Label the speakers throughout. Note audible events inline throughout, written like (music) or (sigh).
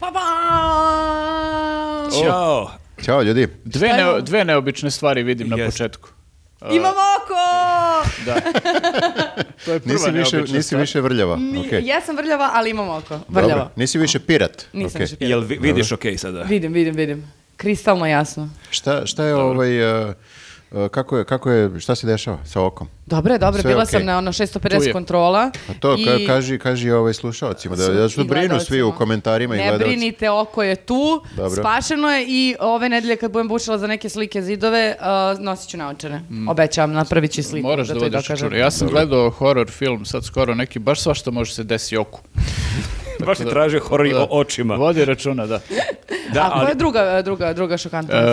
Speaker 1: Pa
Speaker 2: Oh,
Speaker 3: Ćao ljudi.
Speaker 2: Dve,
Speaker 1: Šta je
Speaker 2: neo-
Speaker 1: ovo?
Speaker 2: dve neobične stvari vidim na
Speaker 4: Jest.
Speaker 2: početku.
Speaker 1: Imam oko!
Speaker 2: Da. to je prva
Speaker 3: Nisi više,
Speaker 2: neobična
Speaker 3: nisi
Speaker 2: stvar.
Speaker 3: više vrljava.
Speaker 1: Ni-
Speaker 3: Okej.
Speaker 1: Ja sam vrljava, ali imam oko.
Speaker 3: Dobro.
Speaker 1: Vrljava.
Speaker 3: Nisi više pirat.
Speaker 1: Nisam
Speaker 3: Okej.
Speaker 1: više pirat.
Speaker 4: Jel vi- vidiš ok sada?
Speaker 1: Vidim, vidim, vidim. Kristalno jasno.
Speaker 3: Šta, šta je ovaj... uh, uh, kako je, kako je, šta se dešava sa okom?
Speaker 1: Dobro, je, dobro,
Speaker 3: Sve je
Speaker 1: bila
Speaker 3: okej.
Speaker 1: sam na ono
Speaker 2: Tu
Speaker 1: 650
Speaker 2: je.
Speaker 1: kontrola.
Speaker 3: A to
Speaker 1: i-
Speaker 3: ka- kaži, kaži ovaj slušalcima, da, da što
Speaker 1: i
Speaker 3: brinu svi u
Speaker 1: gledaocima.
Speaker 3: komentarima i
Speaker 1: Ne
Speaker 3: gledalci.
Speaker 1: brinite, oko je tu,
Speaker 3: Dobro.
Speaker 1: spašeno je i ove nedelje kad budem bušila za neke slike zidove, uh, nosit ću naočare.
Speaker 3: Mm.
Speaker 1: Obećavam, napravit ću sliku.
Speaker 2: Moraš da
Speaker 1: to i
Speaker 2: vodiš
Speaker 1: dokažem.
Speaker 2: računa. Ja sam gledao horror film sad skoro neki, baš svašta može se desi oku.
Speaker 4: Baš ti traže horor
Speaker 2: Da.
Speaker 4: o očima.
Speaker 2: Vodi
Speaker 4: (laughs)
Speaker 2: računa, da.
Speaker 4: Da,
Speaker 1: A koja je
Speaker 4: ali...
Speaker 1: druga, druga, druga šokantna?
Speaker 2: E,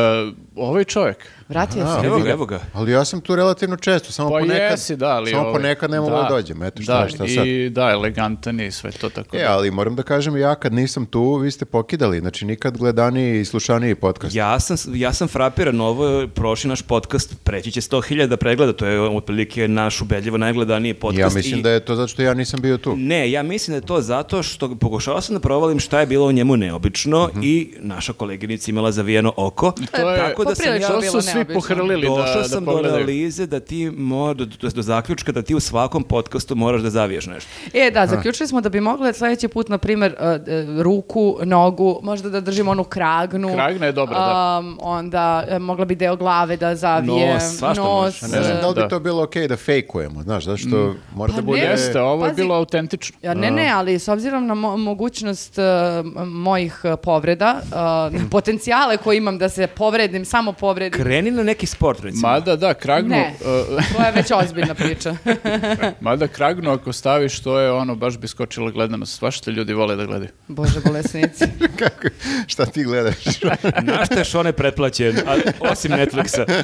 Speaker 2: ovaj čovjek,
Speaker 1: Vratio
Speaker 3: a,
Speaker 1: se.
Speaker 4: Evo ga, evo ga.
Speaker 3: Ali ja sam tu relativno često, samo
Speaker 2: pa
Speaker 3: ponekad,
Speaker 2: jesi, da, ali...
Speaker 3: samo
Speaker 2: ovaj,
Speaker 3: ponekad ne mogu da, dođem, eto šta,
Speaker 2: da,
Speaker 3: šta sad.
Speaker 2: I da, elegantan je i sve to tako.
Speaker 3: E,
Speaker 2: da.
Speaker 3: ali moram da kažem, ja kad nisam tu, vi ste pokidali, znači nikad gledaniji i slušaniji podcast.
Speaker 4: Ja sam, ja sam frapiran, ovo je prošli naš podcast, preći će 100.000 pregleda, to je otprilike naš ubedljivo najgledaniji podcast.
Speaker 3: Ja mislim
Speaker 4: i-
Speaker 3: da je to zato što ja nisam bio tu.
Speaker 4: Ne, ja mislim da je to zato što pokušao sam da provalim šta je bilo u njemu neobično i naša koleginica imala zavijeno oko.
Speaker 2: To
Speaker 1: E,
Speaker 2: je-
Speaker 4: tako da sam
Speaker 1: poprilično
Speaker 4: ja
Speaker 2: To
Speaker 1: bilo
Speaker 2: su svi
Speaker 1: neobično.
Speaker 2: pohrlili da,
Speaker 4: došao
Speaker 2: da
Speaker 4: sam do
Speaker 2: pogledaju.
Speaker 4: analize da ti mora, do, do- do zaključka da ti u svakom podcastu moraš da zaviješ nešto.
Speaker 1: E, da, zaključili smo da bi mogle sljedeći put, na primjer, e, e, ruku, nogu, možda da držim onu kragnu.
Speaker 2: Kragna je dobra, da.
Speaker 1: Am, onda e, mogla bi deo glave da zavije.
Speaker 4: Nos, svašta
Speaker 1: nos,
Speaker 4: može.
Speaker 3: Ne znam
Speaker 1: e,
Speaker 3: da li bi
Speaker 2: Da.
Speaker 3: to bilo okej da fejkujemo, znaš, zato što mora
Speaker 1: Pa
Speaker 3: da
Speaker 1: ne.
Speaker 3: bude...
Speaker 2: Jeste, ovo je
Speaker 1: Pazi.
Speaker 2: bilo autentično.
Speaker 1: Ja, ne, ne, ali s obzirom na mo- mogućnost e, m- mojih e, povreda, e, na potencijale koje imam da se povredim, samo povredim,
Speaker 4: Kreni na neki sport, recimo.
Speaker 2: Mada, da, kragnu...
Speaker 1: Ne.
Speaker 2: e,
Speaker 1: to je već ozbiljna priča.
Speaker 2: (laughs) Mada kragnu ako staviš, to je ono, baš bi skočila gledanost. Svašta ljudi vole da gledaju.
Speaker 1: Bože, bolesnici.
Speaker 3: Kako, šta ti gledaš?
Speaker 4: Na šta je Šone pretplaćen, a- osim Netflixa.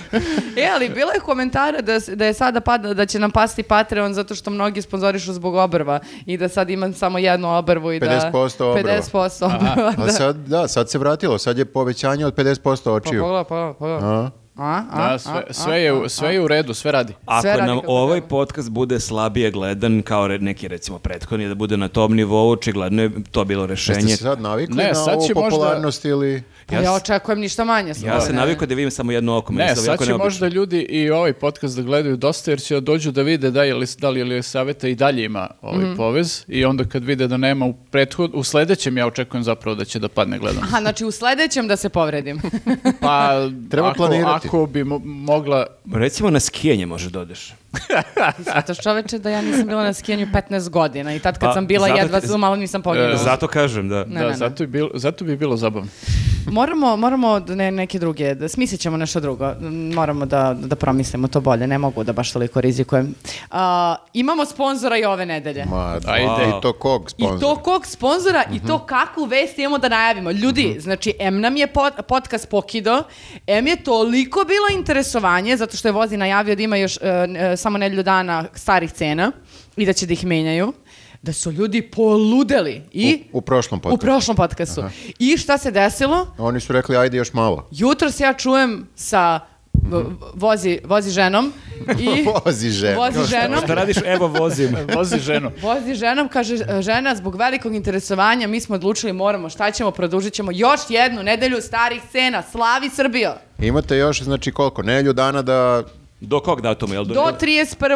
Speaker 1: E, ali bilo je komentara da, s- da je sada pada, da će nam pasti Patreon zato što mnogi sponzorišu zbog obrva i da sad imam samo jednu obrvu i da...
Speaker 3: 50% obrva. Pa
Speaker 1: 50% obrva,
Speaker 3: A
Speaker 1: da.
Speaker 3: sad, da, sad se vratilo, sad je povećanje od 50%
Speaker 1: Pa
Speaker 3: očiju.
Speaker 1: pogledaj, pogledaj, pogledaj.
Speaker 3: A?
Speaker 1: A, a,
Speaker 2: Da,
Speaker 1: a,
Speaker 2: sve,
Speaker 1: a,
Speaker 2: sve, je, u- sve je u redu, sve radi.
Speaker 1: Sve
Speaker 4: Ako
Speaker 1: radi
Speaker 4: nam
Speaker 1: kako
Speaker 4: ovaj
Speaker 1: treba.
Speaker 4: podcast bude slabije gledan kao re- neki recimo prethodni da bude na tom nivou, očigledno je to bilo
Speaker 3: Jeste
Speaker 4: rešenje.
Speaker 3: se sad navikli
Speaker 2: Ne,
Speaker 3: na
Speaker 2: sad
Speaker 3: ovu
Speaker 2: će možda-
Speaker 3: popularnost ili...
Speaker 1: Pa
Speaker 4: Ja
Speaker 1: ja,
Speaker 4: s-
Speaker 1: očekujem ništa manje.
Speaker 4: Ja
Speaker 1: slobodno.
Speaker 4: sam navikao da vidim samo jedno oko. meni
Speaker 2: Ne,
Speaker 4: je
Speaker 2: sad
Speaker 4: toliko
Speaker 2: će
Speaker 4: neobično.
Speaker 2: možda ljudi i ovaj podcast da gledaju dosta, jer će da dođu da vide da, je li, da li je saveta i dalje ima ovaj
Speaker 1: Mhm.
Speaker 2: povez i onda kad vide da nema u prethod, u sledećem ja očekujem zapravo da će da padne
Speaker 1: (laughs)
Speaker 2: gledanost.
Speaker 1: Aha, znači u sledećem da se
Speaker 2: (laughs)
Speaker 1: povredim.
Speaker 2: Pa,
Speaker 3: Treba
Speaker 2: ako,
Speaker 3: planirati.
Speaker 2: ako bi mo- mogla...
Speaker 4: Recimo na skijanje može da odeš.
Speaker 1: Zato što čoveče da ja nisam bila na skijanju 15 godina i tad kad
Speaker 4: Pa,
Speaker 1: sam bila
Speaker 4: zato-
Speaker 1: jedva sam, malo nisam poginula.
Speaker 2: E,
Speaker 4: Zato kažem da.
Speaker 1: Ne,
Speaker 2: da,
Speaker 1: ne, ne.
Speaker 2: Zato, bi bilo, zato bi bilo zabavno.
Speaker 1: Moramo, moramo da ne, neke druge, da smislit ćemo nešto drugo. Moramo da, da promislimo to bolje, ne mogu da baš toliko rizikujem. A, imamo sponzora i ove nedelje.
Speaker 3: Ma,
Speaker 2: Ajde.
Speaker 3: I to kog
Speaker 1: I
Speaker 3: sponzora?
Speaker 1: to kog sponzora i
Speaker 3: Mhm.
Speaker 1: to kakvu vest imamo da najavimo. Ljudi, znači, M nam je pod, podcast pokido, M je toliko bilo interesovanje, zato što je Vozi najavio da ima još e, e, samo nedelju dana starih cena i da će da ih menjaju, da su ljudi poludeli. I
Speaker 3: U, u prošlom
Speaker 1: u
Speaker 3: podcastu.
Speaker 1: prošlom podcastu. I šta se desilo?
Speaker 3: Oni su rekli, ajde još malo.
Speaker 1: Jutros ja čujem sa v- vozi, vozi ženom i
Speaker 3: Vozi ženu.
Speaker 1: vozi ženom.
Speaker 4: Šta radiš? Evo vozim.
Speaker 1: (laughs)
Speaker 2: Vozi ženu.
Speaker 1: Pa Vozi ženom, kaže e, žena, zbog velikog interesovanja mi smo odlučili moramo, šta ćemo, produžit ćemo još jednu nedelju starih cena, slavi Srbijo!
Speaker 3: Imate još, znači koliko, nelju dana da...
Speaker 4: Do kog datuma? Jel do,
Speaker 1: Do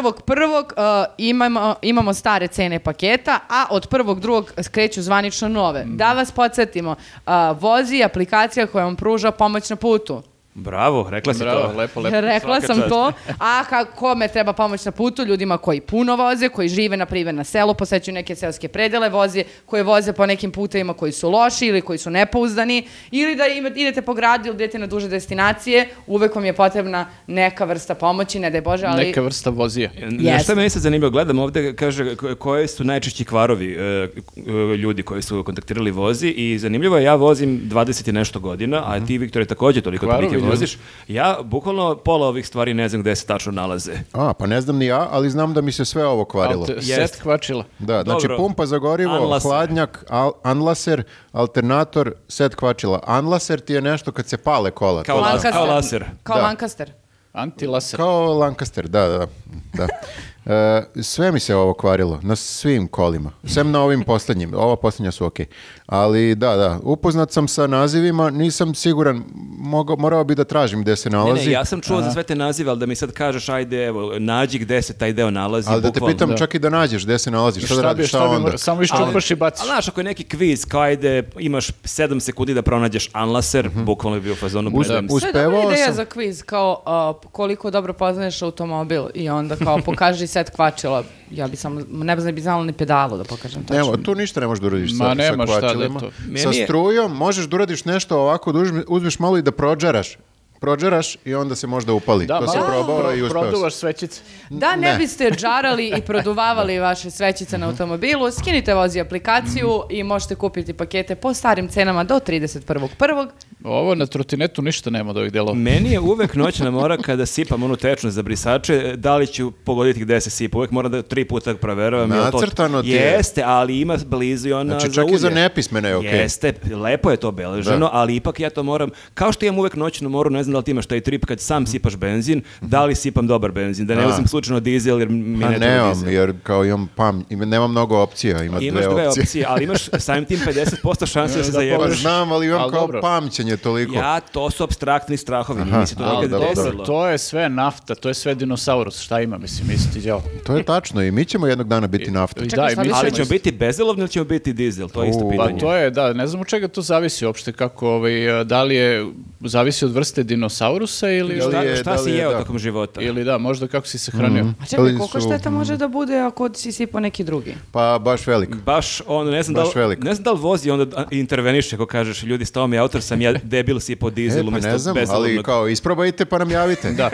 Speaker 1: 31.1. Uh, imamo, imamo stare cene paketa, a od 1.2. kreću zvanično nove. Da vas podsjetimo, uh, vozi je aplikacija koja vam pruža pomoć na putu.
Speaker 4: Bravo, rekla si
Speaker 2: (laughs) Bravo,
Speaker 4: to.
Speaker 2: lepo, lepo.
Speaker 1: Rekla
Speaker 4: Svaka
Speaker 1: sam
Speaker 4: čast.
Speaker 1: to. A ka- kome treba pomoć na putu? Ljudima koji puno voze, koji žive na primjer na selu, posećuju neke selske predele, voze, koji voze po nekim putevima koji su loši ili koji su nepouzdani, ili da ima- idete po gradu ili idete na duže destinacije, uvek vam je potrebna neka vrsta pomoći, ne daj Bože, ali...
Speaker 2: Neka vrsta vozija.
Speaker 4: Na
Speaker 1: Jeste.
Speaker 4: šta me sad zanimljivo, gledam ovdje, kaže ko- koji su najčešći kvarovi e, k- e, ljudi koji su kontaktirali vozi i zanimljivo je, ja vozim 20 i nešto godina,
Speaker 3: Mhm.
Speaker 4: a ti, Viktore, također toliko
Speaker 2: Kvarovi
Speaker 4: otprilike
Speaker 2: ljudi.
Speaker 4: voziš. Ja bukvalno pola ovih stvari ne znam gde se tačno nalaze.
Speaker 3: A, pa ne znam ni ja, ali znam da mi se sve ovo kvarilo.
Speaker 2: Al te-
Speaker 4: Jest.
Speaker 2: Set kvačila.
Speaker 3: Da, znači
Speaker 4: Dobro.
Speaker 3: pumpa za gorivo,
Speaker 4: Anlaser.
Speaker 3: hladnjak, al- anlaser, alternator, set kvačila. Anlaser ti je nešto kad se pale kola.
Speaker 4: Kao
Speaker 3: to znam.
Speaker 4: laser.
Speaker 1: Lancaster.
Speaker 4: Kao laser.
Speaker 1: Kao
Speaker 3: Da.
Speaker 1: Lancaster.
Speaker 2: Antilaser.
Speaker 3: Kao Lancaster, da, da, da. E, sve mi se ovo kvarilo, na svim kolima, sem na ovim posljednjim, ova posljednja su okej. Ali da, da, upoznat sam sa nazivima, nisam siguran, mogao, morao bi da tražim gdje se
Speaker 4: Ne,
Speaker 3: nalazi.
Speaker 4: ne, ja sam čuo za sve te nazive, ali da mi sad kažeš, ajde, evo, nađi gde se taj deo nalazi,
Speaker 3: Ali da te
Speaker 4: bukvalno.
Speaker 3: pitam
Speaker 2: da.
Speaker 3: čak i da nađeš gdje se nalazi, šta, da radiš, šta, onda?
Speaker 2: mora- samo iščupaš i
Speaker 4: A
Speaker 2: baciš.
Speaker 4: znaš, ako je neki kviz, kao ajde, imaš 7 sekundi da pronađeš anlaser, bukvalno je bio u fazonu
Speaker 3: Mhm. Uz-
Speaker 4: predajem se.
Speaker 3: uz-
Speaker 1: To je dobra
Speaker 3: Uspevao
Speaker 1: ideja
Speaker 3: sam.
Speaker 1: za kviz, kao a, koliko dobro poznaješ automobil i onda kao pokaži set kvačila. Ja bi samo, ne znam, ne bi znala ni pedalu da pokažem tačno.
Speaker 3: Nema, tu ništa ne možeš da uradiš
Speaker 2: Ma,
Speaker 3: sa,
Speaker 2: nema
Speaker 3: sa
Speaker 2: šta da je
Speaker 3: kvačilima.
Speaker 2: to.
Speaker 3: Sa
Speaker 4: Meni je-
Speaker 3: strujom možeš da uradiš nešto ovako, da uzmi- uzmiš malo i da prođaraš. Prođaraš i onda se možda upali. to pa sam
Speaker 2: malo
Speaker 3: probao
Speaker 2: pro-
Speaker 3: i uspeo sam.
Speaker 2: Produvaš svećice.
Speaker 1: Da, ne,
Speaker 3: Ne.
Speaker 1: biste džarali i produvavali vaše svećice na automobilu, skinite vozi aplikaciju i možete kupiti pakete po starim cenama do 31.1.
Speaker 2: Ovo na trotinetu ništa nema od ovih delova.
Speaker 4: Meni je uvek noćna mora kada sipam onu tečnost za brisače, da li ću pogoditi gde se sipa. Uvek moram da tri puta proveravam. jel to-
Speaker 3: Nacrtano ti je.
Speaker 4: Jeste, ali ima blizu i ona
Speaker 3: Znači čak i za
Speaker 4: ulje.
Speaker 3: nepismene je okej.
Speaker 4: Jeste, lepo je to obeleženo,
Speaker 3: Da.
Speaker 4: ali ipak ja to moram, kao što imam uvek noćnu moru, ne znam da li ti imaš taj trip kad sam sipaš benzin, da li sipam dobar benzin, da ne
Speaker 3: A.
Speaker 4: uzim slučajno dizel jer mi
Speaker 3: Pa
Speaker 4: ne treba
Speaker 3: nemam,
Speaker 4: dizel.
Speaker 3: jer kao imam pam, ima- nemam mnogo opcija, ima
Speaker 4: Imaš
Speaker 3: dve
Speaker 4: dve
Speaker 3: opcije.
Speaker 4: opcije, ali imaš samim tim 50% šanse da se
Speaker 3: (laughs) Pa
Speaker 4: zajebaš.
Speaker 3: znam, ali imam
Speaker 2: Ali
Speaker 3: kao
Speaker 2: dobro.
Speaker 3: pamćenje toliko.
Speaker 4: Ja, to su abstraktni strahovi, mi se
Speaker 3: ali
Speaker 4: to nekad
Speaker 3: dobro.
Speaker 4: desilo.
Speaker 2: To je sve nafta, to je sve dinosaurus. Šta ima, mislim, isti djel.
Speaker 3: To je tačno i mi ćemo jednog dana biti nafta.
Speaker 1: Čekaj,
Speaker 2: i
Speaker 1: šta
Speaker 2: mi
Speaker 1: bi
Speaker 2: ćemo
Speaker 1: se-
Speaker 4: Ali ćemo biti bezelovni ili ćemo biti dizel? To je isto
Speaker 3: U,
Speaker 2: Pa
Speaker 4: pitanje.
Speaker 2: to je, da, ne znam od čega to zavisi uopšte, kako, ovaj, da li je, zavisi od vrste dinosaurusa ili...
Speaker 3: Da li
Speaker 4: Šta,
Speaker 3: je-
Speaker 4: šta
Speaker 3: da li
Speaker 4: si
Speaker 3: je,
Speaker 4: jeo
Speaker 3: da.
Speaker 4: tokom života?
Speaker 2: Ili da, možda kako si se hranio. (laughs)
Speaker 1: A čekaj,
Speaker 3: Ali
Speaker 1: koliko
Speaker 3: su-
Speaker 1: šteta može da bude ako si sipao neki drugi?
Speaker 3: Pa baš veliko.
Speaker 4: Baš on, ne znam, da
Speaker 3: Baš
Speaker 4: li,
Speaker 3: veliko.
Speaker 4: ne znam da li vozi onda da- interveniše ako kažeš ljudi stao mi je autor sam ja debil si po
Speaker 3: E,
Speaker 4: dizel
Speaker 3: pa
Speaker 4: umjesto
Speaker 3: ne znam, ali
Speaker 4: bezelovnog."
Speaker 3: kao isprobajte pa nam javite. da.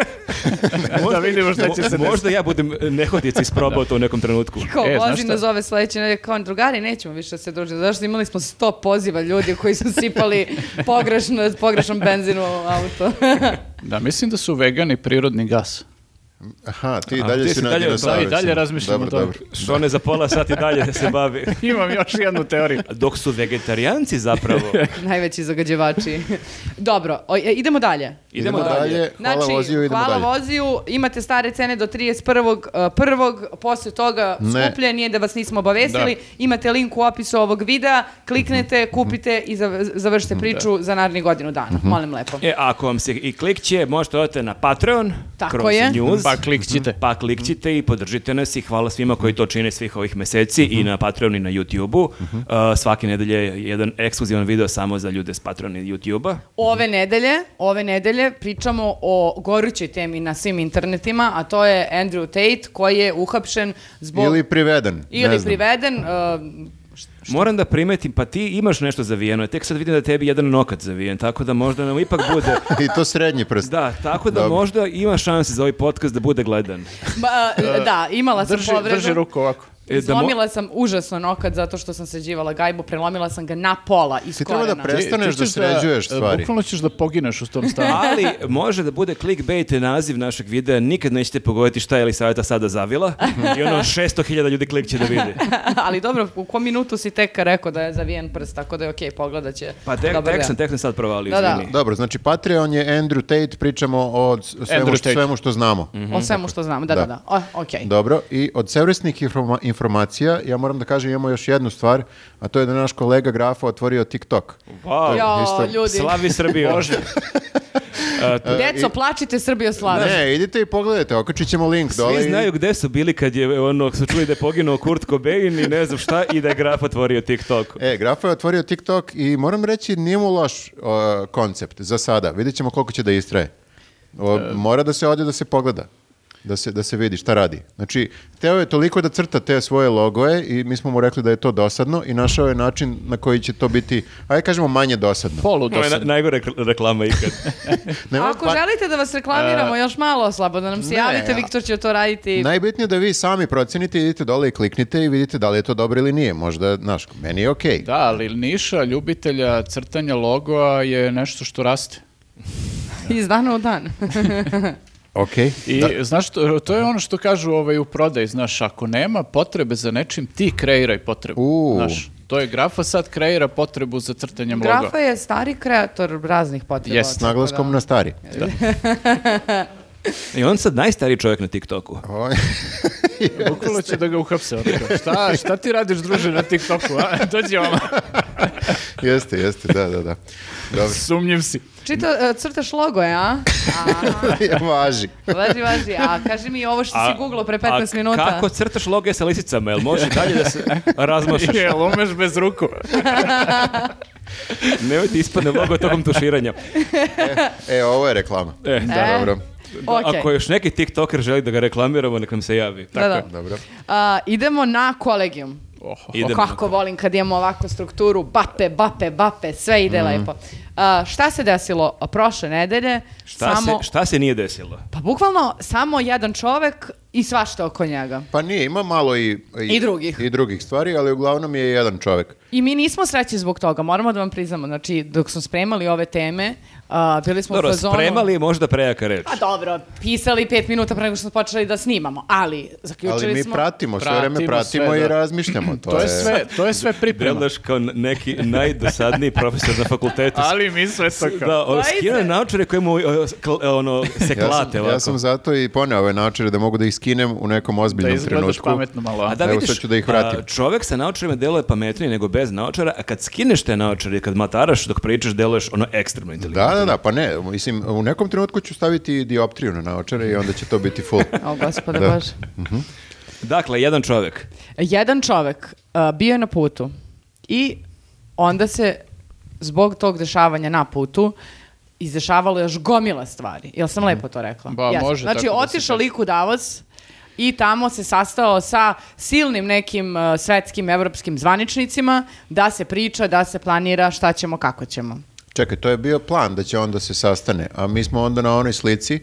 Speaker 4: Možda-
Speaker 2: vidimo šta će se
Speaker 4: mo- Možda ja budem nehotica isprobao to u nekom trenutku.
Speaker 1: Kao
Speaker 2: E, znaš
Speaker 1: vozi
Speaker 2: šta?
Speaker 1: nas ove sledeće nedelje, kao drugari, nećemo više da se družiti. Zašto imali smo sto poziva ljudi koji su sipali pogrešno, pogrešan benzin u auto. (laughs)
Speaker 2: Da, mislim da su vegani prirodni gas.
Speaker 3: Aha, ti i
Speaker 4: A, ti
Speaker 3: dalje
Speaker 4: si
Speaker 3: si na
Speaker 4: dalje- da, i
Speaker 3: dinosaurusima.
Speaker 2: dalje razmišljam
Speaker 3: Dobro,
Speaker 2: o tome.
Speaker 3: dobro.
Speaker 4: Što one za pola sati dalje se bavi.
Speaker 2: (laughs) Imam još jednu teoriju.
Speaker 4: Dok su vegetarijanci
Speaker 3: (laughs)
Speaker 4: zapravo.
Speaker 1: Najveći zagađivači. Dobro, o, e, idemo dalje.
Speaker 4: Idemo dalje.
Speaker 3: E, Hvala voziju,
Speaker 1: Znači,
Speaker 3: idemo
Speaker 1: hvala
Speaker 3: dalje.
Speaker 1: voziju, imate stare cene do 31. prvog, posle toga
Speaker 3: Ne.
Speaker 1: skuplje, nije da vas nismo obavestili, imate link u opisu ovog videa, kliknete,
Speaker 3: Mhm.
Speaker 1: kupite i zav- završite priču za narednih godinu dana. Molim lepo.
Speaker 4: E, ako vam se i klikće, možete odete na Patreon,
Speaker 1: Tako
Speaker 4: kroz
Speaker 1: je.
Speaker 4: news.
Speaker 2: Pa klikćite.
Speaker 4: Pa klikćite i podržite nas i hvala svima koji to čine svih ovih meseci
Speaker 1: Mhm.
Speaker 4: i na Patreon i na YouTube-u. Uh, svake nedelje je jedan ekskluzivan video samo za ljude s Patreon i YouTube-a.
Speaker 1: Ove nedelje, ove nedelje pričamo o gorućoj temi na svim internetima, a to je Andrew Tate koji je uhapšen zbog...
Speaker 3: Ili priveden,
Speaker 1: ili
Speaker 3: ne znam.
Speaker 1: priveden... uh,
Speaker 4: Moram da primetim, pa ti imaš nešto zavijeno, tek sad vidim da tebi jedan nokat zavijen, tako da možda nam ipak
Speaker 1: (laughs)
Speaker 4: bude...
Speaker 3: (laughs) I to srednji prst.
Speaker 4: Da, tako da
Speaker 3: Dobro.
Speaker 4: možda ima šanse za ovaj podcast da bude gledan.
Speaker 1: ba- e,
Speaker 3: (laughs)
Speaker 1: da, imala Pa sam
Speaker 2: Drži,
Speaker 1: povredu.
Speaker 2: drži ruku ovako.
Speaker 4: E, da mo-
Speaker 1: Slomila sam užasno nokat zato što sam sređivala gajbu, prelomila sam ga na pola iz
Speaker 3: Ti treba da
Speaker 1: korena.
Speaker 3: pre- Prestaneš da
Speaker 2: ćeš
Speaker 3: sređuješ
Speaker 2: e,
Speaker 3: stvari.
Speaker 2: Bukvalno ćeš da pogineš u tom
Speaker 4: (laughs)
Speaker 2: stanu.
Speaker 4: Ali može da bude clickbait naziv našeg videa, nikad nećete pogoditi šta je Elisaveta sada
Speaker 1: (laughs)
Speaker 4: zavila i ono 600.000 ljudi klik će da vidi.
Speaker 1: (laughs) Ali dobro, u kom minutu si tek rekao da je zavijen prst, tako da je okej, pogledat će.
Speaker 4: Pa tek,
Speaker 1: dobar
Speaker 4: tek
Speaker 1: deo.
Speaker 4: sam, tek sam sad provalio,
Speaker 1: Da, da.
Speaker 4: izvini.
Speaker 3: Dobro, znači Patreon je Andrew Tate, pričamo o s- svemu,
Speaker 2: Andrew
Speaker 3: što,
Speaker 2: Tate.
Speaker 3: svemu što
Speaker 4: Mhm.
Speaker 3: znamo.
Speaker 1: O svemu što znam, da, da,
Speaker 3: Mhm. Da.
Speaker 1: da. O, okej.
Speaker 3: E. Dobro, i od servisnih informa- informacija, ja moram da kažem, imamo još jednu stvar, a to je da je naš kolega Grafa otvorio TikTok.
Speaker 4: Wow.
Speaker 1: Jo,
Speaker 3: Isto.
Speaker 1: ljudi. E,
Speaker 4: Slavi Srbiju. (laughs) Može.
Speaker 1: Deco, plačite Srbijo slavu.
Speaker 3: Ne, idite i pogledajte, okačit ćemo link dole.
Speaker 4: Svi
Speaker 3: i-
Speaker 4: znaju gde su bili kad je ono, su čuli da je poginuo Kurt Cobain i ne znam šta i da je graf otvorio TikTok.
Speaker 3: E, Grafa je otvorio TikTok i moram reći nije mu loš o, koncept za sada. Vidjet ćemo koliko će da istraje. O,
Speaker 4: E.
Speaker 3: mora da se ode da se pogleda. Da se, da se vidi šta radi. Znači, teo je toliko da crta te svoje logoje i mi smo mu rekli da je to dosadno i našao je način na koji će to biti, ajde kažemo, manje dosadno.
Speaker 2: Polu
Speaker 4: To je na-
Speaker 2: dosadno.
Speaker 4: najgore rekl- reklama ikad.
Speaker 3: Nema
Speaker 1: Ako
Speaker 3: pa- E,
Speaker 1: želite da vas reklamiramo još malo, slobodno nam se javite,
Speaker 3: ja.
Speaker 1: Viktor će to raditi.
Speaker 3: Najbitnije je da vi sami procenite, idite dole i kliknite i vidite da li je to dobro ili nije. Možda, znaš, meni je okej.
Speaker 2: Da, ali niša ljubitelja crtanja logoa je nešto što raste.
Speaker 1: Iz dana u dan.
Speaker 3: Okej.
Speaker 2: I
Speaker 3: Da.
Speaker 2: znaš, to, to je ono što kažu ovaj, u prodaji, znaš, ako nema potrebe za nečim, ti kreiraj potrebu.
Speaker 3: U.
Speaker 2: Znaš, to je grafa sad kreira potrebu za crtanjem logoa.
Speaker 1: Grafa je stari kreator raznih potreba.
Speaker 3: S
Speaker 2: Yes.
Speaker 1: tako
Speaker 3: naglaskom
Speaker 1: da.
Speaker 3: na stari.
Speaker 4: I on sad najstariji čovjek na TikToku.
Speaker 3: O,
Speaker 2: Bukvalno će da ga uhapse. ono kao, Šta, šta ti radiš, druže, na TikToku? A? (laughs) Dođi ovamo.
Speaker 3: jeste, jeste, da, da, da. Dobro.
Speaker 2: (laughs)
Speaker 3: (laughs)
Speaker 2: Sumnjiv si.
Speaker 1: Čito, e, crtaš logo je, a? Aha,
Speaker 3: Važi.
Speaker 1: Pa važi, važi. A kaži mi ovo što
Speaker 4: A-
Speaker 1: si googlao pre 15
Speaker 4: a
Speaker 1: minuta.
Speaker 4: kako crtaš loge sa lisicama? Jel može dalje da se razmašaš?
Speaker 2: Jel umeš bez ruku?
Speaker 4: Nemoj ti ispadne logo tokom tuširanja.
Speaker 3: E, ovo je reklama.
Speaker 4: E,
Speaker 3: Da,
Speaker 1: E.
Speaker 3: dobro.
Speaker 1: Okej.
Speaker 4: Ako još neki tiktoker želi da ga reklamiramo, nek nam se javi.
Speaker 1: Da, da.
Speaker 3: Dobro.
Speaker 1: A, idemo na kolegijum.
Speaker 2: Oho.
Speaker 4: Idemo
Speaker 1: O,
Speaker 4: na
Speaker 1: kako volim kad imamo ovakvu strukturu, bape, bape, bape, sve ide
Speaker 4: Mhm.
Speaker 1: lepo. A, šta se desilo prošle nedelje?
Speaker 4: Šta,
Speaker 1: samo,
Speaker 4: se, šta se nije desilo?
Speaker 1: Pa bukvalno samo jedan čovek i svašta oko njega.
Speaker 3: Pa nije, ima malo i...
Speaker 1: I drugih.
Speaker 3: I drugih stvari, ali uglavnom je jedan čovek.
Speaker 1: I mi nismo sreći zbog toga, moramo da vam priznamo. Znači, dok smo spremali ove teme, a, bili smo u
Speaker 4: Dobro,
Speaker 1: fazonu...
Speaker 4: spremali je možda prejaka reč.
Speaker 1: Pa dobro, pisali pet minuta pre nego što smo počeli da snimamo, ali zaključili
Speaker 3: ali mi
Speaker 1: smo...
Speaker 3: pratimo, sve vreme
Speaker 2: Pratimo sve,
Speaker 3: pratimo i
Speaker 2: da.
Speaker 3: razmišljamo. To,
Speaker 2: To je sve, to je sve priprema.
Speaker 4: Delaš kao neki najdosadniji profesor na fakultetu.
Speaker 2: Ali mi sve tako.
Speaker 4: Da, on
Speaker 1: Dvojice.
Speaker 4: skine naočare koje mu o, kl- ono, se
Speaker 3: Ja sam,
Speaker 4: klate.
Speaker 3: ja
Speaker 4: ovako.
Speaker 3: sam zato i poneo ove naočare da mogu da ih skinem u nekom
Speaker 2: Da
Speaker 3: ozbiljnom
Speaker 2: izgledaš
Speaker 3: trenutku.
Speaker 2: pametno malo. a?
Speaker 4: A da
Speaker 3: Evo,
Speaker 4: vidiš,
Speaker 3: sad ću da ih vratim.
Speaker 4: a, čovek sa naočarima deluje pametnije nego bez naočara, a kad skineš te naočare i kad mataraš dok pričaš, deluješ ono ekstremno
Speaker 3: Da,
Speaker 4: inteligentno.
Speaker 3: da, da, pa ne, mislim, u nekom trenutku ću staviti dioptriju na naočare i onda će to biti
Speaker 2: (laughs)
Speaker 3: full.
Speaker 1: O, gospode
Speaker 3: Da.
Speaker 1: Bože.
Speaker 4: Dakle, jedan čovek.
Speaker 1: Jedan čovek a, bio je na putu i onda se zbog tog dešavanja na putu izdešavalo još gomila stvari. Jel sam lepo to rekla?
Speaker 2: Mhm. Ba, može
Speaker 1: Znači,
Speaker 2: tako da se
Speaker 1: otišao
Speaker 2: kaže.
Speaker 1: lik u Davos i tamo se sastao sa silnim nekim uh, svetskim evropskim zvaničnicima da se priča, da se planira šta ćemo, kako ćemo.
Speaker 3: Čekaj, to je bio plan da će onda se sastane, a mi smo onda na onoj slici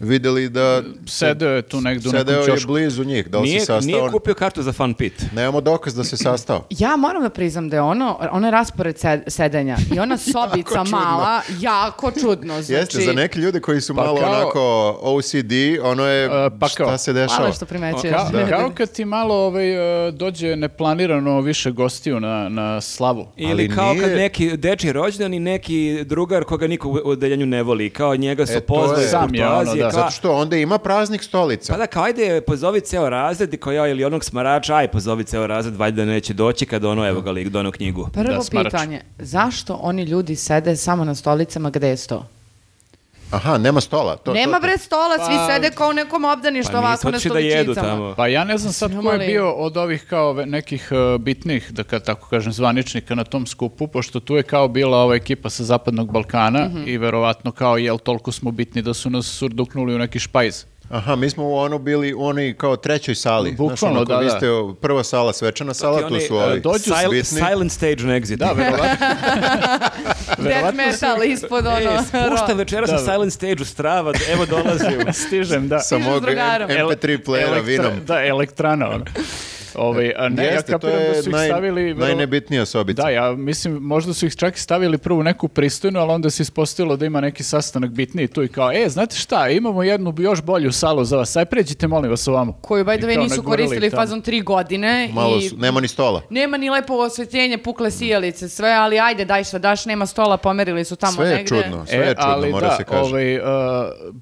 Speaker 3: videli da...
Speaker 2: Sedeo je tu negdje u nekom
Speaker 3: Sedeo je
Speaker 2: čošku.
Speaker 3: blizu njih, da li
Speaker 4: Nije,
Speaker 3: se sastao?
Speaker 4: nije kupio kartu za fan pit.
Speaker 3: Nemamo dokaz da se
Speaker 2: (laughs)
Speaker 3: sastao.
Speaker 1: Ja moram da priznam da je ono, onaj raspored sed- sedenja i
Speaker 2: (laughs)
Speaker 1: ona sobica
Speaker 3: čudno.
Speaker 1: mala, jako čudno. Znači,
Speaker 3: Jeste, za neke ljude koji su
Speaker 2: Pa
Speaker 3: malo
Speaker 2: kao-
Speaker 3: onako OCD, ono je
Speaker 2: E, pa kao-
Speaker 3: šta se dešava.
Speaker 1: Hvala što primećuješ.
Speaker 2: Kao,
Speaker 3: Da.
Speaker 2: kao kad ti malo ovaj, e, dođe neplanirano više gostiju na, na slavu.
Speaker 4: Ili
Speaker 3: Ali
Speaker 4: kao kad
Speaker 3: nije-
Speaker 4: neki deči rođendan i neki drugar koga niko u odeljenju ne voli. Kao njega su
Speaker 3: E, to
Speaker 4: pozvali
Speaker 3: je-
Speaker 4: iz
Speaker 2: Sam je ono,
Speaker 4: kurtoazije,
Speaker 2: da.
Speaker 4: kao-
Speaker 3: Zato što onda ima praznik stolica.
Speaker 4: Pa da, kao ajde, pozovi ceo razred i kao ja ili onog smarača, aj pozovi ceo razred, valjda neće doći kad ono, evo ga lik, dono knjigu.
Speaker 1: Prvo
Speaker 2: Da, smarač.
Speaker 1: pitanje, zašto oni ljudi sede samo na stolicama gde je sto?
Speaker 3: Aha, nema stola. To,
Speaker 1: Nema
Speaker 3: to-
Speaker 1: bre stola, svi
Speaker 2: Pa-
Speaker 1: sede kao u nekom obdaništu
Speaker 4: Pa nisu
Speaker 1: ovako na
Speaker 4: otišli da jedu
Speaker 1: stoličicama.
Speaker 4: tamo.
Speaker 2: Pa ja ne znam sad ko je
Speaker 1: Mali.
Speaker 2: bio od ovih kao ve- nekih e, bitnih, da kad tako kažem, zvaničnika na tom skupu, pošto tu je kao bila ova ekipa sa Zapadnog Balkana i verovatno kao jel toliko smo bitni da su nas surduknuli u neki špajz.
Speaker 3: Aha, mi smo u ono bili, u onoj kao trećoj sali. Znaš,
Speaker 2: Bukvalno,
Speaker 3: ono, kao
Speaker 2: da,
Speaker 3: vi
Speaker 2: da.
Speaker 3: ste o, prva sala, svečana sala, Pa tu
Speaker 4: Oni,
Speaker 3: su
Speaker 4: e,
Speaker 3: ovi
Speaker 2: dođu
Speaker 4: sil-
Speaker 3: bitni.
Speaker 4: silent stage na exit.
Speaker 2: Da, verovatno.
Speaker 1: Death
Speaker 2: Verovatno
Speaker 1: metal (laughs) ispod ono.
Speaker 4: E, spušta večeras na
Speaker 2: Da.
Speaker 4: silent stage u strava, evo dolazi.
Speaker 2: (laughs) Stižem, da.
Speaker 3: sa
Speaker 1: Stižu s
Speaker 3: mog
Speaker 1: drugarom.
Speaker 3: MP3 playera
Speaker 2: Elektra-
Speaker 3: vinom.
Speaker 2: Da, elektrana.
Speaker 3: (laughs)
Speaker 2: Ono. Ovaj, a ne,
Speaker 3: Jeste,
Speaker 2: ja
Speaker 3: to
Speaker 2: kapiram
Speaker 3: je
Speaker 2: da su ih
Speaker 3: naj-
Speaker 2: stavili... vero-
Speaker 3: najnebitnija sobica.
Speaker 2: Da, ja mislim, možda su ih čak i stavili prvu neku pristojnu, ali onda se ispostavilo da ima neki sastanak bitniji tu i kao, e, znate šta, imamo jednu još bolju salu za vas, aj pređite, molim vas, ovamo.
Speaker 1: Koju, by
Speaker 2: I
Speaker 1: the way,
Speaker 2: kao
Speaker 1: nisu
Speaker 2: nagurali
Speaker 1: koristili
Speaker 2: tamo.
Speaker 1: fazon tri godine
Speaker 3: Malo
Speaker 1: i...
Speaker 3: su- nema ni stola.
Speaker 1: Nema ni lepo osvetljenje, pukle sijalice, sve, ali ajde, daj šta daš, nema stola, pomerili su tamo
Speaker 3: Sve je
Speaker 1: negde.
Speaker 3: čudno, sve je čudno,
Speaker 2: E, ali
Speaker 3: mora
Speaker 2: da,
Speaker 3: se kaže.
Speaker 2: ovaj, e,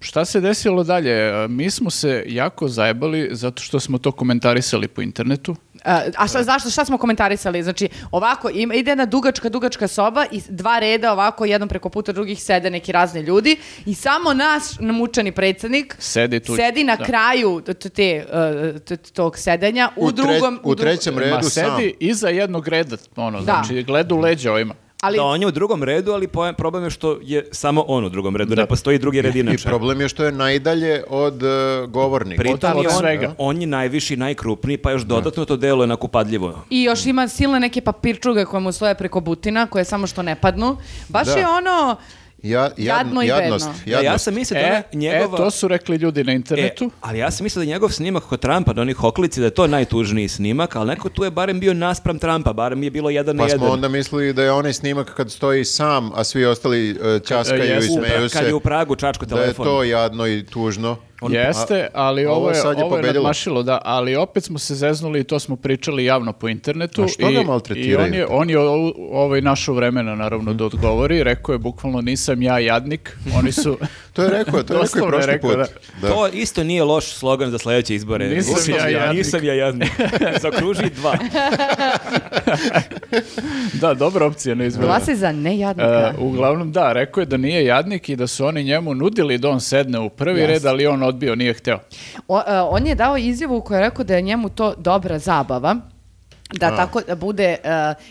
Speaker 2: šta se desilo dalje? E, Mi smo se jako zajebali zato što smo to komentarisali po internetu.
Speaker 1: A, a šta, zašto, šta smo komentarisali? Znači, ovako, im, ide jedna dugačka, dugačka soba i s- dva reda ovako, jednom preko puta drugih sede neki razni ljudi i samo naš namučeni predsednik
Speaker 2: Sedi tu.
Speaker 1: sedi na
Speaker 2: Da.
Speaker 1: kraju t- t- te, uh, t- t- tog sedenja u,
Speaker 3: U tre-
Speaker 1: drugom...
Speaker 3: u
Speaker 1: dru-
Speaker 3: trećem redu.
Speaker 2: Ma
Speaker 3: sam.
Speaker 2: sedi iza jednog reda, ono,
Speaker 1: Da.
Speaker 2: znači gleda u leđa ovima.
Speaker 1: Ali,
Speaker 4: Da, on je u drugom redu, ali poen- problem je što je samo on u drugom redu, ne postoji drugi red
Speaker 3: I
Speaker 4: inače.
Speaker 3: problem je što je najdalje od e, govornika.
Speaker 4: Pritom
Speaker 2: Od-
Speaker 4: je
Speaker 2: od
Speaker 4: on,
Speaker 2: svega.
Speaker 4: on je najviši, najkrupniji, pa još dodatno to deluje nakupadljivo.
Speaker 1: I još ima silne neke papirčuge koje mu stoje preko butina, koje samo što ne padnu. Baš
Speaker 3: Da.
Speaker 1: je ono...
Speaker 3: Ja,
Speaker 1: Jadno
Speaker 3: jadno
Speaker 1: i
Speaker 3: jadnost,
Speaker 1: bedno.
Speaker 4: Ja, ja
Speaker 3: jadnost.
Speaker 4: sam mislio da
Speaker 2: E,
Speaker 4: ona njegova...
Speaker 2: e, to su rekli ljudi na
Speaker 4: E,
Speaker 2: internetu.
Speaker 4: ali ja sam mislio da njegov snimak kod Trumpa, na onih oklici, da je to najtužniji snimak, ali neko tu je barem bio naspram Trumpa, barem je bilo jedan na
Speaker 3: Pa smo
Speaker 4: jedan.
Speaker 3: onda mislili da je onaj snimak kad stoji sam, a svi ostali e,
Speaker 4: E,
Speaker 3: ćaskaju i
Speaker 4: jesu,
Speaker 3: smeju
Speaker 4: kad je
Speaker 3: se.
Speaker 4: u Pragu čačko
Speaker 3: Da je
Speaker 4: telefon.
Speaker 3: to jadno i tužno.
Speaker 2: Jeste, ali
Speaker 3: a
Speaker 2: ovo
Speaker 3: ovo
Speaker 2: je,
Speaker 3: sad je
Speaker 2: ovo je
Speaker 3: pobedilo.
Speaker 2: nadmašilo, da, ali opet smo se zeznuli i to smo pričali javno po internetu.
Speaker 3: A što ga
Speaker 2: i- I
Speaker 3: maltretiraju?
Speaker 2: on je, on je o- ovaj našo vremena, naravno, da odgovori. Rekao je bukvalno nisam ja jadnik, oni
Speaker 3: (laughs)
Speaker 2: su...
Speaker 3: To je rekao, to je rekao
Speaker 2: Doslovno
Speaker 3: i
Speaker 2: je
Speaker 3: prošli
Speaker 2: rekao,
Speaker 3: put.
Speaker 2: da.
Speaker 3: Da.
Speaker 4: To isto nije loš slogan za sledeće izbore.
Speaker 2: Nisam ja jadnik.
Speaker 4: Nisam ja
Speaker 2: (laughs)
Speaker 4: jadnik. Zakruži dva.
Speaker 2: da, dobra opcija na izboru.
Speaker 1: Glasaj za nejadnika.
Speaker 2: E, uglavnom da, rekao je da nije jadnik i da su oni njemu nudili da on sedne u prvi red, ali on odbio, nije hteo.
Speaker 1: O- e, on je dao izjavu u kojoj je rekao da je njemu to dobra zabava. Da tako da bude e,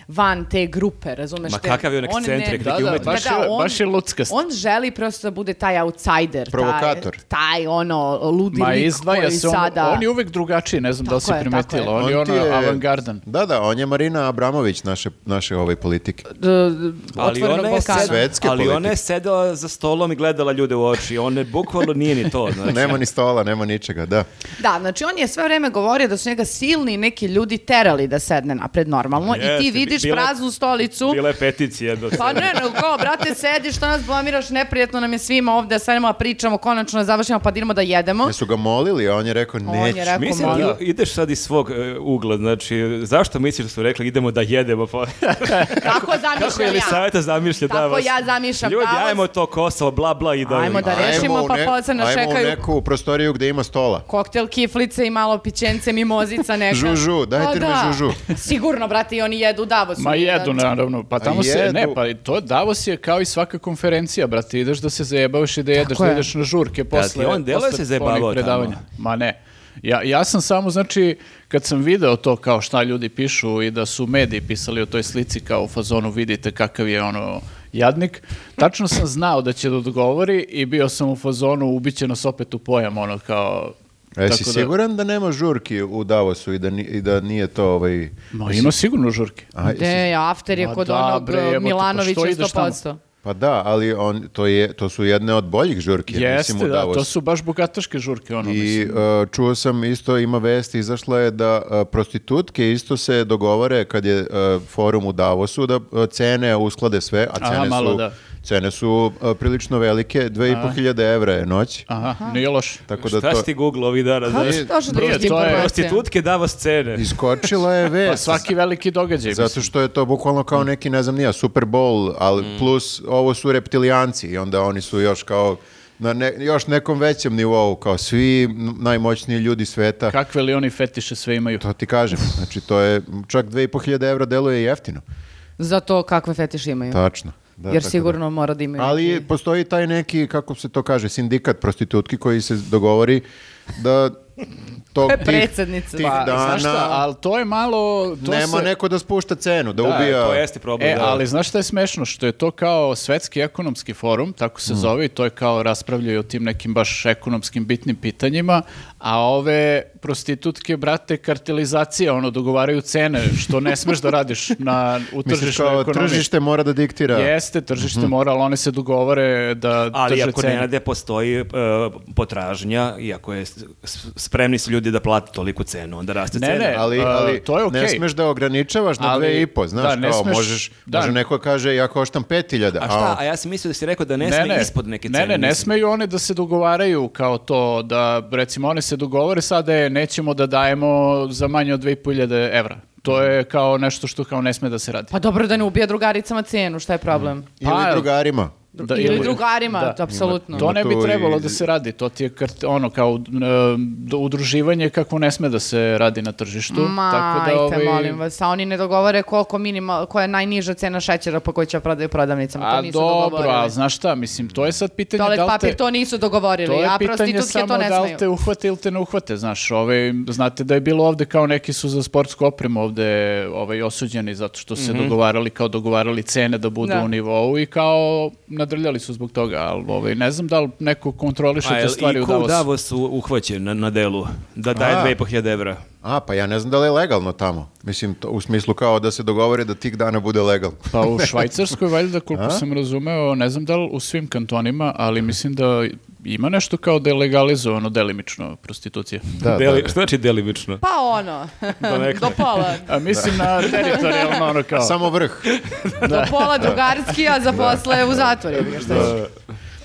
Speaker 1: van te grupe, razumeš?
Speaker 4: Ma
Speaker 1: te-
Speaker 4: kakav je on ekscentrik, neki Da, da, umetnik.
Speaker 2: baš je- baš je luckast.
Speaker 1: On želi prosto da bude taj outsider,
Speaker 3: Provokator.
Speaker 1: Taj, taj ono ludi
Speaker 2: Ma
Speaker 1: lik
Speaker 2: izdvaja
Speaker 1: koji
Speaker 2: se on,
Speaker 1: sada...
Speaker 2: on je uvek drugačiji, ne znam da li
Speaker 1: Tako
Speaker 2: si
Speaker 1: je, tako je.
Speaker 2: primetila, on je
Speaker 3: ti
Speaker 2: ono avangardan.
Speaker 3: Da, da, on je Marina Abramović naše, naše ove politike.
Speaker 2: Znači,
Speaker 1: d-
Speaker 4: Ali
Speaker 1: otvorenog
Speaker 4: ona je,
Speaker 1: Balkana.
Speaker 3: sve- Svetske
Speaker 4: ali ona
Speaker 3: politike.
Speaker 4: je sedela za stolom i gledala ljude u oči. On je bukvalno nije ni
Speaker 3: (laughs)
Speaker 4: to. Znači.
Speaker 3: Nema ni stola, nema ničega, da.
Speaker 1: Da, znači on je sve vreme govorio da su njega silni neki ljudi terali da sedne napred normalno i ti
Speaker 4: Jeste,
Speaker 1: vidiš
Speaker 4: bila-
Speaker 1: praznu stolicu.
Speaker 4: Bila je peticija. Do
Speaker 1: Pa ne, no kao, brate, sediš, što nas blamiraš, neprijetno nam je svima ovde, sedemo, pričamo, konačno završimo, pa da idemo da jedemo.
Speaker 3: Jesu ga molili, a on je rekao
Speaker 1: On je
Speaker 3: neću.
Speaker 1: rekao-
Speaker 4: Mislim,
Speaker 1: Komada.
Speaker 4: i- ideš sad iz svog e, ugla, znači, zašto misliš da su rekli idemo da jedemo? Pa,
Speaker 1: (laughs) Tako
Speaker 4: kako
Speaker 1: zamišljam
Speaker 4: je
Speaker 1: ja.
Speaker 4: Elisaveta zamišlja
Speaker 1: Tako
Speaker 4: Davos?
Speaker 1: ja zamišljam
Speaker 4: Ljudi,
Speaker 1: Davos.
Speaker 4: ajmo to Kosovo, bla, bla i da...
Speaker 1: Ajmo da
Speaker 3: Ajmo
Speaker 1: rešimo,
Speaker 3: u
Speaker 1: pa
Speaker 3: ne-
Speaker 1: posle nas
Speaker 3: Ajmo
Speaker 1: čekaju-
Speaker 3: u neku prostoriju gde ima stola.
Speaker 1: Koktel, kiflice i malo pićence, mimozica neka.
Speaker 3: Žužu, dajte
Speaker 1: Pa
Speaker 3: mi
Speaker 1: da.
Speaker 3: žužu.
Speaker 1: Sigurno, brate, i oni jedu u Davosu.
Speaker 2: Ma jedu,
Speaker 1: Da.
Speaker 2: naravno. Pa tamo se,
Speaker 3: jedu.
Speaker 2: ne, pa to Davos je kao i svaka konferencija, brate. Ideš da se zajebavaš i da jedeš,
Speaker 1: Tako
Speaker 2: da
Speaker 1: je.
Speaker 2: ideš na žurke posle.
Speaker 4: ti on deluje
Speaker 2: posle
Speaker 4: se zajebavao
Speaker 2: onih predavanja.
Speaker 4: tamo.
Speaker 2: Ma ne. Ja, ja sam samo, znači, kad sam video to kao šta ljudi pišu i da su mediji pisali o toj slici kao u fazonu vidite kakav je ono jadnik, tačno sam znao da će da odgovori i bio sam u fazonu ubiće nas opet u pojam, ono kao...
Speaker 3: A jesi
Speaker 2: tako da-
Speaker 3: siguran da nema žurki u Davosu i da, ni- i da nije to ovaj...
Speaker 2: Ma ima sigurno žurke.
Speaker 3: A, jesi-
Speaker 1: De, E, after je
Speaker 2: Ma
Speaker 1: kod
Speaker 2: da,
Speaker 1: onog
Speaker 2: bre, jebote, pa
Speaker 1: Milanovića
Speaker 2: što ideš tamo?
Speaker 1: 100%.
Speaker 3: Pa da, ali on, to, je, to su jedne od boljih žurki, ja mislim,
Speaker 2: Jeste,
Speaker 3: u
Speaker 2: da,
Speaker 3: Davosu.
Speaker 2: to su baš bogataške žurke, ono, mislim.
Speaker 3: I uh, čuo sam isto, ima vesti, izašla je da uh, prostitutke isto se dogovore kad je uh, forum u Davosu da uh, cene usklade sve, a
Speaker 2: Aha,
Speaker 3: cene
Speaker 2: malo
Speaker 3: su,
Speaker 2: da.
Speaker 3: cene su uh, prilično velike, 2500 evra je noć.
Speaker 2: Aha, nije loš. Pa
Speaker 3: Tako da
Speaker 4: Šta
Speaker 3: to
Speaker 4: si ti googla ovih dana?
Speaker 1: Kako
Speaker 4: znaš?
Speaker 1: su došli do
Speaker 2: Nije,
Speaker 1: tih
Speaker 2: to je
Speaker 1: informacija?
Speaker 4: Prostitutke Davos cene.
Speaker 3: iskočila je
Speaker 2: (laughs) Pa
Speaker 3: vest.
Speaker 2: svaki Mm. veliki događaj.
Speaker 3: Zato što je to bukvalno kao neki, ne znam, nija Super Bowl, ali
Speaker 2: Mm.
Speaker 3: plus ovo su reptilijanci i onda oni su još kao na ne- još nekom većem nivou, kao svi m, najmoćniji ljudi sveta.
Speaker 2: Kakve li oni fetiše sve imaju?
Speaker 3: To ti kažem. Znači, to je čak 2500 evra deluje jeftino.
Speaker 1: Za to kakve fetiše imaju.
Speaker 3: Tačno. Da,
Speaker 1: Jer
Speaker 3: tako
Speaker 1: sigurno mora da imaju.
Speaker 3: da. Ali
Speaker 1: neki-
Speaker 3: postoji taj neki, kako se to kaže, sindikat prostitutki koji se dogovori da tog
Speaker 1: je
Speaker 3: tih,
Speaker 1: predsednica.
Speaker 3: tih
Speaker 2: Pa,
Speaker 3: dana
Speaker 2: znaš šta, ali to je malo... To
Speaker 3: nema
Speaker 2: se-
Speaker 3: neko da spušta cenu, da,
Speaker 4: Da,
Speaker 3: ubija...
Speaker 4: to jeste problem.
Speaker 2: E,
Speaker 4: da.
Speaker 2: ali znaš šta je smešno? Što je to kao svetski ekonomski forum, tako se zove, i to je kao raspravljaju o tim nekim baš ekonomskim bitnim pitanjima, a ove prostitutke, brate, kartelizacija, ono, dogovaraju cene, što ne smeš da radiš na, u
Speaker 3: Misliš
Speaker 2: tržišnoj
Speaker 3: kao
Speaker 2: ekonomiji.
Speaker 3: tržište mora da diktira.
Speaker 2: Jeste, tržište mora, ali one se dogovore da
Speaker 4: Ali
Speaker 2: drže
Speaker 4: ako
Speaker 2: cene.
Speaker 4: ne nade postoji e, potražnja i ako je s- s- spremni su ljudi da plate toliku cenu, onda raste
Speaker 2: Ne,
Speaker 4: cena.
Speaker 2: ne,
Speaker 3: Ali,
Speaker 2: A,
Speaker 3: ali
Speaker 2: to je
Speaker 3: ne
Speaker 2: okej.
Speaker 3: smeš da ograničavaš na
Speaker 2: Ali,
Speaker 3: dve i po, znaš,
Speaker 2: da, ne
Speaker 3: kao
Speaker 2: smeš-
Speaker 3: može,
Speaker 2: da. e,
Speaker 3: može neko kaže ja koštam 5000,
Speaker 4: A šta?
Speaker 3: on-
Speaker 4: A ja sam mislio da si rekao da ne, sme ispod neke cene.
Speaker 2: Ne, ne, ne
Speaker 4: mislim.
Speaker 2: smeju one da se dogovaraju kao to, da recimo one se dogovore sada je nećemo da dajemo za manje od 2500 evra. To je
Speaker 4: Mhm.
Speaker 2: kao nešto što kao ne sme da se radi.
Speaker 1: Pa dobro da ne ubija drugaricama cenu, šta je problem?
Speaker 2: Pa-
Speaker 3: ili drugarima.
Speaker 2: Da,
Speaker 1: ili, drugarima,
Speaker 2: da.
Speaker 1: apsolutno.
Speaker 2: To ne bi
Speaker 3: tu i-
Speaker 2: trebalo da se radi, to ti je kart, ono kao um, do- udruživanje kako ne sme da se radi na tržištu. tako da,
Speaker 1: Majte,
Speaker 2: ovaj,
Speaker 1: molim vas, a oni ne dogovore koliko minimal, koja je najniža cena šećera po kojoj će prodaju prodavnicama, to
Speaker 2: A
Speaker 1: nisu
Speaker 2: dobro,
Speaker 1: dogovorili.
Speaker 2: a znaš šta, mislim, to je sad pitanje
Speaker 1: Toalet
Speaker 2: da li
Speaker 1: papir
Speaker 2: te-
Speaker 1: to nisu dogovorili,
Speaker 2: To je
Speaker 1: a
Speaker 2: pitanje
Speaker 1: prostitutke
Speaker 2: samo
Speaker 1: to ne
Speaker 2: da li
Speaker 1: smeju.
Speaker 2: te uhvate ili te ne uhvate, znaš, ovaj, znate da je bilo ovde kao neki su za sportsku opremu ovde ovaj, osuđeni zato što se dogovarali, kao dogovarali cene da budu
Speaker 1: Mhm. Da.
Speaker 2: u nivou i kao nadrljali su zbog toga, ali ovaj, ne znam da li neko kontroliše
Speaker 1: Pa
Speaker 4: A
Speaker 2: te
Speaker 4: Pa jel
Speaker 2: stvari u
Speaker 4: i ko u
Speaker 2: Davosu.
Speaker 4: Davosu uhvaćen na, na delu da daje
Speaker 3: A.
Speaker 4: 2500 evra?
Speaker 3: A, pa ja ne znam da li je legalno tamo. Mislim, to, u smislu kao da se dogovore da tih dana bude legalno.
Speaker 2: Pa u Švajcarskoj, valjda,
Speaker 1: (laughs)
Speaker 2: koliko sam razumeo, ne znam da li u svim kantonima, ali mislim da ima nešto kao da je legalizovano delimično prostitucija.
Speaker 3: Da,
Speaker 4: Deli,
Speaker 3: da.
Speaker 4: Što znači delimično?
Speaker 1: Pa ono, (laughs) do pola,
Speaker 2: A mislim na teritorijalno ono kao...
Speaker 3: Samo vrh.
Speaker 1: do pola drugarski, a za posle u zatvoru. jebi ga, šta ćeš.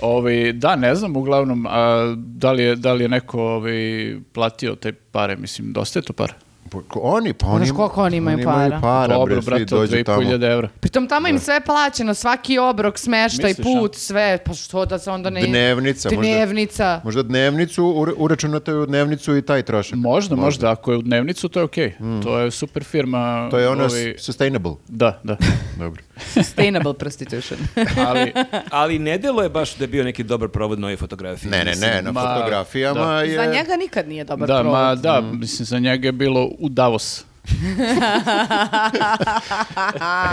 Speaker 2: Ovaj, E, da, ne znam, uglavnom, a, da, li je, da li je neko ovaj, platio te pare, mislim, dosta je to para.
Speaker 3: Pa, ko- Oni, pa oni...
Speaker 1: Znaš koliko oni imaju para?
Speaker 3: para,
Speaker 2: Dobro,
Speaker 3: bre, svi
Speaker 2: brate, od
Speaker 3: dođu tamo.
Speaker 2: 2500 evra.
Speaker 1: Pritom tamo im sve plaćeno, svaki obrok, smeštaj,
Speaker 2: Misliš, a?
Speaker 1: put, sve, pa što da se onda ne...
Speaker 3: Dnevnica, možda.
Speaker 1: Dnevnica.
Speaker 3: Možda dnevnicu, ure- uračunato je u dnevnicu i taj trošak.
Speaker 2: Možda, možda, ako je u dnevnicu, to je okej. To je super firma.
Speaker 3: Hmm. To je ono
Speaker 2: ovaj,
Speaker 3: s- sustainable.
Speaker 2: Da,
Speaker 3: (laughs)
Speaker 2: da.
Speaker 3: Dobro.
Speaker 1: Sustainable prostitution.
Speaker 2: Ali,
Speaker 4: Ali ne delo je baš da je bio neki dobar provod nove fotografije.
Speaker 3: Ne, ne,
Speaker 4: Mislim,
Speaker 3: ne, na
Speaker 2: Ma,
Speaker 3: fotografijama
Speaker 2: da.
Speaker 3: je...
Speaker 1: (laughs) Za njega nikad nije dobar
Speaker 2: da,
Speaker 1: provod.
Speaker 2: ma, da, mislim, za njega je bilo u Davos.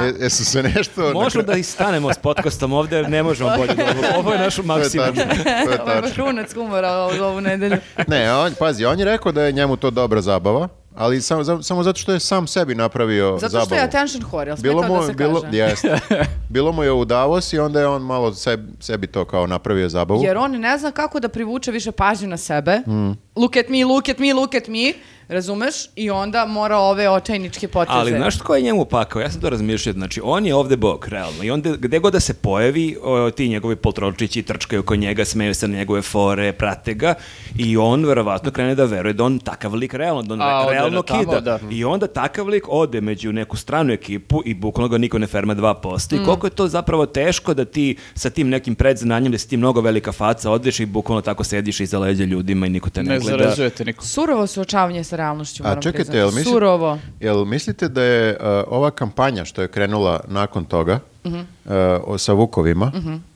Speaker 3: E, jesu se nešto...
Speaker 4: Možemo da istanemo s podcastom ovde, jer ne možemo bolje. da ovo- Ovo je naš
Speaker 3: To je
Speaker 4: maksimum.
Speaker 3: tačno, to je
Speaker 1: Ovo je
Speaker 3: tačno.
Speaker 1: baš vrhunac humora ovu, ovu nedelju.
Speaker 3: Ne, on, pazi, on je rekao da je njemu to dobra zabava, ali samo, za- samo zato što je sam sebi napravio zabavu.
Speaker 1: Zato što je attention whore, jel smeta da se
Speaker 3: Pa bilo,
Speaker 1: kaže? (laughs)
Speaker 3: jeste. bilo mu je u Davos i onda je on malo sebi, sebi to kao napravio zabavu.
Speaker 1: Jer on ne zna kako da privuče više pažnju na sebe.
Speaker 3: Mm.
Speaker 1: Look at me, look at me, look at me. Razumeš? I onda mora ove očajničke poteze.
Speaker 4: (laughs) Ali znaš tko je njemu pakao? Ja sam to razmišljao. Znači, on je ovde bog, realno. I onda gde god da se pojavi, o, ti njegovi poltrončići trčkaju oko njega, smeju se na njegove fore, prate ga. I on verovatno krene da veruje da on takav lik realno, da on
Speaker 2: A, ode
Speaker 4: realno
Speaker 2: na tamo,
Speaker 4: kida.
Speaker 2: da.
Speaker 4: I onda takav lik ode među neku stranu ekipu i bukvalno ga niko ne ferma
Speaker 2: Mm.
Speaker 4: 2%. I koliko je to zapravo teško da ti sa tim nekim predznanjem, da si ti mnogo velika faca, odeš i bukvalno tako sediš iza leđa ljudima i niko te ne,
Speaker 2: Ne
Speaker 4: gleda.
Speaker 2: zarezujete niko.
Speaker 1: Surovo suočavanje sa realnošću, moram
Speaker 3: A čekajte,
Speaker 1: priznati.
Speaker 3: jel, misli-
Speaker 1: Surovo.
Speaker 3: jel mislite da je uh, ova kampanja što je krenula nakon toga
Speaker 1: Mhm.
Speaker 3: uh, o- sa Vukovima,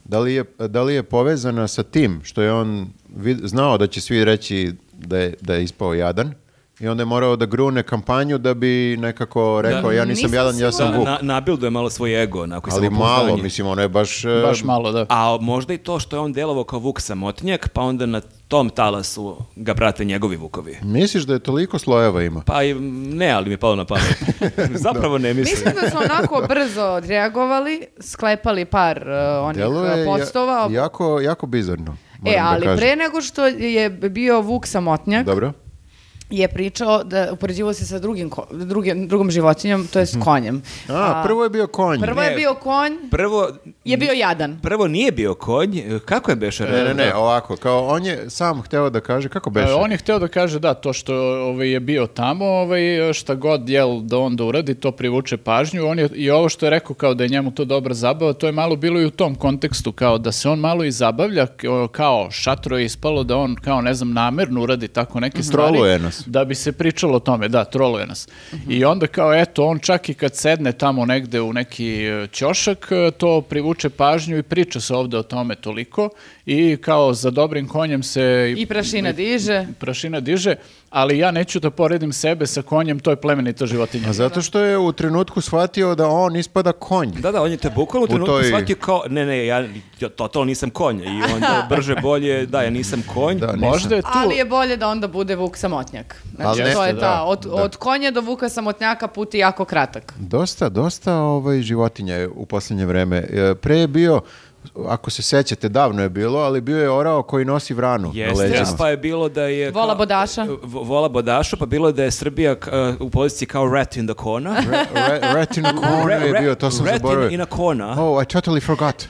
Speaker 3: da, li je, da li je povezana sa tim što je on vid- znao da će svi reći da je, da je ispao jadan i onda je morao da grune kampanju da bi nekako rekao ja nisam,
Speaker 1: Nisam
Speaker 3: jadan, ja sam
Speaker 4: Da,
Speaker 3: Vuk.
Speaker 4: na, nabilduje malo svoj ego, onako i
Speaker 3: Ali
Speaker 4: samopouzdanje.
Speaker 3: malo, mislim, ono je baš... uh,
Speaker 2: Baš malo, da.
Speaker 4: A možda i to što je on delovao kao vuk samotnjak, pa onda na tom talasu ga prate njegovi vukovi.
Speaker 3: Misliš da je toliko slojeva ima?
Speaker 4: Pa i ne, ali mi je palo na pamet. Zapravo ne mislim.
Speaker 1: Mislim da su onako brzo odreagovali, sklepali par uh, onih
Speaker 3: Deluje
Speaker 1: uh, postova.
Speaker 3: ja- jako, jako bizarno.
Speaker 1: e,
Speaker 3: moram da
Speaker 1: ali
Speaker 3: kažem.
Speaker 1: pre nego što je bio Vuk Samotnjak,
Speaker 3: Dobro.
Speaker 1: je pričao da upoređivao se sa drugim, ko- drugim, drugom životinjom, to je s konjem.
Speaker 3: A, prvo je bio konj.
Speaker 1: Prvo je
Speaker 4: Ne.
Speaker 1: bio konj,
Speaker 4: Prvo,
Speaker 1: je bio jadan.
Speaker 4: prvo nije bio konj, kako je Beša?
Speaker 3: Ne, ne, ne, ovako, kao on je sam hteo da kaže, kako beše?
Speaker 2: E, On je hteo da kaže da, to što ovaj, je bio tamo, ovaj, šta god jel da on da uradi, to privuče pažnju. On je, I ovo što je rekao kao da je njemu to dobra zabava, to je malo bilo i u tom kontekstu, kao da se on malo i zabavlja, k- kao šatro je ispalo da on kao ne znam namerno uradi tako neke stvari.
Speaker 3: Mhm. Troluje nas. Mhm.
Speaker 2: Da bi se pričalo o tome, da, troluje nas. I onda kao eto, on čak i kad sedne tamo negde u neki e, ćošak, e, to privuče pažnju i priča se ovde o tome toliko i kao za dobrim konjem se
Speaker 1: I prašina diže.
Speaker 2: prašina diže, ali ja neću da poredim sebe sa konjem, to je plemenita životinja.
Speaker 3: A zato što je u trenutku shvatio da on ispada konj.
Speaker 4: Da, da, on je te bukvalno u trenutku
Speaker 3: toj-
Speaker 4: shvatio kao, ne, ne, ja, ja totalno nisam konj. I onda brže bolje, da, ja nisam konj.
Speaker 3: Da, nisam.
Speaker 2: Možda je tu...
Speaker 1: Ali je bolje da onda bude Vuk Samotnjak. Znači,
Speaker 3: Ali ne-
Speaker 1: to je
Speaker 2: Jeste,
Speaker 1: ta,
Speaker 2: da,
Speaker 1: od,
Speaker 3: da.
Speaker 1: od konja do Vuka Samotnjaka put je jako kratak.
Speaker 3: Dosta, dosta ovaj, životinja je u posljednje vreme. E, Pre je bio, ako se sećate, davno je bilo, ali bio je orao koji nosi vranu na
Speaker 4: Jeste,
Speaker 3: leđima.
Speaker 4: pa je bilo da je...
Speaker 1: Vola
Speaker 4: kao-
Speaker 1: bodaša.
Speaker 4: V- Vola bodaša, pa bilo je da je Srbija k- eh, u poziciji kao rat in the corner.
Speaker 3: Re- re- rat in a corner
Speaker 4: Re-
Speaker 3: je
Speaker 4: re-
Speaker 3: bio, to sam
Speaker 4: rat in-
Speaker 3: zaboravio.
Speaker 4: in a corner.
Speaker 3: Oh, I totally forgot.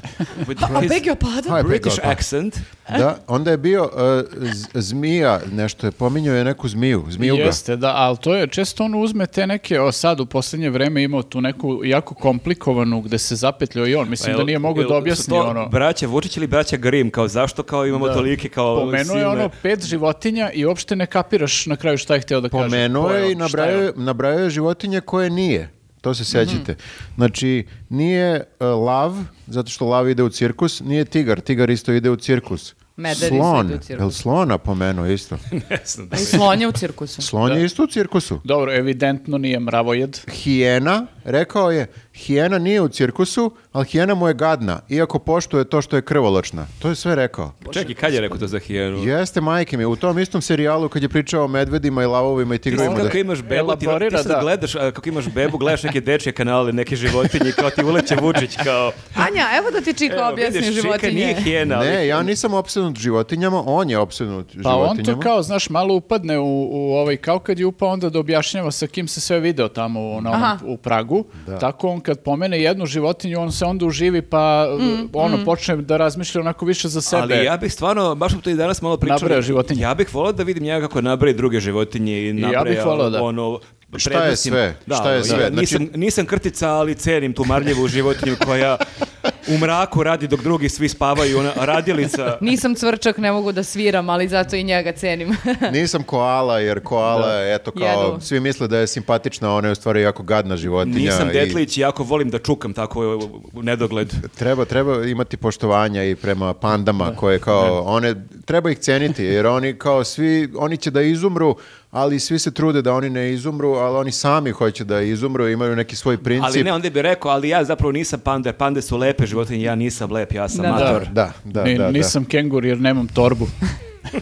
Speaker 4: With
Speaker 1: A
Speaker 4: his
Speaker 1: beg your pardon?
Speaker 3: Hi,
Speaker 4: British
Speaker 3: Pegota.
Speaker 4: accent.
Speaker 3: Da, onda je bio e, z- zmija, nešto je pominjao je neku zmiju, zmijuga.
Speaker 2: Jeste, da, ali to je, često on uzme te neke, o sad u posljednje vreme imao tu neku jako komplikovanu gde se zapetljao i on,
Speaker 4: Pa
Speaker 3: Pa
Speaker 2: mislim da nije mogao da objasni ono.
Speaker 4: Braća Vučić ili braća Grim, kao zašto kao imamo tolike kao
Speaker 2: Pomenuo je
Speaker 4: silne-
Speaker 2: ono pet životinja i uopšte ne kapiraš na kraju šta je hteo da kaže.
Speaker 3: Pomenuo
Speaker 2: Ko
Speaker 3: je i
Speaker 2: on, šta je
Speaker 3: nabrajao,
Speaker 2: on?
Speaker 3: je- nabrajao je životinje koje nije. To se sećate.
Speaker 1: Mhm.
Speaker 3: Znači, nije e, lav, zato što lav ide u cirkus, nije tigar, tigar isto ide u cirkus.
Speaker 1: Medved isto
Speaker 3: Slon,
Speaker 1: ide u cirkus.
Speaker 3: jel slona pomenuo
Speaker 1: (laughs)
Speaker 3: isto?
Speaker 4: Ne znam da
Speaker 1: I
Speaker 4: li-
Speaker 1: slon je u cirkusu.
Speaker 3: Slon je isto u cirkusu.
Speaker 2: Dobro, evidentno nije mravojed.
Speaker 3: Hijena, rekao je, hijena nije u cirkusu, ali hijena mu je gadna, iako poštuje to što je krvoločna. To je sve rekao.
Speaker 4: Čekaj, kad je rekao to za hijenu?
Speaker 3: Jeste, majke mi, u tom istom serijalu kad je pričao o medvedima i lavovima i
Speaker 4: Ti sad
Speaker 3: tigrovima. da-
Speaker 4: kako imaš bebu, ti, ti
Speaker 2: Elaborira,
Speaker 4: sad
Speaker 2: da.
Speaker 4: gledaš a, kako imaš bebu, gledaš neke dečje kanale, neke životinje, i kao ti uleće Vučić, kao...
Speaker 1: Anja, evo da ti Čika
Speaker 4: Evo,
Speaker 1: objasni
Speaker 4: vidiš, čika
Speaker 1: životinje.
Speaker 4: nije hijena, ali...
Speaker 3: Ne, ja nisam opsednut životinjama, on je opsednut
Speaker 2: Pa
Speaker 3: životinjama.
Speaker 2: on to kao, (laughs) znaš, malo upadne u, u ovaj, kao kad je upao onda da objašnjava sa kim se sve video tamo u, na onom-
Speaker 1: Aha.
Speaker 2: u Pragu, tako on kad pomene jednu životinju, on se onda uživi pa ono, počne da razmišlja onako više za sebe.
Speaker 4: Ali ja bih stvarno, baš smo to i danas malo pričali.
Speaker 2: Nabraja životinje.
Speaker 4: Ja bih volao da vidim njega kako nabraja druge životinje i nabraja
Speaker 2: bih volao da.
Speaker 4: ono...
Speaker 3: Šta je
Speaker 4: prednostima.
Speaker 3: sve? Šta je
Speaker 4: ono,
Speaker 3: sve? Znači-
Speaker 4: Nisam, nisam krtica, ali cenim tu marljivu životinju koja u mraku radi dok drugi svi spavaju, ona
Speaker 3: (laughs)
Speaker 4: radilica.
Speaker 1: Nisam cvrčak, ne mogu da sviram, ali zato i njega cenim.
Speaker 3: Nisam koala, jer koala, je, eto kao,
Speaker 1: Jedu.
Speaker 3: svi misle da je simpatična, ona je u stvari jako gadna životinja.
Speaker 4: Nisam
Speaker 3: i
Speaker 4: detlić i jako volim da čukam tako u- u- u nedogled.
Speaker 3: Treba, treba imati poštovanja i prema pandama koje kao, one, treba ih ceniti jer oni kao svi, oni će da izumru, ali svi se trude da oni ne izumru, ali oni sami hoće da izumru, imaju neki svoj princip.
Speaker 4: Ali ne, onda bi rekao, ali ja zapravo nisam panda, jer pande su lepe životinje, ja nisam lep, ja sam
Speaker 1: Da, da.
Speaker 4: mator.
Speaker 3: Da, da,
Speaker 2: Ni-
Speaker 3: da, da.
Speaker 2: nisam kengur jer nemam torbu.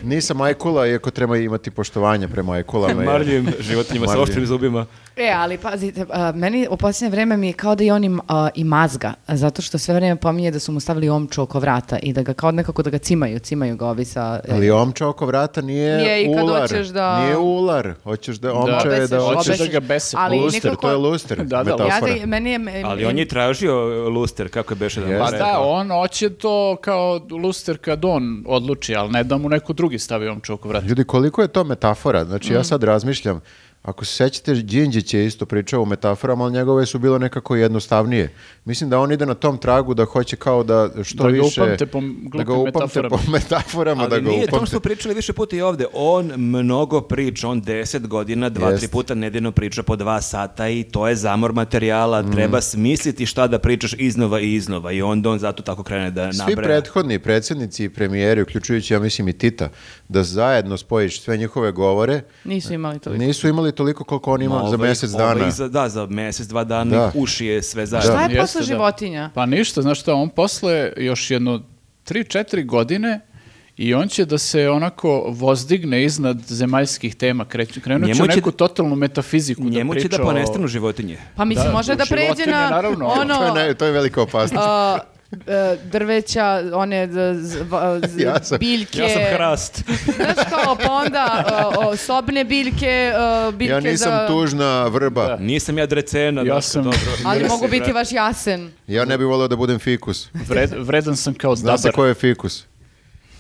Speaker 3: Nisam ajkula, iako treba imati poštovanja prema ajkulama. jer-
Speaker 4: Marljivim životinjima sa
Speaker 3: Marljivim.
Speaker 4: oštrim zubima.
Speaker 1: E, ali pazite, a, meni u posljednje vreme mi je kao da i on im, a, i mazga, a, zato što sve vrijeme pominje da su mu stavili omču oko vrata i da ga kao nekako da ga cimaju, cimaju ga ovi sa... e,
Speaker 3: Ali omča oko vrata nije,
Speaker 1: Nije i kad
Speaker 3: ular.
Speaker 1: hoćeš da-
Speaker 3: Nije ular. Hoćeš da omča je
Speaker 1: Obeseš,
Speaker 3: da
Speaker 2: hoćeš
Speaker 3: hoćeš
Speaker 2: da
Speaker 1: obeseš.
Speaker 2: ga bese.
Speaker 1: Ali
Speaker 3: luster,
Speaker 1: nekako-
Speaker 3: to je luster.
Speaker 2: Da, da,
Speaker 1: Ja
Speaker 3: metafora.
Speaker 1: da, meni je...
Speaker 4: Ali on je tražio luster, kako je beše da nam
Speaker 3: (laughs)
Speaker 2: Pa
Speaker 3: Jeste.
Speaker 2: da, on hoće to kao luster kad on odluči, ali ne da mu neko drugi stavi omču oko vrata.
Speaker 3: Ljudi, koliko je to metafora? Znači,
Speaker 1: Mm.
Speaker 3: ja sad razmišljam, ako se sećate, Đinđić je isto pričao o metaforama, ali njegove su bilo nekako jednostavnije. Mislim da on ide na tom tragu da hoće kao da što
Speaker 2: Da ga
Speaker 3: više...
Speaker 2: upamte po m-
Speaker 3: da ga
Speaker 2: glupim
Speaker 3: upamte
Speaker 2: metaforama.
Speaker 3: po (laughs) metaforama, da
Speaker 4: Ali
Speaker 3: ga
Speaker 4: nije, to
Speaker 3: upamte.
Speaker 4: smo pričali više puta i ovde. On mnogo priča, on deset godina, dva,
Speaker 3: Jest.
Speaker 4: tri puta nedeljno priča po dva sata i to je zamor materijala.
Speaker 3: Mhm.
Speaker 4: Treba smisliti šta da pričaš iznova i iznova i onda on zato tako krene da
Speaker 3: Svi
Speaker 4: nabraja.
Speaker 3: prethodni predsjednici i premijeri, uključujući, ja mislim, i Tita, da zajedno spojiš sve njihove govore,
Speaker 1: Nisu imali toliko.
Speaker 3: nisu imali toliko koliko on ima
Speaker 4: Ma,
Speaker 3: za
Speaker 4: ovaj-
Speaker 3: mjesec
Speaker 4: ovaj
Speaker 3: dana.
Speaker 4: za- da, za mjesec, dva dana
Speaker 3: Da.
Speaker 4: uši je sve zajedno.
Speaker 1: Šta Pa je
Speaker 2: Jeste,
Speaker 1: posle
Speaker 2: da.
Speaker 1: životinja?
Speaker 2: Pa ništa, znaš šta, on posle još jedno 3-4 godine i on će da se onako vozdigne iznad zemaljskih tema, kreć- krenut će
Speaker 4: Njemu
Speaker 2: u
Speaker 4: će
Speaker 2: neku
Speaker 4: da-
Speaker 2: totalnu metafiziku
Speaker 4: Njemu
Speaker 2: da
Speaker 4: će
Speaker 2: priča
Speaker 4: da
Speaker 2: o-
Speaker 4: ponestanu životinje.
Speaker 1: Pa mislim,
Speaker 2: Da,
Speaker 1: može da pređe
Speaker 2: životinje,
Speaker 1: na
Speaker 2: naravno.
Speaker 3: To, je
Speaker 1: ono...
Speaker 3: naj- to je velika opasnost.
Speaker 1: (laughs) a, e, drveća, one z- z- va-
Speaker 3: (laughs)
Speaker 1: z-
Speaker 3: Ja sam-
Speaker 1: biljke.
Speaker 4: Ja sam hrast.
Speaker 1: Znaš kao, pa onda a, o, sobne biljke, a, biljke
Speaker 3: ja nisam
Speaker 1: za...
Speaker 3: tužna vrba.
Speaker 4: Nisam ja drecena.
Speaker 2: Ja
Speaker 4: Daško,
Speaker 2: sam-
Speaker 4: dobro.
Speaker 1: Ali
Speaker 4: Mrsi,
Speaker 1: mogu biti
Speaker 4: brate.
Speaker 1: vaš jasen.
Speaker 3: Ja ne bih volio da budem fikus.
Speaker 2: Vred- vredan sam kao
Speaker 3: Zna se
Speaker 2: dabar.
Speaker 3: ko je fikus.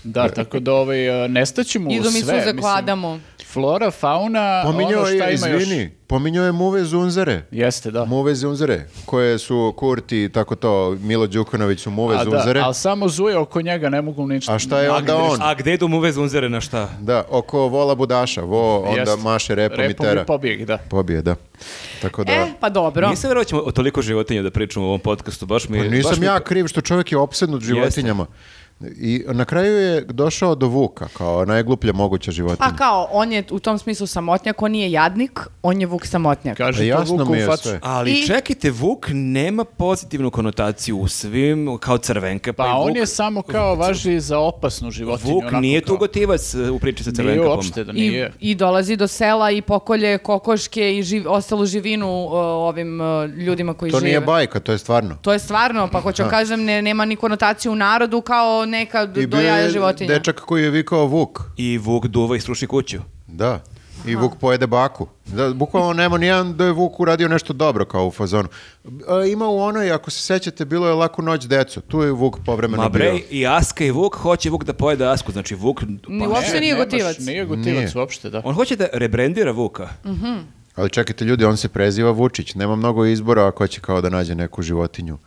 Speaker 2: Da, tako da ovaj, e, nestaće mu
Speaker 1: Idu mi
Speaker 2: sve.
Speaker 1: suze
Speaker 2: mislim.
Speaker 1: kladamo.
Speaker 2: Flora, fauna,
Speaker 3: Pominjao
Speaker 2: ono šta
Speaker 3: je,
Speaker 2: ima
Speaker 3: izvini,
Speaker 2: još.
Speaker 3: pominjao je Muve Zunzare.
Speaker 2: Jeste, da.
Speaker 3: Muve Zunzare, koje su Kurti i tako to, Milo Đukanović su Muve
Speaker 2: A da,
Speaker 3: Zunzare.
Speaker 2: ali samo zuje oko njega, ne mogu ništa.
Speaker 3: A šta je
Speaker 4: A
Speaker 3: onda
Speaker 4: gde-
Speaker 3: on?
Speaker 4: A gde idu muve zunzere na šta?
Speaker 3: Da, oko Vola Budaša. Vo onda
Speaker 2: Jeste.
Speaker 3: maše repom, i tera.
Speaker 2: pobjeg, da.
Speaker 3: Pobije, da. Tako da...
Speaker 1: E, pa dobro.
Speaker 4: Nisam vjerojatno ćemo o toliko životinja da pričamo u ovom podcastu. Baš mi,
Speaker 3: Pa nisam
Speaker 4: baš mi-
Speaker 3: ja kriv što čovjek je opsednut životinjama. I na kraju je došao do Vuka, kao najgluplja moguća životinja.
Speaker 1: Pa kao, on je u tom smislu samotnjak, on nije jadnik, on je vuk samotnjak.
Speaker 3: Pa
Speaker 2: Kaže to
Speaker 3: jasno
Speaker 2: Vuku
Speaker 3: mi je
Speaker 2: u facu.
Speaker 3: sve.
Speaker 4: Ali
Speaker 1: I-
Speaker 4: čekajte, Vuk nema pozitivnu konotaciju u svim, kao crvenka. Pa,
Speaker 2: Pa
Speaker 4: i Vuk,
Speaker 2: on je samo kao važi za opasnu životinju.
Speaker 4: Vuk
Speaker 2: onako
Speaker 4: nije
Speaker 2: kao-
Speaker 4: tugotivac e, u priči sa
Speaker 2: Nije
Speaker 4: crvenkapom.
Speaker 2: uopšte da
Speaker 1: I,
Speaker 2: nije.
Speaker 1: I dolazi do sela i pokolje kokoške i živ, ostalu živinu uh, ovim uh, ljudima koji
Speaker 3: To
Speaker 1: žive.
Speaker 3: nije bajka, to je stvarno.
Speaker 1: To je stvarno, pa hoću kažem, ne, nema ni konotaciju u narodu kao neka
Speaker 3: I bio
Speaker 1: dojaja
Speaker 3: je
Speaker 1: životinja.
Speaker 3: dečak koji je vikao Vuk.
Speaker 4: I Vuk duva i sruši kuću.
Speaker 3: Da. I Vuk pojede baku. Da, bukvalno nema nijedan da je Vuk uradio nešto dobro kao u fazonu. E, ima u onoj, ako se sećate, bilo je laku noć decu. Tu je Vuk povremeno
Speaker 4: Ma bre,
Speaker 3: bio.
Speaker 4: i Aska i Vuk hoće Vuk da pojede Asku. Znači Vuk...
Speaker 1: Ni
Speaker 4: pa-
Speaker 1: uopšte
Speaker 2: Ne,
Speaker 1: nije
Speaker 2: E, nemaš,
Speaker 1: gotivac.
Speaker 2: Nije gotivac
Speaker 3: Nije.
Speaker 2: uopšte, da.
Speaker 4: On hoće da rebrendira Vuka.
Speaker 2: Mhm.
Speaker 3: Ali čekajte ljudi, on se preziva Vučić. Nema mnogo izbora ako će kao da nađe neku životinju.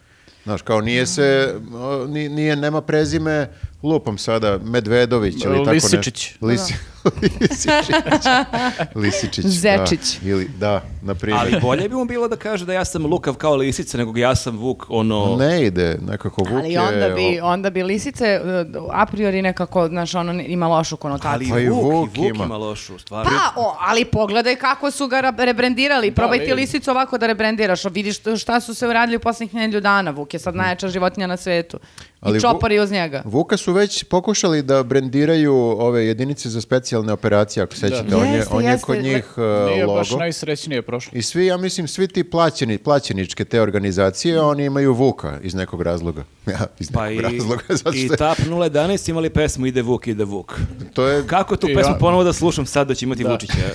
Speaker 3: Znaš, kao nije se, o, ni- nije, nema prezime, lupam sada, Medvedović ili tako nešto.
Speaker 2: Lisičić.
Speaker 3: Lisi- Lisičić. (laughs)
Speaker 1: (laughs)
Speaker 3: Lisičić, da.
Speaker 1: Zečić.
Speaker 3: Ili, da, na primjer.
Speaker 4: Ali bolje bi mu bilo da kaže da ja sam lukav kao lisica, nego ja sam Vuk,
Speaker 2: Mhm.
Speaker 4: ono...
Speaker 3: Ne ide, nekako Vuk
Speaker 1: Ali
Speaker 3: je...
Speaker 1: onda bi,
Speaker 3: o-
Speaker 1: onda bi lisice uh, a priori nekako, znaš, ono ne- ima lošu konotaciju.
Speaker 4: Ali
Speaker 3: Pa i
Speaker 4: Vuk,
Speaker 3: Vuk
Speaker 4: i Vuk
Speaker 3: ima.
Speaker 4: ima. lošu stvar.
Speaker 1: Pa, o, ali pogledaj kako su ga ra- rebrendirali. Probaj ti
Speaker 2: vidim.
Speaker 1: lisicu ovako da rebrendiraš. O, Vidiš što- šta su se uradili u posljednjih nedelju dana. Vuk je sad najjača životinja na svetu.
Speaker 3: Ali
Speaker 1: I
Speaker 3: Vu-
Speaker 1: čopari uz njega.
Speaker 3: Vuka su već pokušali da brendiraju ove jedinice za specijalne operacije, ako sećate. On, je,
Speaker 1: Jeste,
Speaker 3: on je
Speaker 1: jeste.
Speaker 3: kod njih uh,
Speaker 2: Nije
Speaker 3: logo.
Speaker 2: baš najsrećnije prošlo.
Speaker 3: I svi, ja mislim, svi ti plaćeni, plaćeničke te organizacije, oni imaju Vuka iz nekog razloga. (laughs) Ja, iz nekog
Speaker 4: Mm. Pa i,
Speaker 3: razloga, (laughs) zato
Speaker 4: i
Speaker 3: što je-
Speaker 4: TAP 011 imali pesmu Ide Vuk, ide Vuk.
Speaker 3: to je...
Speaker 4: Kako tu
Speaker 2: I
Speaker 4: pesmu
Speaker 2: ja-
Speaker 4: ponovo da slušam sad da će imati Vučića?
Speaker 3: (laughs)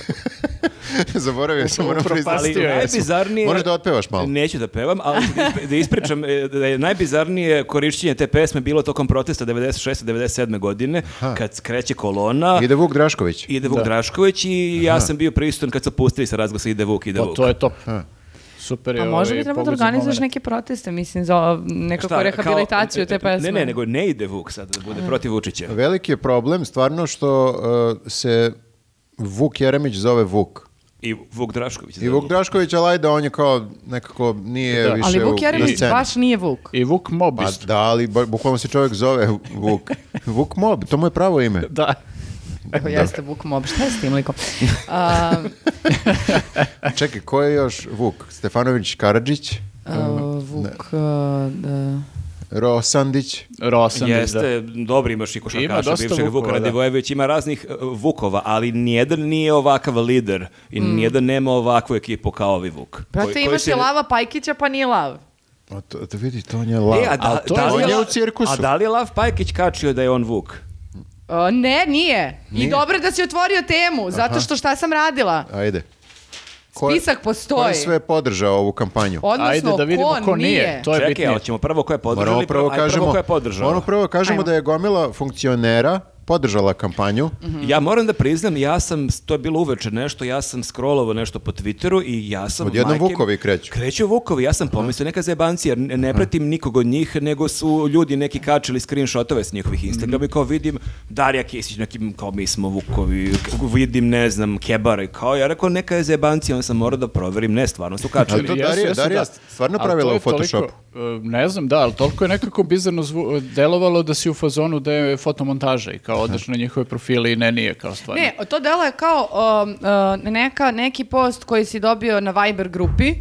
Speaker 3: Zaboravio sam, moram priznati.
Speaker 2: Ali Upropastio je.
Speaker 4: Pa (laughs) najbizarnije...
Speaker 3: Moraš da otpevaš malo.
Speaker 4: Neću da pevam, ali (laughs) da isp- da ispričam e, da je najbizarnije korišćenje te pesme bilo tokom protesta 96. 97. godine, kad kreće kolona,
Speaker 3: Ide Vuk Drašković.
Speaker 4: ide Vuk Drašković i ja sam bio prisutan kad su pustili sa razglasa ide Vuk, ide
Speaker 2: Pa
Speaker 4: Vuk.
Speaker 2: to je top. Super je
Speaker 1: A Pa možda
Speaker 2: ovaj
Speaker 1: bi trebalo da
Speaker 2: pogled za
Speaker 1: organizuješ
Speaker 2: momenat.
Speaker 1: neke proteste, mislim, za o- nekakvu
Speaker 4: Šta, kao- e,
Speaker 1: rehabilitaciju te pesme.
Speaker 4: Ne, ne, nego ne ide Vuk sad, da bude protiv Vučića.
Speaker 3: Veliki je problem stvarno što uh, se Vuk Jeremić zove Vuk.
Speaker 4: I Vuk Drašković.
Speaker 3: I Vuk Drašković, ali ajde, on je kao nekako nije
Speaker 2: Da.
Speaker 3: više
Speaker 1: Ali
Speaker 3: u-
Speaker 1: Vuk
Speaker 3: na
Speaker 1: Jeremić
Speaker 3: sceni.
Speaker 1: baš nije
Speaker 2: (laughs)
Speaker 1: Vuk.
Speaker 2: I Vuk Mob
Speaker 3: Pa
Speaker 2: isto.
Speaker 3: da, ali ba- bukvalno se čovjek zove
Speaker 1: (laughs)
Speaker 3: Vuk. Vuk Mob, to mu je pravo ime.
Speaker 2: Da.
Speaker 1: Evo, jeste Vuk Mob. Šta je s tim likom? A,
Speaker 3: Čekaj, ko je još Vuk? Stefanović Karadžić,
Speaker 1: a, Vuk... a, da.
Speaker 3: Rosandić,
Speaker 2: Rosan da.
Speaker 4: Jeste, dobri imaš i
Speaker 2: Ima
Speaker 4: košarkaša
Speaker 2: dosta
Speaker 4: bivšeg Vuka
Speaker 2: Vukova, da.
Speaker 4: Radivojević, ima raznih e, Vukova, ali nijedan nije ovakav lider i nijedan nema ovakvu ekipu kao ovi Vuk.
Speaker 1: Brate,
Speaker 4: Koji- koji
Speaker 1: Mm. Pa imaš
Speaker 4: se-
Speaker 1: i Lava Pajkića, pa nije Lav.
Speaker 3: O, to, to vidi, Pa, to on je lav.
Speaker 4: E, a da,
Speaker 2: A to je-
Speaker 4: da li
Speaker 3: On je
Speaker 4: La-
Speaker 3: u cirkusu.
Speaker 4: A da li je Lav Pajkić kačio da je on Vuk?
Speaker 1: A, ne, nije.
Speaker 3: Nije.
Speaker 1: I dobro da si otvorio temu, zato što šta sam radila?
Speaker 3: Ajde. Ko je-
Speaker 1: Spisak postoji.
Speaker 3: Ko je sve podržao ovu kampanju?
Speaker 1: Odnosno,
Speaker 2: Ajde da vidimo ko, nije. To je
Speaker 4: Čekaj,
Speaker 2: bitnije.
Speaker 4: ali ćemo prvo ko je podržao
Speaker 3: Moramo
Speaker 4: ili
Speaker 3: prvo
Speaker 4: prvo, aj, prvo
Speaker 3: kažemo, ono
Speaker 4: ko je podržao?
Speaker 3: moramo prvo kažemo
Speaker 1: Ajmo.
Speaker 3: da je gomila funkcionera podržala kampanju.
Speaker 1: Mhm.
Speaker 4: Ja moram da priznam, ja sam, to je bilo uveče nešto, ja sam scrollovao nešto po Twitteru i ja sam...
Speaker 3: Odjednom
Speaker 4: majke mi-
Speaker 3: Vukovi kreću.
Speaker 4: Kreću Vukovi, ja sam pomislio neka zajebanci, jer ne ne pratim nikog od njih, nego su ljudi neki kačili screenshotove s njihovih
Speaker 3: Mhm.
Speaker 4: Instagrama i kao vidim Darija Kisić, nekim kao mi smo Vukovi, k- vidim, ne znam, Kebara i kao ja rekao neka je zajebanci, onda sam morao da proverim, ne, stvarno su kačili.
Speaker 3: Ali to
Speaker 2: Jesu,
Speaker 3: Darija-
Speaker 2: jesu,
Speaker 3: Darija
Speaker 2: da.
Speaker 3: stvarno
Speaker 2: Ali to
Speaker 3: pravila
Speaker 2: je
Speaker 3: u Photoshopu.
Speaker 2: toliko, e, ne znam, da, ali toliko je nekako bizarno zvu, delovalo da si u fazonu da je fotomontaža i kao odeš na njihove profile i ne nije kao stvarno.
Speaker 1: Ne, to delo je kao um, uh, neka, neki post koji si dobio na Viber grupi uh,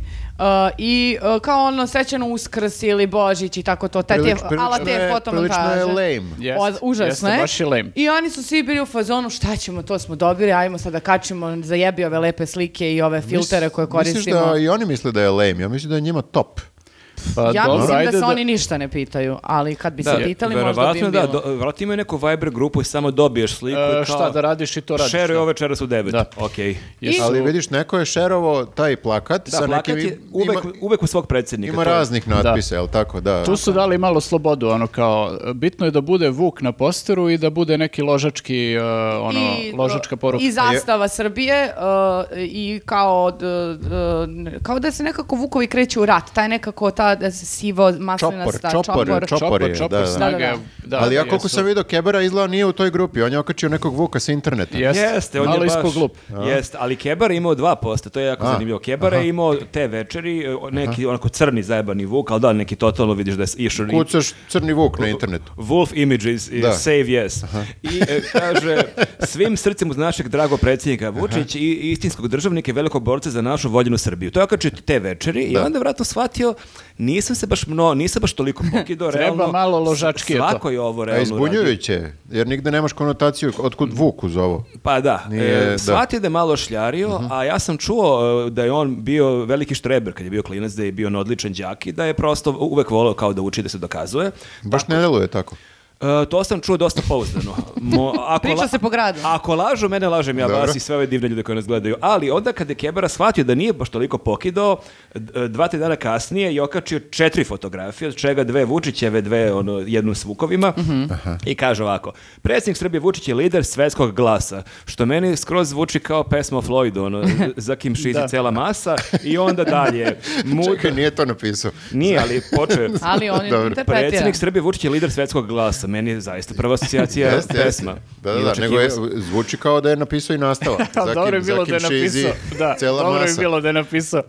Speaker 1: i uh, kao ono sećano uskrs ili Božić i tako to, te, te,
Speaker 3: Prilič-
Speaker 1: ala
Speaker 3: prilično
Speaker 1: te
Speaker 3: je-
Speaker 1: fotomontaže.
Speaker 3: Prilično je lame.
Speaker 2: Jest,
Speaker 1: O, užasno
Speaker 2: jeste,
Speaker 1: je.
Speaker 2: baš je lame.
Speaker 1: I oni su svi bili u fazonu šta ćemo, to smo dobili, ajmo sad da kačimo, zajebi ove lepe slike i ove filtere koje koristimo.
Speaker 3: Misliš da i oni misle da je lame, ja mislim da je njima top.
Speaker 2: Pa
Speaker 1: ja
Speaker 2: dobro,
Speaker 1: mislim da
Speaker 2: ajde
Speaker 1: se oni ništa ne pitaju, ali kad bi se pitali možda bi
Speaker 4: verovatno
Speaker 1: im
Speaker 4: da,
Speaker 1: bilo.
Speaker 4: do, verovatno imaju neku Viber grupu i samo dobiješ sliku i
Speaker 2: E,
Speaker 4: kao...
Speaker 2: šta da radiš i to radiš.
Speaker 4: Šeruj
Speaker 2: da.
Speaker 4: ove večeras u devet.
Speaker 2: Da.
Speaker 4: Okej.
Speaker 2: Jesu-
Speaker 3: Ali vidiš, neko je šerovo taj plakat
Speaker 4: Da,
Speaker 3: sa
Speaker 4: plakat
Speaker 3: nekim...
Speaker 4: je uvek,
Speaker 3: ima,
Speaker 4: uvek u svog predsjednika.
Speaker 3: ima
Speaker 4: to je-
Speaker 3: raznih natpisa, jel tako? Da.
Speaker 2: Tu su dali malo slobodu, ono kao, bitno je da bude Vuk na posteru i da bude neki ložački, e, ono,
Speaker 1: I,
Speaker 2: ložačka poruka.
Speaker 1: I zastava Srbije uh, i kao, d- d- kao da se nekako Vukovi kreću u rat, taj nekako ta da se sivo maslinasta,
Speaker 3: Čopor, čopor, čop-
Speaker 2: Čopor,
Speaker 3: čopor je,
Speaker 2: čopor
Speaker 3: da, da.
Speaker 1: Da, da,
Speaker 2: snaga
Speaker 1: da.
Speaker 2: je- da,
Speaker 3: Ali ja
Speaker 2: da,
Speaker 3: koliko
Speaker 2: jesu.
Speaker 3: sam vidio, Kebera izgleda nije u toj grupi, on je okačio nekog Vuka sa interneta.
Speaker 2: Jeste,
Speaker 4: Jeste, on
Speaker 2: malo
Speaker 4: je baš...
Speaker 2: ispod glup.
Speaker 4: Jeste, ali Kebar je imao dva posta, to je jako
Speaker 3: A,
Speaker 4: zanimljivo. Kebar je imao te večeri, e, neki onako crni zajebani vuk, ali da, neki totalno vidiš da je išao... i-
Speaker 3: Kucaš crni Vuk na internetu.
Speaker 4: Wolf Images i
Speaker 3: Da.
Speaker 4: Save Yes. I e, kaže, svim srcem uz našeg drago predsjednika Vučić i istinskog državnika i velikog borca za našu voljenu Srbiju. To je okačio te večeri i onda vratno shvatio, nisam se baš mno, nisam baš
Speaker 3: (laughs)
Speaker 4: toliko pokido,
Speaker 2: Treba
Speaker 4: realno.
Speaker 2: malo ložačkije to.
Speaker 4: Svako je ovo
Speaker 3: A
Speaker 4: realno radio.
Speaker 3: izbunjujuće, je, jer nigde nemaš konotaciju otkud Vuk uz ovo.
Speaker 4: Pa da,
Speaker 3: Nije,
Speaker 4: e,
Speaker 3: da. Mhm.
Speaker 4: shvatio da je malo šljario, a ja sam čuo e, da je on bio veliki štreber kad je bio klinac, da je bio na odličan đak i da je prosto uvek voleo kao da uči da se dokazuje.
Speaker 3: Baš ne deluje tako.
Speaker 4: E, to sam čuo dosta pouzdano. Mo- ako
Speaker 1: Priča se po gradu.
Speaker 4: Ako lažu, mene lažem ja
Speaker 3: Dobro.
Speaker 4: vas i sve ove divne ljude koji nas gledaju. Ali onda kad je Kebara shvatio da nije baš toliko pokidao, d- e, dva, tri dana kasnije je okačio četiri fotografije, od čega dve Vučićeve, dve ono, jednu s Vukovima.
Speaker 1: Mhm.
Speaker 4: I kaže ovako, predsjednik Srbije Vučić je lider svetskog glasa, što meni skroz zvuči kao pesma o
Speaker 1: (laughs)
Speaker 4: Floydu, ono, za kim šizi cela masa. I onda dalje, mut,
Speaker 3: Čekaj, nije to napisao.
Speaker 4: nije, ali počeo je-
Speaker 1: Ali on
Speaker 3: Dobro.
Speaker 1: je interpretira.
Speaker 4: Predsjednik Srbije Vučić je lider svetskog glasa. Meni je zaista prva asocijacija
Speaker 3: Jeste, jeste.
Speaker 4: pesma.
Speaker 3: Da, da,
Speaker 4: I
Speaker 3: da,
Speaker 4: očekivao
Speaker 3: nego je,
Speaker 4: sam-
Speaker 3: zvuči kao da je napisao i nastava.
Speaker 2: (laughs) Ali dobro je bilo da je napisao.
Speaker 3: (laughs)
Speaker 2: Da,
Speaker 3: cela
Speaker 2: dobro
Speaker 3: masa.
Speaker 2: je bilo da je napisao.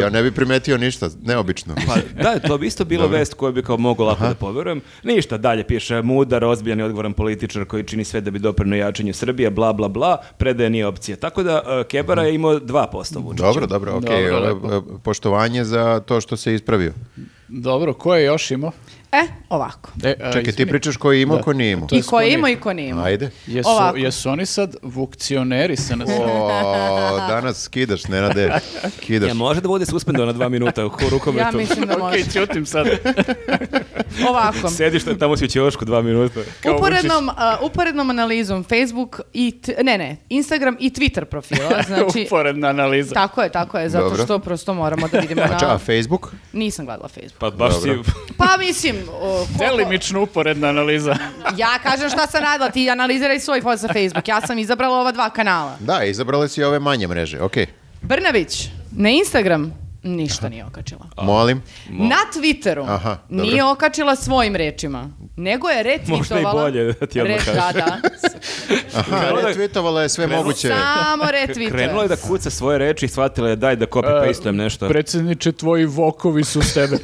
Speaker 3: Ja ne bi primetio ništa, neobično.
Speaker 4: Pa, da, to bi isto bilo vest koju bi kao mogu lako da poverujem. Ništa, dalje piše mudar, ozbiljan i odgovoran političar koji čini sve da bi doprinu jačanju Srbije, bla, bla, bla, predaje nije opcija. Tako da e, Kebara je imao dva posta Vučića.
Speaker 3: Dobro, dobro, ok. e,
Speaker 2: Dobro, Pa, lepo.
Speaker 3: Poštovanje za to što se ispravio.
Speaker 2: Dobro, ko je još imao?
Speaker 1: E, ovako.
Speaker 2: E, a,
Speaker 3: Čekaj, ti
Speaker 2: izvini.
Speaker 3: pričaš ko je imao,
Speaker 2: Da.
Speaker 3: ko nije imao.
Speaker 2: To je
Speaker 1: I ko
Speaker 2: sklonio.
Speaker 1: ima i ko nije ima.
Speaker 3: Ajde.
Speaker 2: Jesu,
Speaker 1: Ovako.
Speaker 2: jesu oni sad vukcioneri
Speaker 1: (laughs)
Speaker 2: sa nas?
Speaker 3: O, danas skidaš, Nenade.
Speaker 2: (laughs)
Speaker 3: Kidaš.
Speaker 4: Ja, može da bude suspendovana dva minuta u
Speaker 1: (laughs)
Speaker 4: rukometu.
Speaker 1: Ja mislim da može.
Speaker 2: (laughs) Ok, ćutim sad.
Speaker 1: Ovako.
Speaker 4: Sediš na- tamo si u ćeošku dva minuta. Kao
Speaker 1: Uporednom, a, uporednom analizom Facebook i, t- ne ne, Instagram i Twitter
Speaker 2: (laughs)
Speaker 1: profila, znači...
Speaker 2: Uporedna analiza.
Speaker 1: Tako je, tako je, zato
Speaker 3: Dobro.
Speaker 1: što prosto moramo da vidimo
Speaker 3: A, ča, a
Speaker 1: na...
Speaker 3: Facebook?
Speaker 1: Nisam gledala Facebook.
Speaker 4: Pa baš si...
Speaker 3: Dobro.
Speaker 1: Pa mislim, o, ko-
Speaker 2: Delimično uporedna analiza.
Speaker 1: ja kažem šta sam radila, ti analiziraj svoj post za Facebook, ja sam izabrala ova dva kanala.
Speaker 3: Da, izabrali si ove manje mreže, okej.
Speaker 1: Brnabić, na Instagram ništa nije okačila.
Speaker 3: Molim.
Speaker 1: Na Twitteru
Speaker 3: Aha, dobro.
Speaker 1: nije okačila svojim rečima, nego je retvitovala...
Speaker 4: Možda i bolje, da ti odmah
Speaker 1: Re-
Speaker 4: kažem. (laughs)
Speaker 1: Da, da.
Speaker 3: Aha,
Speaker 4: Krenulo je-
Speaker 3: retvitovala je sve moguće.
Speaker 1: Samo retweetuje.
Speaker 4: Krenula je da kuca svoje reči i shvatila je daj da copy
Speaker 3: E,
Speaker 4: pastujem nešto.
Speaker 2: Predsjedniče, tvoji vokovi su s tebe.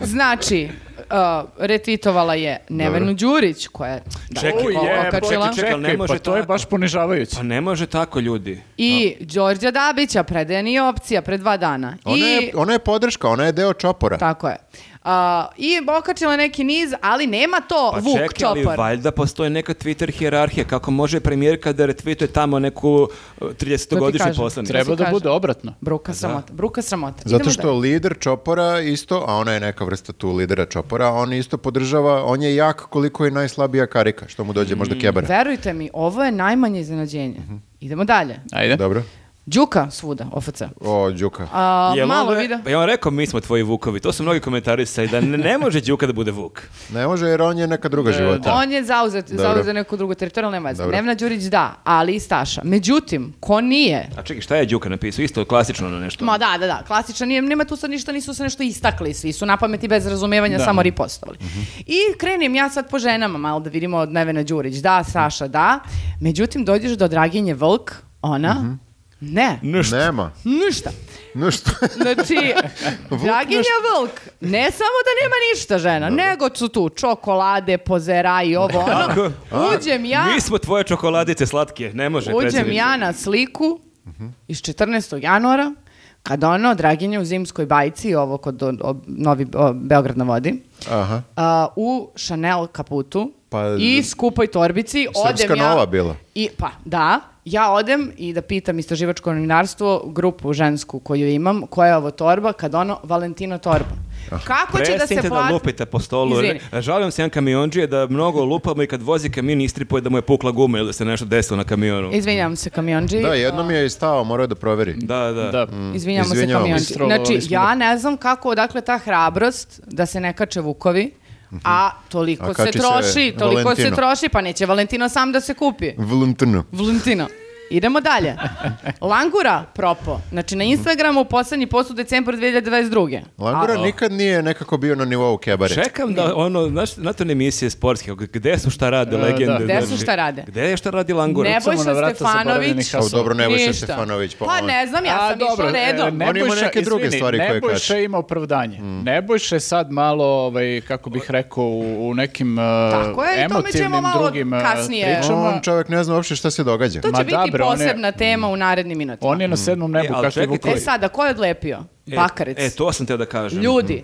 Speaker 1: Znači, uh, retvitovala je Nevenu Đurić, koja je da,
Speaker 4: Čekaj,
Speaker 1: o-
Speaker 2: jebote,
Speaker 1: okačila.
Speaker 4: čekaj, ali ne
Speaker 2: Čekaj,
Speaker 4: može
Speaker 2: pa to je
Speaker 4: tako.
Speaker 2: baš ponižavajuće.
Speaker 4: Pa ne može tako ljudi.
Speaker 1: I Đorđa Dabića, predaja nije opcija, pre dva dana.
Speaker 3: Ona,
Speaker 1: I, Pa,
Speaker 3: je, ona je podrška, ona je deo čopora.
Speaker 1: Tako je. A, I okačila neki niz, ali nema to
Speaker 4: Pa
Speaker 1: Vuk
Speaker 4: čekaj, ali
Speaker 1: Čopor.
Speaker 4: valjda postoji neka Twitter hijerarhija kako može premijerka da retvituje tamo neku eh,
Speaker 1: To ti
Speaker 4: 30-godišnju
Speaker 1: kažem.
Speaker 4: poslanicu.
Speaker 2: Treba da
Speaker 1: kaže.
Speaker 2: bude obratno.
Speaker 1: Bruka sramota, bruka sramota.
Speaker 3: Zato
Speaker 1: Idemo
Speaker 3: što lider čopora isto, a ona je neka vrsta tu lidera čopora, on isto podržava, on je jak koliko je najslabija karika, što mu dođe možda
Speaker 1: dalje.
Speaker 3: kebara.
Speaker 1: Verujte mi, ovo je najmanje iznenađenje.
Speaker 4: Mhm.
Speaker 1: Idemo dalje.
Speaker 2: Ajde.
Speaker 3: Dobro.
Speaker 1: Đuka svuda, OFC.
Speaker 3: O, Đuka.
Speaker 1: A,
Speaker 4: Jel
Speaker 1: malo
Speaker 4: on re-
Speaker 1: video.
Speaker 4: Pa je on rekao mi smo tvoji vukovi, to su mnogi komentarisali da ne, ne može Đuka da bude vuk.
Speaker 3: Ne može jer on je neka druga života.
Speaker 1: On je zauzet,
Speaker 3: Dobro.
Speaker 1: zauzet za neku drugu teritoriju, ali nema veze.
Speaker 3: Dobro.
Speaker 1: Nevna Đurić da, ali i Staša. Međutim, ko nije,
Speaker 4: A čekaj, šta je Đuka napisao? Isto klasično na nešto.
Speaker 1: Ma da, da, da, klasičan, nije, nema tu sad ništa, nisu se nešto istakli, svi su na pameti bez razumevanja samo ripostovali. I krenem ja sad po ženama, malo da vidimo od Nevena Đurić, da, Saša, da, međutim dođeš do Draginje Vlk, ona, ne,
Speaker 3: Nema.
Speaker 1: ništa. (laughs)
Speaker 3: No što?
Speaker 1: Znači, Draginja Vlk, ne samo da nema ništa žena, nego su tu čokolade, pozera i ovo, (laughs) ono. Uđem ja,
Speaker 4: Mi smo tvoje čokoladice slatke, ne može.
Speaker 1: Uđem
Speaker 4: predsjedniče.
Speaker 1: ja na sliku iz 14. januara, kad ono, Draginja u zimskoj bajci, ovo kod o- o- Novi o, Beograd na vodi,
Speaker 3: Aha.
Speaker 1: a, u Chanel kaputu
Speaker 3: Pa,
Speaker 1: i skupoj torbici.
Speaker 3: Srpska
Speaker 1: odem ja,
Speaker 3: nova bila.
Speaker 1: I, pa, da. Ja odem i da pitam istraživačko novinarstvo, grupu žensku koju imam, koja je ovo torba, kad ono, Valentino torba. Kako će da
Speaker 4: Prestanite
Speaker 1: se
Speaker 4: da,
Speaker 1: plati...
Speaker 4: lupite po stolu.
Speaker 1: Izvini.
Speaker 4: Žalim se jedan kamionđije da mnogo lupamo i kad vozi kamion istripuje da mu je pukla guma ili da se nešto desilo na kamionu.
Speaker 1: Izvinjavam se kamionđi.
Speaker 3: Da, jednom je i stao, morao je da proveri.
Speaker 4: Da, da.
Speaker 2: Da.
Speaker 1: Izvinjamo se
Speaker 3: Izvinjavamo
Speaker 1: kamionđi.
Speaker 2: se. Istrolovali
Speaker 1: Znači,
Speaker 2: smo
Speaker 1: ja
Speaker 2: ga.
Speaker 1: ne znam kako odakle ta hrabrost da se ne kače vukovi, a toliko
Speaker 3: Mhm. A
Speaker 1: se
Speaker 3: kači se
Speaker 1: troši, toliko se
Speaker 3: Valentino.
Speaker 1: troši, pa neće Valentino sam da se kupi.
Speaker 3: Vluntno.
Speaker 1: Valentino. Idemo
Speaker 3: (laughs)
Speaker 1: dalje. Langura propo. Znači, na Instagramu poslednji post u decembru 2022.
Speaker 3: Langura
Speaker 4: A-
Speaker 3: nikad nije nekako bio na nivou kebare.
Speaker 4: Čekam da ono, znaš, na to ne emisije sportske, g- gde su šta rade legende.
Speaker 2: da.
Speaker 1: Gde su
Speaker 4: znači,
Speaker 1: šta rade?
Speaker 4: Gde je šta radi Langura?
Speaker 1: Ne
Speaker 2: Samo na
Speaker 1: Nebojša
Speaker 2: vrata zaboravljenih
Speaker 1: Stefanović.
Speaker 3: Au, Pa
Speaker 2: kasova.
Speaker 3: dobro, Nebojša
Speaker 1: Ništa.
Speaker 3: Stefanović. Pa,
Speaker 1: Pa
Speaker 3: on-
Speaker 1: ne znam, ja
Speaker 2: A,
Speaker 1: sam išla
Speaker 2: e,
Speaker 1: redom.
Speaker 3: On ima
Speaker 2: Nebojša-
Speaker 3: neke druge
Speaker 2: izvini,
Speaker 3: stvari koje
Speaker 2: Nebojša
Speaker 3: kači.
Speaker 2: ima opravdanje. Nebojša je sad malo, ovaj, kako bih rekao, u u nekim uh,
Speaker 1: Tako je, i tome
Speaker 2: emotivnim
Speaker 1: ćemo malo
Speaker 2: drugim uh,
Speaker 1: kasnije.
Speaker 2: pričama.
Speaker 3: On čovjek ne zna uopšte šta se događa.
Speaker 1: To
Speaker 2: Ma
Speaker 1: će biti
Speaker 2: da, bre, on je-
Speaker 1: posebna tema u narednim minutima.
Speaker 2: On je na sedmom nebu,
Speaker 4: E, ali
Speaker 2: kakvi
Speaker 4: čekaj,
Speaker 2: vukovi.
Speaker 1: E sada, ko je odlepio?
Speaker 4: E,
Speaker 1: Bakarec.
Speaker 4: E, to sam te da kažem.
Speaker 1: Ljudi,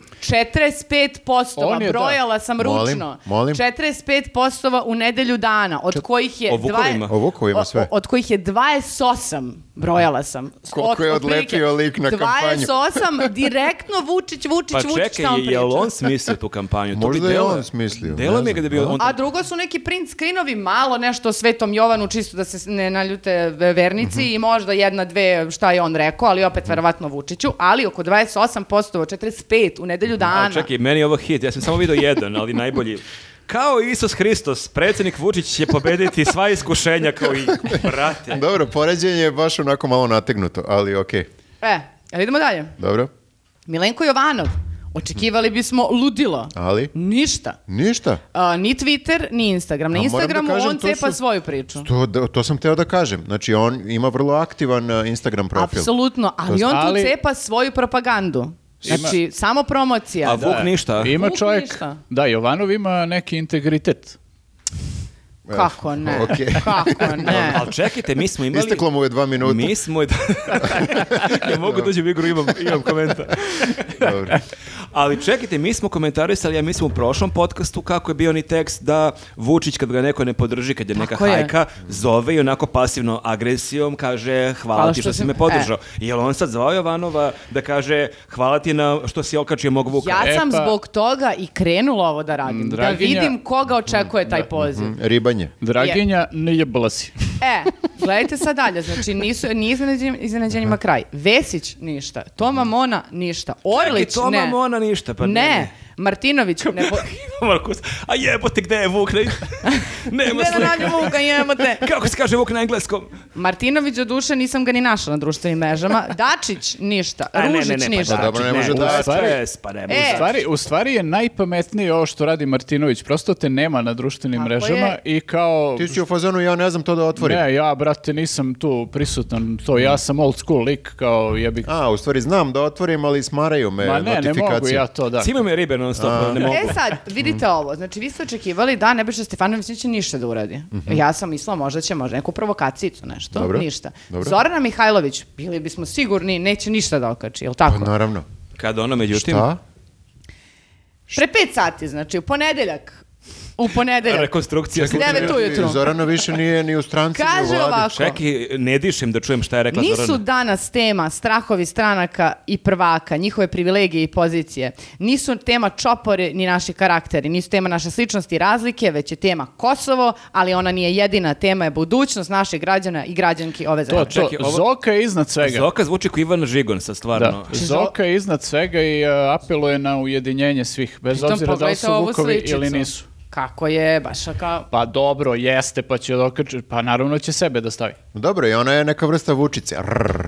Speaker 1: 45 postova,
Speaker 2: On je, da.
Speaker 1: brojala sam ručno.
Speaker 3: Molim, molim.
Speaker 1: 45 postova u nedelju dana, od kojih je...
Speaker 4: O
Speaker 1: dva-
Speaker 4: vukovima?
Speaker 3: O vukovima
Speaker 1: o-
Speaker 3: sve.
Speaker 1: Od kojih je 28, brojala sam.
Speaker 3: Koliko
Speaker 1: Od-
Speaker 3: je
Speaker 1: otprilike
Speaker 3: odlepio lik na kampanju.
Speaker 1: 28, direktno Vučić, Vučić,
Speaker 4: Pa
Speaker 1: Vučić,
Speaker 4: čekaj,
Speaker 1: šta on
Speaker 4: je- jel
Speaker 1: priča?
Speaker 4: on smislio tu kampanju? To
Speaker 3: Možda
Speaker 4: bi
Speaker 3: je
Speaker 4: delo-
Speaker 3: on smislio,
Speaker 4: Delo
Speaker 3: ne
Speaker 4: mi je
Speaker 3: znam.
Speaker 4: da bi on...
Speaker 1: A drugo su neki print screenovi, malo nešto o Svetom Jovanu, čisto da se ne naljute vernici
Speaker 3: Mhm.
Speaker 1: i možda jedna, dve, šta je on rekao, ali opet verovatno Vučiću, ali oko 28 postova, 45 u nedelju dana.
Speaker 4: A čekaj, meni je ovo hit, ja sam samo vidio jedan, ali najbolji. Kao Isus Hristos, predsjednik Vučić će pobediti sva iskušenja kao i brate.
Speaker 3: (laughs) Dobro, poređenje je baš onako malo nategnuto, ali okej.
Speaker 1: E, ali idemo dalje.
Speaker 3: Dobro,
Speaker 1: Milenko Jovanov. Očekivali bismo ludilo.
Speaker 3: ali
Speaker 1: Ništa.
Speaker 3: ništa.
Speaker 1: A, ni Twitter, ni Instagram. Na
Speaker 3: A moram da
Speaker 1: Instagramu
Speaker 3: kažem,
Speaker 1: on
Speaker 3: to
Speaker 1: cepa
Speaker 3: su-
Speaker 1: svoju priču.
Speaker 3: To, da- to sam teo da kažem. Znači, on ima vrlo aktivan uh, Instagram profil.
Speaker 1: Apsolutno, ali
Speaker 3: To-
Speaker 1: on tu
Speaker 2: Ali-
Speaker 1: cepa svoju propagandu. Znači, samo promocija.
Speaker 4: A Vuk ništa.
Speaker 2: Ima
Speaker 1: Vuk
Speaker 2: čovjek,
Speaker 1: ništa.
Speaker 2: da, Jovanov ima neki integritet.
Speaker 1: Kako ne?
Speaker 3: (laughs) Okej.
Speaker 1: Kako ne?
Speaker 4: Ali čekajte, mi smo imali...
Speaker 3: Isteklo mu je dva minuta.
Speaker 4: Mi smo...
Speaker 3: (laughs)
Speaker 4: ja mogu dođem u igru, imam, imam komentar.
Speaker 3: (laughs) Dobro.
Speaker 4: Ali čekajte, mi smo komentarisali, ja mislim u prošlom podcastu kako je bio ni tekst da Vučić kad ga neko ne podrži, kad je neka
Speaker 1: Tako je.
Speaker 4: hajka, zove i onako pasivno agresijom kaže hvala,
Speaker 1: Hvala
Speaker 4: ti
Speaker 1: što
Speaker 4: što si
Speaker 1: si e.
Speaker 4: me
Speaker 1: me-
Speaker 4: podržao. Jel on sad zvao Jovanova da kaže hvala ti na što si okačio mog Vuka?
Speaker 1: Ja sam
Speaker 2: E, pa-
Speaker 1: zbog toga i krenula ovo da radim. Da
Speaker 2: Draginja-
Speaker 1: vidim koga očekuje taj poziv.
Speaker 4: Mhm.
Speaker 3: Ribanje.
Speaker 2: Draginja, ne jebala si.
Speaker 1: E, gledajte sad dalje, znači nisu, ni iznenađen- iznenađenjima kraj. Vesić ništa, Toma Mona ništa, Orlić
Speaker 4: Mhm. Čekaj, Toma
Speaker 1: ne.
Speaker 4: Mona ništa, pa
Speaker 1: ne.
Speaker 4: ne, (laughs)
Speaker 1: Martinović ne. Po...
Speaker 4: Markus, a jebote, gde je
Speaker 1: (laughs)
Speaker 4: Vuk? Ne, nema
Speaker 1: Gde da
Speaker 4: slika.
Speaker 1: nađemo Vuka, jebote?
Speaker 4: Kako se kaže Vuk na engleskom?
Speaker 1: Martinović do duše nisam ga ni našla na društvenim
Speaker 4: (laughs)
Speaker 1: mrežama. Dačić ništa,
Speaker 4: A, ne, ne,
Speaker 1: Ružić
Speaker 4: ne, pa
Speaker 1: ništa.
Speaker 3: da, dobro, ne
Speaker 4: Dačić,
Speaker 3: može
Speaker 4: u
Speaker 3: Dačić.
Speaker 4: stres, pa ne može
Speaker 1: (laughs) E,
Speaker 2: U stvari, u stvari je najpametnije ovo što radi Martinović. Prosto te nema na društvenim
Speaker 1: Tako
Speaker 2: mrežama
Speaker 1: je.
Speaker 2: i kao...
Speaker 3: Ti si u fazonu, ja ne znam to da otvorim.
Speaker 2: Ne, ja, brate, nisam tu prisutan. To, ja sam old school lik, kao jebi...
Speaker 3: A, u stvari znam da otvorim, ali smaraju me
Speaker 2: Ma ne, ne mogu
Speaker 3: notifikacije.
Speaker 2: ja to, da.
Speaker 4: Cima me ribe non stop, ne mogu. Mhm.
Speaker 1: E sad, vidite ovo, znači vi ste očekivali da Nebojša Stefanović neće ništa da uradi.
Speaker 4: Mhm.
Speaker 1: Ja sam mislila možda će možda neku provokacijicu, nešto,
Speaker 3: Dobro,
Speaker 1: ništa.
Speaker 3: dobro.
Speaker 1: Zorana Mihajlović, bili bismo sigurni, neće ništa da okači, jel tako?
Speaker 3: Pa naravno.
Speaker 4: Kad ono, međutim,
Speaker 3: Šta?
Speaker 1: Pre pet sati, znači u ponedeljak. U ponedeljak.
Speaker 4: rekonstrukcija.
Speaker 1: Čekaj, Devet
Speaker 3: Zor-
Speaker 1: ujutru.
Speaker 3: Zorana više nije ni u stranci, ni u
Speaker 1: Kaže
Speaker 3: vladi.
Speaker 1: ovako.
Speaker 4: Čekaj, ne dišem da čujem šta je
Speaker 2: Pa
Speaker 4: rekla
Speaker 1: Nisu
Speaker 4: Zorana.
Speaker 1: danas tema strahovi stranaka i prvaka, njihove privilegije i pozicije. Nisu tema čopore ni naši karakteri, nisu tema naše sličnosti i razlike, već je tema Kosovo, ali ona nije jedina tema, je budućnost naših građana i građanki ove
Speaker 2: To,
Speaker 1: zemlje.
Speaker 2: to,
Speaker 4: Čekaj, ovo-
Speaker 2: Zoka je iznad svega.
Speaker 4: Zoka zvuči kao Ivan Žigon sad stvarno.
Speaker 1: ono-
Speaker 2: Da. Zoka je iznad svega i uh, apeluje na ujedinjenje svih, bez
Speaker 1: Pritom
Speaker 2: obzira da li
Speaker 1: pogledajte
Speaker 2: su
Speaker 1: ovu
Speaker 2: vukovi
Speaker 1: sličicu.
Speaker 2: ili nisu.
Speaker 1: Kako je, baš kao...
Speaker 2: Pa dobro, jeste, pa će dokačiti, pa naravno će sebe da stavi.
Speaker 3: Dobro, i ona je neka vrsta vučice. Rrr.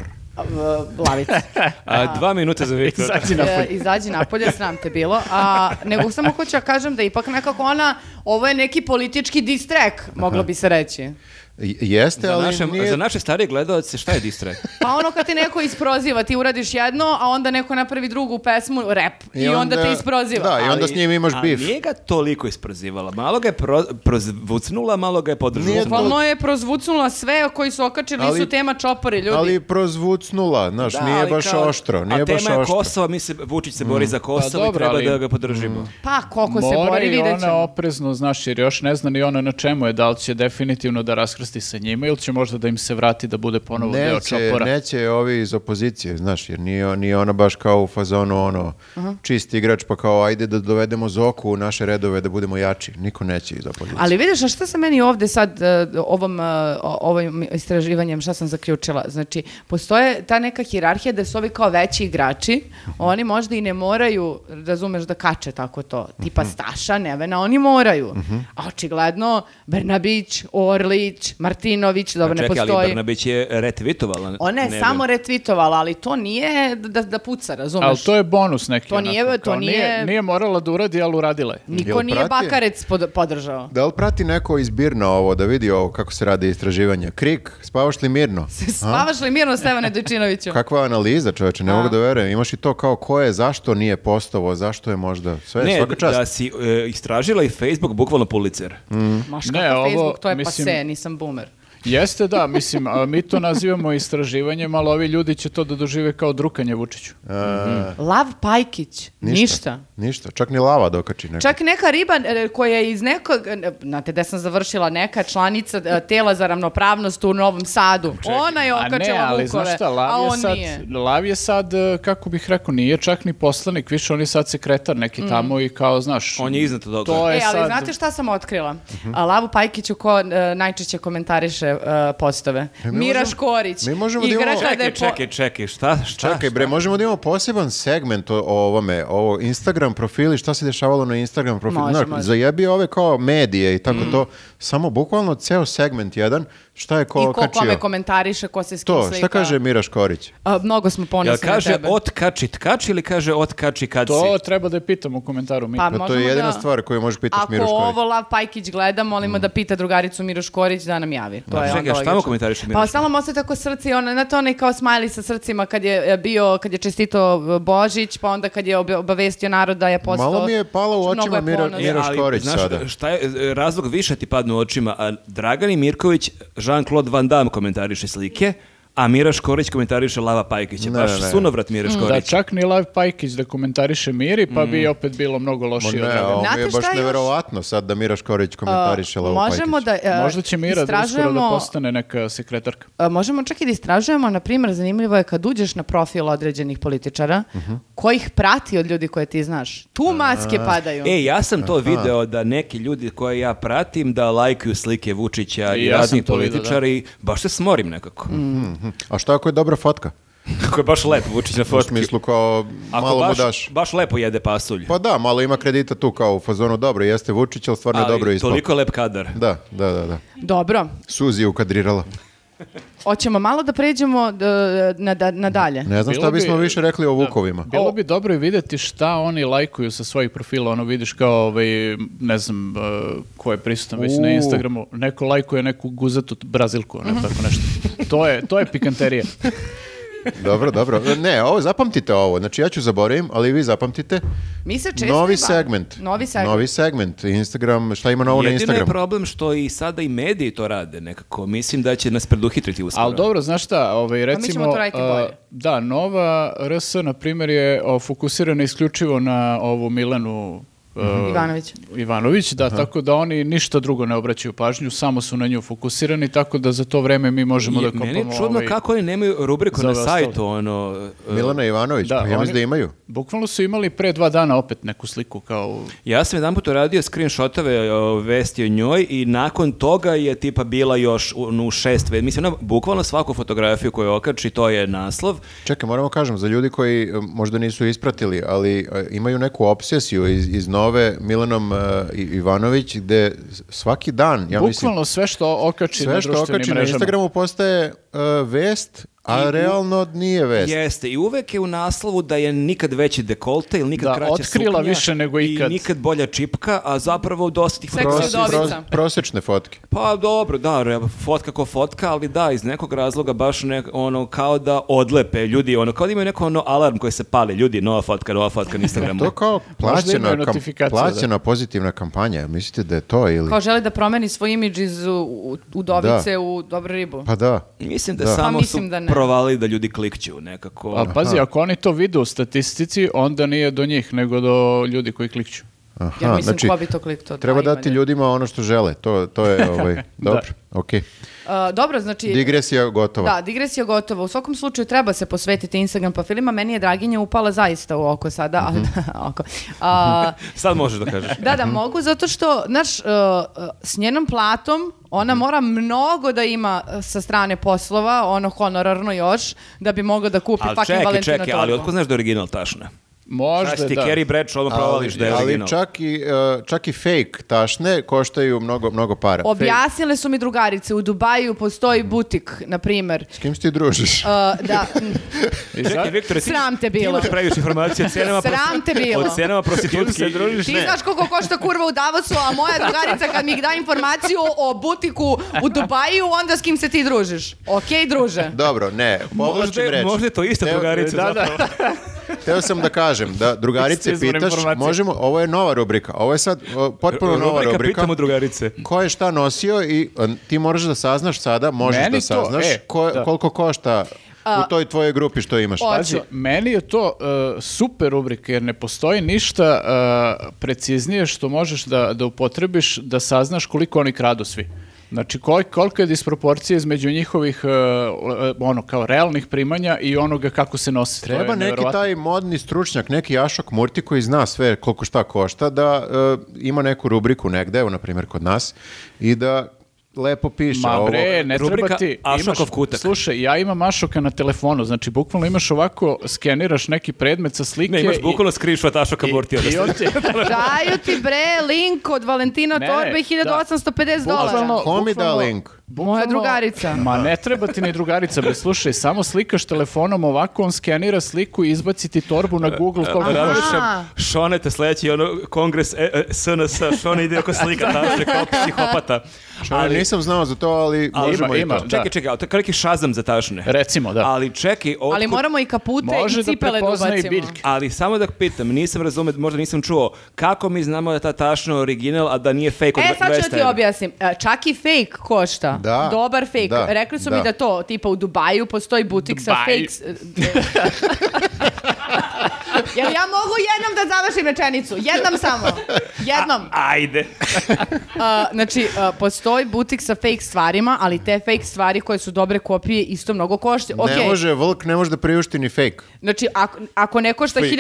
Speaker 2: (laughs)
Speaker 1: Lavica.
Speaker 4: A, dva minuta za Viktora.
Speaker 2: Izađi napolje.
Speaker 1: E, izađi napolje, sram te bilo. A, nego samo hoću da kažem da ipak nekako ona, ovo je neki politički distrek, moglo bi se reći.
Speaker 3: J- Jeste,
Speaker 4: Za
Speaker 3: ali
Speaker 4: naše,
Speaker 3: nije...
Speaker 4: za naše starije gledalce, šta je distrek?
Speaker 1: Pa ono kad te neko isproziva, ti uradiš jedno, a onda neko napravi drugu pesmu, rap, i, onda, te isproziva.
Speaker 3: (laughs) Da, i onda
Speaker 4: Ali-
Speaker 3: s njim imaš
Speaker 4: a
Speaker 3: bif.
Speaker 4: Nije ga toliko isprozivala. Malo ga je pro, prozvucnula, malo ga je
Speaker 3: Nije
Speaker 4: podržala.
Speaker 1: Bukvalno pa je prozvucnula sve koji su okačili,
Speaker 3: Ali-
Speaker 1: su tema čopori, ljudi.
Speaker 3: Ali prozvucnula, znaš, nije
Speaker 4: ali
Speaker 3: baš
Speaker 4: kao-
Speaker 3: oštro. Nije
Speaker 4: a tema
Speaker 3: baš
Speaker 4: je
Speaker 3: oštro.
Speaker 4: Kosova, mi se, Vučić se bori za Kosovo
Speaker 2: dobro,
Speaker 4: i treba
Speaker 2: ali-
Speaker 4: da ga podržimo.
Speaker 1: Pa, koliko se
Speaker 2: Mora
Speaker 1: bori,
Speaker 2: i
Speaker 1: vidjet
Speaker 2: ona
Speaker 1: ćemo.
Speaker 2: oprezno, znaš, jer još ne zna ni ona na čemu je, da li će definitivno da raskrsti sa njima ili će možda da im se vrati da bude ponovo deo
Speaker 3: Neće,
Speaker 2: čopora.
Speaker 3: neće ovi iz opozicije, znaš, jer nije, nije ona baš kao u fazonu ono,
Speaker 4: Mhm.
Speaker 3: čist igrač, pa kao ajde da dovedemo Zoku u naše redove da budemo jači. Niko neće iz opozicije.
Speaker 1: Ali vidiš, a šta se meni ovde sad e, ovom, e, o- ovim istraživanjem, šta sam zaključila? Znači, postoje ta neka hirarhija da su ovi kao veći igrači, oni možda i ne moraju, razumeš, da kače tako to. Tipa
Speaker 4: Mhm.
Speaker 1: Staša, Nevena, oni moraju. A očigledno Bernabić, Orlić, Martinović, dobro, ne
Speaker 4: Pa Čekaj, ali
Speaker 1: postoji.
Speaker 4: Brnabić je retvitovala.
Speaker 1: Ona je
Speaker 4: ne
Speaker 1: samo
Speaker 4: vem.
Speaker 1: retvitovala, ali to nije da, da puca, razumeš?
Speaker 2: Ali to je bonus neki.
Speaker 1: To nije-
Speaker 2: onako,
Speaker 1: to
Speaker 2: kao
Speaker 1: nije-
Speaker 2: nije... Nije morala da uradi, ali uradila je.
Speaker 1: Niko
Speaker 3: Jel
Speaker 1: nije
Speaker 3: prati?
Speaker 1: Bakarec pod- podržao.
Speaker 3: Da li prati neko iz Birna ovo, da vidi ovo kako se radi istraživanje? Krik, spavaš li
Speaker 4: (laughs)
Speaker 3: mirno?
Speaker 1: Spavaš li mirno, Stevane
Speaker 3: (laughs)
Speaker 1: Dojčinoviću?
Speaker 3: Kakva analiza, čoveče, ne mogu da verujem. Imaš i to kao ko je, zašto nije postovao, zašto je možda, sve,
Speaker 4: Ne,
Speaker 3: svaka čast.
Speaker 4: da si e, istražila i Facebook, bukvalno policer.
Speaker 1: Maš
Speaker 2: Ne,
Speaker 1: kakav
Speaker 2: ovo,
Speaker 1: Facebook, to je
Speaker 2: mislim-
Speaker 1: pase, nisam boomer.
Speaker 2: Jeste, da, mislim, a mi to nazivamo istraživanjem, ali ovi ljudi će to da dožive kao drukanje Vučiću.
Speaker 4: Mhm.
Speaker 1: Lav Pajkić, ništa.
Speaker 3: E, Ništa, čak ni lava dokači neko.
Speaker 1: Čak neka riba e, koja je iz nekog, e, znate da sam završila, neka članica e, tela za ravnopravnost u Novom Sadu. Ona je
Speaker 2: A
Speaker 1: okačila
Speaker 2: ne, ali
Speaker 1: vukove,
Speaker 2: znaš šta,
Speaker 1: a
Speaker 2: Lav
Speaker 1: on
Speaker 2: je sad,
Speaker 1: nije.
Speaker 2: Lav je sad, e, kako bih rekao, nije čak ni poslanik, više on je sad sekretar neki tamo i kao, znaš...
Speaker 4: On je iznad toga.
Speaker 2: To je
Speaker 1: Mm. E, ali
Speaker 2: sad...
Speaker 1: znate šta sam otkrila?
Speaker 3: Mhm.
Speaker 1: A, Lavu Pajkiću ko e, najčešće komentariše e, postove.
Speaker 3: mi
Speaker 1: Mira
Speaker 3: možemo-
Speaker 1: Škorić.
Speaker 3: mi možemo da
Speaker 1: igrač
Speaker 3: imamo-
Speaker 1: kada je
Speaker 4: Čekaj,
Speaker 1: po-
Speaker 4: čekaj, čekaj, šta, šta?
Speaker 3: Čekaj bre, možemo da imamo poseban segment o, o ovome, o Instagram profili, šta se dešavalo na Instagram profilu.
Speaker 1: Može, Mm.
Speaker 3: Znaš,
Speaker 1: može.
Speaker 3: zajebi ove kao medije i tako to, samo bukvalno ceo segment jedan, Šta je ko
Speaker 1: I ko
Speaker 3: kačio?
Speaker 1: kome komentariše, ko se s kim
Speaker 3: To,
Speaker 1: slika.
Speaker 3: šta kaže Mira Škorić?
Speaker 1: A, mnogo smo
Speaker 4: Jel
Speaker 1: ponosni na
Speaker 4: kaže
Speaker 1: tebe.
Speaker 4: otkači tkač ili kaže otkači kad
Speaker 2: To
Speaker 4: si?
Speaker 2: treba da je pitam u komentaru mi.
Speaker 1: Pa
Speaker 3: Pa to
Speaker 1: možemo
Speaker 3: je jedina
Speaker 1: da-
Speaker 3: stvar koju možeš pitati
Speaker 1: Ako
Speaker 3: Miru Škorić.
Speaker 1: ovo Lav Pajkić gleda, molimo
Speaker 3: Mm.
Speaker 1: da pita drugaricu Miru Škorić da nam javi. To
Speaker 4: Pa,
Speaker 1: je
Speaker 4: čekaj,
Speaker 1: onda
Speaker 4: šta mu
Speaker 1: logično.
Speaker 4: komentariše Miru
Speaker 1: Pa
Speaker 4: Škorić?
Speaker 1: stalno mu ostaje tako srce i ona, znate onaj kao smajli sa srcima kad je e, bio, kad je čestito Božić, pa onda kad je obe- obavestio narod da je postao...
Speaker 3: Malo mi je pala u
Speaker 1: Mnogo
Speaker 3: očima
Speaker 1: je
Speaker 3: Mira,
Speaker 1: ponosan.
Speaker 4: E,
Speaker 3: Mira
Speaker 4: ali,
Speaker 3: Škorić
Speaker 4: znaš,
Speaker 3: sada.
Speaker 4: Šta je, e, razlog više ti padne u očima, a Dragani Mirković, Jean-Claude Van Damme komentariše slike, a Mira Škorić komentariše Lava Pajkića.
Speaker 3: Ne,
Speaker 4: Baš
Speaker 3: ne, ne.
Speaker 4: sunovrat Mira
Speaker 1: Mm. Pa-
Speaker 4: Škorić.
Speaker 2: Da čak ni Lav Pajkić da komentariše Miri, pa bi
Speaker 4: Mm.
Speaker 2: opet bilo mnogo
Speaker 3: Ma
Speaker 2: lošije. od
Speaker 3: ne,
Speaker 2: Dragana.
Speaker 3: ovo mi je
Speaker 1: Znate
Speaker 3: baš
Speaker 1: šta još? Uh,
Speaker 3: neverovatno sad da Mira Škorić komentariše Lavu
Speaker 1: Možemo
Speaker 3: Pajkić.
Speaker 1: da e,
Speaker 2: Možda će Mira da uskoro da
Speaker 1: istražujemo-
Speaker 2: postane neka sekretarka.
Speaker 1: E, Možemo čak i da istražujemo, na primjer, zanimljivo je kad uđeš na profil određenih političara,
Speaker 3: Mhm.
Speaker 1: kojih prati od ljudi koje ti znaš. Tu maske padaju.
Speaker 4: E, ja sam to video da neki ljudi koje ja pratim da lajkuju slike Vučića i,
Speaker 2: I E, ja sam
Speaker 4: raznih
Speaker 2: to video,
Speaker 4: političara i baš se smorim nekako. (laughs)
Speaker 3: Mhm. A šta ako je dobra fotka?
Speaker 4: Kako je baš lep Vučić na
Speaker 3: U
Speaker 4: fotki.
Speaker 3: smislu kao
Speaker 4: Ako
Speaker 3: malo mu
Speaker 4: baš,
Speaker 3: daš.
Speaker 4: baš lepo jede pasulj.
Speaker 3: Pa da, malo ima kredita tu kao u fazonu dobro, jeste Vučić, ali stvarno je
Speaker 4: Ali
Speaker 3: dobro ispao.
Speaker 4: Toliko lep kadar.
Speaker 3: Da, da, da, da.
Speaker 1: Dobro,
Speaker 3: Suzi je ukadrirala.
Speaker 1: hoćemo malo da pređemo d- na, da- na dalje.
Speaker 3: Ne znam
Speaker 2: Bilo
Speaker 3: šta bismo
Speaker 2: bi-
Speaker 3: više rekli o Vukovima.
Speaker 2: Bilo bi dobro i vidjeti šta oni lajkuju sa svojih profila, ono vidiš kao ovaj, ne znam, e, ko je prisutan već na
Speaker 3: U.
Speaker 2: Instagramu, neko lajkuje neku guzatu brazilku, ne, tako nešto. To je, to je pikanterija.
Speaker 3: Dobro, dobro. Ne, ovo, zapamtite ovo. Znači ja ću zaboravim, ali vi zapamtite.
Speaker 1: Mi se često
Speaker 3: Novi
Speaker 1: i bavimo.
Speaker 3: segment.
Speaker 1: Novi segment.
Speaker 3: Novi segment. Instagram, šta ima novo na
Speaker 4: Jedino je
Speaker 3: Instagramu?
Speaker 4: problem što i sada i mediji to rade nekako. Mislim da će nas preduhitriti uskoro.
Speaker 2: Ali dobro, znaš šta, ovaj,
Speaker 1: ćemo
Speaker 2: recimo...
Speaker 1: to raditi
Speaker 2: a,
Speaker 1: bolje.
Speaker 2: Da, Nova RS, na primjer, je o, fokusirana isključivo na ovu Milanu e,
Speaker 1: Ivanović.
Speaker 2: Ivanović, da, tako da oni ništa drugo ne obraćaju pažnju, samo su na nju fokusirani, tako da za to vreme mi možemo da
Speaker 4: Je,
Speaker 2: kopamo...
Speaker 4: meni je čudno
Speaker 2: ovaj,
Speaker 4: kako oni nemaju rubriku
Speaker 2: za
Speaker 4: na
Speaker 2: ove
Speaker 4: sajtu, ono... e,
Speaker 3: Milana Ivanović,
Speaker 2: Da,
Speaker 3: pa ja
Speaker 2: oni-
Speaker 3: mislim da imaju.
Speaker 2: Bukvalno su imali pre dva dana opet neku sliku kao...
Speaker 4: Ja sam jedan put uradio screenshotove o, vesti o njoj i nakon toga je tipa bila još u, ono, u šest vesti. Mislim, ona bukvalno svaku fotografiju koju okači, to je naslov.
Speaker 3: Čekaj, moramo kažem, za ljudi koji e, možda nisu ispratili, ali e, imaju neku obsesiju iz, iz nove Milanom e, I- Ivanović, gde s- svaki dan, ja mislim,
Speaker 2: bukvalno sve što okači na
Speaker 3: sve što
Speaker 2: društvenim
Speaker 3: okači na
Speaker 2: mrežama.
Speaker 3: Instagramu postaje e, vest, a realno nije vest.
Speaker 4: Jeste, i uvek je u naslovu da je nikad veći dekolte ili nikad
Speaker 2: Da,
Speaker 4: kraća
Speaker 2: otkrila
Speaker 4: suknja
Speaker 2: više nego ikad.
Speaker 4: I nikad bolja čipka, a zapravo dosta tih
Speaker 1: Seksi
Speaker 4: fotografija-
Speaker 3: Prose-
Speaker 1: udovica.
Speaker 3: prose- prosečne fotke.
Speaker 4: Pa dobro, da, re- fotka ko fotka, ali da, iz nekog razloga baš nek, ono, kao da odlepe ljudi, ono, kao da imaju neko ono alarm koji se pali, ljudi, nova fotka, nova fotka na
Speaker 2: (laughs)
Speaker 4: Instagramu.
Speaker 3: To kao
Speaker 2: Možda imaju
Speaker 3: plaćena, kam-
Speaker 2: notifikaciju, da.
Speaker 3: plaćena pozitivna kampanja. Mislite da je to ili...
Speaker 1: Kao želi da promeni svoj imidž iz u- u- udovice
Speaker 3: Da.
Speaker 1: u dobru ribu.
Speaker 3: Pa da.
Speaker 4: Mislim da,
Speaker 3: Da.
Speaker 1: Pa
Speaker 4: samo su
Speaker 1: mislim da ne.
Speaker 4: provali da ljudi klikću nekako.
Speaker 3: Ono,
Speaker 2: A pazi, ako oni to vide u statistici, onda nije do njih, nego do ljudi koji klikću.
Speaker 3: Aha,
Speaker 1: Jer mislim
Speaker 3: znači,
Speaker 1: ko bi to klikto.
Speaker 3: treba dati ljudima ono što žele. To, to
Speaker 1: (laughs)
Speaker 3: je ovaj, dobro, okej.
Speaker 1: dobro, znači...
Speaker 3: Digresija gotova.
Speaker 1: Da, digresija gotova. U svakom slučaju treba se posvetiti Instagram profilima. Meni je Draginja upala zaista u oko sada. ali-
Speaker 3: Mhm.
Speaker 1: (laughs) oko.
Speaker 3: (laughs)
Speaker 1: A,
Speaker 4: Sad možeš da kažeš.
Speaker 1: (laughs) da, da, mogu, zato što, znaš, uh, uh, s njenom platom ona mora mnogo da ima uh, sa strane poslova, ono honorarno još, da bi mogla da kupi
Speaker 4: ali
Speaker 1: fucking
Speaker 4: čekaj,
Speaker 1: Valentino
Speaker 4: čekaj, ali
Speaker 1: torbu.
Speaker 4: otko znaš da je original tašna?
Speaker 2: Možda,
Speaker 4: Znaš ti
Speaker 2: da.
Speaker 4: Carrie Bradshaw, odmah provališ da je
Speaker 3: ali
Speaker 4: original.
Speaker 3: čak i, uh, čak i fake tašne koštaju mnogo, mnogo para. Fake.
Speaker 1: Objasnile su mi drugarice, u Dubaju postoji butik, na primer.
Speaker 3: S kim se ti družiš?
Speaker 1: Uh, da,
Speaker 2: I za-
Speaker 4: Čekaj, Viktore, ti-
Speaker 1: Sram te bilo.
Speaker 4: Ti imaš previše informacije o cenama,
Speaker 1: Sram te bilo.
Speaker 4: o cenama prostitutki.
Speaker 1: ti znaš koliko košta kurva u Davosu, a moja drugarica kad mi da informaciju o butiku u Dubaju, onda s kim se ti družiš? Okej,
Speaker 3: (laughs)
Speaker 1: druže.
Speaker 3: Dobro, ne,
Speaker 4: Možda,
Speaker 3: povlačim
Speaker 4: je-
Speaker 3: reč.
Speaker 4: možda je to ista
Speaker 3: Evo,
Speaker 4: drugarica
Speaker 2: da, da.
Speaker 4: zapravo.
Speaker 3: Teo sam da kažem, da drugarice
Speaker 2: Izvor
Speaker 3: pitaš,
Speaker 2: informacije.
Speaker 3: možemo, ovo je nova rubrika, ovo je sad o, potpuno nova
Speaker 4: Rubrika
Speaker 3: rubrika.
Speaker 4: Pitamo drugarice.
Speaker 3: Ko je šta nosio i e, ti moraš da saznaš sada, možeš
Speaker 2: Meni
Speaker 3: da
Speaker 2: to,
Speaker 3: saznaš
Speaker 2: e,
Speaker 3: ko-
Speaker 2: da.
Speaker 3: koliko košta u toj tvojoj grupi što imaš.
Speaker 1: O,
Speaker 2: Pazi, meni je to uh, super rubrika jer ne postoji ništa uh, preciznije što možeš da, da upotrebiš da saznaš koliko oni kradu svi. Znači kol, kolika je disproporcija između njihovih uh, uh, ono kao realnih primanja i onoga kako se nose. To je
Speaker 3: Treba neki
Speaker 2: neverovatno.
Speaker 3: taj modni stručnjak, neki Jašok Murti koji zna sve koliko šta košta, da e, ima neku rubriku negde, evo na primjer kod nas, i da lepo piše
Speaker 2: Ma
Speaker 3: ovo.
Speaker 2: bre, ne
Speaker 4: rubrika
Speaker 2: treba ti. imaš-
Speaker 4: Ašokov kutak.
Speaker 2: Slušaj, ja imam Ašoka na telefonu, znači bukvalno imaš ovako, skeniraš neki predmet sa slike.
Speaker 4: Ne, imaš
Speaker 2: i-
Speaker 4: bukvalno screenshot Ašoka Bortija.
Speaker 2: i, i on ti-
Speaker 4: (laughs)
Speaker 1: Daju ti bre link od Valentina
Speaker 2: Ne,
Speaker 1: Torbe
Speaker 2: ne,
Speaker 1: 1850
Speaker 2: da.
Speaker 1: dolara.
Speaker 2: Bukvalno-
Speaker 3: Ko mi da
Speaker 2: bukvalno-
Speaker 3: link?
Speaker 1: Moja drugarica.
Speaker 2: Ma ne treba ti ni drugarica, bre, slušaj, samo slikaš telefonom ovako, on skenira sliku i izbaci ti torbu na Google koliko
Speaker 1: Aha.
Speaker 2: hoćeš.
Speaker 4: Razmišljam, Šone te sledeći ono, kongres e, e, SNS, Šone ide oko slika, tamo se kao psihopata.
Speaker 3: Što nisam znao za to, ali,
Speaker 2: Ali
Speaker 3: možemo
Speaker 2: ima,
Speaker 3: i
Speaker 2: ima.
Speaker 3: to.
Speaker 4: Čekaj,
Speaker 2: Da.
Speaker 4: čekaj, ali to je kao neki šazam za tašne.
Speaker 2: Recimo, da.
Speaker 4: Ali čekaj, otkud-
Speaker 1: Ali moramo i kapute
Speaker 2: Može
Speaker 1: i
Speaker 2: da
Speaker 1: cipele da,
Speaker 2: prepozna i
Speaker 1: ubacimo.
Speaker 2: biljke.
Speaker 4: Ali samo da pitam, nisam razumio, možda nisam čuo, kako mi znamo da je ta tašna original, a da nije fake od
Speaker 1: E, sad ću da ti
Speaker 4: 20 evra?
Speaker 1: objasnim. E, Čak i fake košta.
Speaker 3: Da.
Speaker 1: Dobar fake.
Speaker 3: Da.
Speaker 1: Rekli su mi
Speaker 3: Da.
Speaker 1: da to, tipa u Dubaju postoji butik sa
Speaker 2: Dubaj.
Speaker 1: fake... s- e, (laughs) Jel ja mogu jednom da završim rečenicu? Jednom samo. Jednom.
Speaker 4: Ajde.
Speaker 1: A, znači, a, postoji butik sa fake stvarima, ali te fake stvari koje su dobre kopije isto mnogo košte.
Speaker 3: Ne može, Vlk ne može da priušti ni fake.
Speaker 1: Znači, ako, ako ne košta
Speaker 3: Fake,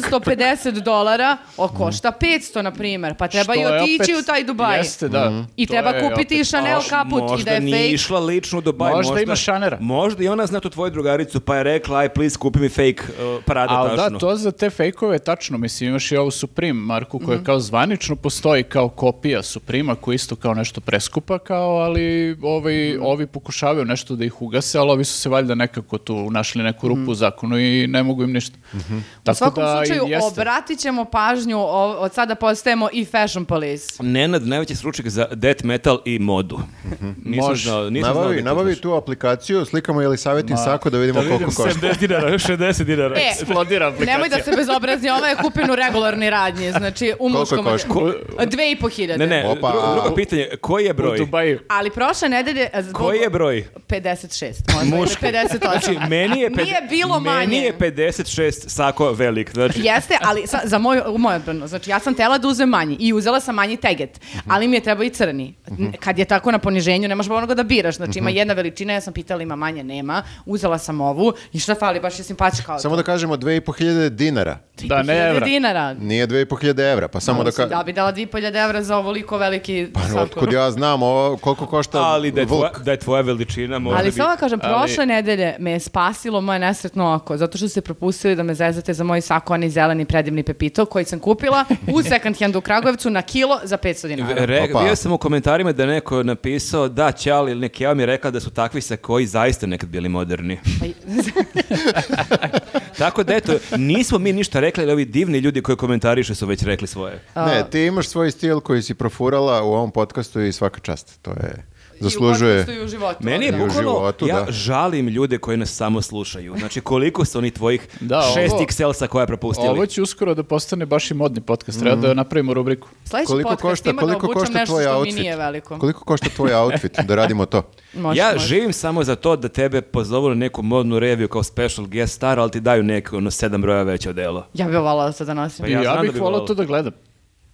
Speaker 1: 1850 dolara, o, košta 500, na primjer. Pa treba i
Speaker 2: Što je
Speaker 1: otići
Speaker 2: opet-
Speaker 1: u taj Dubaj.
Speaker 2: Jeste, da.
Speaker 4: Mhm.
Speaker 1: I
Speaker 2: To
Speaker 1: treba
Speaker 2: je
Speaker 1: kupiti i
Speaker 2: opet-
Speaker 1: Chanel
Speaker 4: Mož-
Speaker 1: kaput i da
Speaker 4: možda
Speaker 1: je
Speaker 4: nije
Speaker 1: fake.
Speaker 4: išla lično u Dubaj.
Speaker 2: Možda ima šanera.
Speaker 4: Možda i ona zna tu tvoju drugaricu, pa je rekla, aj, please, kupi mi fake uh, parada
Speaker 2: Ali
Speaker 4: tašnu.
Speaker 2: da, to za te fejkove je tačno, mislim, imaš i ovu Supreme marku koja
Speaker 4: Mhm.
Speaker 2: kao zvanično postoji kao kopija Suprema koja je isto kao nešto preskupa kao, ali ovaj,
Speaker 4: Mhm.
Speaker 2: ovi pokušavaju nešto da ih ugase, ali ovi su se valjda nekako tu našli neku rupu
Speaker 4: Mhm.
Speaker 2: u zakonu i ne mogu im ništa. Tako
Speaker 1: U svakom
Speaker 2: da,
Speaker 1: slučaju,
Speaker 2: jeste.
Speaker 1: obratit ćemo pažnju, o- od sada postajemo i fashion police.
Speaker 4: Nenad, najveći stručnjak za death metal i modu. Nisam
Speaker 2: Mhm. Može.
Speaker 4: znao, nisam znao da
Speaker 3: Nabavi,
Speaker 4: je to
Speaker 3: nabavi
Speaker 4: znaš.
Speaker 3: tu aplikaciju, slikamo je li savjetin sako da vidimo koliko košta.
Speaker 4: 70 dinara, 60 dinara.
Speaker 1: E,
Speaker 2: Eksplodira aplikacija.
Speaker 1: Nemoj da se bezobrazni, ovo je kupljen u regularni radnji, znači u
Speaker 3: Koliko je
Speaker 1: muškom...
Speaker 3: košta?
Speaker 1: Dve i po hiljade.
Speaker 4: Ne, ne,
Speaker 3: Opa.
Speaker 4: dru- drugo pitanje, koji je
Speaker 2: U
Speaker 4: broj?
Speaker 2: Dubaju.
Speaker 1: Ali prošle nedelje... e, Zbog...
Speaker 4: Koji je broj?
Speaker 1: 56, možda. ili 58.
Speaker 4: Znači,
Speaker 1: (laughs)
Speaker 4: meni je, ped-
Speaker 1: Nije bilo manje.
Speaker 4: Meni je 56 sako velik. Znači,
Speaker 1: Jeste, ali sa- za moju, u moju odbranu. Znači, ja sam tela da uzem manji i uzela sam manji teget,
Speaker 3: Mhm.
Speaker 1: ali mi je trebao i crni. N- Kad je tako na poniženju, nemaš onoga da biraš. Znači,
Speaker 3: Mhm.
Speaker 1: ima jedna veličina, ja sam pitala ima manje, nema. Uzela sam ovu i šta fali, baš je simpatička. kao
Speaker 3: Samo da kažemo 2500 dinara.
Speaker 2: Da, ne evra.
Speaker 1: dinara.
Speaker 3: Nije 2500 evra, pa samo da
Speaker 1: Mislim, Da
Speaker 3: ka...
Speaker 1: bi dala 2.500 evra za ovoliko veliki
Speaker 3: Pa,
Speaker 1: sako.
Speaker 3: Otkud ja znam ovo, koliko košta
Speaker 4: ali da je, tvoja,
Speaker 3: Vlk?
Speaker 4: da je tvoja veličina možda
Speaker 1: Ali
Speaker 4: bi...
Speaker 1: samo da kažem,
Speaker 2: ali-
Speaker 1: prošle nedelje me je spasilo moje nesretno oko, zato što ste propustili da me zezate za moj sako, onaj zeleni predivni pepito koji sam kupila
Speaker 3: (laughs)
Speaker 1: u second handu u Kragujevcu na kilo za 500 dinara.
Speaker 4: Re,
Speaker 3: Opa.
Speaker 4: bio sam u komentarima da je neko napisao da Ćali ili neki ja mi je rekao da su takvi sa koji zaista nekad bili moderni. (laughs)
Speaker 1: Pa i- (laughs)
Speaker 4: Tako da eto, nismo mi ništa rekli, ali ovi divni ljudi koji komentariše su već rekli svoje.
Speaker 3: Ne, ti imaš svoj stil koji si profurala u ovom podcastu i svaka čast. To je, zaslužuje...
Speaker 1: I u podcastu i u životu. ono.
Speaker 4: Meni je
Speaker 1: da.
Speaker 3: bu-
Speaker 4: bukvalno,
Speaker 3: životu,
Speaker 4: ja
Speaker 3: da.
Speaker 4: žalim ljude koji nas samo slušaju. Znači, koliko su oni tvojih
Speaker 2: Da, ovo-
Speaker 4: šest XL-sa koja propustili?
Speaker 2: Ovo će uskoro da postane baš i modni podcast. Treba
Speaker 4: Mhm.
Speaker 2: da napravimo rubriku.
Speaker 1: Sledeći
Speaker 3: Koliko
Speaker 1: podcast
Speaker 3: košta,
Speaker 1: ima da
Speaker 3: koliko
Speaker 1: obučem
Speaker 3: košta
Speaker 1: nešto
Speaker 3: tvoj
Speaker 1: što
Speaker 3: outfit?
Speaker 1: mi nije veliko.
Speaker 3: Koliko košta tvoj outfit da radimo to?
Speaker 1: Može,
Speaker 4: ja
Speaker 1: može.
Speaker 4: živim samo za to da tebe pozovu na neku modnu reviju kao special guest star, ali ti daju neko ono sedam broja veće odelo.
Speaker 1: Ja bih voljela da se da nosim.
Speaker 4: Pa
Speaker 2: I
Speaker 4: ja
Speaker 2: ja,
Speaker 4: znam da bi
Speaker 2: bih volao
Speaker 4: volao.
Speaker 2: to da gledam.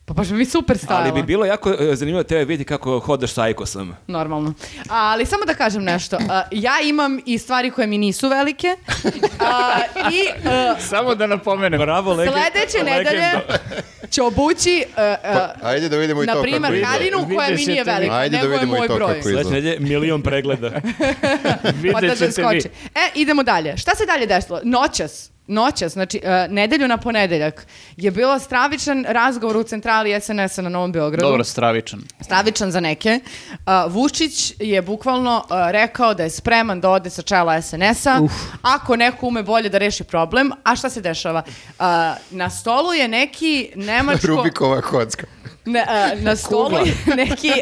Speaker 1: Pa baš bi mi super stajala.
Speaker 4: Ali bi bilo jako e, zanimljivo tebe vidjeti kako hodaš sa ajkosom.
Speaker 1: Normalno. Ali samo da kažem nešto.
Speaker 4: (clears throat)
Speaker 1: A, ja imam i stvari koje mi nisu velike. A, I a,
Speaker 2: Samo da napomenem.
Speaker 4: Bravo, lege-
Speaker 1: sledeće
Speaker 4: legendo.
Speaker 1: nedelje će obući a, a,
Speaker 3: Pa, ajde da vidimo i
Speaker 1: na
Speaker 3: to kako
Speaker 1: primjer,
Speaker 3: ide.
Speaker 1: Karinu koja mi
Speaker 2: Vidjet
Speaker 1: nije
Speaker 2: ćete vi.
Speaker 1: velika,
Speaker 3: Ajde da
Speaker 1: nego je
Speaker 3: vidimo i
Speaker 1: moj
Speaker 3: to
Speaker 1: broj.
Speaker 3: kako
Speaker 4: Sledeće
Speaker 3: izgleda.
Speaker 4: nedelje milion pregleda.
Speaker 1: Pa da
Speaker 2: Vidjet ćete vi.
Speaker 1: doskoči. E, idemo dalje. Šta se dalje desilo? Noćas. Noćas, znači e, nedelju na ponedeljak je bilo stravičan razgovor u centrali SNS-a na Novom Beogradu.
Speaker 2: Dobro, stravičan.
Speaker 1: Stravičan za neke. A, Vučić je bukvalno a, rekao da je spreman da ode sa čela SNS-a ako neko ume bolje da reši problem. A šta se dešava? A, na stolu je neki nemačko...
Speaker 3: Rubikova kocka.
Speaker 1: Ne, a, na stolu
Speaker 2: Kugla.
Speaker 1: je (laughs) neki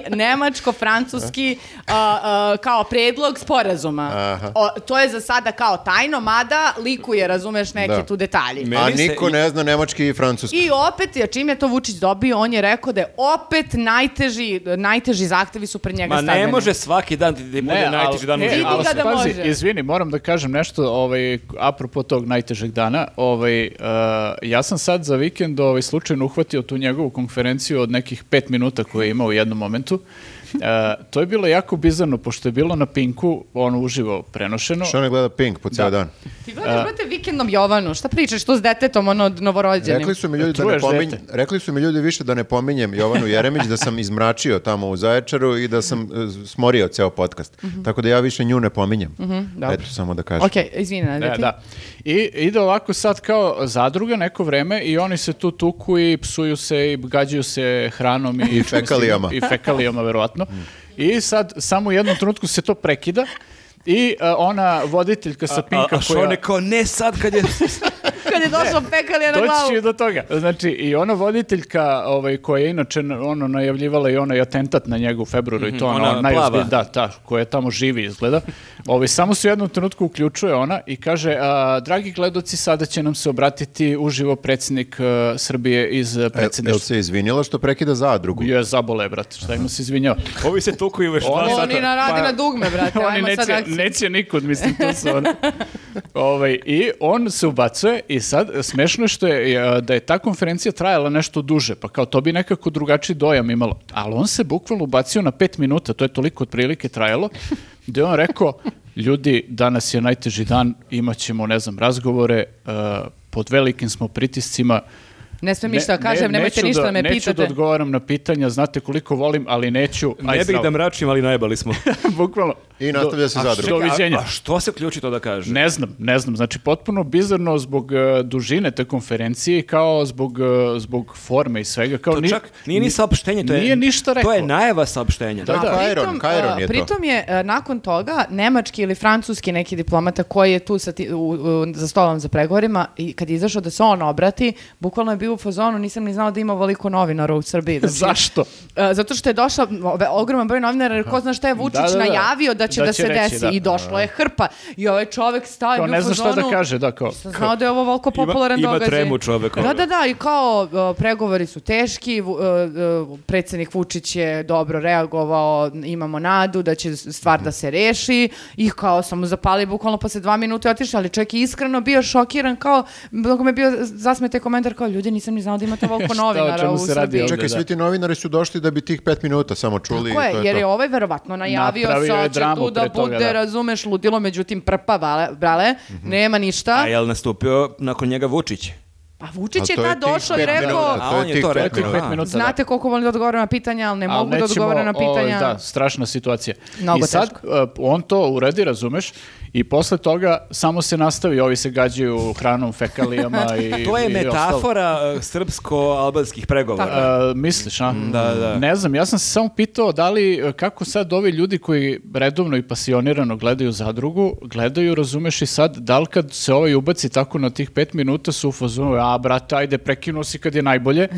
Speaker 1: nemačko-francuski
Speaker 3: E.
Speaker 1: a, a, kao predlog sporazuma. O, to je za sada kao tajno, mada likuje, razumeš, neke
Speaker 3: Da.
Speaker 1: tu detalji.
Speaker 3: A
Speaker 4: Meni se
Speaker 3: niko
Speaker 4: i-
Speaker 3: ne zna nemački i francuski.
Speaker 1: I opet, je, čim je to Vučić dobio, on je rekao da je opet najteži, najteži zahtevi su pred njega
Speaker 4: Ma ne
Speaker 1: stavljeni.
Speaker 4: može svaki dan ti ti bude najteži dan u
Speaker 2: ne,
Speaker 4: životu.
Speaker 1: Vidi
Speaker 2: ali
Speaker 1: ga da
Speaker 2: pazi,
Speaker 1: može.
Speaker 2: izvini, moram da kažem nešto ovaj, apropo tog najtežeg dana. Ovaj, eh, ja sam sad za vikend ovaj, slučajno uhvatio tu njegovu konferenciju od nekih pet minuta koje je imao u jednom momentu. Eh, to je bilo jako bizarno, pošto je bilo na Pinku, ono uživo prenošeno.
Speaker 3: Što ne gleda Pink po ceo dan?
Speaker 1: Ti gledaš, brate, vikendom Jovanu, šta pričaš tu s detetom, ono, od novorođenim?
Speaker 3: Rekli su mi ljudi da ne
Speaker 2: Čuješ,
Speaker 3: pominj,
Speaker 2: dete?
Speaker 3: rekli su mi ljudi više da ne pominjem Jovanu Jeremić da sam izmračio tamo u Zaječaru i da sam e, smorio ceo podcast. Tako da ja više nju ne pominjem.
Speaker 1: dobro.
Speaker 3: Eto samo da kažem.
Speaker 1: Ok, izvini, ne,
Speaker 2: E, da. I ide ovako sad kao zadruga neko vreme i oni se tu tuku i psuju se i gađaju se hranom i,
Speaker 3: fekalijama.
Speaker 2: I fekalijama, verovatno. I sad, samo u jednom trenutku se to prekida i a, ona voditeljka sa
Speaker 4: A,
Speaker 2: Pinka
Speaker 4: a
Speaker 2: koja...
Speaker 4: Sean je kao, ne sad kad je...
Speaker 1: Kad je došao pekalija na
Speaker 2: Doći
Speaker 1: glavu.
Speaker 2: ću i do toga. Znači, i ona voditeljka ovaj, koja je inače ono, najavljivala i onaj atentat na njega u februaru i to ona,
Speaker 4: Mhm, ona
Speaker 2: ona najozbilj-
Speaker 4: plava.
Speaker 2: da, ta, koja tamo živi izgleda. Ovaj, samo se u jednom trenutku uključuje ona i kaže, a, dragi gledoci, sada će nam se obratiti uživo predsjednik e, Srbije iz e,
Speaker 3: Jel- Jel
Speaker 2: predsjedništva.
Speaker 3: se izvinjala što prekida zadrugu?
Speaker 2: Je zabole, brate, šta ima se izvinjava.
Speaker 4: Ovi se tuku i već dva
Speaker 2: Oni-
Speaker 4: sata.
Speaker 1: Oni naradi
Speaker 2: Pa-
Speaker 1: na dugme, brate.
Speaker 2: (laughs) Oni
Speaker 1: Ajmo sad
Speaker 2: neće,
Speaker 1: akciju.
Speaker 2: neće nikud, mislim, to su ono. (laughs) Ovaj, I on se ubacuje i sad smešno je što je, e, da je ta konferencija trajala nešto duže, pa kao to bi nekako drugačiji dojam imalo. Ali on se bukvalno ubacio na pet minuta, to je toliko otprilike trajalo, (laughs) gde je on rekao, ljudi, danas je najteži dan, imat ćemo, ne znam, razgovore, e, pod velikim smo pritiscima,
Speaker 1: Ne smijem ništa da kažem,
Speaker 2: ne-
Speaker 1: nemojte
Speaker 2: neću
Speaker 1: ništa da me
Speaker 2: Neću da
Speaker 1: pitate.
Speaker 2: odgovaram na pitanja, znate koliko volim, ali neću. aj
Speaker 4: Ne bih
Speaker 2: zdravo.
Speaker 4: da mračim, ali najbali smo.
Speaker 2: Bukvalno.
Speaker 3: I nastavlja se
Speaker 2: Do- a
Speaker 3: zadruga.
Speaker 2: čekaj, a- Doviđenja.
Speaker 4: A, a što se ključi to da kaže?
Speaker 2: Ne znam, ne znam. Znači, potpuno bizarno zbog e, dužine te konferencije, kao zbog, e, zbog forme i svega. Kao
Speaker 4: To
Speaker 2: ni-
Speaker 4: čak nije ni saopštenje, to je,
Speaker 2: nije ništa rekao.
Speaker 4: To je najava saopštenja.
Speaker 3: Da,
Speaker 4: Da.
Speaker 3: da,
Speaker 1: A
Speaker 3: Kairon,
Speaker 1: pritom,
Speaker 3: Kairon
Speaker 1: a,
Speaker 3: je to.
Speaker 1: Pritom je a, nakon toga nemački ili francuski neki diplomata koji je tu sa ti- u- u- za stolom za pregovorima i kad je izašao da se on obrati, bukvalno je bio u fazonu, nisam ni znao da ima ovoliko novinara u Srbiji. Znači,
Speaker 2: (laughs) (laughs) Zašto?
Speaker 1: a, zato što je došao ove- ogroman broj novinara, jer ko zna šta je Vučić
Speaker 2: Da, da, da.
Speaker 1: najavio da će da,
Speaker 2: Da će
Speaker 1: se
Speaker 2: reći,
Speaker 1: desi
Speaker 2: da.
Speaker 1: i došlo je hrpa. I ovaj čovek stavio
Speaker 2: Kao
Speaker 1: u fazonu...
Speaker 2: ne zna šta da kaže, da, Pa kao.
Speaker 1: Sam znao da je ovo volko popularan
Speaker 4: ima
Speaker 1: događaj.
Speaker 4: tremu čovek, ono.
Speaker 1: Da, da, da, i kao uh, pregovori su teški, vu- uh, uh, predsjednik Vučić je dobro reagovao, imamo nadu da će stvar da se reši i kao sam mu zapali bukvalno posle dva minuta i otišao, ali čovjek je iskreno bio šokiran, kao, mnogo me je bio zasmete komentar, kao, ljudi, nisam ni znao da imate volko
Speaker 2: (laughs) Šta, o
Speaker 1: novinara
Speaker 2: čemu
Speaker 1: u
Speaker 2: se radi
Speaker 1: Srbiji.
Speaker 2: ovde?
Speaker 3: Čekaj, svi ti novinari su došli da bi tih pet minuta samo čuli
Speaker 1: Ko
Speaker 3: i to
Speaker 1: je,
Speaker 3: je
Speaker 1: jer
Speaker 3: to.
Speaker 1: je ovaj verovatno najavio
Speaker 2: Napravio je
Speaker 1: sad će
Speaker 2: dramu
Speaker 1: tu da
Speaker 2: pre toga,
Speaker 1: bude,
Speaker 2: da. Mhm.
Speaker 1: razumeš, ludilo, međutim, prpa, vale- brale, nema ništa.
Speaker 4: A jel nastupio nakon njega Vučić?
Speaker 1: A Vučić
Speaker 3: A
Speaker 1: je
Speaker 3: to je
Speaker 1: tad
Speaker 3: tih
Speaker 1: došao i
Speaker 3: pet
Speaker 1: rekao,
Speaker 3: minuta.
Speaker 4: A
Speaker 3: to je
Speaker 4: on je
Speaker 3: tih
Speaker 4: to
Speaker 3: pet
Speaker 4: rekao.
Speaker 2: minuta.
Speaker 4: Aha.
Speaker 2: Pet minuta.
Speaker 1: Znate koliko volim da odgovaram na pitanja, ali ne
Speaker 2: Ali
Speaker 1: mogu da
Speaker 2: nećemo,
Speaker 1: odgovaram na
Speaker 2: ovaj,
Speaker 1: pitanja.
Speaker 2: da, strašna situacija.
Speaker 1: Mnogo
Speaker 2: I sad
Speaker 1: teško.
Speaker 2: e, on to uradi, razumeš, i posle toga samo se nastavi, ovi se gađaju hranom, fekalijama i
Speaker 4: (laughs) To je
Speaker 2: i ostalo.
Speaker 4: metafora eh, srpsko-albanskih pregovora.
Speaker 2: E, misliš, a?
Speaker 3: Mm,
Speaker 4: da, da.
Speaker 2: Ne znam, ja sam se samo pitao da li, e, kako sad ovi ljudi koji redovno i pasionirano gledaju zadrugu, gledaju, razumeš i sad, da li kad se ovaj ubaci tako na tih pet minuta su u fazonu, a brate, ajde, prekinuo si kad je
Speaker 3: (laughs)
Speaker 2: najbolje,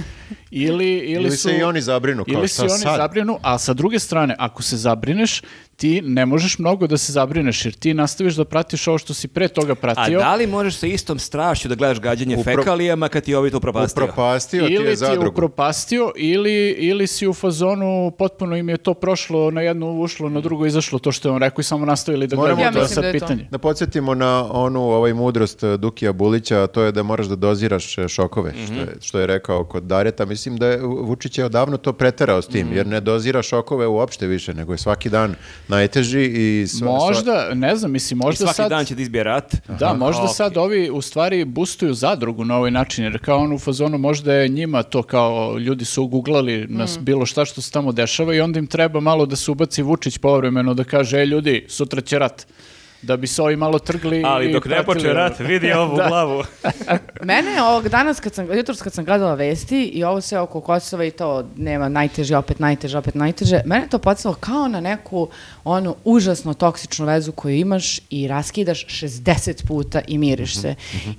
Speaker 2: ili, ili,
Speaker 3: Ili
Speaker 2: su-
Speaker 3: se i oni zabrinu, kao,
Speaker 2: ili
Speaker 3: šta
Speaker 2: se i oni
Speaker 3: sad?
Speaker 2: zabrinu, a sa druge strane, ako se zabrineš, ti ne možeš mnogo da se zabrineš, jer ti nastaviš da pratiš ovo što si pre toga
Speaker 4: A
Speaker 2: pratio.
Speaker 4: da li možeš sa istom strašću da gledaš gađanje
Speaker 3: Upro-
Speaker 4: fekalijama kad ti je ovi to propastio?
Speaker 3: Upropastio ti
Speaker 2: ili
Speaker 3: je
Speaker 2: ti je
Speaker 3: zadrugu.
Speaker 2: upropastio ili, ili si u fazonu potpuno im je to prošlo na jedno ušlo, na drugo izašlo to što je on rekao i samo nastavili da
Speaker 3: Moramo
Speaker 2: gledamo
Speaker 3: Ja
Speaker 2: to je
Speaker 3: mislim
Speaker 2: sad
Speaker 1: da je to.
Speaker 2: pitanje.
Speaker 3: Da podsjetimo na onu ovaj mudrost eh, Dukija Bulića, a to je da moraš da doziraš eh, šokove,
Speaker 1: Mhm.
Speaker 3: što, je, što je rekao kod Dareta. Mislim da je Vu- Vučić je odavno to preterao s tim,
Speaker 1: Mhm.
Speaker 3: jer ne dozira šokove uopšte više, nego je svaki dan najteži i sva- sva-
Speaker 2: Možda, ne znam, mislim,
Speaker 4: I
Speaker 2: možda
Speaker 4: svaki
Speaker 2: sad...
Speaker 4: dan će ti izbije rat.
Speaker 2: Da, možda
Speaker 4: Ok.
Speaker 2: sad ovi u stvari bustuju zadrugu na ovaj način, jer kao on u fazonu možda je njima to kao ljudi su uguglali
Speaker 4: Mm.
Speaker 2: nas bilo šta što se tamo dešava i onda im treba malo da se ubaci Vučić povremeno da kaže, e ljudi, sutra će rat. Da bi se ovi malo trgli
Speaker 4: Ali
Speaker 2: i
Speaker 4: dok ne
Speaker 2: pratili ono.
Speaker 4: počne
Speaker 2: ovo.
Speaker 4: rat,
Speaker 2: (laughs)
Speaker 4: vidi ovu
Speaker 2: Da.
Speaker 4: glavu.
Speaker 1: Mene je ovog danas, kad sam, jutros kad sam gledala vesti i ovo sve oko Kosova i to nema najteže, opet najteže, opet najteže, mene je to podsjelo kao na neku onu užasno toksičnu vezu koju imaš i raskidaš 60 puta i miriš se.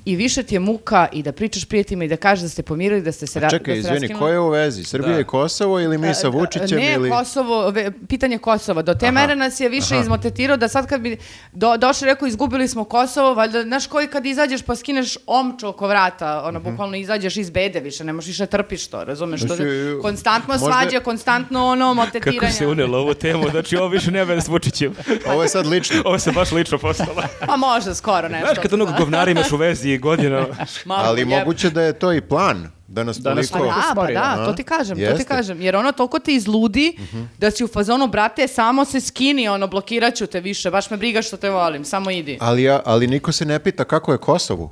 Speaker 1: I više ti je muka i da pričaš prijateljima i da kažeš da ste pomirili, da ste se, ra-
Speaker 3: Čekaj,
Speaker 1: da ste
Speaker 3: izvini,
Speaker 1: raskinuli.
Speaker 3: ko je u vezi? Srbija i Kosovo ili mi sa Vučićem
Speaker 1: ne,
Speaker 3: ili...
Speaker 1: Kosovo, ve- pitanje Kosova. Do te mere nas je više izmotetirao da sad kad bi do, došli i rekao izgubili smo Kosovo, valjda, znaš koji kad izađeš pa skineš omču oko vrata, ono,
Speaker 3: Mhm.
Speaker 1: bukvalno izađeš iz bede više, ne možeš više trpiš to, razumeš? To,
Speaker 3: Znači,
Speaker 1: konstantno
Speaker 3: možda-
Speaker 1: svađa, konstantno ono, motetiranje.
Speaker 4: Kako se unelo ovu temu, znači ovo više nema veze s Vučićem.
Speaker 3: Ovo je sad
Speaker 2: (laughs)
Speaker 3: lično.
Speaker 4: Ovo se baš lično postalo.
Speaker 1: Pa možda, skoro nešto.
Speaker 4: Znaš kad onog
Speaker 1: Da.
Speaker 4: govnara imaš u vezi godina.
Speaker 2: (laughs)
Speaker 1: Malo
Speaker 3: Ali
Speaker 1: jebe.
Speaker 3: moguće da je to i plan, da nas
Speaker 2: Da nas
Speaker 1: Pa
Speaker 3: toliko...
Speaker 2: toliko-
Speaker 1: da, pa
Speaker 2: stvari,
Speaker 1: da,
Speaker 3: aha.
Speaker 1: to ti kažem, to ti
Speaker 3: Jeste. Mhm.
Speaker 1: kažem. Jer ono toliko te izludi da si u fazonu, brate, samo se skini, ono, blokirat ću te više, baš me briga što te volim, samo idi.
Speaker 3: Ali, ja- ali niko se ne pita kako je Kosovu.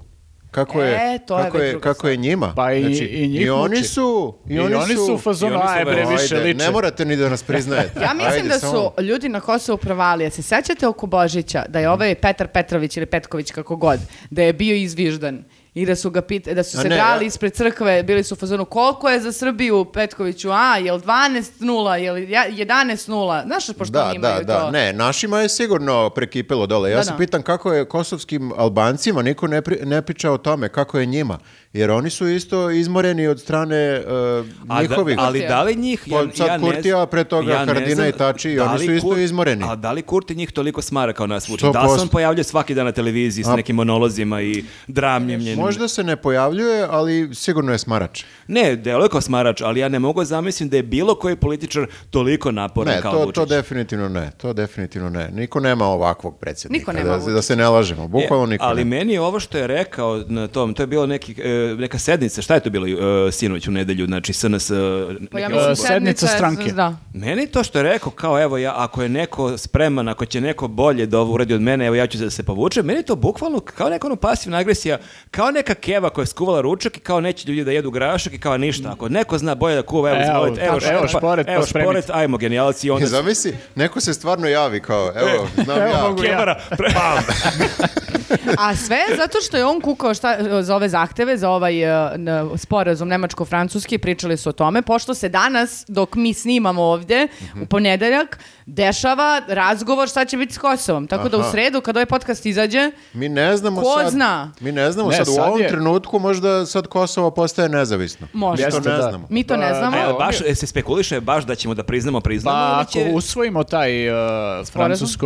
Speaker 3: Kako je,
Speaker 1: E, to je
Speaker 3: kako,
Speaker 1: već
Speaker 3: je,
Speaker 1: druga
Speaker 3: kako je njima.
Speaker 2: Pa i- i njih
Speaker 3: Znači, oni
Speaker 2: muči.
Speaker 3: su... I,
Speaker 2: I oni su u
Speaker 4: i
Speaker 2: fazonu,
Speaker 4: oni su
Speaker 2: aj bre,
Speaker 4: baš-
Speaker 2: više
Speaker 3: Ajde,
Speaker 2: liče.
Speaker 3: ne morate ni
Speaker 2: (laughs)
Speaker 3: da nas priznajete.
Speaker 1: Ja mislim
Speaker 3: Ajde,
Speaker 1: da su
Speaker 3: samo-
Speaker 1: ljudi na Kosovu provali. Ja se sećate oko Božića da je ovaj Petar Petrović ili Petković kako god, da je bio izviždan. i da su, ga pita, da su
Speaker 3: A
Speaker 1: se
Speaker 3: ne,
Speaker 1: drali
Speaker 3: ja-
Speaker 1: ispred crkve, bili su u fazonu koliko je za Srbiju Petkoviću, a, jel 12-0, jel ja- 11-0, znaš pošto
Speaker 3: Da,
Speaker 1: oni imaju
Speaker 3: da, da.
Speaker 1: to.
Speaker 3: Ne, našima je sigurno prekipelo dole. Ja
Speaker 1: Da,
Speaker 3: se
Speaker 1: da.
Speaker 3: pitam kako je kosovskim Albancima, niko ne, pri- ne priča o tome, kako je njima. Jer oni su isto izmoreni od strane uh,
Speaker 4: A da-
Speaker 3: njihovih.
Speaker 4: ali da li njih, ja,
Speaker 3: Pa sad
Speaker 4: ja ne
Speaker 3: Kurtija,
Speaker 4: znam-
Speaker 3: pre toga
Speaker 4: ne
Speaker 3: Haradina
Speaker 4: znam
Speaker 3: i Tači,
Speaker 4: da
Speaker 3: oni
Speaker 4: li
Speaker 3: su isto
Speaker 4: Kur-
Speaker 3: izmoreni.
Speaker 4: A da li Kurti njih toliko smara kao nas vuče?
Speaker 3: Sto
Speaker 4: Da se on
Speaker 3: posto.
Speaker 4: pojavljuje svaki dan na televiziji sa
Speaker 3: A-
Speaker 4: nekim monolozima i dramljenjem?
Speaker 3: Možda se ne pojavljuje, ali sigurno je smarač.
Speaker 4: Ne, deluje kao smarač, ali ja ne mogu zamislim da je bilo koji političar toliko naporan
Speaker 3: Ne,
Speaker 4: kao
Speaker 3: to,
Speaker 4: Vučić.
Speaker 3: to definitivno ne. To definitivno ne. Niko nema ovakvog predsjednika.
Speaker 1: Niko nema
Speaker 3: da, da se ne lažemo. Bukvalno
Speaker 4: E,
Speaker 3: niko
Speaker 4: ali
Speaker 3: (laughs) nema.
Speaker 4: meni je ovo što je rekao na tom, to je bilo neki, e, neka sednica, šta je to bilo e, sinoć u nedelju, znači SNS... e,
Speaker 1: Pa ja
Speaker 4: neki
Speaker 1: mislim
Speaker 4: odbor.
Speaker 2: sednica stranke.
Speaker 1: Da.
Speaker 4: Meni to što je rekao, kao evo ja, ako je neko spreman, ako će neko bolje da ovo uradi od mene, evo ja ću da se povučem, meni je to bukvalno kao neka ono pasivna agresija, kao neka keva koja je skuvala ručak i kao neće ljudi da jedu grašak i kao ništa. Ako neko zna bolje da kuva, evo,
Speaker 2: Evo,
Speaker 4: izvolite, evo,
Speaker 2: evo
Speaker 4: šporet,
Speaker 2: šporet,
Speaker 4: evo
Speaker 2: pa spremite.
Speaker 4: šporet, ajmo genijalci i onda...
Speaker 3: Zamisli, neko se stvarno javi kao, evo, znam
Speaker 2: E, evo
Speaker 3: ja.
Speaker 2: mogu ja.
Speaker 4: Kebara, pre- (laughs)
Speaker 1: A sve zato što je on kukao šta, za ove zahteve, za ovaj e, n- sporazum nemačko-francuski, pričali su o tome, pošto se danas, dok mi snimamo ovdje,
Speaker 2: Mhm.
Speaker 1: u ponedeljak, dešava razgovor šta će biti s Kosovom. Tako da u
Speaker 3: Aha.
Speaker 1: sredu, kad ovaj podcast izađe,
Speaker 3: Mi ne znamo
Speaker 1: Ko
Speaker 3: sad.
Speaker 1: zna?
Speaker 3: Mi ne znamo
Speaker 2: Ne,
Speaker 3: sad, u
Speaker 2: sad
Speaker 3: ovom
Speaker 2: je-
Speaker 3: trenutku možda sad Kosovo postaje nezavisno.
Speaker 1: Možda.
Speaker 3: Mi to
Speaker 2: Jeste,
Speaker 3: ne
Speaker 2: da.
Speaker 3: znamo.
Speaker 1: mi to ne
Speaker 2: Pa,
Speaker 1: znamo.
Speaker 2: ne,
Speaker 4: Evo, baš e, se spekuliše baš da ćemo da priznamo, priznamo.
Speaker 2: Pa
Speaker 4: ili
Speaker 2: ako
Speaker 4: će-
Speaker 2: usvojimo taj uh,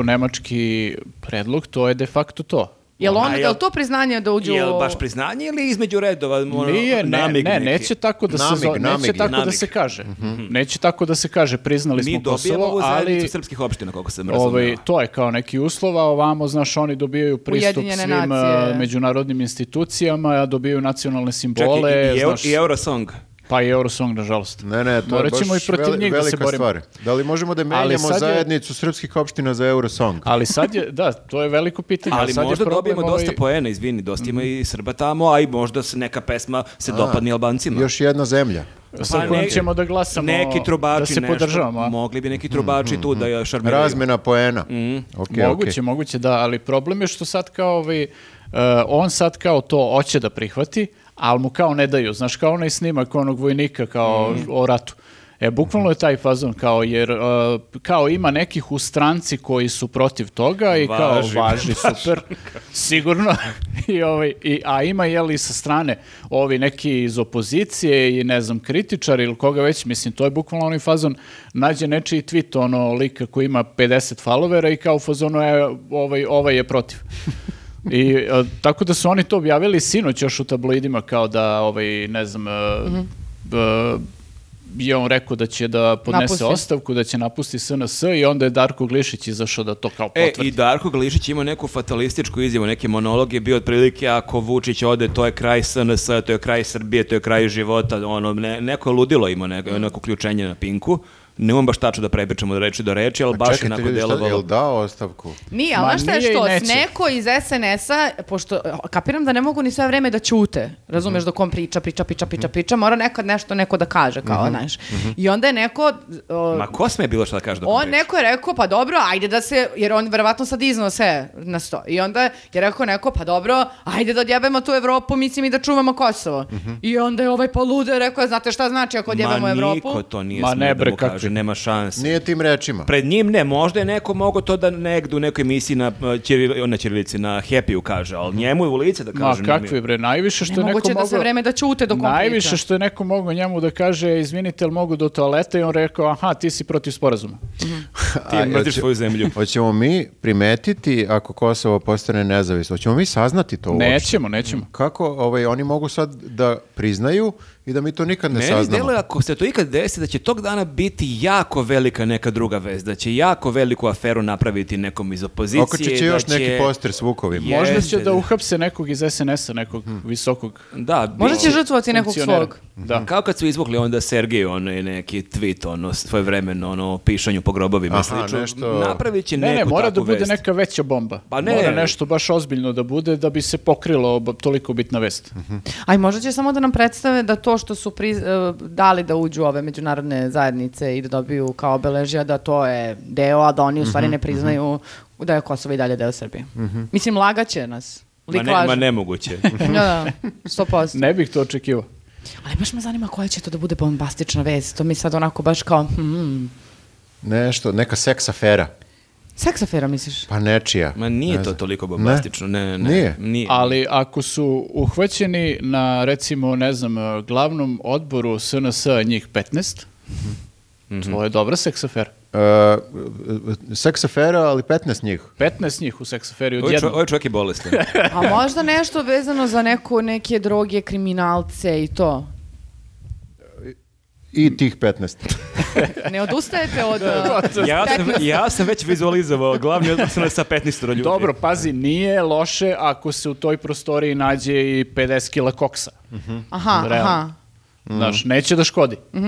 Speaker 2: francusko-nemački predlog, to je de facto to.
Speaker 1: Jel
Speaker 4: A
Speaker 1: ono,
Speaker 4: jel-
Speaker 1: jel to priznanje da uđu...
Speaker 4: Jel
Speaker 1: u-
Speaker 4: baš priznanje ili između redova? ono,
Speaker 2: Nije, ne,
Speaker 4: namig
Speaker 2: ne,
Speaker 4: neki?
Speaker 2: neće tako da se
Speaker 3: Namig,
Speaker 2: zove- neće
Speaker 3: namig, Mhm.
Speaker 2: tako da
Speaker 4: namig. Mhm.
Speaker 2: se kaže. Neće tako da se kaže, priznali
Speaker 4: Mi
Speaker 2: smo
Speaker 4: dobijemo
Speaker 2: Kosovo,
Speaker 4: ovu zajednicu
Speaker 2: ali
Speaker 4: srpskih opština, koliko sam razumio.
Speaker 2: ovaj, to je kao neki uslov, a ovamo, znaš, oni dobijaju pristup
Speaker 1: Ujedinjene
Speaker 2: svim
Speaker 1: nacije.
Speaker 2: eh, međunarodnim institucijama, a dobijaju nacionalne simbole,
Speaker 4: Čekaj, i, i,
Speaker 2: znaš,
Speaker 4: i Eurosong.
Speaker 2: pa i Eurosong, nažalost.
Speaker 3: Ne, ne, to
Speaker 2: Morat
Speaker 3: je
Speaker 2: ćemo i
Speaker 3: baš
Speaker 2: protiv
Speaker 3: veli-
Speaker 2: njih da se
Speaker 3: velika
Speaker 2: borimo.
Speaker 3: stvar. Da li možemo da
Speaker 2: Ali
Speaker 3: menjamo
Speaker 2: sad je-
Speaker 3: zajednicu srpskih opština za Eurosong?
Speaker 2: Ali sad je, da, to je veliko pitanje.
Speaker 4: Ali
Speaker 2: a sad je
Speaker 4: možda
Speaker 2: problem
Speaker 4: dobijemo
Speaker 2: ovaj- Mhm.
Speaker 4: dosta poena, izvini, dosta ima i Srba tamo, a i možda se neka pesma se dopadne Albancima.
Speaker 3: Još jedna zemlja.
Speaker 2: sa
Speaker 4: Pa
Speaker 2: kojom
Speaker 4: ne-
Speaker 2: ćemo da glasamo,
Speaker 4: neki trubači,
Speaker 2: da se
Speaker 4: nešto.
Speaker 2: podržavamo. a? Mhm,
Speaker 4: Mogli bi neki trubači tu da je šarmiraju.
Speaker 3: Razmena poena. Okej,
Speaker 2: Mm. moguće,
Speaker 3: okej.
Speaker 2: moguće da, ali problem je što sad kao ovaj, e, on sad kao to hoće da prihvati, ali mu kao ne daju, znaš, kao onaj snimak onog vojnika kao
Speaker 4: Mhm.
Speaker 2: o ratu. E, bukvalno je taj fazon kao, jer e, kao ima nekih u stranci koji su protiv toga i kao
Speaker 4: Važi.
Speaker 2: važi, (laughs) super, sigurno, I ovaj, i, a ima jeli sa strane ovi neki iz opozicije i ne znam, kritičari ili koga već, mislim, to je bukvalno onaj fazon, nađe nečiji tweet, ono, lika koji ima 50 followera i kao u fazonu, e, ovaj, ovaj je protiv. I e, tako da su oni to objavili sinoć još u tabloidima kao da ovaj ne znam e, e, je on rekao da će da podnese
Speaker 1: Napusti.
Speaker 2: ostavku, da će napusti SNS i onda je Darko Glišić izašao da to kao
Speaker 4: E,
Speaker 2: potvrdi.
Speaker 4: i Darko Glišić ima neku fatalističku izjavu, neki monolog je bio otprilike ako Vučić ode, to je kraj SNS, to je kraj Srbije, to je kraj života, ono, ne, neko je ludilo ima, neko, neko uključenje na pinku. Ne baš tačno da prepričamo od reči do reči, ali
Speaker 3: Pa
Speaker 4: baš je
Speaker 3: čekajte,
Speaker 4: onako
Speaker 3: ljudi, šta-
Speaker 4: delovalo.
Speaker 3: Jel dao ostavku?
Speaker 1: Nije, ali
Speaker 2: Ma,
Speaker 1: znaš šta je
Speaker 2: nije i
Speaker 1: što, s
Speaker 2: neće.
Speaker 1: neko iz SNS-a, pošto e, kapiram da ne mogu ni sve vreme da ćute, razumeš, dok on priča, priča, priča, priča,
Speaker 2: Mhm.
Speaker 1: priča, mora nekad nešto neko da kaže, kao, znaš. I onda je neko, o,
Speaker 4: Ma ko sme bilo šta da kaže da
Speaker 1: on neko je rekao, pa dobro, ajde da se, jer on verovatno sad iznao sve na sto. I onda je rekao neko, pa dobro, ajde da odjebemo tu Evropu, mislim i da čuvamo Kosovo.
Speaker 2: Mhm.
Speaker 1: I onda je ovaj polude rekao, znate šta znači ako odjebemo
Speaker 4: Ma
Speaker 1: Evropu?
Speaker 4: niko to nije
Speaker 2: Ma
Speaker 4: smio
Speaker 2: ne
Speaker 4: da
Speaker 2: bre,
Speaker 4: mu
Speaker 2: kakvi.
Speaker 4: kaže, nema šanse.
Speaker 3: Nije tim rečima.
Speaker 4: Pred njim ne, možda je neko mogao to da negdje u nekoj emisiji na, e, ćirili- na ćirilici, na Happy-u kaže, ali njemu je u lice da
Speaker 2: Mhm. Ma
Speaker 4: kaže. nije mi-
Speaker 2: kakvi bre, najviše što je neko
Speaker 1: Nemoguće da se
Speaker 2: mogao-
Speaker 1: vreme da ćute dok on priča.
Speaker 2: Najviše što je neko mogao njemu da kaže, izvinite, jel mogu do toaleta? I on rekao, aha, ti si protiv sporazuma.
Speaker 4: Ti
Speaker 3: A,
Speaker 4: mrziš
Speaker 3: hoće-
Speaker 4: svoju zemlju.
Speaker 3: (laughs) Hoćemo mi primetiti ako Kosovo postane nezavisno? Hoćemo mi saznati to uopšte?
Speaker 2: Nećemo, nećemo.
Speaker 3: Kako ovaj, oni mogu sad da priznaju i da mi to nikad ne
Speaker 4: Meni
Speaker 3: saznamo?
Speaker 4: deluje ako se to ikad desi da će tog dana biti jako velika neka druga vez, da će jako veliku aferu napraviti nekom iz opozicije.
Speaker 3: Okačit će još
Speaker 4: da će-
Speaker 3: neki poster s Vukovima.
Speaker 4: Je-
Speaker 2: Možda
Speaker 4: Jeste,
Speaker 2: će da
Speaker 4: da. Hm.
Speaker 2: uhapse nekog iz SNS-a, nekog visokog
Speaker 4: Da,
Speaker 1: Možda
Speaker 4: bit će-
Speaker 1: će žrtvovati nekog
Speaker 2: funkcionera.
Speaker 1: svog.
Speaker 2: Da.
Speaker 4: Kao kad su izvukli onda Sergeju onaj neki tweet ono svoje vremeno ono o pišanju po grobovima i
Speaker 3: Aha,
Speaker 4: slično.
Speaker 3: nešto-
Speaker 4: Napravit će
Speaker 2: Ne, ne,
Speaker 4: neku
Speaker 2: mora da
Speaker 4: takvu
Speaker 2: bude
Speaker 4: vest.
Speaker 2: neka veća bomba.
Speaker 4: Pa ne.
Speaker 2: Mora nešto baš ozbiljno da bude da bi se pokrilo ob- toliko bitna vest.
Speaker 4: Mhm.
Speaker 1: Aj, možda će samo da nam predstave da to što su priz- e, dali da uđu u ove međunarodne zajednice i da dobiju kao obeležja da to je
Speaker 4: Mhm,
Speaker 1: deo, a da oni u stvari ne priznaju da je Kosovo i dalje deo Srbije. Mislim, lagaće nas.
Speaker 4: Ma, ne,
Speaker 1: Liklaž.
Speaker 4: ma nemoguće.
Speaker 1: (laughs) Da, da, 100%.
Speaker 2: Ne bih to očekivao.
Speaker 1: Ali baš me zanima koja će to da bude bombastična vez. To mi sad onako baš kao, hmm,
Speaker 3: Nešto, neka seks afera.
Speaker 1: seks afera misliš?
Speaker 3: Pa nečija.
Speaker 4: Ma nije
Speaker 3: Ne
Speaker 4: to
Speaker 3: znam.
Speaker 4: toliko bombastično. Ne, ne, ne.
Speaker 3: Nije.
Speaker 2: Ali ako su uhvaćeni na, recimo, ne znam, eh, glavnom odboru SNS njih 15,
Speaker 4: Mhm.
Speaker 2: to je dobra seksafera.
Speaker 3: E, seks afera, ali 15 njih.
Speaker 2: 15 njih u seksaferi od
Speaker 4: Ovo je čo-
Speaker 2: jednog.
Speaker 4: ovo je čovjek je bolestan.
Speaker 1: A možda nešto vezano za neko, neke droge, kriminalce i to.
Speaker 3: I tih 15.
Speaker 1: Ne odustajete od... uh,
Speaker 4: (laughs) ja, sam, ja sam već vizualizovao glavni odbor sam sa 15 ljudi.
Speaker 2: Dobro, pazi, nije loše ako se u toj prostoriji nađe i 50 kila koksa.
Speaker 1: aha,
Speaker 2: Realno.
Speaker 1: aha.
Speaker 2: Znaš, neće da škodi.
Speaker 3: Da,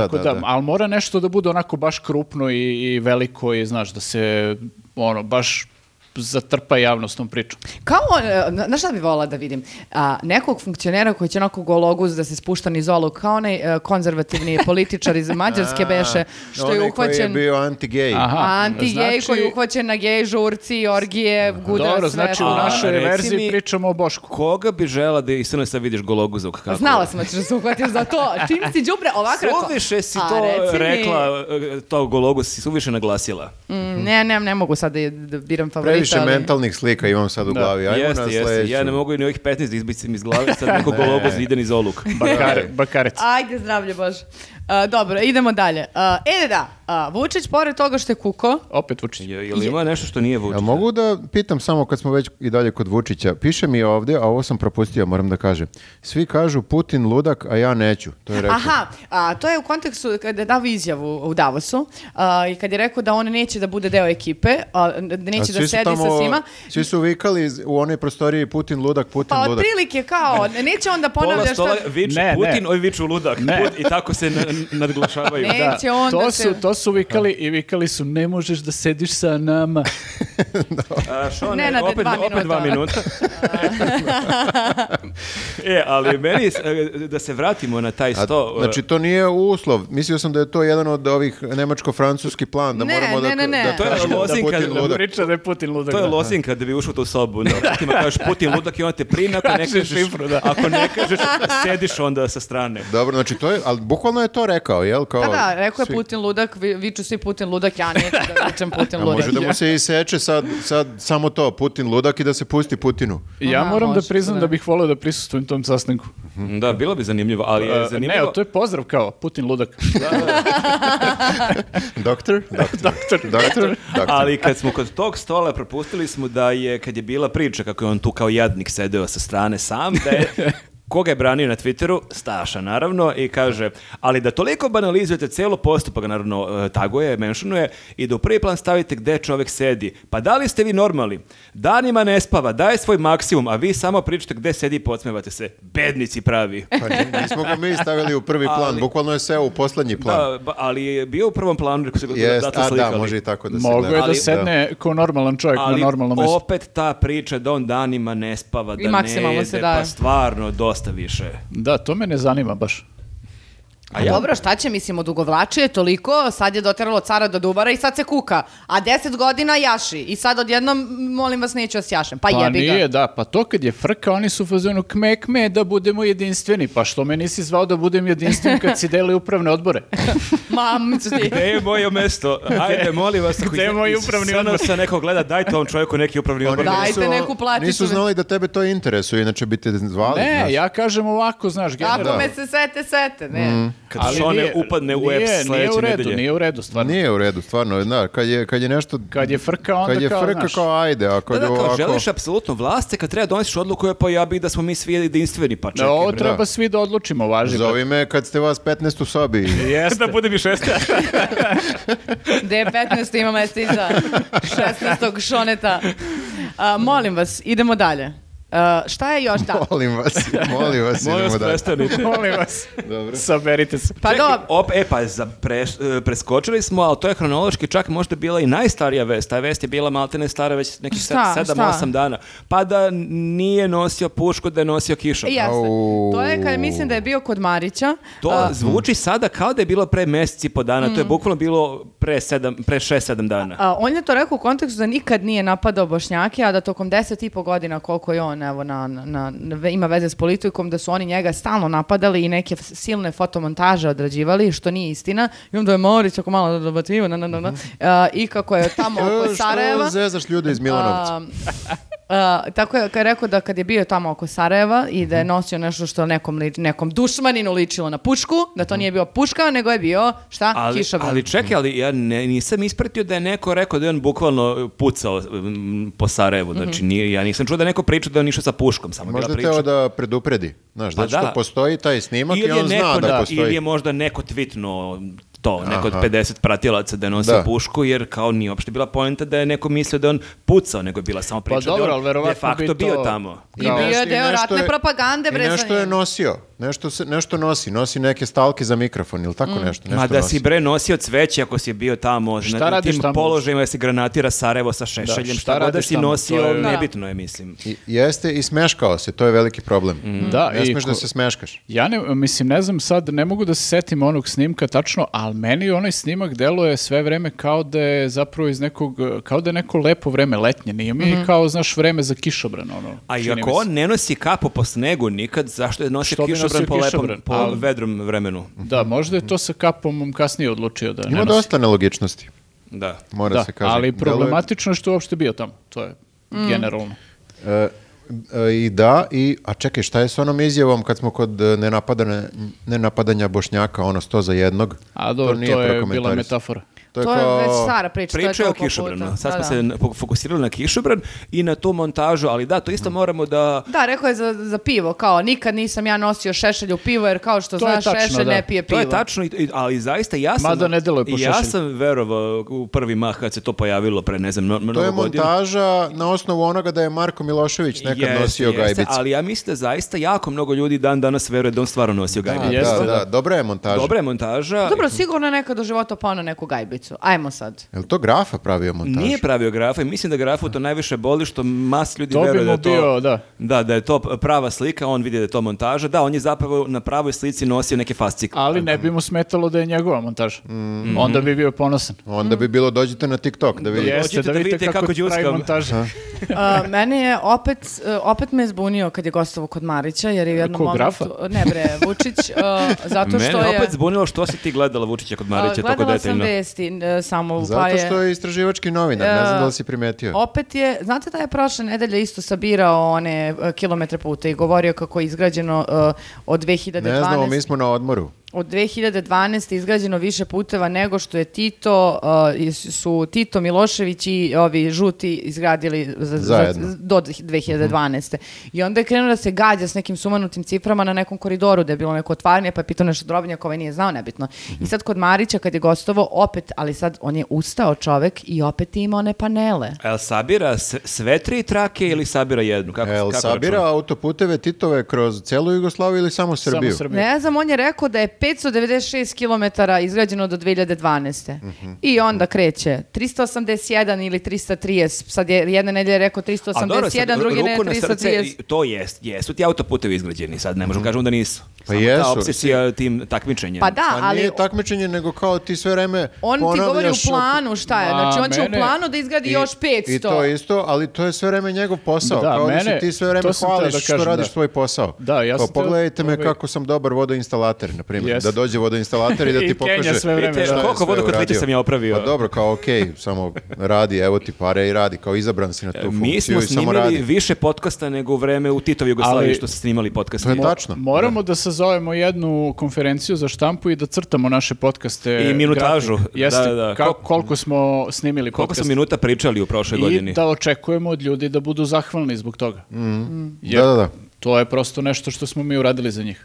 Speaker 2: Tako Mhm. da, ali mora nešto da bude onako baš krupno i, i veliko i, znaš, da se, ono, baš zatrpa javnost tom pričom.
Speaker 1: Kao, e, na- znaš šta bi volila da vidim? A, nekog funkcionera koji će onako gologuz da se spušta niz olu, kao onaj e,
Speaker 3: (laughs)
Speaker 1: konzervativni političar iz Mađarske beše, što je
Speaker 3: Onaj koji
Speaker 1: uhvaćen...
Speaker 3: je bio anti-gej.
Speaker 2: Aha.
Speaker 1: anti
Speaker 2: Znači-
Speaker 1: koji je uhvaćen na gej, žurci, orgije, gudar,
Speaker 2: Dobro,
Speaker 1: sve
Speaker 2: znači u
Speaker 1: to.
Speaker 4: A,
Speaker 2: našoj
Speaker 4: reci
Speaker 2: verziji
Speaker 4: mi-
Speaker 2: pričamo o Bošku.
Speaker 4: Koga bi žela da iz SNS-a vidiš gologuzog kako?
Speaker 1: pa Znala sam da ćeš da se uhvatiš za
Speaker 3: (laughs)
Speaker 1: to. Čim si đubre ovako... rekao-
Speaker 4: Suviše si
Speaker 1: A,
Speaker 4: to
Speaker 1: reci mi-
Speaker 4: rekla, e, to gologus si suviše naglasila.
Speaker 1: Mm, ne, ne, ne mogu sad da, da biram favorita.
Speaker 3: Previše
Speaker 1: ali-
Speaker 3: mentalnih slika imam sad u
Speaker 2: Da,
Speaker 3: glavi. Ajmo
Speaker 4: jeste,
Speaker 3: na
Speaker 4: jeste.
Speaker 3: sledeću.
Speaker 4: Ja ne mogu ni ovih 15 da izbicim iz glave, sad
Speaker 3: (laughs)
Speaker 4: neko gologuz ide niz oluk. (laughs)
Speaker 2: Bakare, bakarec.
Speaker 1: Ajde, zdravlje Bože. A, dobro, idemo dalje. A, e da, a, Vučić, pored toga što je kuko,
Speaker 2: Opet Vučić.
Speaker 4: Je, jel ima nešto što nije Vučić?
Speaker 3: Jel mogu da pitam samo kad smo već i dalje kod Vučića? Piše mi ovdje, a ovo sam propustio, moram da kažem. Svi kažu Putin ludak, a ja neću. To je rekao.
Speaker 1: Aha, a, to je u kontekstu kada je dao izjavu u Davosu a, i kad je rekao da on neće da bude deo ekipe, a, da
Speaker 3: A
Speaker 1: neće
Speaker 3: svi
Speaker 1: da
Speaker 3: su
Speaker 1: sedi sa
Speaker 3: tamo-
Speaker 1: svima.
Speaker 3: Svi su vikali iz- u onoj prostoriji Putin ludak, Putin
Speaker 1: Pa
Speaker 3: ludak.
Speaker 1: otprilike kao, neće on da
Speaker 4: Pola
Speaker 1: ponavlja što...
Speaker 4: stola viče
Speaker 2: Ne, ne.
Speaker 4: Putin, ovi viču ludak.
Speaker 2: Ne.
Speaker 4: Put- I tako se na- nadglašavaju.
Speaker 1: Ne. Neće on
Speaker 2: to
Speaker 1: da
Speaker 2: su,
Speaker 1: se-
Speaker 2: To su vikali i vikali su ne možeš da sediš
Speaker 4: (laughs)
Speaker 2: sa nama.
Speaker 4: A što ne,
Speaker 1: Nenade,
Speaker 4: opet,
Speaker 1: dva
Speaker 4: opet dva minuta.
Speaker 1: minuta.
Speaker 4: e, ali meni, e, da se vratimo na taj
Speaker 3: A,
Speaker 4: sto. e,
Speaker 3: znači, to nije uslov. Mislio sam da je to jedan od ovih nemačko-francuski plan, da
Speaker 1: Ne,
Speaker 3: moramo da,
Speaker 1: ne, ne, ne.
Speaker 3: da
Speaker 1: To je
Speaker 3: kažemo da
Speaker 4: lozinka
Speaker 3: Putin
Speaker 4: za-
Speaker 3: ludak.
Speaker 2: Priča da je Putin ludak.
Speaker 4: To je
Speaker 2: da.
Speaker 4: lozinka da bi ušao u tu sobu. Na vratima kažeš Putin ludak i onda te primi, ako ne
Speaker 2: Kaže
Speaker 4: kažeš,
Speaker 2: šifru, da.
Speaker 4: ako ne kažeš, sediš onda sa strane.
Speaker 3: Dobro, znači to je, ali bukvalno je to rekao, jel? Kao,
Speaker 1: Pa da, rekao je
Speaker 3: svi-
Speaker 1: Putin ludak, vi- viču svi Putin ludak, ja neću da
Speaker 3: (laughs)
Speaker 1: vičem Putin
Speaker 3: A
Speaker 1: ludak.
Speaker 3: može da mu se iseče sad, sad samo to, Putin ludak i da se pusti Putinu.
Speaker 2: Ja
Speaker 1: Aha,
Speaker 2: moram da
Speaker 1: može,
Speaker 2: priznam
Speaker 1: da.
Speaker 2: da bih volio da prisustujem tom sastanku.
Speaker 4: Da, bilo bi zanimljivo, ali je
Speaker 2: E,
Speaker 4: zanimljivo.
Speaker 2: Ne, to je pozdrav kao Putin
Speaker 4: (laughs)
Speaker 2: ludak.
Speaker 3: Doktor? Doktor.
Speaker 2: (laughs) Doktor.
Speaker 3: Doktor? Doktor.
Speaker 4: Ali kad smo kod tog stola propustili smo da je, kad je bila priča kako je on tu kao jadnik sedeo sa strane sam, da
Speaker 3: (laughs)
Speaker 4: je koga je branio na Twitteru, Staša naravno, i kaže, ali da toliko banalizujete celo postupak, naravno e, taguje, menšunuje, i da u prvi plan stavite gde čovek sedi. Pa da li ste vi normalni? Danima ne spava, daje svoj maksimum, a vi samo pričate gde sedi i podsmevate se. Bednici pravi.
Speaker 3: Pa n- nismo ga mi stavili u prvi plan,
Speaker 4: Ali-
Speaker 3: bukvalno je seo u poslednji plan.
Speaker 4: Da, ba- ali je bio u prvom planu, jer su ga
Speaker 3: Jest,
Speaker 4: zato
Speaker 3: a da,
Speaker 4: slikali.
Speaker 3: može i tako da se
Speaker 2: Mogu je
Speaker 3: gleda.
Speaker 2: da sedne kao normalan čovjek
Speaker 4: Ali
Speaker 2: na normalno mesto.
Speaker 4: opet ta priča da on danima ne spava, da ne
Speaker 1: maksimalno
Speaker 4: jede,
Speaker 1: se
Speaker 4: pa
Speaker 1: daje.
Speaker 4: stvarno dosta više.
Speaker 2: Da, to me ne zanima baš.
Speaker 1: A Dobro, šta će, mislim, odugovlačio je toliko, sad je doteralo cara do dubara i sad se kuka. A deset godina jaši i sad odjednom, m, molim vas, neću vas jašem. Pa,
Speaker 2: Pa
Speaker 1: jebi ga. (laughs)
Speaker 2: nije, da, pa to kad je frka, oni su u fazonu kme, kme, da budemo jedinstveni. Pa što me nisi zvao da budem jedinstven kad si deli upravne odbore?
Speaker 4: (laughs)
Speaker 1: Mam, ću ti.
Speaker 4: Gde je moje mesto? Ajde, molim vas, ako
Speaker 2: Gde je
Speaker 4: iz-
Speaker 2: moj
Speaker 4: iz
Speaker 2: upravni
Speaker 4: SNS-a
Speaker 2: odbor?
Speaker 4: neko gleda, dajte ovom čovjeku neki upravni odbor.
Speaker 1: Da. Dajte neku platicu
Speaker 3: Nisu
Speaker 1: već.
Speaker 3: znali da tebe to interesuje, inače bi te zvali.
Speaker 2: Ne,
Speaker 3: znaš.
Speaker 2: ja kažem ovako, znaš,
Speaker 1: Ako
Speaker 2: generalno.
Speaker 1: me se sete, sete, ne.
Speaker 3: Mm.
Speaker 4: Kad Šone upadne u
Speaker 2: nije,
Speaker 4: EPS
Speaker 2: Nije u
Speaker 4: sledeće
Speaker 2: redu,
Speaker 4: nedelje.
Speaker 2: nije u redu, stvarno.
Speaker 3: Nije u redu, stvarno, da, kad je, kad je nešto...
Speaker 2: Kad je frka, onda
Speaker 3: kad je
Speaker 2: kao,
Speaker 3: frka,
Speaker 2: znaš.
Speaker 3: kao ajde, a kad
Speaker 4: Da, da,
Speaker 3: je
Speaker 4: kao
Speaker 3: Pa ovako...
Speaker 4: želiš apsolutno vlaste, kad treba donosiš odluku, je pa ja bih da smo mi svi jedinstveni, pa čekaj.
Speaker 2: Da, ovo
Speaker 4: bre.
Speaker 2: treba svi da odlučimo, važi.
Speaker 3: Zovi me kad ste vas 15 u sobi.
Speaker 2: Jeste.
Speaker 4: Da budem i šesta.
Speaker 1: Gde je 15. ima mesta iza 16. šoneta. A, molim vas, idemo dalje. A, šta je još da?
Speaker 3: (laughs) molim vas, molim vas,
Speaker 4: Molim vas,
Speaker 3: idemo dalje.
Speaker 4: prestanite.
Speaker 2: (laughs) Molim vas,
Speaker 3: Dobro.
Speaker 2: saberite se.
Speaker 1: Pa
Speaker 4: Čekaj,
Speaker 1: do,
Speaker 4: op, e, pa za, preš- e, preskočili smo, ali to je hronološki čak možda bila i najstarija vest. Ta vest je bila maltene stara već nekih
Speaker 1: Šta,
Speaker 4: 7-8
Speaker 1: šta?
Speaker 4: dana. Pa da nije nosio pušku, da je nosio kišom.
Speaker 1: jeste.
Speaker 3: Au.
Speaker 1: To je kad mislim da je bio kod Marića.
Speaker 4: To
Speaker 1: A, Mm.
Speaker 4: zvuči sada kao da je bilo pre mjeseci i po dana. To je bukvalno bilo pre, sedam, pre šest, sedam dana.
Speaker 1: A, on je to rekao u kontekstu da nikad nije napadao Bošnjake, a da tokom deset i po godina koliko je on evo, na, na, na- ima veze s politikom, da su oni njega stalno napadali i neke f- silne fotomontaže odrađivali, što nije istina. I onda je Morić ako malo dobacio, na, na, na, na. A, I kako je tamo
Speaker 3: (laughs)
Speaker 1: oko Sarajeva...
Speaker 3: E, Što zezaš ljude iz Milanovca?
Speaker 1: (laughs) A, a, tako je kad je rekao da kad je bio tamo oko Sarajeva i
Speaker 4: Mhm.
Speaker 1: da je nosio nešto što nekom, li- nekom dušmaninu ličilo na pušku, da to nije bio puška, nego je bio, šta,
Speaker 4: Mhm. Ali,
Speaker 1: kišobran.
Speaker 4: ali čekaj, ali ja ne, nisam ispratio da je neko rekao da je on bukvalno pucao mm, po Sarajevu.
Speaker 1: Mhm.
Speaker 4: Znači, nije, ja nisam čuo da je neko priča da je on išao sa puškom. Samo je bila
Speaker 3: Možda
Speaker 4: priča.
Speaker 3: teo da predupredi. Znaš,
Speaker 4: Pa
Speaker 3: zato što
Speaker 4: da.
Speaker 3: postoji taj snimak i
Speaker 4: Ili je,
Speaker 3: on zna
Speaker 4: neko,
Speaker 3: da
Speaker 4: da,
Speaker 3: postoji.
Speaker 4: ili je možda neko tvitnuo to, neko od
Speaker 3: Aha.
Speaker 4: 50 pratilaca da je nosio
Speaker 3: Da.
Speaker 4: pušku, jer kao nije uopšte bila poenta da je neko mislio da je on pucao, nego je bila samo priča
Speaker 2: Pa dobro,
Speaker 4: da je
Speaker 2: ali
Speaker 4: on
Speaker 2: verovatno
Speaker 4: de facto
Speaker 2: bi Mm. to-
Speaker 4: bio tamo.
Speaker 1: I bio je
Speaker 3: nešto-
Speaker 1: deo
Speaker 3: nešto
Speaker 1: ratne propagande, bre,
Speaker 3: I
Speaker 1: za
Speaker 3: nešto je
Speaker 1: njim.
Speaker 3: nosio. Nešto, se, nešto nosi. Nosi neke stalke za mikrofon ili tako
Speaker 1: Mm.
Speaker 3: nešto. nešto
Speaker 4: Ma da
Speaker 3: nosi.
Speaker 4: si bre nosio cveće ako si bio tamo
Speaker 2: Šta
Speaker 4: na- na
Speaker 2: radiš
Speaker 4: tim
Speaker 2: tamo?
Speaker 4: položajima da si granatira Sarajevo sa šešeljem,
Speaker 2: šta
Speaker 4: šta, god da
Speaker 2: radiš
Speaker 4: si
Speaker 2: tamo?
Speaker 4: nosio, ono
Speaker 2: To je-
Speaker 4: nebitno je mislim.
Speaker 3: I, jeste i smeškao se. To je veliki problem.
Speaker 2: Mm. Da,
Speaker 3: ne
Speaker 2: i
Speaker 3: smeš da
Speaker 2: ko-
Speaker 3: se smeškaš.
Speaker 2: Ja ne, mislim, ne znam sad, ne mogu da se setim onog snimka tačno, ali meni onaj snimak deluje sve vreme kao da je zapravo iz nekog, kao da je neko lepo vreme letnje, nije mi
Speaker 3: Mhm.
Speaker 2: kao, znaš, vreme za kišobran, ono.
Speaker 4: A i
Speaker 2: čini mi
Speaker 4: ako
Speaker 2: se.
Speaker 4: on ne nosi kapu po snegu nikad, zašto je nosio
Speaker 2: Što bi
Speaker 4: kišobran
Speaker 2: nosio
Speaker 4: po, lepom,
Speaker 2: kišobran?
Speaker 4: po
Speaker 2: Ali-
Speaker 4: vedrom vremenu?
Speaker 2: Da, možda je to sa kapom kasnije odlučio da ne
Speaker 3: Ima
Speaker 2: nosi.
Speaker 3: dosta nelogičnosti.
Speaker 4: Da.
Speaker 3: Mora
Speaker 2: Da,
Speaker 3: se kaže.
Speaker 2: ali
Speaker 3: Deluje-
Speaker 2: problematično je što je uopšte bio tamo, to je
Speaker 4: Mm.
Speaker 2: generalno.
Speaker 3: E, e, I da, i, a čekaj, šta je s onom izjavom kad smo kod e, nenapadane, nenapadanja Bošnjaka, ono sto za jednog?
Speaker 2: A dobro, to,
Speaker 3: nije
Speaker 2: je bila
Speaker 3: prokomentarisano.
Speaker 2: metafora.
Speaker 3: To je,
Speaker 1: to
Speaker 3: kao-
Speaker 1: je već stara priča, to
Speaker 4: Priča
Speaker 1: je
Speaker 4: je
Speaker 1: toliko
Speaker 4: o
Speaker 1: puta.
Speaker 4: kišobranu. Sad
Speaker 1: Da,
Speaker 4: smo
Speaker 1: da.
Speaker 4: se na- po- fokusirali na kišobran i na tu montažu, ali da, to
Speaker 1: Mm.
Speaker 4: isto moramo da...
Speaker 1: Da, rekao je za, za pivo, kao nikad nisam ja nosio šešelj u pivo, jer kao što
Speaker 2: To je
Speaker 1: znaš,
Speaker 2: tačno,
Speaker 1: šešelj
Speaker 2: da.
Speaker 1: ne pije
Speaker 4: To
Speaker 1: pivo.
Speaker 4: je tačno, i- i- ali zaista ja sam...
Speaker 2: Mada ne deluje po
Speaker 4: Ja
Speaker 2: šešelju.
Speaker 4: sam verovao u prvi mah kad se to pojavilo pre, ne znam, mno- mnogo
Speaker 3: to je
Speaker 4: godina.
Speaker 3: montaža na osnovu onoga da je Marko Milošević nekad
Speaker 4: Jeste,
Speaker 3: nosio
Speaker 4: jeste,
Speaker 3: gajbice.
Speaker 4: Ali ja mislim da zaista jako mnogo ljudi dan danas veruje da on stvarno nosio
Speaker 3: Da,
Speaker 4: gajbice.
Speaker 2: jeste,
Speaker 3: da, da,
Speaker 2: da.
Speaker 3: dobra je montaža.
Speaker 4: Dobra je montaža.
Speaker 1: Dobro, sigurno je neko do života pao na neku gajbicu. Ajmo sad.
Speaker 3: Je li to grafa pravio montažu?
Speaker 4: Nije pravio grafa i mislim da grafu to najviše boli što mas ljudi
Speaker 2: To bi
Speaker 4: veruje da
Speaker 2: mu
Speaker 4: je to...
Speaker 2: bio, da.
Speaker 4: Da, da je to prava slika, on vidi da je to montaža. Da, on je zapravo na pravoj slici nosio neke fascikle.
Speaker 2: Ali ne bi mu smetalo da je njegova montaža. Onda bi bio ponosan.
Speaker 3: Onda bi bilo dođite na TikTok Mm. da vidite.
Speaker 2: Jeste, da vidite kako,
Speaker 4: đuskam.
Speaker 2: pravi montaže.
Speaker 1: Uh, mene je opet, uh, opet me je zbunio kad je gostovo kod Marića, jer je
Speaker 4: E,
Speaker 1: u jednom
Speaker 2: Ko,
Speaker 1: momentu...
Speaker 2: grafa?
Speaker 1: Ne bre, Vučić, uh, zato što
Speaker 4: Mene
Speaker 1: je...
Speaker 4: opet zbunilo što si ti gledala Vučića kod
Speaker 1: uh,
Speaker 4: Marića tako
Speaker 1: Gledala sam
Speaker 4: detaljno.
Speaker 1: vesti uh, samo, pa
Speaker 3: Zato
Speaker 1: je...
Speaker 3: što je istraživački novinar, ne znam da li si primetio.
Speaker 1: Opet je, znate da je prošle nedelje isto sabirao one uh, kilometre puta i govorio kako je izgrađeno uh, od 2012.
Speaker 3: Ne znamo, mi smo na odmoru.
Speaker 1: od 2012. izgrađeno više puteva nego što je Tito, uh, i s- su Tito Milošević i ovi žuti izgradili za, za-
Speaker 3: Zajedno.
Speaker 1: do 2012. I onda je krenuo da se gađa s nekim sumanutim ciframa na nekom koridoru da je bilo neko otvaranje, pa je pitao nešto drobnjak, ovaj nije znao, nebitno. I sad kod Marića kad je gostovo, opet, ali sad on je ustao čovek i opet je imao one panele.
Speaker 4: El Sabira s- sve tri trake ili Sabira jednu? Kako,
Speaker 3: El
Speaker 4: kako
Speaker 3: sabira
Speaker 4: računam?
Speaker 3: autoputeve Titove kroz celu Jugoslaviju ili samo Srbiju?
Speaker 2: Samo Srbiju.
Speaker 1: Ne znam, on je rekao da je 596 km izgrađeno do 2012. I onda kreće 381 ili 330. Sad je jedna nedelja rekao
Speaker 4: A dobro,
Speaker 1: 381,
Speaker 4: sad,
Speaker 1: druge ne
Speaker 4: ruku na srce,
Speaker 1: 330.
Speaker 4: i to jest, jesu ti autoputevi izgrađeni, sad ne možemo kažemo da nisu.
Speaker 3: Pa
Speaker 4: Samo
Speaker 3: jesu.
Speaker 4: Ta obsesija tim takmičenjem.
Speaker 1: Pa da,
Speaker 3: Pa
Speaker 1: ali
Speaker 3: nije takmičenje, nego kao ti sve vreme
Speaker 1: on ti govori u
Speaker 3: ponavljaš-
Speaker 1: planu šta je.
Speaker 2: Ma,
Speaker 1: Znači on će u
Speaker 2: mene-
Speaker 1: planu da izgradi
Speaker 3: I-
Speaker 1: još 500.
Speaker 3: I to isto, ali to je sve vreme njegov posao.
Speaker 2: Da,
Speaker 3: kao da se
Speaker 2: mene-
Speaker 3: ti sve vreme
Speaker 2: to sam teo
Speaker 3: hvališ
Speaker 2: da
Speaker 3: što
Speaker 2: kažem,
Speaker 3: radiš
Speaker 2: da.
Speaker 3: svoj posao.
Speaker 2: Da, ja
Speaker 3: Kao,
Speaker 2: sam teo-
Speaker 3: pogledajte me
Speaker 2: ovaj-
Speaker 3: kako sam dobar vodoinstalater, na primjer.
Speaker 2: Yes.
Speaker 3: Da dođe vodoinstalater i
Speaker 2: (laughs)
Speaker 3: da
Speaker 2: I
Speaker 3: ti
Speaker 2: Kenja
Speaker 3: pokaže.
Speaker 2: sve vreme,
Speaker 3: šta je
Speaker 2: da.
Speaker 3: sve
Speaker 4: Koliko vodokotlića
Speaker 3: uradio.
Speaker 4: sam ja opravio?
Speaker 3: Pa dobro, kao okej, samo radi, evo ti pare i radi. Kao izabran si na tu
Speaker 4: E, Mi
Speaker 3: funkciju
Speaker 4: smo
Speaker 3: i samo
Speaker 4: snimili
Speaker 3: radi.
Speaker 4: više podcasta nego u vreme u Titovi Jugoslaviji
Speaker 2: Ali-
Speaker 4: što ste snimali podcast.
Speaker 3: To je tačno.
Speaker 2: Moramo da sazovemo jednu konferenciju za štampu i da crtamo naše podcaste.
Speaker 4: I minutažu.
Speaker 2: grafik. Jeste,
Speaker 4: Da, da, da.
Speaker 2: ka- koliko smo snimili
Speaker 4: Koliko
Speaker 2: podcast.
Speaker 4: smo minuta pričali u prošloj godini?
Speaker 2: I da očekujemo od ljudi da budu zahvalni zbog toga. Jer
Speaker 3: Da, da, da.
Speaker 2: To je prosto nešto što smo mi uradili za njih.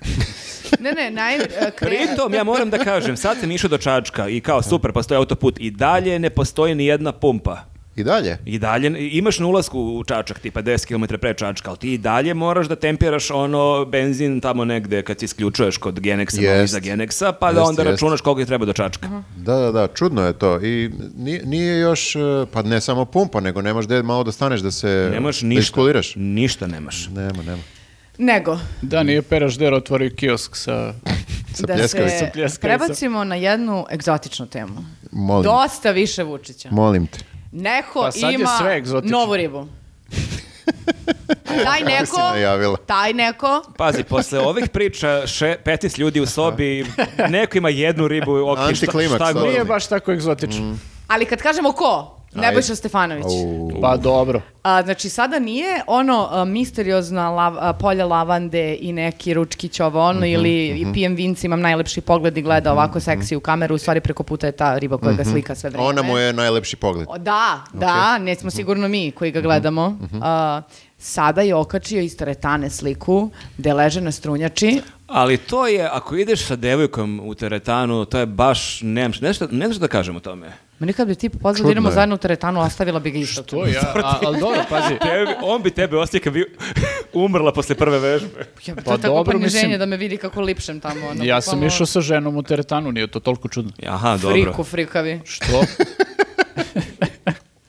Speaker 1: Ne, ne, naj... e,
Speaker 4: Pritom, ja moram da kažem, sad sam išao do Čačka i kao super, postoji autoput. I dalje ne postoji ni jedna pumpa.
Speaker 3: I dalje.
Speaker 4: I dalje, imaš na ulasku u Čačak, tipa 10 km pre Čačka, ali ti i dalje moraš da tempiraš ono benzin tamo negde kad se isključuješ kod Genexa, malo
Speaker 3: Jest.
Speaker 4: iza Genexa, pa da
Speaker 3: Jest,
Speaker 4: onda
Speaker 3: jest.
Speaker 4: računaš koliko je treba do Čačka.
Speaker 3: Da, da, da, čudno je to. I nije, nije još, eh, pa ne samo pumpa, nego nemaš gde malo da staneš, da se
Speaker 4: Nemaš
Speaker 3: da
Speaker 4: ništa.
Speaker 3: iskuliraš.
Speaker 4: Ništa nemaš.
Speaker 3: Nema, nema.
Speaker 1: Nego,
Speaker 2: Da, nije Peraš Der otvorio kiosk sa...
Speaker 3: Sa
Speaker 1: da
Speaker 3: pljeskavicom.
Speaker 1: se
Speaker 2: pljeskavicom.
Speaker 1: prebacimo na jednu egzotičnu temu.
Speaker 3: Molim,
Speaker 1: Dosta više Vučića.
Speaker 3: molim te.
Speaker 1: Neko
Speaker 2: Pa sad je
Speaker 1: ima
Speaker 2: sve egzotično.
Speaker 1: novu
Speaker 3: (laughs)
Speaker 1: ribu. taj neko,
Speaker 3: si najavila.
Speaker 1: taj neko,
Speaker 4: Pazi, posle ovih priča, še, 15 ljudi u sobi, neko ima jednu ribu, ok, šta,
Speaker 3: Antiklimaks, ono.
Speaker 4: šta god.
Speaker 3: ovo.
Speaker 2: Nije baš tako egzotično.
Speaker 4: Mm.
Speaker 1: ali kad kažemo ko, Nebojša
Speaker 3: Ajde.
Speaker 1: Stefanović.
Speaker 3: Au.
Speaker 2: Pa dobro.
Speaker 1: A, znači, sada nije ono a, misteriozna lav- a, polja lavande i neki ručkić ovo
Speaker 3: Mhm,
Speaker 1: ono ili i pijem vinci, imam najlepši pogled i gleda ovako seksi u kameru, u stvari preko puta je ta riba koja ga slika sve vreme.
Speaker 3: Mhm. Ona mu je Mhm. najlepši pogled.
Speaker 1: O, da, da, nećemo sigurno mi koji ga gledamo.
Speaker 3: mhm.
Speaker 1: A, sada je okačio iz teretane sliku gde leže na strunjači.
Speaker 4: Ali to je, ako ideš sa devojkom u teretanu, to je baš, nemam, š- nešto, ne znam šta da kažem o tome.
Speaker 1: Ma nikad bi ti pozvali da
Speaker 3: Čudno
Speaker 1: idemo
Speaker 3: je.
Speaker 1: zajedno u teretanu, ostavila bi ga isto.
Speaker 2: To
Speaker 4: (laughs)
Speaker 2: ja, a, ali dobro, pazi.
Speaker 4: Tebi, on bi tebe osjeća kad bi (laughs) umrla posle prve vežbe.
Speaker 1: Ja, to
Speaker 2: Pa
Speaker 1: je tako
Speaker 2: dobro,
Speaker 1: poniženje
Speaker 2: mislim-
Speaker 1: da me vidi kako lipšem tamo. Ono,
Speaker 2: Ja sam
Speaker 1: bukvalno
Speaker 2: išao sa ženom u teretanu, nije to toliko čudno.
Speaker 4: Aha, dobro.
Speaker 1: Friku, frikavi.
Speaker 2: Što?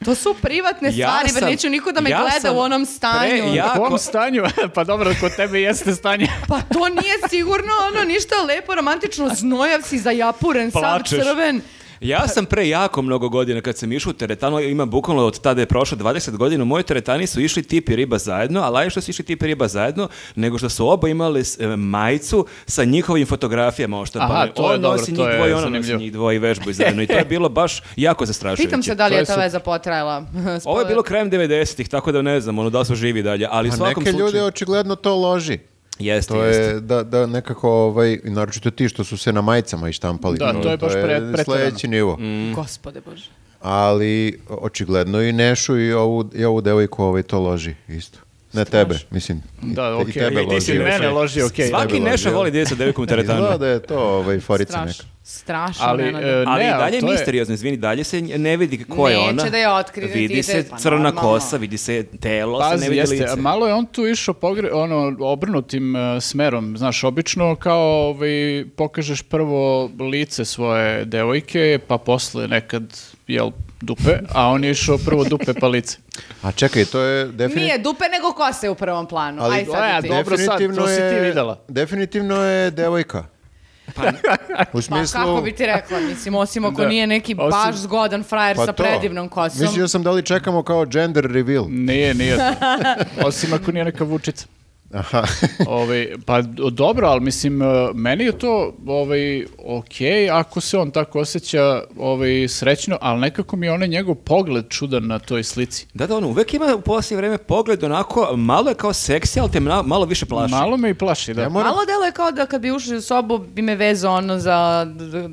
Speaker 1: To su privatne
Speaker 4: Ja
Speaker 1: stvari, bre,
Speaker 4: sam-
Speaker 1: neću niko da me
Speaker 4: ja
Speaker 1: gleda
Speaker 4: sam
Speaker 1: u onom stanju.
Speaker 4: pre- (laughs) ja-
Speaker 2: U
Speaker 4: Ako-
Speaker 2: kom stanju? (laughs) pa dobro, kod tebe jeste
Speaker 4: (laughs)
Speaker 2: stanje.
Speaker 1: Pa to nije sigurno ono ništa lepo, romantično, znojav si, zajapuren, sav
Speaker 4: Plačeš.
Speaker 1: crven.
Speaker 4: Ja sam pre jako mnogo godina kad sam išao u teretanu, ima bukvalno od tada je prošlo 20 godina, u mojoj teretani su išli tipi riba zajedno, a laje što su išli tipi riba zajedno, nego što su oba imali s- e, majicu sa njihovim fotografijama
Speaker 2: Aha,
Speaker 4: oštampane.
Speaker 2: to je
Speaker 4: On
Speaker 2: dobro,
Speaker 4: nosi
Speaker 2: to
Speaker 4: njih
Speaker 2: je
Speaker 4: dvoje, ona nosi
Speaker 2: zanimljivo.
Speaker 4: njih dvoje i vežbaju zajedno. I to je bilo baš jako zastrašujuće.
Speaker 1: Pitam se da li
Speaker 2: To
Speaker 1: je
Speaker 2: je
Speaker 1: ta
Speaker 2: super.
Speaker 1: veza potrajala. (laughs)
Speaker 4: Ovo
Speaker 2: pa-
Speaker 4: je bilo krajem 90-ih, tako da ne znam, ono da li su živi dalje, ali u
Speaker 3: A
Speaker 4: svakom
Speaker 3: Pa neke
Speaker 4: slučaju...
Speaker 3: ljude očigledno to loži.
Speaker 4: Jeste,
Speaker 3: To
Speaker 4: jeste.
Speaker 3: je da, da nekako, ovaj, naročito ti što su se na majicama ištampali.
Speaker 2: Da, to je baš pre- preterano.
Speaker 3: sledeći nivo.
Speaker 1: Mm. Gospode Bože.
Speaker 3: Ali očigledno i Nešu i ovu, i ovu devojku ovaj, to loži isto. Ne tebe, mislim. i-
Speaker 2: Da,
Speaker 3: I
Speaker 2: okej.
Speaker 3: tebe
Speaker 2: I ti si
Speaker 3: loži,
Speaker 2: mene
Speaker 3: okej.
Speaker 2: loži, okej.
Speaker 4: Svaki
Speaker 3: Debelo,
Speaker 4: Neša
Speaker 3: jel?
Speaker 4: voli djeca devikom u teretanu.
Speaker 3: Izgleda da je to ovaj, forica
Speaker 1: Straš,
Speaker 3: neka.
Speaker 1: strašno.
Speaker 2: Ali,
Speaker 1: Nenade.
Speaker 2: e,
Speaker 4: Ali
Speaker 2: ne,
Speaker 4: i
Speaker 2: ali
Speaker 4: dalje je
Speaker 2: to je-
Speaker 4: misteriozno, izvini, dalje se ne vidi ko je
Speaker 1: Neće
Speaker 4: ona.
Speaker 1: da je otkri
Speaker 4: Vidi
Speaker 1: identitet,
Speaker 4: se
Speaker 1: pa
Speaker 4: crna
Speaker 1: normalno.
Speaker 4: kosa, vidi se telo, se ne
Speaker 2: Pazi,
Speaker 4: vidi
Speaker 2: jeste,
Speaker 4: lice.
Speaker 2: a malo je on tu išao pogre, ono, obrnutim e, smerom. Znaš, obično kao ovaj, pokažeš prvo lice svoje devojke, pa posle nekad, jel, dupe, a on je išao prvo dupe pa lice.
Speaker 3: A čekaj, to je
Speaker 1: Nije
Speaker 3: definitivno...
Speaker 1: dupe nego kose u prvom planu.
Speaker 3: Ali
Speaker 1: Aj
Speaker 2: to je
Speaker 1: sad i ti.
Speaker 2: dobro. sad, to si ti videla.
Speaker 3: Definitivno je devojka. u
Speaker 1: Pa
Speaker 3: smislu...
Speaker 1: kako bi ti rekla, mislim, osim ako
Speaker 2: Da.
Speaker 1: nije neki baš
Speaker 2: Osim-
Speaker 1: zgodan frajer
Speaker 3: pa
Speaker 1: sa
Speaker 3: to.
Speaker 1: predivnom kosom.
Speaker 3: Mislio sam da li čekamo kao gender reveal.
Speaker 2: Nije, nije to. Osim ako nije neka vučica.
Speaker 3: Aha.
Speaker 2: Ovaj, pa d- dobro, ali mislim, e, meni je to ovaj, ok, ako se on tako osjeća ovaj, srećno, ali nekako mi je onaj njegov pogled čudan na toj slici.
Speaker 4: Da, da, on uvek ima u posljednje vreme pogled onako, malo je kao seksi, ali te mna- malo više plaši.
Speaker 2: Malo me i plaši, da.
Speaker 3: Ja moram-
Speaker 1: Malo delo je kao da kad bi ušli u sobu bi me vezao ono za,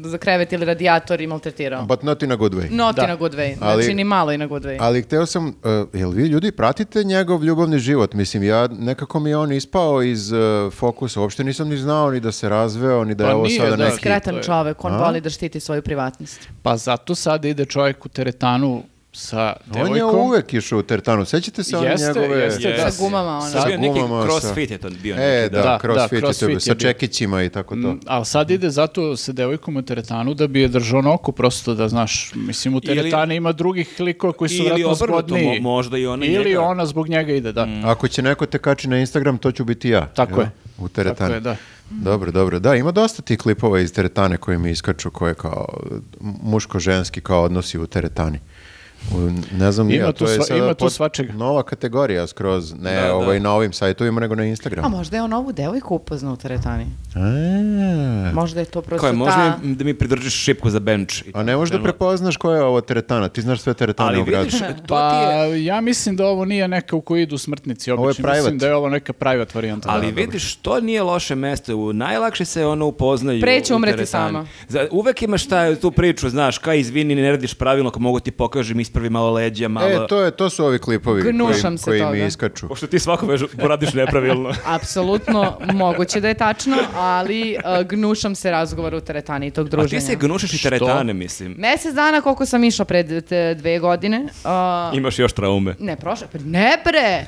Speaker 1: za krevet ili radijator i maltretirao.
Speaker 3: But not in a good way.
Speaker 1: Not
Speaker 2: Da.
Speaker 1: in a good way. Znači
Speaker 3: Ali-
Speaker 1: ni malo in a good way.
Speaker 3: Ali hteo sam, uh, jel vi ljudi pratite njegov ljubavni život? Mislim, ja nekako mi je on ispao iz uh, fokusa. Uopšte nisam ni znao ni da se razveo, ni da je
Speaker 2: Pa
Speaker 3: ovo
Speaker 2: nije,
Speaker 3: sada
Speaker 2: da.
Speaker 3: neki...
Speaker 2: to
Speaker 1: Skretan
Speaker 2: je-
Speaker 1: čovek, on
Speaker 3: A?
Speaker 1: voli da štiti svoju privatnost.
Speaker 2: Pa zato sad ide čovjek u teretanu sa devojkom.
Speaker 3: On je uvek išao u teretanu. Sećate se one
Speaker 2: Jeste,
Speaker 3: njegove...
Speaker 2: jeste,
Speaker 4: Yes.
Speaker 1: Sa gumama ono.
Speaker 4: Sad
Speaker 3: Sa
Speaker 4: bio neki
Speaker 3: gumama, sa-
Speaker 4: crossfit je to bio.
Speaker 3: E,
Speaker 4: neki,
Speaker 3: da,
Speaker 2: Da,
Speaker 3: crossfit,
Speaker 2: da,
Speaker 3: je to bio,
Speaker 2: crossfit
Speaker 3: sa
Speaker 2: je bio.
Speaker 3: čekićima i tako to.
Speaker 2: Mm, Ali sad ide zato sa devojkom u teretanu da bi je držao noku prosto da znaš, mislim u teretani ima drugih likova koji su
Speaker 4: Ili
Speaker 2: vratno
Speaker 4: obrnuto,
Speaker 2: zgodniji.
Speaker 4: mo- možda i ona
Speaker 2: Ili
Speaker 4: njega. Mm.
Speaker 2: ona zbog njega ide, da.
Speaker 3: Ako će neko te kači na Instagram, to ću biti ja.
Speaker 2: Tako
Speaker 3: jel?
Speaker 2: je.
Speaker 3: U teretani.
Speaker 2: Tako je, da.
Speaker 3: Dobro, dobro. Da, ima dosta tih klipova iz teretane koji mi iskaču, koje kao muško-ženski kao odnosi u teretani. U- ne znam, ni
Speaker 2: Ima
Speaker 3: ja,
Speaker 2: tu
Speaker 3: to je
Speaker 2: sva-
Speaker 3: sada
Speaker 2: ima tu
Speaker 3: pot-
Speaker 2: svačega.
Speaker 3: Nova kategorija skroz, ne
Speaker 4: Da, da.
Speaker 3: ovaj, na ovim sajtovima, nego na
Speaker 1: A
Speaker 3: Instagramu.
Speaker 1: Pa možda je on ovu devojku upoznao u teretani.
Speaker 3: A,
Speaker 1: Možda je to
Speaker 4: Kao
Speaker 1: prosto
Speaker 4: je,
Speaker 1: ta...
Speaker 4: možda mi- da mi pridržiš šipku za bench. i
Speaker 3: a ne možeš da
Speaker 4: tako, krenulo.
Speaker 3: prepoznaš koja je ovo teretana, ti znaš sve teretane
Speaker 4: Ali
Speaker 3: u gradu. E,
Speaker 4: vidiš, to ti je...
Speaker 2: Pa ja mislim da ovo nije neka u koju idu smrtnici
Speaker 3: Ovo je
Speaker 2: obično.
Speaker 3: private.
Speaker 2: Mislim da je ovo neka private varijanta.
Speaker 4: Ali vidiš, to nije loše mesto. U najlakše se ono upoznaju.
Speaker 1: Pre će
Speaker 4: u
Speaker 1: umreti
Speaker 4: teretani.
Speaker 1: sama.
Speaker 4: Za, uvek imaš taj, tu priču, znaš, kaj izvini, ne radiš pravilno, ako mogu ti pokažem, ispravi malo leđa, malo...
Speaker 3: E, to, je, to su ovi klipovi
Speaker 1: Gnušam
Speaker 3: koji,
Speaker 1: se
Speaker 3: koji mi
Speaker 1: toga.
Speaker 3: iskaču.
Speaker 4: Pošto ti svako vežu, poradiš
Speaker 1: (laughs)
Speaker 4: nepravilno.
Speaker 1: Apsolutno moguće da je tačno, ali uh, gnušam se razgovora u teretani i tog
Speaker 4: A
Speaker 1: druženja.
Speaker 4: ti se gnušiš i teretane, mislim.
Speaker 1: Mesec dana koliko sam išla pred te dve godine. uh, (laughs)
Speaker 4: Imaš još traume.
Speaker 1: Ne, prošle, pa ne bre.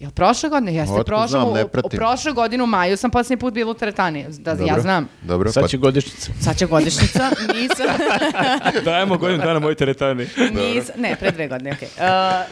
Speaker 1: Jel prošle godine? Jeste,
Speaker 3: Otkud
Speaker 1: prošle,
Speaker 3: znam, ne
Speaker 1: u- u-
Speaker 3: pratim.
Speaker 1: prošle godine u maju sam posljednji put bila u teretani. Da, ja
Speaker 3: Dobro.
Speaker 1: znam.
Speaker 3: Dobro,
Speaker 2: Sad
Speaker 3: pa
Speaker 2: će godišnjica.
Speaker 1: Sad će
Speaker 3: (laughs)
Speaker 1: godišnjica, nisam,
Speaker 4: Dajemo godinu dana moj teretani.
Speaker 1: nisam, ne, pre dve godine, okej.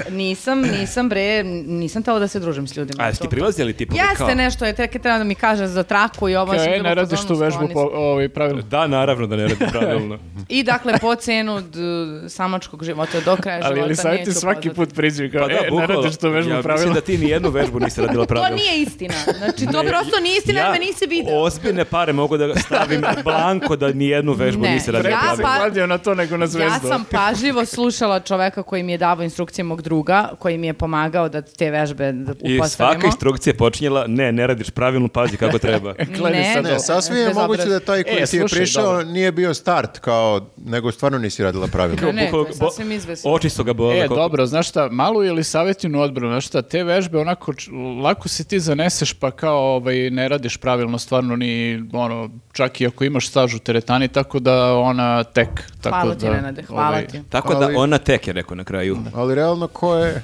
Speaker 1: Uh, nisam, nisam bre, nisam tela da se družim s ljudima.
Speaker 4: A jesi ti
Speaker 1: To-
Speaker 4: prilazili ti pa kao?
Speaker 1: Jeste nešto, je tek treba da mi kaže za traku i ovo.
Speaker 2: Kao,
Speaker 1: ja sam
Speaker 2: e,
Speaker 1: bila
Speaker 2: ne
Speaker 1: u E,
Speaker 2: radiš
Speaker 1: fazonu,
Speaker 2: tu vežbu
Speaker 1: skloni
Speaker 2: po,
Speaker 1: sam.
Speaker 2: ovaj, pravilno.
Speaker 4: Da, naravno da ne radi pravilno.
Speaker 1: I dakle, po cenu d- samačkog života do kraja
Speaker 2: Ali
Speaker 1: života
Speaker 2: ali sad ti
Speaker 1: neću
Speaker 2: svaki
Speaker 1: pozvati.
Speaker 2: put priđi kao,
Speaker 4: Pa da,
Speaker 2: e, ne
Speaker 4: bukvalno.
Speaker 2: radiš tu vežbu
Speaker 4: ja
Speaker 2: pravilno.
Speaker 4: mislim da ti ni jednu vežbu nisi radila
Speaker 1: (laughs)
Speaker 4: pravilno.
Speaker 1: To nije istina. Znači, to prosto nije istina, jer me nisi vidio.
Speaker 4: Ozbiljne pare mogu da stavim blanko da ni jednu vežbu
Speaker 1: Ne,
Speaker 4: nisi radila
Speaker 1: ja
Speaker 4: pravilno.
Speaker 1: pa-
Speaker 2: Kladio na to nego na
Speaker 1: Ja
Speaker 2: zvezdu.
Speaker 1: sam pažljivo slušala čoveka koji mi je davao instrukcije mog druga, koji mi je pomagao da te vežbe da
Speaker 4: I
Speaker 1: upostavimo.
Speaker 4: svaka instrukcija je počinjela, ne, ne radiš pravilno, pazi kako treba.
Speaker 2: Kledi
Speaker 1: (laughs) Ne,
Speaker 2: sad
Speaker 3: Ne,
Speaker 2: ovo.
Speaker 3: sasvim je
Speaker 1: Bezobrazno.
Speaker 3: moguće da taj koji
Speaker 2: E,
Speaker 3: ti je
Speaker 2: slušaj,
Speaker 3: prišao
Speaker 2: dobro.
Speaker 3: nije bio start, kao, nego stvarno nisi radila pravilno.
Speaker 1: Ne, ne, to je
Speaker 4: Bo-
Speaker 1: sasvim izvesno.
Speaker 4: Oči su ga bolele.
Speaker 2: E,
Speaker 4: koliko-
Speaker 2: dobro, znaš šta, malu ili savjetinu odbranu, znaš šta, te vežbe onako č- lako se ti zaneseš pa kao ovaj, ne radiš pravilno stvarno ni ono, čak i ako imaš staž u teretani, tako da ona tek. Tako
Speaker 1: Hvala ti,
Speaker 2: da,
Speaker 1: Nenade, hvala
Speaker 2: ovaj,
Speaker 1: ti.
Speaker 4: Tako da
Speaker 3: Ali-
Speaker 4: ona tek je rekao na kraju.
Speaker 3: Ali realno ko je...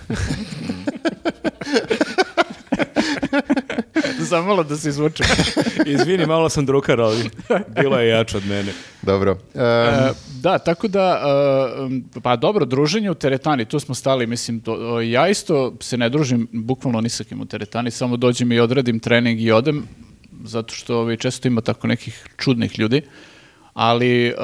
Speaker 2: Zamalo da se izvuče.
Speaker 4: Izvini, malo sam drukar, ali bila je jača od mene.
Speaker 3: Dobro. em,
Speaker 2: (laughs) E, da, tako da, e, m, pa dobro, druženje u teretani, tu smo stali, mislim, do- o, ja isto se ne družim bukvalno ni sa kim u teretani, samo dođem i odradim trening i odem, zato što ovaj, često ima tako nekih čudnih ljudi, ali e,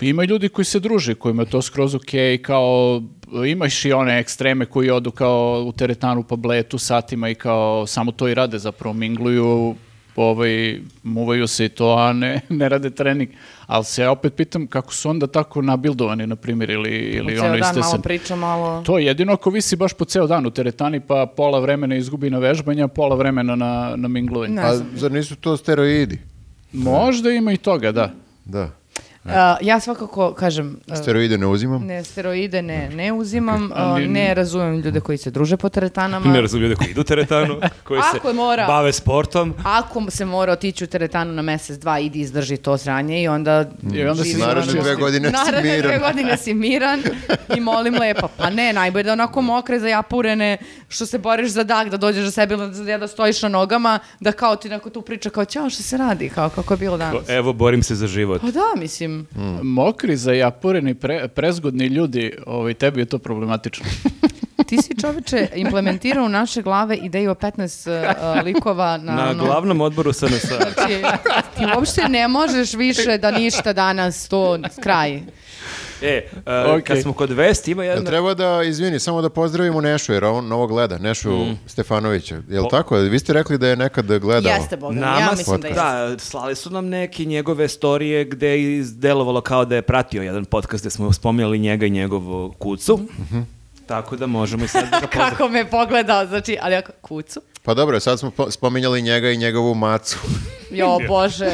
Speaker 2: ima i ljudi koji se druže, kojima je to skroz okej, kao imaš i one ekstreme koji odu kao u teretanu pa bletu satima i kao samo to i rade zapravo mingluju ovaj, muvaju se i to, a ne, ne rade trening. Ali se ja opet pitam kako su onda tako nabildovani, na primjer, ili, ili
Speaker 1: Ceo
Speaker 2: ono
Speaker 1: dan malo
Speaker 2: istesan.
Speaker 1: priča, malo...
Speaker 2: To je jedino ako visi baš po ceo dan u teretani, pa pola vremena izgubi na vežbanja, pola vremena na, na minglovanje. Pa
Speaker 1: Ne
Speaker 3: a
Speaker 1: znam.
Speaker 3: zar nisu to steroidi?
Speaker 2: Možda ima i toga, da.
Speaker 3: Da.
Speaker 1: A, e, ja svakako, kažem, a,
Speaker 3: Steroide ne uzimam.
Speaker 1: E, ne, steroide ne, ne uzimam, a,
Speaker 2: Ali-
Speaker 1: ne razumem ljude koji se druže po teretanama.
Speaker 4: Ne razumijem ljude koji idu u teretanu, koji
Speaker 1: Ako
Speaker 4: se
Speaker 1: je mora.
Speaker 4: bave sportom.
Speaker 1: Ako se mora otići u teretanu na mjesec, dva, idi izdrži to sranje i onda...
Speaker 3: Mm.
Speaker 2: I onda si
Speaker 1: živi
Speaker 3: Naravno
Speaker 1: ono-
Speaker 3: dve godine si
Speaker 1: Naravno dve
Speaker 3: miran.
Speaker 1: godine si miran i molim lepo. Pa ne, najbolje da onako mokre, zajapurene, što se boriš za dak, da dođeš do sebe, da, da stojiš na nogama, da kao ti neko tu priča kao ćao što se radi, kao kako je bilo danas.
Speaker 4: Evo, borim se za život.
Speaker 1: Pa da, mislim.
Speaker 3: Hmm.
Speaker 2: Mokri, zajapureni, pre, prezgodni ljudi, ovaj, tebi je to
Speaker 3: (laughs)
Speaker 2: problematično.
Speaker 1: Ti si čoveče implementirao u naše glave ideju o 15 uh, likova na,
Speaker 4: Na
Speaker 1: ono-
Speaker 4: glavnom odboru SNS.
Speaker 1: (laughs) Znači, ti uopšte ne možeš više da ništa danas to kraj.
Speaker 4: E, uh, kad
Speaker 2: Okej.
Speaker 4: smo kod vesti, ima
Speaker 3: Jel
Speaker 4: jedna...
Speaker 3: treba da, izvini, samo da pozdravimo Nešu, jer on ovo gleda, Nešu Stefanovića. Jel tako? Vi ste rekli da je nekad gledao.
Speaker 1: Jeste, Bogdan,
Speaker 4: Nama
Speaker 1: ja
Speaker 4: s-
Speaker 1: mislim da jeste.
Speaker 4: da, slali su nam neke njegove storije gde je izdelovalo kao da je pratio jedan podcast gde smo spominjali njega i njegovu kucu.
Speaker 1: Mhm.
Speaker 4: Tako da možemo
Speaker 1: (laughs)
Speaker 4: i sad da ga pozdravimo.
Speaker 1: Kako me pogledao, znači, ali ako kucu.
Speaker 3: Pa dobro, sad smo po- spominjali njega i njegovu macu.
Speaker 1: Jo,
Speaker 4: (laughs)
Speaker 1: Bože,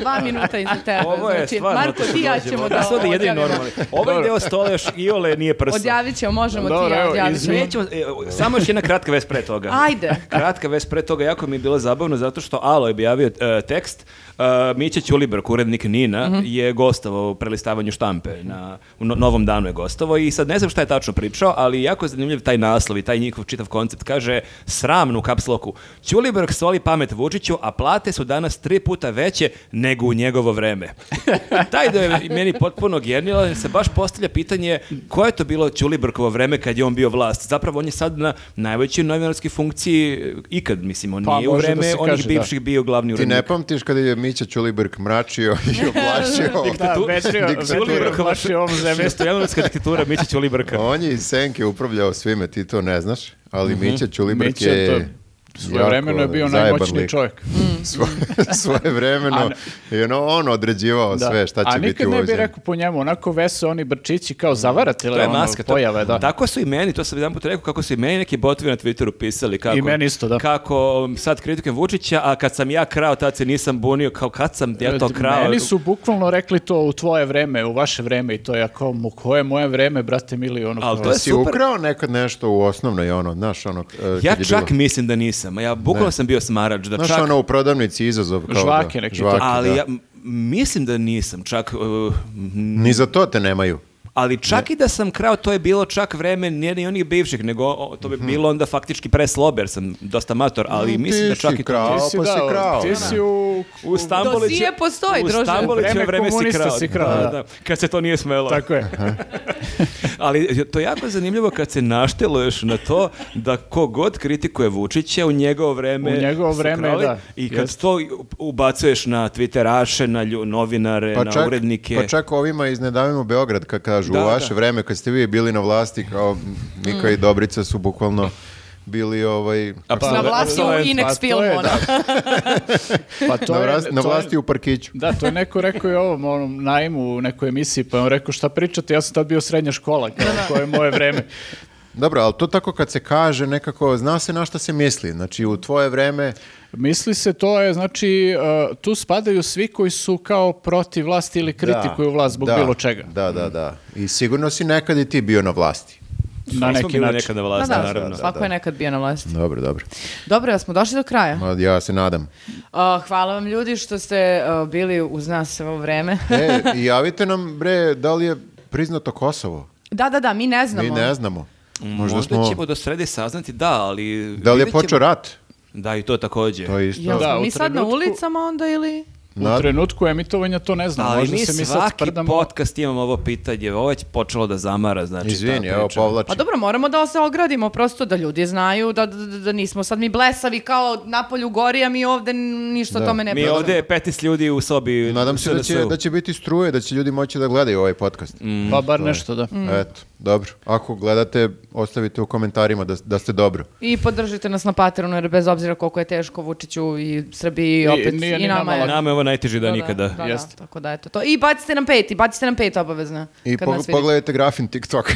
Speaker 1: dva minuta iza tebe.
Speaker 4: Ovo je
Speaker 1: znači,
Speaker 4: stvarno
Speaker 1: Marko,
Speaker 4: otišlo
Speaker 1: ti i ja
Speaker 4: dođe,
Speaker 1: ćemo
Speaker 4: ovo-
Speaker 1: da
Speaker 4: Sad je jedini
Speaker 1: odjavimo.
Speaker 4: normalni. Ovaj deo stola još iole nije prsa.
Speaker 1: Odjavit ćemo, možemo ti
Speaker 2: Dobro,
Speaker 1: i ja,
Speaker 2: evo,
Speaker 1: odjavit ćemo.
Speaker 2: izvini.
Speaker 4: Nećemo, e, o, samo još jedna kratka vest pre toga.
Speaker 1: Ajde.
Speaker 4: Kratka vest pre toga, jako mi je bilo zabavno zato što Alo je objavio e, tekst. E, Mića Ćulibrk, urednik Nina, je gostovao u prelistavanju štampe. Na, u no- novom danu je gostovao i sad ne znam šta je tačno pričao, ali jako je zanimljiv taj naslov i taj njihov čitav koncept. Kaže, sramnu kapsloku. Ćulibrk soli pamet Vučiću, a plate su danas tri puta veće nego u njegovo vreme. taj da je meni potpuno genijalan, jer se baš postavlja pitanje koje je to bilo Ćulibrkovo vreme kad je on bio vlast. Zapravo on je sad na najvećoj novinarskoj funkciji e, ikad, mislim, on
Speaker 2: Pa,
Speaker 4: nije u
Speaker 2: može da
Speaker 4: vreme
Speaker 2: se
Speaker 4: onih
Speaker 2: kaže, da.
Speaker 4: bivših bio glavni
Speaker 3: Ti ne pa-
Speaker 4: urednik.
Speaker 3: pamtiš kada je Mića Ćulibrk mračio i oblačio.
Speaker 2: Da, večrio,
Speaker 3: diktatura.
Speaker 2: večrio
Speaker 4: (laughs)
Speaker 2: vaši ovom zemlju.
Speaker 4: Šestojanovska diktatura Mića Ćulibrka.
Speaker 3: On je iz senke upravljao svime, ti to ne znaš, ali Mića Ćulibrk
Speaker 2: Mića,
Speaker 3: je...
Speaker 2: Mhm. to svoje vremeno je
Speaker 3: jako
Speaker 2: bio
Speaker 3: zajeban
Speaker 2: najmoćniji
Speaker 3: (laughs) lik.
Speaker 2: čovjek. Mhm.
Speaker 3: (laughs) Svoje, svoje
Speaker 2: (laughs)
Speaker 3: vremeno, you know, ono, on određivao sve šta će
Speaker 2: A
Speaker 3: biti
Speaker 2: nikad
Speaker 3: u
Speaker 2: ne
Speaker 3: ovoj
Speaker 2: bi
Speaker 3: zemlji.
Speaker 2: rekao po njemu, onako veso oni brčići kao zavarate
Speaker 4: To
Speaker 2: ili
Speaker 4: je
Speaker 2: ono
Speaker 4: maska. to-
Speaker 2: pojave, da.
Speaker 4: Tako su i meni, to sam jedan put rekao, kako su i meni neki botovi na Twitteru pisali. Kako,
Speaker 2: I meni isto, da.
Speaker 4: Kako um, sad kritikujem Vučića, a kad sam ja krao, tad se nisam bunio, kao kad sam ja to krao.
Speaker 2: E, Meni su bukvalno rekli to u tvoje vreme, u vaše vreme i to je ako, mu koje moje vreme, brate mili, ono
Speaker 4: Ali
Speaker 2: kao-
Speaker 4: to je
Speaker 3: Pa Si
Speaker 4: super.
Speaker 3: ukrao nekad nešto u osnovnoj, ono, znaš, ono... e, kad
Speaker 4: Ja
Speaker 3: je
Speaker 4: čak
Speaker 3: bilo-
Speaker 4: mislim da nisam. Ja bukvalno sam bio smarač da
Speaker 3: Znaš,
Speaker 4: čak...
Speaker 3: ono, u prodavnici izazov. Kao
Speaker 2: Žvake
Speaker 3: da,
Speaker 2: neki
Speaker 3: žvake,
Speaker 4: ali
Speaker 3: da.
Speaker 4: ja m- mislim da nisam čak... uh, m,
Speaker 3: Ni za to te nemaju.
Speaker 4: ali čak i da sam krao, to je bilo čak vreme nije ni onih bivših, nego o, to bi
Speaker 3: Mhm.
Speaker 4: bilo onda faktički preslober, sam dosta amator, ali
Speaker 3: Ti
Speaker 4: mislim da
Speaker 3: si
Speaker 4: čak i to-
Speaker 3: krao,
Speaker 2: Ti si,
Speaker 3: pa si
Speaker 2: da,
Speaker 3: krao.
Speaker 2: Ti si u...
Speaker 4: U Stambolić
Speaker 1: Dosije postoji,
Speaker 4: u
Speaker 1: druže.
Speaker 4: Stambolićevo
Speaker 2: Vreme
Speaker 4: vreme si
Speaker 2: komunista
Speaker 4: krao.
Speaker 2: si krao,
Speaker 4: Da,
Speaker 2: da.
Speaker 4: da. Kad se to nije smelo.
Speaker 2: Tako je.
Speaker 4: (laughs) Ali to je jako zanimljivo kad se našteluješ na to da kogod kritikuje Vučića u njegovo vreme.
Speaker 2: U njegovo
Speaker 4: su
Speaker 2: vreme,
Speaker 4: krali
Speaker 2: da.
Speaker 4: I kad
Speaker 2: Jest.
Speaker 4: to ubacuješ na twitteraše, na lju- novinare, na urednike.
Speaker 3: pa čak ovima iz Nedavimo Beograd, kad kažu,
Speaker 4: Da,
Speaker 3: u vaše
Speaker 4: da.
Speaker 3: vreme, kad ste vi bili na vlasti, kao Mika i Dobrica su bukvalno bili ovaj...
Speaker 4: Apsolutno.
Speaker 1: Na vlasti u
Speaker 4: Apsolutno.
Speaker 2: Pa
Speaker 1: Inex
Speaker 2: to je,
Speaker 1: filmu, ono.
Speaker 2: Pa to
Speaker 3: na,
Speaker 2: je-
Speaker 3: vras-
Speaker 2: to
Speaker 3: na
Speaker 2: je-
Speaker 3: vlasti u parkiću.
Speaker 2: Da, to je neko rekao i ovom onom najmu u nekoj emisiji, pa je on rekao šta pričate, ja sam tad bio srednja škola, kao koje je moje vreme.
Speaker 3: Dobro, ali to tako kad se kaže nekako, zna se na šta se misli. Znači, u tvoje vreme...
Speaker 2: Misli se, to je, znači, uh, tu spadaju svi koji su kao protiv vlasti ili kritikuju vlast zbog
Speaker 3: da,
Speaker 2: bilo čega.
Speaker 3: Da, da, da. I sigurno si nekad i ti bio na vlasti.
Speaker 2: Na
Speaker 4: Nismo
Speaker 2: neki
Speaker 4: bili
Speaker 2: način.
Speaker 4: nekad na
Speaker 1: Da,
Speaker 4: vlasti,
Speaker 1: da,
Speaker 4: naravno.
Speaker 1: svako je nekad bio na vlasti.
Speaker 3: Dobro, dobro.
Speaker 1: Dobro, ja smo došli do kraja.
Speaker 3: Ma, Ja se nadam.
Speaker 1: Uh, hvala vam ljudi što ste uh, bili uz nas ovo vreme.
Speaker 3: E, i javite nam, bre, da li je priznato Kosovo?
Speaker 1: da, da, da, mi ne
Speaker 3: Mi
Speaker 1: znamo.
Speaker 3: ne znamo.
Speaker 2: Mm.
Speaker 3: Možda,
Speaker 4: Možda
Speaker 3: smo...
Speaker 4: ćemo do srede saznati, da, ali...
Speaker 3: Da li je
Speaker 4: vidjet ćemo-
Speaker 3: počeo rat?
Speaker 4: Da, i to također.
Speaker 3: To je isto.
Speaker 1: Jel
Speaker 2: Da,
Speaker 1: smo
Speaker 2: u
Speaker 1: mi sad na
Speaker 2: trenutku-
Speaker 1: ulicama onda ili...
Speaker 3: Na-
Speaker 2: U trenutku emitovanja to ne znam,
Speaker 4: Ali
Speaker 2: možda
Speaker 4: mi
Speaker 2: se mi sad
Speaker 4: svaki
Speaker 2: sprdamo.
Speaker 4: podcast imamo ovo pitanje, ovo je počelo da zamara, znači... ta
Speaker 3: Izvini, evo
Speaker 4: priča.
Speaker 3: povlači.
Speaker 1: Pa dobro, moramo da se ogradimo prosto da ljudi znaju da, da, da- da nismo sad mi blesavi kao napolju gori, a mi ovde n- ništa o tome ne
Speaker 4: Mi
Speaker 1: pričamo.
Speaker 4: ovdje je 15 ljudi u sobi.
Speaker 3: Nadam se da će,
Speaker 4: SNS-u.
Speaker 3: da će biti struje, da će ljudi moći da gledaju ovaj podcast.
Speaker 2: Pa bar nešto, da.
Speaker 1: Mm.
Speaker 3: Eto, dobro. Ako gledate, ostavite u komentarima da, da ste dobro.
Speaker 1: I podržite nas na Patreonu jer bez obzira koliko je teško Vučiću i Srbiji i
Speaker 2: Nije-
Speaker 1: opet
Speaker 2: nije
Speaker 1: i
Speaker 2: ni
Speaker 1: nama
Speaker 2: nama
Speaker 1: je.
Speaker 2: lako.
Speaker 4: Pa Nama je ovo najteži dan
Speaker 1: Da, da,
Speaker 4: nikada.
Speaker 1: Da, da,
Speaker 2: Jeste.
Speaker 1: tako da eto to. I bacite nam pet, i bacite nam pet obavezno.
Speaker 3: I
Speaker 1: kad
Speaker 3: pog-
Speaker 1: nas vidite.
Speaker 3: pogledajte
Speaker 1: (laughs)
Speaker 3: grafin TikTok.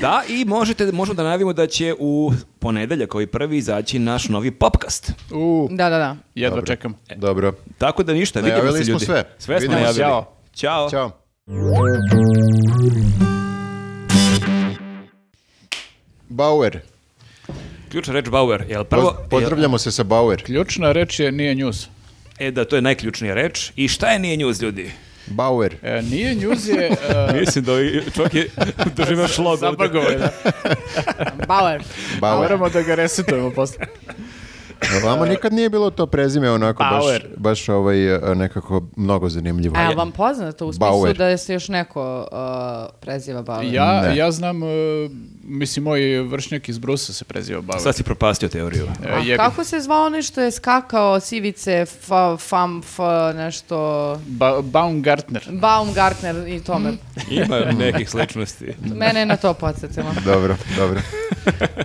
Speaker 4: Da, i možete, možemo da najavimo da će u ponedeljak koji prvi izaći naš novi popkast.
Speaker 2: U,
Speaker 1: Da, da, da.
Speaker 2: jedva čekam.
Speaker 3: dobro.
Speaker 4: Tako da ništa, vidimo
Speaker 3: Najavili
Speaker 4: se
Speaker 3: smo
Speaker 4: ljudi.
Speaker 3: sve.
Speaker 4: Sve smo
Speaker 3: Vidimo se.
Speaker 4: najavili. Ćao.
Speaker 2: Ćao.
Speaker 3: Ćao. Bauer.
Speaker 4: Ključna reč Bauer. Jel
Speaker 3: Poz-
Speaker 4: prvo,
Speaker 3: Pozdravljamo se sa Bauer.
Speaker 2: Ključna reč je nije news.
Speaker 4: jel- e da, to je najključnija reč. I šta je nije njuz, ljudi?
Speaker 3: Bauer.
Speaker 2: E, nije news
Speaker 4: (laughs)
Speaker 2: je... e,
Speaker 4: Mislim da ovi- čovjek je (laughs) doživio šlog. ovdje.
Speaker 2: zabagovo je, da.
Speaker 1: (laughs) Bauer.
Speaker 3: Bauer.
Speaker 2: Moramo da ga resetujemo posle.
Speaker 3: Vama nikad nije bilo to prezime onako baš,
Speaker 2: Bauer.
Speaker 3: baš ovaj, e, nekako mnogo zanimljivo.
Speaker 1: A je vam poznato u smislu
Speaker 3: Bauer.
Speaker 1: da se još neko uh, preziva Bauer?
Speaker 2: Ja,
Speaker 3: Ne.
Speaker 2: ja znam, e, mislim, moj vršnjak iz Brusa se preziva Bauer.
Speaker 4: Sad si propastio teoriju.
Speaker 2: E,
Speaker 1: A
Speaker 2: jebi.
Speaker 1: kako se zvao onaj što je skakao sivice, fa, fam, fa, nešto...
Speaker 2: Ba- Baumgartner.
Speaker 1: Baumgartner i tome.
Speaker 4: Ima nekih sličnosti.
Speaker 1: Mene je na to podsjetilo.
Speaker 3: Dobro, dobro.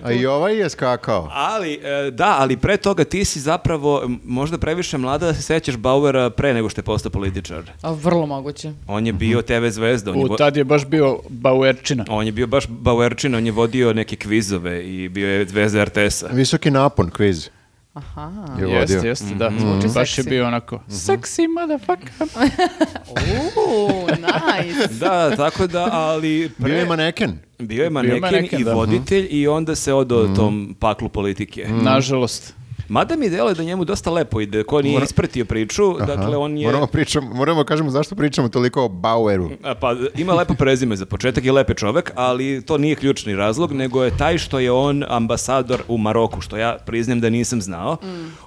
Speaker 3: A i ovaj je skakao.
Speaker 4: Ali, e, da, ali pre toga ti si zapravo m, možda previše mlada da se sećaš Bauera pre nego što je postao političar.
Speaker 1: A, Vrlo moguće.
Speaker 4: On je bio TV zvezda. On je,
Speaker 2: U,
Speaker 4: vo-
Speaker 2: tad je baš bio Bauerčina.
Speaker 4: on je bio baš Bauerčin, on je vodio neke kvizove i bio je zvezda RTS-a.
Speaker 3: Visoki napon, kviz.
Speaker 1: Aha.
Speaker 3: Je
Speaker 2: Jeste,
Speaker 3: vodio.
Speaker 2: jeste, da.
Speaker 4: Mhm.
Speaker 1: Zvuči
Speaker 2: Baš je
Speaker 1: seksi.
Speaker 2: bio onako. Sexy motherfucker.
Speaker 1: Uuu, nice.
Speaker 4: Da, tako da, ali...
Speaker 3: Bio
Speaker 4: pre-
Speaker 3: je maneken.
Speaker 4: bio je maneken,
Speaker 2: maneken,
Speaker 4: i
Speaker 2: da.
Speaker 4: voditelj i onda se odao tom paklu politike.
Speaker 2: Nažalost.
Speaker 4: Mada mi deluje da njemu dosta lepo ide, ko nije ispratio priču, dakle on je...
Speaker 3: Moramo, pričam, moramo kažemo zašto pričamo toliko o
Speaker 4: (laughs)
Speaker 3: Baueru.
Speaker 4: A, Pa, ima lepo prezime za početak i lep je čovek, ali to nije ključni razlog, nego je taj što je on ambasador u Maroku, što ja priznam da nisam znao.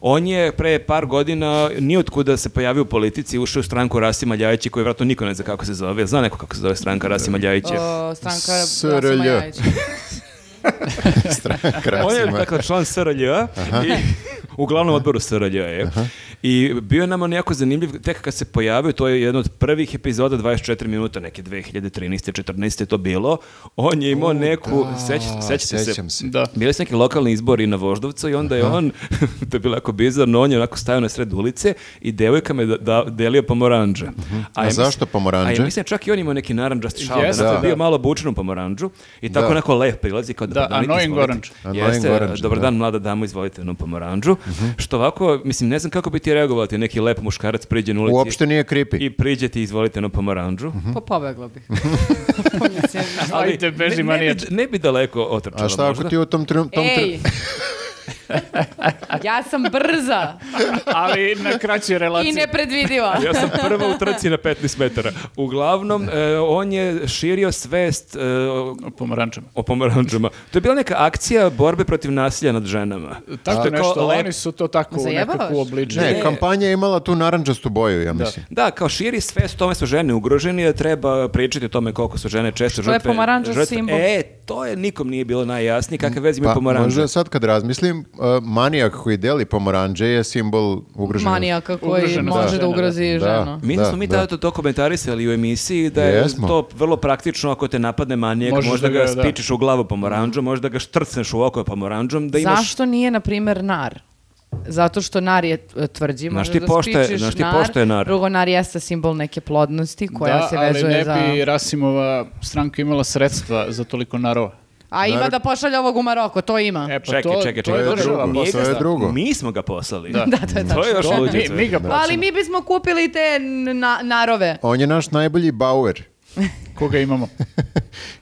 Speaker 4: On je pre par godina nijotkuda se pojavio u politici, ušao u stranku Rasima Ljajića, koju vratno niko ne zna kako se zove. Zna neko kako se zove stranka Rasima Ljajića?
Speaker 1: O, stranka
Speaker 3: SRLJ.
Speaker 1: Rasima Ljajića.
Speaker 3: Stranka
Speaker 4: On je
Speaker 3: Rasima.
Speaker 4: dakle, član SRLJ i u glavnom odboru SRLJ je. I bio je nama jako zanimljiv, tek kad se pojavio, to je jedna od prvih epizoda 24 minuta, neke 2013. 14. je to bilo. On je imao neku, seć, sećate se,
Speaker 3: Sećam se.
Speaker 2: Da.
Speaker 4: Bili su neki lokalni izbori na Voždovcu i onda je on, (laughs) to je bilo jako bizarno, on je onako stajao na sred ulice i devojkama je da, da- delio pomoranđe.
Speaker 3: Mhm. A
Speaker 4: ja
Speaker 3: zašto pomoranđe?
Speaker 4: A ja mislim čak i on imao neki naranđasti šal,
Speaker 2: Jeste,
Speaker 4: da,
Speaker 3: da.
Speaker 4: je bio malo obučen u pomoranđu i tako
Speaker 3: Da.
Speaker 4: onako lep prilazi kao
Speaker 2: Da,
Speaker 4: dobar dan,
Speaker 2: annoying
Speaker 4: izvolite.
Speaker 2: orange.
Speaker 3: Annoying
Speaker 4: Jeste,
Speaker 3: orange,
Speaker 4: dobar
Speaker 3: da. Mhm.
Speaker 4: dan mlada dama, izvolite na pomoranđu. Što ovako, mislim, ne znam kako bi ti reagovao da ti neki lep muškarac priđe na ulici.
Speaker 3: Uopšte Mhm. nije creepy.
Speaker 4: I priđe ti, izvolite na pomoranđu.
Speaker 1: Pa pobegla bih. Mislim,
Speaker 2: Ajde,
Speaker 4: ne,
Speaker 2: beži
Speaker 4: ne, bi,
Speaker 2: manijače.
Speaker 4: ne bi daleko otrčala
Speaker 3: A šta ako
Speaker 4: možda.
Speaker 3: ti u tom, tren- tom, tre-
Speaker 1: Ej, Ja sam brza
Speaker 2: ali na kraćoj relaciji.
Speaker 1: i nepredvidiva.
Speaker 4: Ja sam prva u trci na 15 metara. Uglavnom, e, on je širio svest e, o-
Speaker 2: Pomarančama.
Speaker 4: o pomaranđama. To je bila neka akcija borbe protiv nasilja nad ženama.
Speaker 2: Tako
Speaker 4: Što je kao
Speaker 2: nešto,
Speaker 4: lep-
Speaker 2: oni su to tako
Speaker 1: Zajebavaš?
Speaker 2: nekako uobličili.
Speaker 3: Ne, kampanja je imala tu naranđastu boju, ja mislim.
Speaker 4: Da, kao širi svest o tome su žene ugroženi, da treba pričati o tome koliko su žene često
Speaker 1: Što
Speaker 4: žrtve.
Speaker 1: je pomaranđa
Speaker 4: žrtve-
Speaker 1: simbol.
Speaker 4: E, to je nikom nije bilo najjasnije kakve veze ima
Speaker 3: Pa,
Speaker 4: pomaranđa.
Speaker 3: možda sad kad razmislim, uh, manijak koji deli pomoranđe je simbol ugroženosti.
Speaker 1: Manijaka koji
Speaker 2: Ugroženost
Speaker 1: može
Speaker 2: žene,
Speaker 1: da
Speaker 2: da.
Speaker 1: ugrozi
Speaker 3: Da.
Speaker 1: ženu.
Speaker 4: Mi
Speaker 3: Da,
Speaker 4: smo mi
Speaker 3: da.
Speaker 4: tada to, to komentarisali u emisiji da je
Speaker 3: Jesmo.
Speaker 4: to vrlo praktično ako te napadne manijak,
Speaker 2: Možeš
Speaker 4: možda,
Speaker 2: da
Speaker 4: ga,
Speaker 2: ga, da.
Speaker 4: spičeš u glavu pomoranđom, možda ga štrcneš u oko pomoranđom, da imaš...
Speaker 1: Zašto nije, na primer, nar? Zato što nar je e, tvrđi,
Speaker 4: Znaš
Speaker 1: možeš
Speaker 4: ti
Speaker 1: da
Speaker 4: pošto je-
Speaker 1: spičiš
Speaker 4: znaš ti pošto je nar?
Speaker 1: Drugo, nar jeste simbol neke plodnosti koja
Speaker 2: da,
Speaker 1: se vezuje za...
Speaker 2: ali ne bi Rasimova stranka imala sredstva za toliko narova.
Speaker 1: A ima da pošalje ovog u Maroko, to ima.
Speaker 2: E, pa
Speaker 4: Čekaj,
Speaker 2: to,
Speaker 4: čekaj,
Speaker 2: to je
Speaker 4: čekaj.
Speaker 2: država.
Speaker 3: drugo.
Speaker 2: mi-
Speaker 3: To je drugo.
Speaker 4: Mi smo ga poslali.
Speaker 2: Da.
Speaker 1: Da, to je
Speaker 4: To je
Speaker 1: tačno.
Speaker 4: još
Speaker 2: To, mi,
Speaker 4: luđe.
Speaker 2: mi ga
Speaker 1: Ali
Speaker 2: plaćamo.
Speaker 1: mi bismo kupili te na- narove.
Speaker 3: On je naš najbolji Bauer (laughs)
Speaker 2: Koga imamo?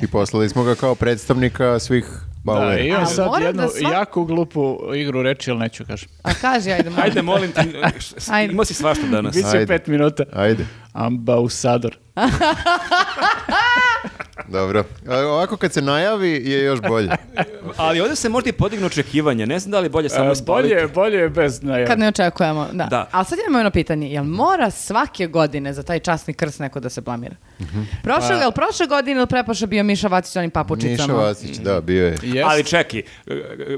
Speaker 3: i poslali smo ga kao predstavnika svih
Speaker 2: Da,
Speaker 3: Bauera.
Speaker 2: imam
Speaker 1: A
Speaker 2: sad
Speaker 1: moram da
Speaker 2: jednu
Speaker 1: svak-
Speaker 2: jako glupu igru reči, ali neću kažem.
Speaker 1: A kaži, ajde, molim.
Speaker 4: Ajde, molim ti, š- s-
Speaker 1: Ajde.
Speaker 4: imao si svašta danas.
Speaker 2: Biće
Speaker 3: Ajde.
Speaker 2: pet minuta.
Speaker 3: Ajde,
Speaker 2: Ambausador.
Speaker 3: dobro. A, Ovako kad se najavi je još
Speaker 2: (laughs)
Speaker 3: bolje.
Speaker 4: Ali ovdje se možda i podignu očekivanje. Ne znam da li je bolje samo
Speaker 2: E,
Speaker 4: spaviti.
Speaker 2: bolje, bolje je bez najave.
Speaker 1: Kad ne očekujemo, da.
Speaker 4: Da.
Speaker 1: Ali sad imamo jedno pitanje, jel mora svake godine za taj časni krst neko da se blamira? Prošle, jel prošle godine ili prepoše bio Miša Vacić s onim papučicama?
Speaker 3: Miša Vasić, da, bio je.
Speaker 2: Jest.
Speaker 4: Ali čekaj, e,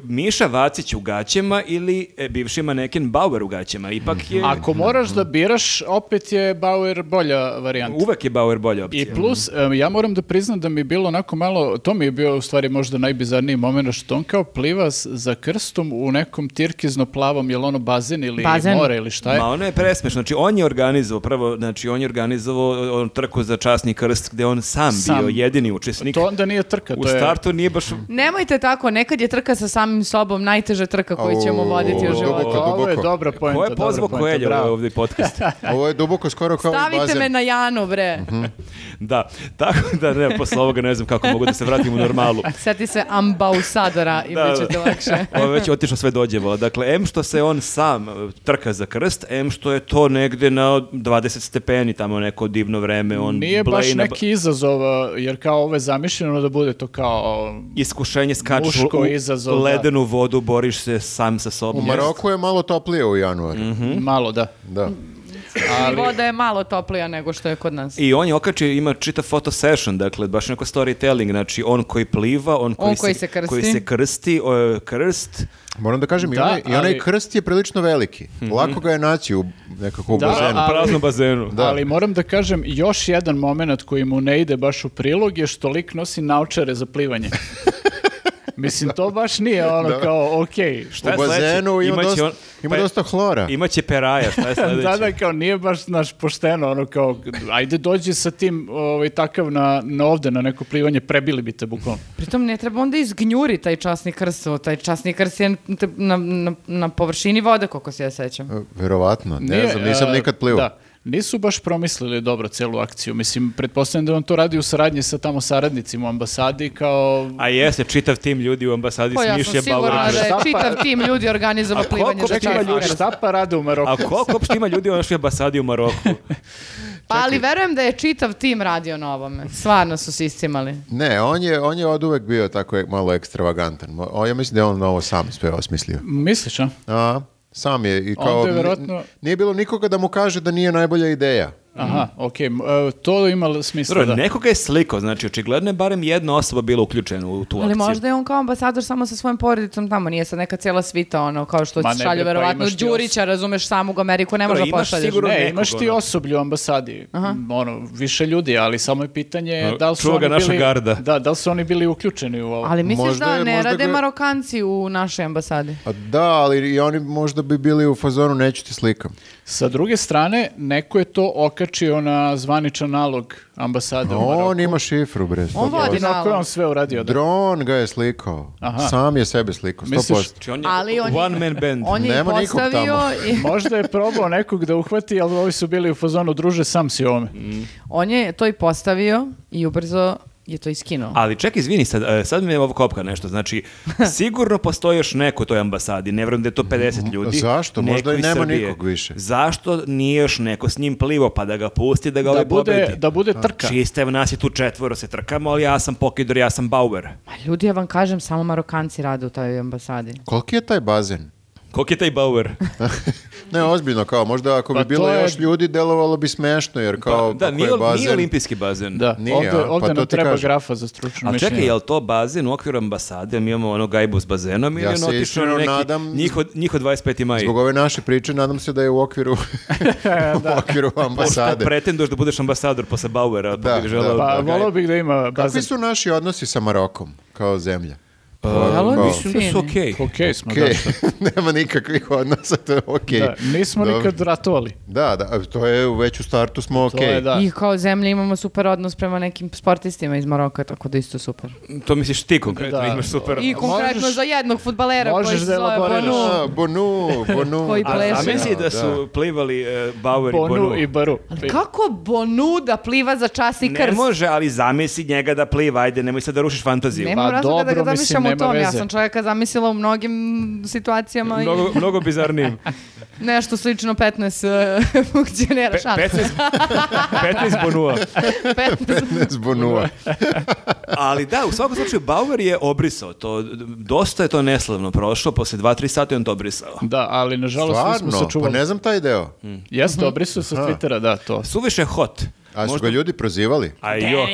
Speaker 4: Miša Vacić u gaćama ili e, bivši maneken Bauer u gaćama? Ipak je...
Speaker 2: Ako moraš da biraš, opet je Bauer bolja varijanta.
Speaker 4: Uvek je Bauer bolja
Speaker 2: I
Speaker 4: opcija.
Speaker 2: plus, em, ja moram da priznam da mi je bilo onako malo, to mi je bio u stvari možda najbizarniji moment, što on kao pliva s- za krstom u nekom tirkizno plavom, jel ono bazen ili
Speaker 1: Bazen.
Speaker 2: more ili šta je?
Speaker 4: Ma ono je presmešno, znači on je organizovao prvo, znači on je organizovao e, on trku za časni krst gde on sam,
Speaker 2: Sam.
Speaker 4: bio jedini učesnik.
Speaker 2: To onda nije trka,
Speaker 4: u
Speaker 2: to je...
Speaker 4: startu nije baš
Speaker 1: Nemojte tako, nekad je trka sa samim sobom najteža trka koju ćemo
Speaker 3: Au,
Speaker 1: voditi u
Speaker 3: duboko,
Speaker 1: životu.
Speaker 2: Ovo je
Speaker 3: duboko.
Speaker 2: dobra poenta,
Speaker 4: Ko je
Speaker 2: dobra
Speaker 4: pozvao
Speaker 2: poenta,
Speaker 4: Koelja
Speaker 2: bravo.
Speaker 4: ovdje podcast?
Speaker 2: (laughs)
Speaker 3: Ovo je duboko skoro kao i
Speaker 1: Stavite
Speaker 3: bazen.
Speaker 1: me na Janu, bre.
Speaker 4: (laughs) da, tako da ne, posle ovoga ne znam kako mogu da se vratim u
Speaker 1: (laughs)
Speaker 4: normalu.
Speaker 1: Sjeti se ambausadora i
Speaker 4: Da,
Speaker 1: bit
Speaker 4: da.
Speaker 1: ćete lakše.
Speaker 4: (laughs) Ovo je već otišlo sve dođevo. Dakle, em što se on sam e, trka za krst, em što je to negde na 20 stepeni, tamo neko divno vreme, on
Speaker 2: Nije baš
Speaker 4: blej na ba-
Speaker 2: neki izazov, a, jer kao ovo je zamišljeno da bude to kao...
Speaker 4: iskušenje skačeš
Speaker 2: Muško
Speaker 4: u
Speaker 2: izazov, da.
Speaker 4: ledenu vodu, boriš se sam sa sobom.
Speaker 3: U Maroku je malo toplije u januaru.
Speaker 2: Mhm.
Speaker 4: Mhm.
Speaker 2: Malo, da.
Speaker 3: Da.
Speaker 1: I voda je malo toplija nego što je kod nas.
Speaker 4: I on je okačio, ima čitav foto session, dakle, baš neko storytelling, znači on koji pliva, on koji,
Speaker 1: koji se krsti.
Speaker 4: koji se krsti, o, krst,
Speaker 3: Moram da kažem, i,
Speaker 2: Da,
Speaker 3: onaj, i onaj
Speaker 2: ali- Mhm.
Speaker 3: krst je prilično veliki. Lako ga je naći u nekako u
Speaker 2: Da,
Speaker 3: bazenu.
Speaker 2: a-
Speaker 4: u praznom bazenu.
Speaker 3: Da.
Speaker 2: Ali moram da kažem, još jedan moment koji mu ne ide baš u prilog je što lik nosi naučare za plivanje.
Speaker 3: (laughs)
Speaker 2: Mislim, to baš nije ono kao, okej.
Speaker 4: Šta je
Speaker 3: u bazenu
Speaker 4: sledeće?
Speaker 3: ima,
Speaker 4: Imaće
Speaker 3: dosta,
Speaker 4: on-
Speaker 3: ima
Speaker 4: pa-
Speaker 3: dosta hlora.
Speaker 4: Imaće peraja,
Speaker 2: (laughs)
Speaker 4: šta je sledeće?
Speaker 2: Da, da, kao nije baš, znaš, pošteno, ono kao, ajde dođi sa tim, ovaj, takav na, na ovde, na neko plivanje, prebili bi te bukvalno.
Speaker 1: Pritom ne treba onda izgnjuri taj časni krst, o, taj časni krst je na, na, na površini vode, koliko se ja sećam.
Speaker 3: E, Verovatno, ne
Speaker 2: Nije,
Speaker 3: znam, nisam
Speaker 2: e,
Speaker 3: nikad plivao.
Speaker 2: Da. Nisu baš promislili dobro celu akciju. Mislim, pretpostavljam da on to radi u saradnji sa tamo saradnicima u ambasadi kao...
Speaker 4: A jeste, čitav tim ljudi u ambasadi
Speaker 1: Pa ja sam
Speaker 4: smišlja Bauer.
Speaker 1: sigurna da je
Speaker 2: Šta pa-
Speaker 1: čitav tim ljudi organizovao
Speaker 4: A
Speaker 1: plivanje
Speaker 4: koliko
Speaker 1: za
Speaker 4: čeka
Speaker 1: časni
Speaker 4: ljudi?
Speaker 2: A
Speaker 1: krst.
Speaker 2: šta pa rade u Maroku?
Speaker 4: A koliko uopšte ima ljudi u našoj ambasadi u
Speaker 2: (laughs)
Speaker 4: Maroku?
Speaker 1: Pa ali verujem da je čitav tim radio na ovome. Stvarno su se iscimali.
Speaker 3: Ne, on je, on je od uvek bio tako e- malo ekstravagantan. Mo- O, ja mislim da je on ovo sam sve osmislio.
Speaker 2: Misliš, a?
Speaker 3: A, sam je i kao...
Speaker 2: Onda je verovatno-
Speaker 3: n- Nije bilo nikoga da mu kaže da nije najbolja ideja.
Speaker 2: Aha, okej, m, e, to ima smisla,
Speaker 4: Mhm. Dobro,
Speaker 2: da.
Speaker 4: nekoga je sliko, znači očigledno je barem jedna osoba bila uključena u tu
Speaker 1: Ali
Speaker 4: akciju.
Speaker 1: možda je on kao ambasador samo sa svojom porodicom tamo, nije sad neka cijela svita ono, kao što
Speaker 2: Ma
Speaker 1: ti
Speaker 2: ne
Speaker 1: šalju
Speaker 2: bre, pa
Speaker 1: verovatno
Speaker 2: imaš ti
Speaker 1: Đurića, razumeš samog Ameriku, ne
Speaker 4: Dobro,
Speaker 1: može da
Speaker 4: imaš
Speaker 1: pošalješ.
Speaker 4: sigurno-
Speaker 2: Ne,
Speaker 4: nekog,
Speaker 2: imaš ti
Speaker 4: ono.
Speaker 2: osoblje u ambasadi, m, ono, više ljudi, ali samo je pitanje
Speaker 4: A,
Speaker 2: da li su
Speaker 4: čuva ga
Speaker 2: oni
Speaker 4: naša
Speaker 2: bili...
Speaker 4: garda.
Speaker 2: Da, da li su oni bili uključeni u ovo?
Speaker 1: Ali misliš
Speaker 3: Možda
Speaker 1: da
Speaker 3: je-
Speaker 1: ne
Speaker 3: možda
Speaker 1: rade
Speaker 3: ga-
Speaker 1: Marokanci u našoj ambasadi?
Speaker 3: A da, ali i oni možda bi bili u fazonu neću ti slikam.
Speaker 2: Sa druge strane, neko je to okačio na zvaničan nalog ambasade u Maroku.
Speaker 3: On ima šifru, bre. sto
Speaker 1: On
Speaker 3: posto.
Speaker 1: vodi
Speaker 2: Jedino ako je
Speaker 1: nalog.
Speaker 2: on sve uradio, da.
Speaker 3: Dron ga je slikao.
Speaker 2: Aha.
Speaker 3: Sam je sebe slikao, 100%.
Speaker 2: Misliš-
Speaker 4: Znači on je
Speaker 1: Ali on je-
Speaker 4: one man band.
Speaker 1: On je i
Speaker 3: Nema nikog
Speaker 1: postavio
Speaker 3: tamo.
Speaker 1: i
Speaker 2: Možda je probao nekog da uhvati, ali ovi su bili u fazonu druže, sam si ovome.
Speaker 1: on je to i postavio i ubrzo je to iskinuo.
Speaker 4: Ali čekaj, izvini, sad, e, sad me ovo kopka
Speaker 1: (laughs)
Speaker 4: nešto. Znači, sigurno postoji još neko u toj ambasadi. Ne vjerujem da je to
Speaker 2: Mhm.
Speaker 4: 50 ljudi.
Speaker 3: zašto?
Speaker 4: Neko
Speaker 3: Možda i
Speaker 4: iz
Speaker 3: nema
Speaker 4: Srbije.
Speaker 3: nikog više.
Speaker 4: Zašto nije još neko s njim plivo pa da ga pusti, da ga
Speaker 2: Da
Speaker 4: ovaj
Speaker 2: bude,
Speaker 4: pobedi?
Speaker 2: da bude trka.
Speaker 4: Čiste, nas je tu četvoro se trkamo, ali ja sam Pokidor, ja sam Bauer.
Speaker 1: Ma ljudi, ja vam kažem, samo Marokanci rade u toj ambasadi.
Speaker 3: Koliki je taj bazen? (laughs)
Speaker 4: Koliko je taj Bauer?
Speaker 3: ne, ozbiljno, kao možda ako bi
Speaker 2: Pa to
Speaker 3: bilo
Speaker 2: je-
Speaker 3: još ljudi, delovalo bi smešno, jer kao
Speaker 4: Pa, da,
Speaker 3: ako
Speaker 4: nije,
Speaker 3: Pa, je
Speaker 4: nije
Speaker 3: bazen...
Speaker 4: olimpijski bazen.
Speaker 2: Da,
Speaker 3: Nije,
Speaker 2: ovde,
Speaker 3: a? Pa
Speaker 2: ovde
Speaker 3: to
Speaker 2: nam
Speaker 3: ti
Speaker 2: treba
Speaker 3: kažem.
Speaker 2: grafa za stručno
Speaker 4: A čekaj,
Speaker 2: mišljenje.
Speaker 4: je li to bazen u okviru ambasade? Mi imamo ono gajbu s bazenom ili
Speaker 3: Ja
Speaker 4: je
Speaker 3: se
Speaker 4: ono otišao na
Speaker 3: iskreno
Speaker 4: neki
Speaker 3: nadam-
Speaker 4: njiho, njiho 25. maj?
Speaker 3: Zbog ove naše priče, nadam se da je u
Speaker 2: (laughs)
Speaker 3: okviru, (laughs) u okviru
Speaker 4: Pošto
Speaker 3: ambasade.
Speaker 4: pretenduješ Pa da budeš ambasador posle Bauera, pa
Speaker 3: Da,
Speaker 4: bih želeo
Speaker 3: da.
Speaker 2: Pa
Speaker 4: da-
Speaker 2: volao bih da ima bazen.
Speaker 3: Kakvi su naši odnosi sa Marokom kao zemlja?
Speaker 1: Pa,
Speaker 4: Pa,
Speaker 1: pa-
Speaker 4: mislim da su
Speaker 1: fini.
Speaker 4: okej.
Speaker 2: Okej smo,
Speaker 3: Okej,
Speaker 2: da, šta-
Speaker 3: (laughs) nema nikakvih odnosa, to je okej.
Speaker 2: da. Nismo
Speaker 3: Dobro.
Speaker 2: nikad ratovali.
Speaker 3: Da, da, to je u veću startu smo
Speaker 2: To
Speaker 3: okej.
Speaker 2: je da.
Speaker 1: I kao zemlja imamo super odnos prema nekim sportistima iz Maroka, tako da isto super.
Speaker 4: To misliš ti konkretno,
Speaker 2: Da.
Speaker 4: imaš super.
Speaker 1: I konkretno za jednog futbalera koji
Speaker 2: možeš
Speaker 1: se
Speaker 2: da
Speaker 1: zove
Speaker 2: elaboriraš.
Speaker 1: Bonu.
Speaker 3: A, Bonu, Bonu.
Speaker 1: (laughs) Koji
Speaker 4: A
Speaker 1: pleše.
Speaker 4: zamisli da
Speaker 3: Da,
Speaker 4: su plivali e, Bauer i
Speaker 2: Bonu
Speaker 4: Bonu.
Speaker 2: i Baru.
Speaker 1: Ali kako Bonu da pliva za čas i
Speaker 4: Ne
Speaker 1: krst?
Speaker 4: može, ali zamisli njega da pliva, ajde, nemoj sad da rušiš fantaziju.
Speaker 1: Nemam
Speaker 2: Pa
Speaker 1: razloga da
Speaker 2: dobro,
Speaker 1: ga
Speaker 2: mislim,
Speaker 1: zamišljam u
Speaker 2: nema
Speaker 1: tom. Ja
Speaker 2: veze.
Speaker 1: sam čovjeka zamislila u mnogim situacijama
Speaker 4: Mnogo, mnogo bizarnijim.
Speaker 1: i nešto slično 15 eh, (laughs) funkcionera
Speaker 4: Pe,
Speaker 1: šans.
Speaker 4: 15, 15 Bonua.
Speaker 1: 15.
Speaker 3: (laughs) S Bonua.
Speaker 4: Ali da, u svakom slučaju Bauer je obrisao to. Dosta je to neslavno prošlo, posle 2-3 sata je on to obrisao.
Speaker 2: Da, ali nažalost nismo
Speaker 3: Stvarno, pa
Speaker 2: sačuvali.
Speaker 3: ne Mhm. znam taj deo.
Speaker 4: Mm.
Speaker 2: Jeste, obrisao sa Twittera, da, to.
Speaker 4: Suviše hot.
Speaker 3: A su
Speaker 4: Možda-
Speaker 3: ga ljudi prozivali?
Speaker 4: A jok.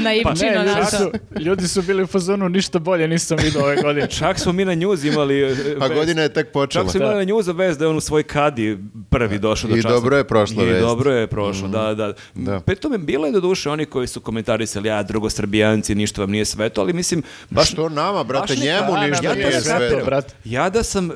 Speaker 1: Naivčino
Speaker 2: Pa Ne, ljudi
Speaker 1: Pa naša.
Speaker 2: su, ljudi su bili u fazonu, ništa bolje nisam vidio ove godine.
Speaker 4: Čak smo mi na njuz
Speaker 3: (laughs)
Speaker 4: imali... e,
Speaker 3: A
Speaker 4: vest.
Speaker 3: Pa godina je tek počela.
Speaker 4: Čak smo imali na njuzu vest da je on u svoj kadi prvi došao do
Speaker 3: I
Speaker 4: časa.
Speaker 3: dobro je prošla
Speaker 4: I
Speaker 3: vest. Mm.
Speaker 4: dobro je prošlo, da, da.
Speaker 3: Da.
Speaker 4: Pe tome, bilo je do duše oni koji su komentarisali, ja, drugosrbijanci, ništa vam nije sveto, ali mislim, baš...
Speaker 3: Što nama, brate,
Speaker 4: baš neka-
Speaker 3: njemu
Speaker 4: A,
Speaker 3: ništa
Speaker 4: nama
Speaker 3: nije
Speaker 4: nije
Speaker 3: sve.
Speaker 2: sveto, brate.
Speaker 4: Ja da sam e,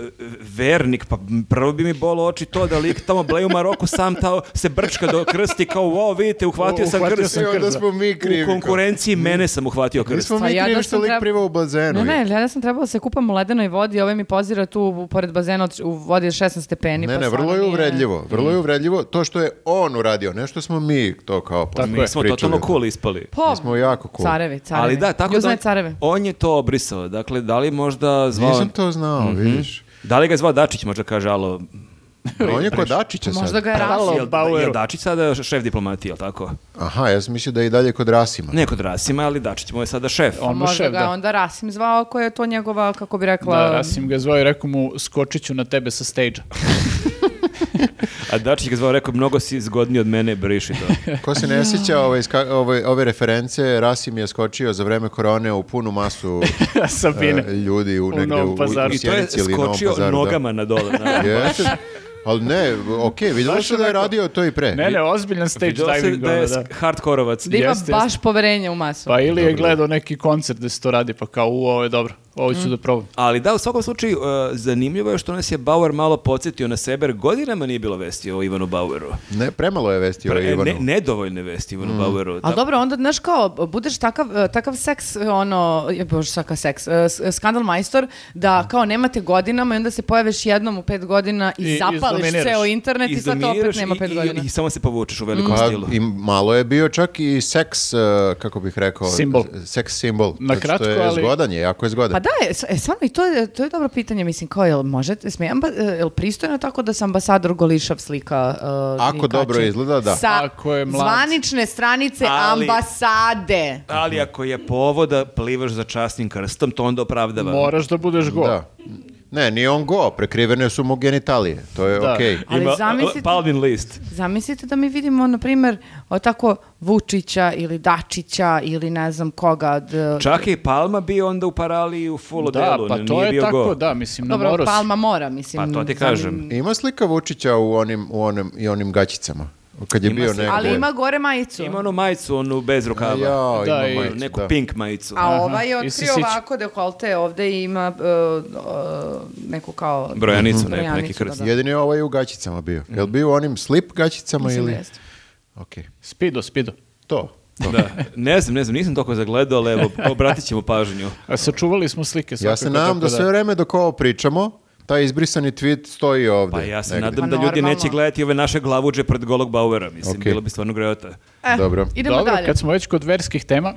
Speaker 4: vernik, pa m, prvo bi mi bolo oči to da lik tamo bleju u Maroku sam tao se brčka do krsti kao wow, vidite, uhvatio sam
Speaker 2: Uhvatio
Speaker 4: krst.
Speaker 2: sam krst.
Speaker 3: onda smo mi krivi.
Speaker 4: U konkurenciji mene sam uhvatio krst.
Speaker 3: Nismo
Speaker 1: Pa
Speaker 3: mi
Speaker 1: ja da
Speaker 3: krivi
Speaker 1: sam
Speaker 3: što lik
Speaker 1: treb-
Speaker 3: priva u
Speaker 1: Ne,
Speaker 3: bazenu.
Speaker 1: ne, ja sam trebala da se kupam u ledenoj vodi, ovaj mi pozira tu u- pored bazena od- u vodi od 16 stepeni.
Speaker 3: Ne,
Speaker 1: pa
Speaker 3: ne, vrlo
Speaker 1: stvarno
Speaker 3: je
Speaker 1: nije-
Speaker 3: uvredljivo.
Speaker 4: Mm.
Speaker 3: Vrlo je uvredljivo to što je on uradio, ne što smo mi to kao
Speaker 2: Tako
Speaker 3: mi
Speaker 2: je.
Speaker 4: Mi smo totalno cool ispali.
Speaker 1: Pa,
Speaker 3: Mi smo jako cool.
Speaker 1: Carevi, carevi.
Speaker 4: Ali da, tako
Speaker 1: Ljud
Speaker 4: da
Speaker 1: znaj
Speaker 4: on,
Speaker 1: careve.
Speaker 4: on je to obrisao. Dakle, da li možda zvao...
Speaker 3: Nisam to znao, vidiš.
Speaker 4: Da li ga je zvao Dačić, možda kaže, alo...
Speaker 3: On je kod Dačića sad.
Speaker 1: Možda ga je
Speaker 2: Halo.
Speaker 1: rasio.
Speaker 4: Jel,
Speaker 2: Baueru.
Speaker 4: jel Dačić sada šef diplomatije, jel tako?
Speaker 3: Aha, ja sam mislio da je i dalje kod Rasima.
Speaker 4: Ne kod Rasima, ali Dačić mu je sada šef.
Speaker 2: On mu
Speaker 1: Možda
Speaker 2: šef,
Speaker 1: ga je
Speaker 2: da.
Speaker 1: onda Rasim zvao, koja je to njegova, kako bi rekla...
Speaker 2: Da, Rasim ga je zvao i rekao mu, skočit ću na tebe sa stage (laughs)
Speaker 4: A Dačić ga je zvao, rekao, mnogo si zgodniji od mene, briši to.
Speaker 3: Ko se ne sjeća ove, iska- ove, ove reference, Rasim je skočio za vreme korone u punu masu
Speaker 2: Sabine.
Speaker 3: e, ljudi u, negde
Speaker 2: Novom
Speaker 3: u, u,
Speaker 2: Pazaru.
Speaker 3: u
Speaker 4: I to je
Speaker 3: Sjenici ili Novom
Speaker 4: skočio
Speaker 3: Pazaru, da.
Speaker 4: nogama na (laughs) dole. na-
Speaker 3: Jeste. Ali ne, okej, vidjelo
Speaker 2: Znaš
Speaker 3: se da je
Speaker 2: onako-
Speaker 3: radio to i pre.
Speaker 2: Ne, ne, ozbiljan stage
Speaker 4: Videlo se
Speaker 2: diving.
Speaker 4: Znači, da je
Speaker 2: ono, da.
Speaker 4: sk- hardkorovac.
Speaker 1: Da ima
Speaker 2: Jeste,
Speaker 1: baš poverenje u masu.
Speaker 2: Pa ili je gledao neki koncert gde se to radi, pa kao, u, ovo je dobro, ovo ću da probam.
Speaker 4: Ali da, u svakom slučaju, e, zanimljivo je što nas je Bauer malo podsjetio na sebe, jer godinama nije bilo vesti o Ivanu Baueru.
Speaker 3: Ne, premalo je vesti o
Speaker 4: Pre- e,
Speaker 3: Ivanu.
Speaker 4: ne, nedovoljne vesti Ivanu Baueru.
Speaker 1: Ali
Speaker 4: Da.
Speaker 1: dobro, onda, znaš kao, budeš takav, eh, takav seks, eh, ono, je, bože, takav seks, eh, s- skandal majstor, da kao nemate godinama i onda se pojaviš jednom u pet godina i,
Speaker 2: I-
Speaker 1: zapališ
Speaker 2: izdominiraš.
Speaker 1: ceo internet i sad to opet
Speaker 4: Izdominiraš
Speaker 1: nema
Speaker 4: i-
Speaker 1: pet
Speaker 4: i-
Speaker 1: godina.
Speaker 4: I, samo se povučeš u velikom
Speaker 3: Pa
Speaker 4: stilu.
Speaker 3: i malo je bio čak i seks, e, kako bih rekao,
Speaker 2: Simbol.
Speaker 3: seks simbol.
Speaker 2: Na
Speaker 3: Zato
Speaker 2: kratko,
Speaker 3: što je
Speaker 2: ali-
Speaker 3: zgodan je, jako je zgodan.
Speaker 1: Pa da, e, s- e, stvarno, i to je, to je dobro pitanje, mislim, kao, jel možete, sme, amba, e, jel pristojno tako da se ambasador Golišav slika? e,
Speaker 3: Ako
Speaker 1: i kači?
Speaker 3: dobro izgleda, da.
Speaker 1: Sa
Speaker 2: Ako je mlad.
Speaker 1: zvanične stranice
Speaker 4: Ali-
Speaker 1: ambasade.
Speaker 4: Ali ako je povoda plivaš za časnim krstom, to onda opravdava.
Speaker 2: Moraš da budeš go.
Speaker 3: Da. Ne, nije on go, prekrivene su mu genitalije, to je
Speaker 2: Da.
Speaker 3: okej.
Speaker 1: Ali
Speaker 4: Ima
Speaker 1: zamislite-
Speaker 4: Palvin list.
Speaker 1: Zamislite da mi vidimo, na primjer, o, tako Vučića ili Dačića ili ne znam koga. e, d-
Speaker 4: Čak je i Palma bio onda u paraliji u full
Speaker 2: Da,
Speaker 4: odelu,
Speaker 2: pa
Speaker 4: n-
Speaker 2: to
Speaker 4: nije
Speaker 2: je
Speaker 4: bio
Speaker 2: tako,
Speaker 4: go.
Speaker 2: da, mislim, na
Speaker 1: Dobro,
Speaker 2: moru si.
Speaker 1: Palma mora, mislim.
Speaker 4: Pa to ti
Speaker 1: samim-
Speaker 4: kažem.
Speaker 3: Ima slika Vučića u onim, u onim, i onim gaćicama, kad je
Speaker 4: Ima
Speaker 3: bio
Speaker 4: slika.
Speaker 3: negde.
Speaker 1: Ali ima gore majicu.
Speaker 4: Ima onu majicu, onu bez rukava.
Speaker 3: Jao,
Speaker 2: Da, i-
Speaker 3: ima majicu,
Speaker 4: Neku
Speaker 3: da.
Speaker 4: pink majicu.
Speaker 1: A
Speaker 2: Aha,
Speaker 1: ova ovaj je
Speaker 2: i
Speaker 1: otkrio
Speaker 2: sisić.
Speaker 1: ovako dekolte ovde i ima e, e, neku kao...
Speaker 4: Brojanicu,
Speaker 1: Mhm.
Speaker 4: neku, neki
Speaker 1: Brojanicu,
Speaker 4: krst.
Speaker 1: da, da.
Speaker 3: Jedini je ovaj u gaćicama bio.
Speaker 4: Mm.
Speaker 3: Jel bio u onim slip gaćicama
Speaker 1: Mislim da
Speaker 3: ili?
Speaker 1: jeste.
Speaker 3: Okej.
Speaker 2: Spido, spido.
Speaker 3: To. to.
Speaker 4: Da. Ne znam, ne znam, nisam toliko zagledao, ali evo, obratit ćemo pažnju.
Speaker 2: A sačuvali smo slike.
Speaker 3: Ja
Speaker 2: svakako,
Speaker 3: se nadam
Speaker 2: tako
Speaker 3: da sve vreme dok ovo pričamo, taj izbrisani tweet stoji ovdje.
Speaker 4: Pa ja se
Speaker 3: negde.
Speaker 4: nadam
Speaker 1: Pa
Speaker 4: da ljudi
Speaker 1: normalno.
Speaker 4: neće gledati ove naše glavuđe pred golog Bauera, mislim,
Speaker 3: Ok.
Speaker 4: bilo bi stvarno grejota.
Speaker 1: Eh,
Speaker 3: Dobro.
Speaker 1: Idemo
Speaker 2: Dobro,
Speaker 1: dalje.
Speaker 2: kad smo već kod verskih tema,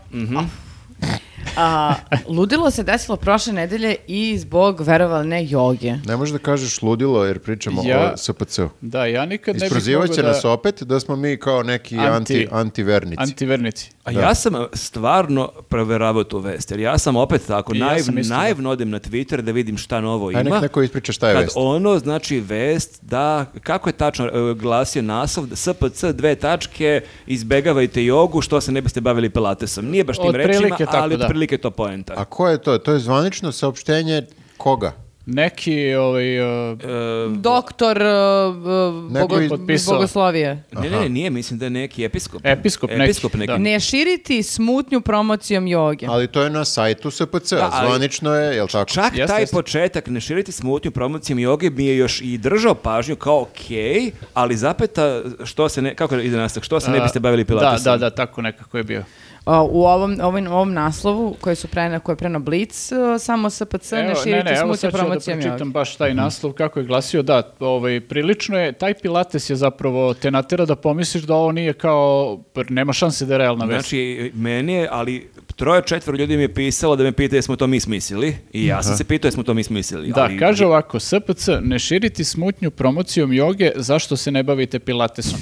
Speaker 1: A, ludilo se desilo prošle nedelje i zbog, verovali ne, joge.
Speaker 3: Ne možeš da kažeš ludilo jer pričamo
Speaker 2: Ja-
Speaker 3: o SPC-u.
Speaker 2: da, ja nikad ne bih
Speaker 3: Isprozivat
Speaker 2: mogao
Speaker 3: će
Speaker 2: da...
Speaker 3: nas opet da smo mi kao neki anti,
Speaker 2: Anti-
Speaker 3: antivernici.
Speaker 2: Antivernici.
Speaker 4: A
Speaker 3: Da.
Speaker 4: ja sam e, stvarno proveravao tu vest, jer ja sam opet tako
Speaker 2: I ja
Speaker 4: naiv,
Speaker 2: sam isto.
Speaker 4: naivno odem na Twitter da vidim šta novo ima.
Speaker 3: Aj nek neko ispriča šta je
Speaker 4: Kad
Speaker 3: vest.
Speaker 4: ono znači vest da, kako je tačno e, glasio naslov, da SPC dve tačke, izbegavajte jogu što se ne biste bavili pilatesom. Nije baš tim
Speaker 2: Otprilike
Speaker 4: rečima,
Speaker 2: tako,
Speaker 4: ali
Speaker 2: da.
Speaker 4: otprilike je to poenta.
Speaker 3: A ko je to? To je zvanično saopštenje koga?
Speaker 2: Neki, ovaj, uh,
Speaker 1: Doktor uh, uh,
Speaker 3: Neko
Speaker 1: bogo-
Speaker 3: je
Speaker 2: potpisao.
Speaker 1: bogoslovije.
Speaker 4: Ne, ne, ne, nije, mislim da je neki episkop.
Speaker 2: Episkop neki, da.
Speaker 1: Ne širiti smutnju promocijom joge.
Speaker 3: Ali to je na sajtu SPC,
Speaker 4: Da, ali-
Speaker 3: zvanično je, jel tako?
Speaker 4: Čak
Speaker 2: Jeste,
Speaker 4: taj
Speaker 2: jeste.
Speaker 4: početak, ne širiti smutnju promocijom joge, mi je još i držao pažnju kao okej, ali zapeta što se ne, kako ide nastavak, što se ne biste bavili pilatesom.
Speaker 2: Da, da, da, tako nekako je bio.
Speaker 1: A, u ovom, ovom, ovom naslovu koje su prena, koje je preno Blitz, uh, samo SPC, ne širiti
Speaker 2: evo
Speaker 1: smutnju
Speaker 2: sad ću da
Speaker 1: promocijom joge.
Speaker 2: pročitam baš
Speaker 4: Mhm.
Speaker 2: taj naslov kako je glasio, da, ovaj, prilično je, taj pilates je zapravo, te natera da pomisliš da ovo nije kao, nema šanse da je realna vest.
Speaker 4: Znači, meni je, ali troje četvr ljudi mi je pisalo da me pita jesmo to mi smislili i ja sam se pitao jesmo to mi smislili.
Speaker 2: Da,
Speaker 4: ali-
Speaker 2: kaže ovako, SPC, ne širiti smutnju promocijom joge, zašto se ne bavite pilatesom?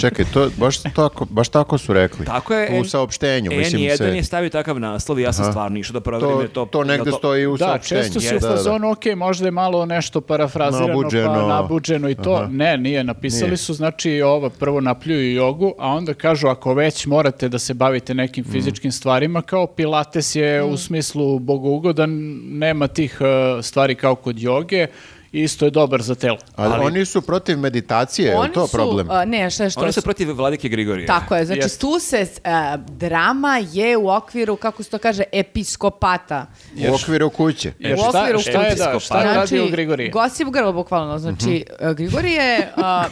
Speaker 3: Čekaj, to, baš, tako, baš tako su rekli.
Speaker 4: Tako je.
Speaker 3: U saopštenju, mislim
Speaker 4: N1
Speaker 3: se.
Speaker 4: je stavio takav naslov i ja sam stvarno išao da proverim.
Speaker 3: To,
Speaker 4: jer
Speaker 3: to,
Speaker 4: jel
Speaker 3: negde stoji u
Speaker 2: Da,
Speaker 3: saopštenju.
Speaker 2: često si u
Speaker 3: Da, da, da.
Speaker 2: fazonu, ok, možda je malo nešto parafrazirano,
Speaker 3: Nabuđeno.
Speaker 2: pa nabuđeno i to. Ne, nije, napisali
Speaker 3: Nije.
Speaker 2: su, znači, ovo, prvo napljuju jogu, a onda kažu, ako već morate da se bavite nekim
Speaker 3: Mhm.
Speaker 2: fizičkim stvarima, kao pilates je u smislu bogougodan, nema tih e, stvari kao kod joge, isto je dobar za telo.
Speaker 3: Ali, oni su protiv meditacije, je li to problem?
Speaker 1: a, ne, šta je što
Speaker 4: Oni
Speaker 1: su-
Speaker 4: su protiv Vladike Grigorija.
Speaker 1: Tako je, znači
Speaker 2: Jeste.
Speaker 1: tu se e, drama je u okviru, kako se to kaže, episkopata.
Speaker 3: u okviru kuće.
Speaker 2: Jer
Speaker 1: u
Speaker 2: E, šta-
Speaker 1: okviru
Speaker 2: šta je, da, šta je
Speaker 1: Znači,
Speaker 2: radio Grigorije? Mhm.
Speaker 1: Gossip Girl, bukvalno. Znači, e, Grigorije,
Speaker 2: (laughs)
Speaker 1: a,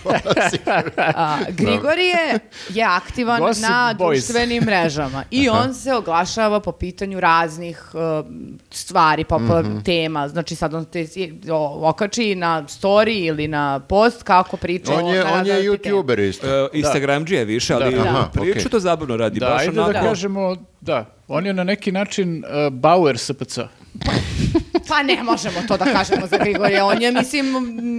Speaker 1: a, Grigorije je aktivan
Speaker 2: Gossip
Speaker 1: na
Speaker 2: Boys.
Speaker 1: društvenim mrežama i on se oglašava po pitanju raznih e, stvari, pa
Speaker 2: Mhm.
Speaker 1: tema. Znači, sad on te o, okači na story ili na post kako priča
Speaker 3: On
Speaker 1: o-
Speaker 3: je,
Speaker 1: na
Speaker 3: on je
Speaker 1: različite teme.
Speaker 3: youtuber isto.
Speaker 4: E, Instagramđija je više, ali
Speaker 2: Da.
Speaker 3: Aha,
Speaker 4: priču
Speaker 3: okej.
Speaker 4: to zabavno radi.
Speaker 2: Da,
Speaker 4: baš
Speaker 2: ajde
Speaker 4: onako.
Speaker 2: da kažemo, da, on je na neki način e, Bauer SPC.
Speaker 1: Pa ne možemo to da kažemo za Grigorija. On je, mislim,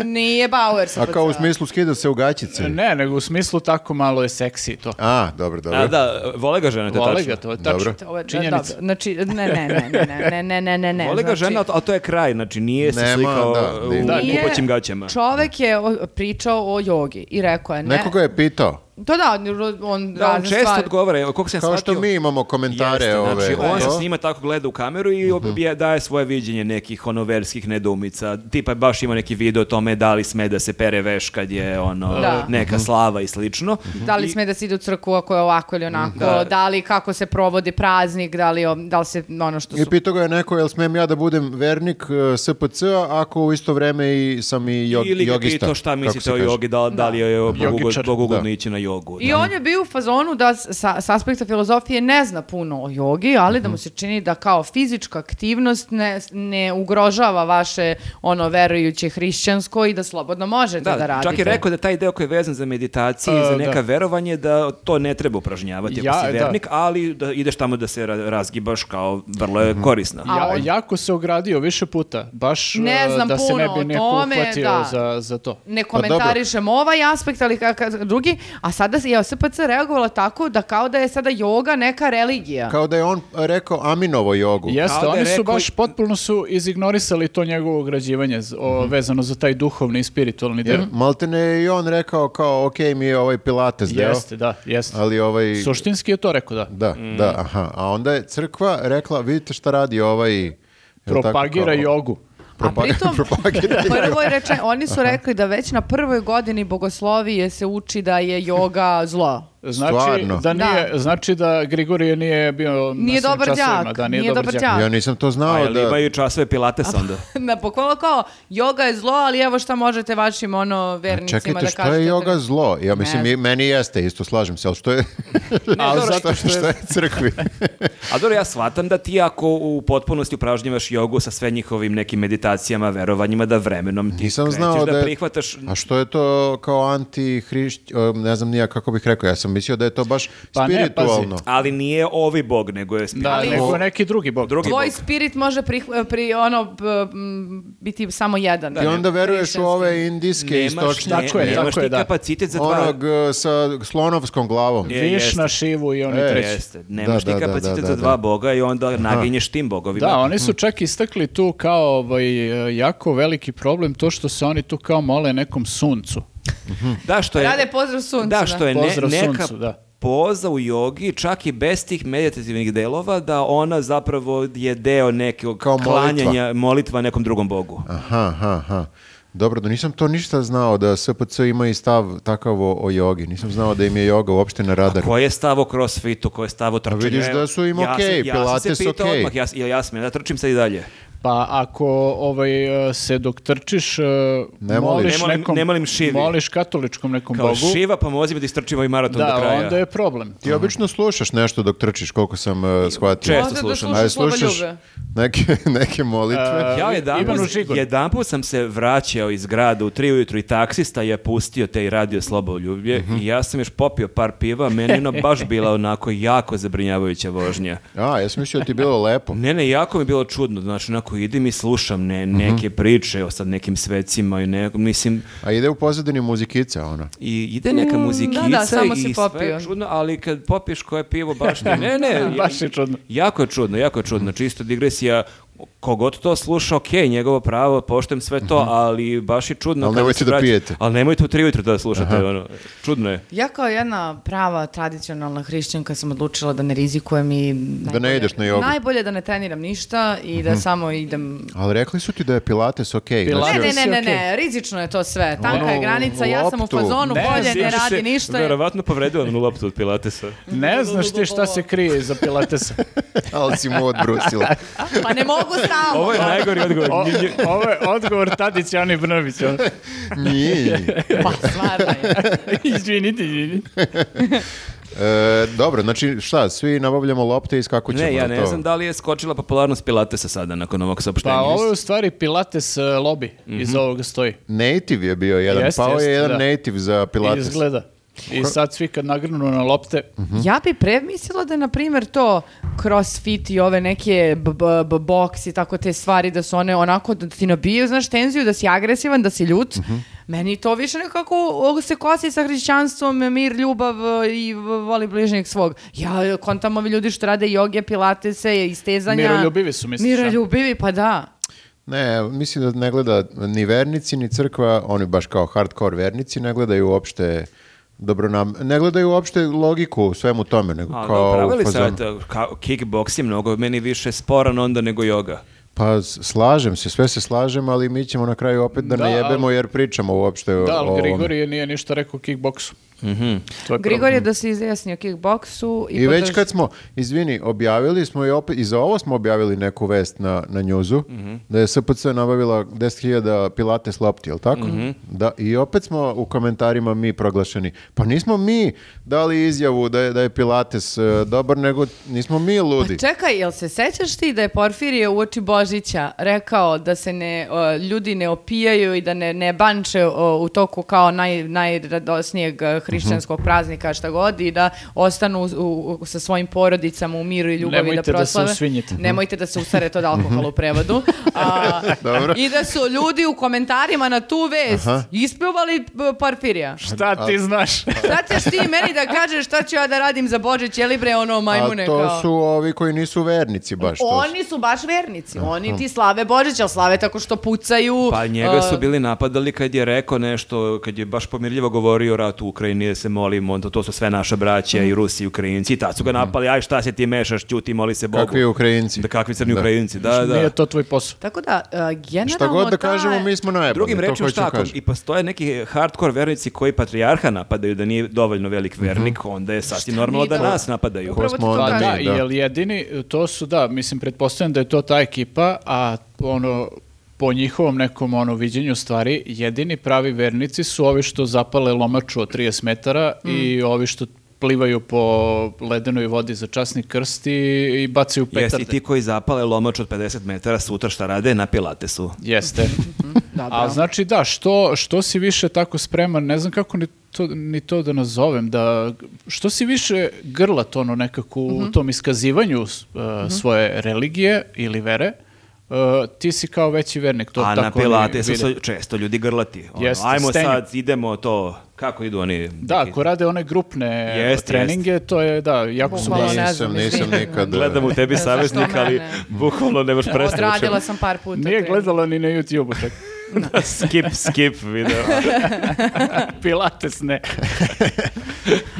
Speaker 1: nije Bauer.
Speaker 3: A kao u smislu skida se u gaćice.
Speaker 2: Ne, nego u smislu tako malo je seksi i to.
Speaker 3: A, dobro, dobro.
Speaker 4: A, da, vole ga žena, to je
Speaker 2: Vole
Speaker 4: tačno.
Speaker 2: ga, to je tačno.
Speaker 3: E, Dobro.
Speaker 1: Ovo je- da,
Speaker 2: Činjenica.
Speaker 1: dobro. Znači, ne, ne, ne, ne, ne, ne, ne, ne, ne, ne.
Speaker 4: Vole ga
Speaker 1: znači,
Speaker 4: žena, a to je kraj, znači nije se
Speaker 3: Nema,
Speaker 4: slikao
Speaker 3: da,
Speaker 4: u
Speaker 3: divno.
Speaker 1: nije-
Speaker 4: kupaćim gaćama.
Speaker 1: Čovek je o- pričao o jogi i rekao je ne.
Speaker 3: Nekoga je pitao.
Speaker 1: To da, on- on
Speaker 4: Da, on
Speaker 1: razne
Speaker 4: često
Speaker 1: stvari.
Speaker 4: odgovara, evo, koliko sam
Speaker 3: Kao
Speaker 4: shvatio-
Speaker 3: što mi imamo komentare
Speaker 4: Jeste,
Speaker 3: ove.
Speaker 4: Znači, on se
Speaker 3: to. Mhm.
Speaker 4: snima tako gleda u kameru i obje- daje svoje viđenje nekih ono verskih nedoumica. Tipa baš ima neki video o tome da li sme da se pere veš kad je ono
Speaker 1: Da.
Speaker 4: neka
Speaker 3: Mhm.
Speaker 4: slava i slično.
Speaker 1: Da li
Speaker 4: I-
Speaker 1: sme da se ide u crkvu ako je ovako ili onako, da,
Speaker 4: Da.
Speaker 1: li kako se provodi praznik, da li, o- da li se ono što
Speaker 3: I
Speaker 1: su...
Speaker 3: pitao ga je neko, jel smem ja da budem vernik e, SPC-a ako u isto vreme i sam i jog,
Speaker 4: Ili ga
Speaker 3: jogista,
Speaker 4: pitao šta
Speaker 3: kako se
Speaker 4: mislite o
Speaker 3: kaže.
Speaker 4: jogi, da, da li je bogugo-
Speaker 2: Jogičar.
Speaker 4: bogugodno
Speaker 3: Da.
Speaker 4: ići na jogu.
Speaker 1: I
Speaker 4: da.
Speaker 1: on je bio u fazonu da s- sa, s aspekta filozofije ne zna puno o jogi, ali
Speaker 4: Mhm.
Speaker 1: da mu se čini da kao fizička aktivnost ne, ne ugrožava vaše ono verujuće hrišćansko i da slobodno možete da, radite.
Speaker 4: čak je rekao da taj deo koji je vezan za meditaciju i
Speaker 2: A,
Speaker 4: za
Speaker 2: da.
Speaker 4: neka verovanje, da to ne treba upražnjavati
Speaker 2: Ja,
Speaker 4: ako si
Speaker 2: da.
Speaker 4: vernik, ali da ideš tamo da se ra- razgibaš kao vrlo je korisno.
Speaker 2: Ja,
Speaker 1: on-
Speaker 2: jako se ogradio više puta, baš
Speaker 1: Ne
Speaker 2: e,
Speaker 1: znam
Speaker 2: da se
Speaker 1: puno
Speaker 2: ne
Speaker 1: o
Speaker 2: bi neko
Speaker 1: tome,
Speaker 2: uhvatio
Speaker 1: da.
Speaker 2: za, za to.
Speaker 1: ne
Speaker 3: Pa dobro.
Speaker 1: komentarišem ovaj aspekt, ali ka- ka- drugi, a sada je SPC reagovala tako da kao da je sada joga neka religija.
Speaker 3: Kao da je on rekao Aminovo jogu.
Speaker 2: Jeste,
Speaker 4: Kao da je
Speaker 2: oni su
Speaker 4: rekao-
Speaker 2: baš potpuno su izignorisali to njegovo ograđivanje z- o, vezano za taj duhovni i spiritualni deo.
Speaker 3: Maltene je i on rekao kao, ok, mi je ovaj pilates deo,
Speaker 2: Jeste, da, jeste.
Speaker 3: ali ovaj...
Speaker 2: Suštinski je to rekao, da.
Speaker 3: Da,
Speaker 4: Mm.
Speaker 3: da, aha. A onda je crkva rekla, vidite šta radi ovaj... jel tako,
Speaker 2: Propagira
Speaker 3: kao-
Speaker 2: jogu.
Speaker 3: Propa- (laughs)
Speaker 1: pritom- (laughs) Pa
Speaker 3: propagira
Speaker 1: U
Speaker 3: jogu.
Speaker 1: Prvoj rečen, oni su rekli da već na prvoj godini bogoslovije se uči da je joga zlo. (laughs)
Speaker 2: Znači
Speaker 3: Stvarno?
Speaker 2: da nije, znači da Grigorije nije bio
Speaker 1: Nije
Speaker 2: na svim
Speaker 1: dobar
Speaker 2: časovima,
Speaker 1: đak,
Speaker 2: da nije, dobar đak.
Speaker 3: Ja nisam to znao
Speaker 4: A jel
Speaker 3: da...
Speaker 4: imaju časove pilates onda?
Speaker 1: Na pokvalo kao, joga je zlo, ali evo šta možete vašim ono vernicima
Speaker 3: Čekajte,
Speaker 1: da
Speaker 3: što
Speaker 1: kažete.
Speaker 3: je joga zlo? Ja mislim,
Speaker 1: Ne.
Speaker 3: i- meni jeste, isto slažem se, ali što je, (laughs)
Speaker 2: Ali
Speaker 4: dobro,
Speaker 2: zato što
Speaker 3: što
Speaker 2: je
Speaker 3: je crkvi?
Speaker 4: A dobro, ja shvatam da ti ako u potpunosti upražnjavaš jogu sa sve njihovim nekim meditacijama, verovanjima, da vremenom ti
Speaker 3: Nisam
Speaker 4: krećeš
Speaker 3: znao
Speaker 4: da,
Speaker 3: da je-
Speaker 4: prihvataš...
Speaker 3: A što je to kao antihrišć, e, ne znam nija kako bih rekao, ja sam mislio da je to baš
Speaker 2: Pa ne,
Speaker 3: spiritualno.
Speaker 2: pazi.
Speaker 4: Ali nije ovi bog, nego je
Speaker 2: da,
Speaker 4: spiritualno.
Speaker 2: nego neki drugi bog.
Speaker 4: Drugi
Speaker 1: Tvoj
Speaker 4: bog.
Speaker 1: spirit može prih- pri, ono, p- m, biti samo jedan.
Speaker 3: I onda veruješ u ove indijske
Speaker 4: Nemaš,
Speaker 3: istočne,
Speaker 2: Tako je,
Speaker 4: ne- nemaš
Speaker 2: tako je,
Speaker 4: ti
Speaker 2: da.
Speaker 4: kapacitet za dva...
Speaker 3: onog e, sa slonovskom glavom.
Speaker 4: Je,
Speaker 2: Višna,
Speaker 4: jeste.
Speaker 2: Šivu i oni
Speaker 3: E,
Speaker 2: treći.
Speaker 4: Jeste, nemaš
Speaker 3: Da, da,
Speaker 4: ti
Speaker 3: da,
Speaker 4: kapacitet
Speaker 3: da, da,
Speaker 4: za dva
Speaker 3: da.
Speaker 4: boga i onda naginješ tim bogovima.
Speaker 2: Da, oni su čak istakli tu kao ovaj, e, jako veliki problem to što se oni tu kao mole nekom suncu.
Speaker 4: Da, što je...
Speaker 1: Rade pozdrav suncu.
Speaker 4: Da, što je ne-
Speaker 2: Pozdrav
Speaker 4: neka
Speaker 2: suncu, da.
Speaker 4: poza u jogi, čak i bez tih meditativnih delova, da ona zapravo je deo nekog
Speaker 3: Kao molitva.
Speaker 4: klanjanja, molitva nekom drugom bogu.
Speaker 3: Aha, aha, aha. Dobro, da nisam to ništa znao, da SPC ima i stav takav o, o jogi. Nisam znao da im je joga uopšte na radaru.
Speaker 4: Ko je stavo crossfitu, ko je stavo trčanju?
Speaker 3: vidiš
Speaker 4: Evo,
Speaker 3: da su im okej,
Speaker 4: sam- Ja sam
Speaker 3: pilates
Speaker 4: se pitao
Speaker 3: okej.
Speaker 4: odmah, ja, ja, ja sam, ja trčim sad i dalje.
Speaker 2: Pa ako ovaj, e, se dok trčiš, e,
Speaker 3: Ne molim.
Speaker 2: moliš
Speaker 4: Ne molim-
Speaker 2: nekom,
Speaker 4: ne molim Šivi.
Speaker 2: moliš katoličkom nekom
Speaker 4: Kao
Speaker 2: bogu,
Speaker 4: šiva, pomozi mi da istrčim ovaj maraton do
Speaker 2: da,
Speaker 4: kraja.
Speaker 2: onda je problem.
Speaker 3: Ti obično slušaš nešto dok trčiš, koliko sam uh, shvatio.
Speaker 4: Često
Speaker 1: Možda da
Speaker 4: slušam.
Speaker 3: Ajde,
Speaker 1: slušaš
Speaker 3: slušaš
Speaker 1: Sloboljube.
Speaker 3: neke, (laughs) neke molitve.
Speaker 2: E,
Speaker 4: Ja
Speaker 2: I-
Speaker 4: jedan,
Speaker 2: Ivanu Žigulu.
Speaker 4: jedanput sam se vraćao iz grada u tri ujutru i taksista je pustio te i radio slabo ljublje i ja sam još popio par piva, meni je ono baš bila onako jako zabrinjavajuća vožnja.
Speaker 3: A, ja sam mislio da ti je bilo lepo.
Speaker 4: Ne, ne, jako mi je bilo čudno, znači onako idem i slušam ne, neke priče o sad nekim svecima i ne, mislim,
Speaker 3: A ide u pozadini muzikica, ono. ona.
Speaker 4: i ide neka muzikica
Speaker 1: Mm, da, da, samo
Speaker 4: i
Speaker 1: si
Speaker 4: sve je
Speaker 1: popio.
Speaker 4: čudno, ali kad popiješ koje pivo
Speaker 1: (laughs)
Speaker 4: baš ne, ne, ne,
Speaker 2: Baš je čudno.
Speaker 4: Jako je čudno, jako je čudno. Čisto digresija, kogod to sluša, ok, njegovo pravo, poštem sve
Speaker 1: Mhm.
Speaker 4: to, ali baš je čudno.
Speaker 3: Ali
Speaker 4: kada
Speaker 3: nemojte
Speaker 4: se
Speaker 3: da
Speaker 4: vraća-
Speaker 3: pijete.
Speaker 4: Ali nemojte u tri ujutro da slušate, ono, čudno je.
Speaker 1: Ja kao jedna prava tradicionalna hrišćanka sam odlučila da ne rizikujem i... najbolje-
Speaker 3: ne ideš na jogu. Mhm.
Speaker 1: Najbolje da ne treniram ništa i da samo idem...
Speaker 3: Ali rekli su ti da je Pilates okej.
Speaker 2: Pilates.
Speaker 3: Znači,
Speaker 1: Ne,
Speaker 2: Lažio
Speaker 1: ne, ne,
Speaker 2: si,
Speaker 1: ne,
Speaker 2: ok.
Speaker 1: ne, rizično je to sve. Tanka
Speaker 3: Ono,
Speaker 1: je granica, ja sam u
Speaker 3: loptu.
Speaker 1: fazonu,
Speaker 2: Ne,
Speaker 1: bolje ne
Speaker 2: znaš
Speaker 1: radi
Speaker 4: se
Speaker 1: ništa.
Speaker 4: Verovatno povredio onu loptu od
Speaker 1: (laughs)
Speaker 4: Pilatesa.
Speaker 2: Ne znaš ti šta se krije iza
Speaker 4: (laughs)
Speaker 2: pilatesa.
Speaker 3: ali si mu odbrusila.
Speaker 1: Pa ne mogu Pa, samo.
Speaker 4: Ovo je najgori odgovor.
Speaker 2: O-
Speaker 4: Nju- nju-
Speaker 2: ovo je odgovor Tadić Jani
Speaker 4: (laughs)
Speaker 2: Brnović. ono.
Speaker 3: Nije.
Speaker 1: Pa stvarno je.
Speaker 2: izvinite, izvinite.
Speaker 3: E, dobro, znači šta, svi nabavljamo lopte i skakućemo.
Speaker 4: Ne, ja
Speaker 3: jel
Speaker 4: ne
Speaker 3: to?
Speaker 4: znam da li je skočila popularnost Pilatesa sada nakon ovog saopštenja.
Speaker 2: Pa ovo je u stvari pilates e, lobby
Speaker 4: Mhm.
Speaker 2: iz ovoga stoji.
Speaker 3: Native je bio jedan,
Speaker 2: Jeste,
Speaker 3: pao je
Speaker 2: jeste,
Speaker 3: jedan
Speaker 2: da.
Speaker 3: native za
Speaker 2: I
Speaker 3: Pilates.
Speaker 2: izgleda. I sad svi kad nagrnu na lopte,
Speaker 3: Mhm.
Speaker 1: Ja bi premislila da je, na primjer, to crossfit i ove neke b- b- b- boks i tako te stvari, da su one onako, da ti nabijaju, znaš, tenziju, da si agresivan, da si ljut.
Speaker 3: Mhm.
Speaker 1: Meni to više nekako o, se kosi sa hrišćanstvom, mir, ljubav e, i v- voli bližnjeg svog. Ja e, kontam ovi ljudi što rade joge, pilatese, istezanja.
Speaker 2: Miroljubivi su, misliš, a?
Speaker 1: Miroljubivi, pa da.
Speaker 3: Ne, mislim da ne gleda ni vernici, ni crkva, oni baš kao hardcore vernici, ne gledaju uopšte dobronam, ne gledaju uopšte logiku u svemu tome, nego
Speaker 4: Ali
Speaker 3: kao u
Speaker 4: upravili
Speaker 3: fazonu-
Speaker 4: sad, kao kickboks je mnogo meni više sporan onda nego joga.
Speaker 3: Pa s- slažem se, sve se slažem, ali mi ćemo na kraju opet da,
Speaker 2: Da,
Speaker 3: ne jebemo
Speaker 2: ali-
Speaker 3: jer pričamo uopšte o,
Speaker 2: da,
Speaker 3: o
Speaker 2: ali
Speaker 4: ono.
Speaker 3: ovome.
Speaker 2: Grigorije nije ništa rekao o kickboksu.
Speaker 4: Mhm.
Speaker 2: To je Mhm. problem.
Speaker 1: Grigor je da se izjasni o kickboksu. I, pa
Speaker 3: I već
Speaker 1: podrž-
Speaker 3: kad smo, izvini, objavili smo i opet, i za ovo smo objavili neku vest na, na njuzu,
Speaker 1: Mhm.
Speaker 3: da je SPC nabavila 10.000 pilates lopti, jel tako?
Speaker 1: Mhm.
Speaker 3: Da, i opet smo u komentarima mi proglašeni. Pa nismo mi dali izjavu da je, da je pilates e, dobar, nego nismo mi ludi.
Speaker 1: Pa čekaj, jel se sećaš ti da je Porfirije u oči Božića rekao da se ne, o, ljudi ne opijaju i da ne, ne banče o, u toku kao naj, najradosnijeg e, hrišćanskog
Speaker 3: Mhm.
Speaker 1: praznika šta god i da ostanu u- u- u- sa svojim porodicama u miru i ljubavi
Speaker 2: Nemojte
Speaker 1: da
Speaker 2: da se
Speaker 1: proslave.
Speaker 2: usvinjite.
Speaker 3: hm?
Speaker 2: Mhm.
Speaker 1: Nemojte da se usarete
Speaker 3: (laughs)
Speaker 1: od alkohola u prevodu. A,
Speaker 3: Dobro.
Speaker 1: I da su ljudi u komentarima na tu vest
Speaker 3: Aha.
Speaker 1: ispljuvali e, Porfirija.
Speaker 2: Šta ti znaš?
Speaker 1: Šta ćeš ti meni da kažeš šta ću ja da radim za Božić, je li bre ono majmune
Speaker 3: A to
Speaker 1: kao?
Speaker 3: su ovi koji nisu vernici baš. to su-
Speaker 1: Oni su baš vernici. oni ti slave Božić, ali slave tako što pucaju.
Speaker 4: Pa njega su
Speaker 1: uh,
Speaker 4: bili napadali kad je rekao nešto, kad je baš pomirljivo govorio o ratu u Ukrajini, da se molimo, to, to su sve naša braća
Speaker 3: Mhm.
Speaker 4: i Rusi i Ukrajinci, i tad su ga napali, aj šta se ti mešaš, ćuti, moli se Bogu.
Speaker 3: Kakvi Ukrajinci.
Speaker 4: Da, kakvi crni
Speaker 3: Da.
Speaker 4: Ukrajinci,
Speaker 2: (laughs)
Speaker 4: da, da.
Speaker 2: Nije to tvoj posao.
Speaker 1: Tako da, uh, generalno...
Speaker 3: Šta god da
Speaker 1: ta-
Speaker 3: kažemo, mi smo najbolji.
Speaker 4: Drugim
Speaker 3: to
Speaker 4: rečima
Speaker 3: hoću da
Speaker 4: šta, ako
Speaker 3: kažem.
Speaker 4: i postoje neki hardcore vernici koji patrijarha napadaju da nije dovoljno velik
Speaker 3: Mhm.
Speaker 4: vernik, onda je sasvim normalno
Speaker 1: mi
Speaker 4: da
Speaker 1: to-
Speaker 4: nas napadaju.
Speaker 1: Upravo
Speaker 3: Ko
Speaker 1: ti
Speaker 3: smo
Speaker 1: to
Speaker 2: Pa
Speaker 3: onda
Speaker 1: kažem.
Speaker 2: da,
Speaker 3: mi,
Speaker 2: i
Speaker 3: da.
Speaker 2: jel jedini, to su da, mislim, pretpostavljam da je to ta ekipa, a ono, po njihovom nekom ono viđenju stvari, jedini pravi vernici su ovi što zapale lomaču od 30 metara i ovi što plivaju po ledenoj vodi za časni krst i, i bacaju
Speaker 4: Jesi
Speaker 2: petarde.
Speaker 4: i ti koji zapale lomač od 50 metara sutra šta rade, na pilate su.
Speaker 2: Jeste.
Speaker 1: Dobro.
Speaker 2: A znači da, što, što si više tako spreman, ne znam kako ni to, ni to da nazovem, da, što si više grlat ono nekako
Speaker 1: Mhm.
Speaker 2: u tom iskazivanju uh, svoje religije ili vere, uh, ti si kao veći vernik. To
Speaker 4: A
Speaker 2: tako
Speaker 4: na
Speaker 2: oni
Speaker 4: pilate su
Speaker 2: vide.
Speaker 4: so- često ljudi grlati. Ono,
Speaker 2: Jeste,
Speaker 4: ajmo
Speaker 2: stenju.
Speaker 4: sad, idemo to. Kako idu oni?
Speaker 2: Da,
Speaker 4: neki-
Speaker 2: ako rade one grupne
Speaker 4: Jest, jest.
Speaker 2: treninge, to je, da, jako su
Speaker 1: Bukvalno.
Speaker 2: bli-
Speaker 1: ne
Speaker 3: Nisam,
Speaker 1: znam,
Speaker 3: nisam
Speaker 1: mislim.
Speaker 3: nikad. e,
Speaker 4: Gledam u tebi
Speaker 1: Zašto
Speaker 4: saveznik, ali
Speaker 1: mene?
Speaker 4: bukvalno ne možeš prestati.
Speaker 1: Odradila
Speaker 4: (laughs)
Speaker 1: sam par puta.
Speaker 2: Nije
Speaker 1: trening.
Speaker 2: gledala ni na YouTube-u, čak.
Speaker 4: skip, skip video.
Speaker 2: (laughs) Pilates ne.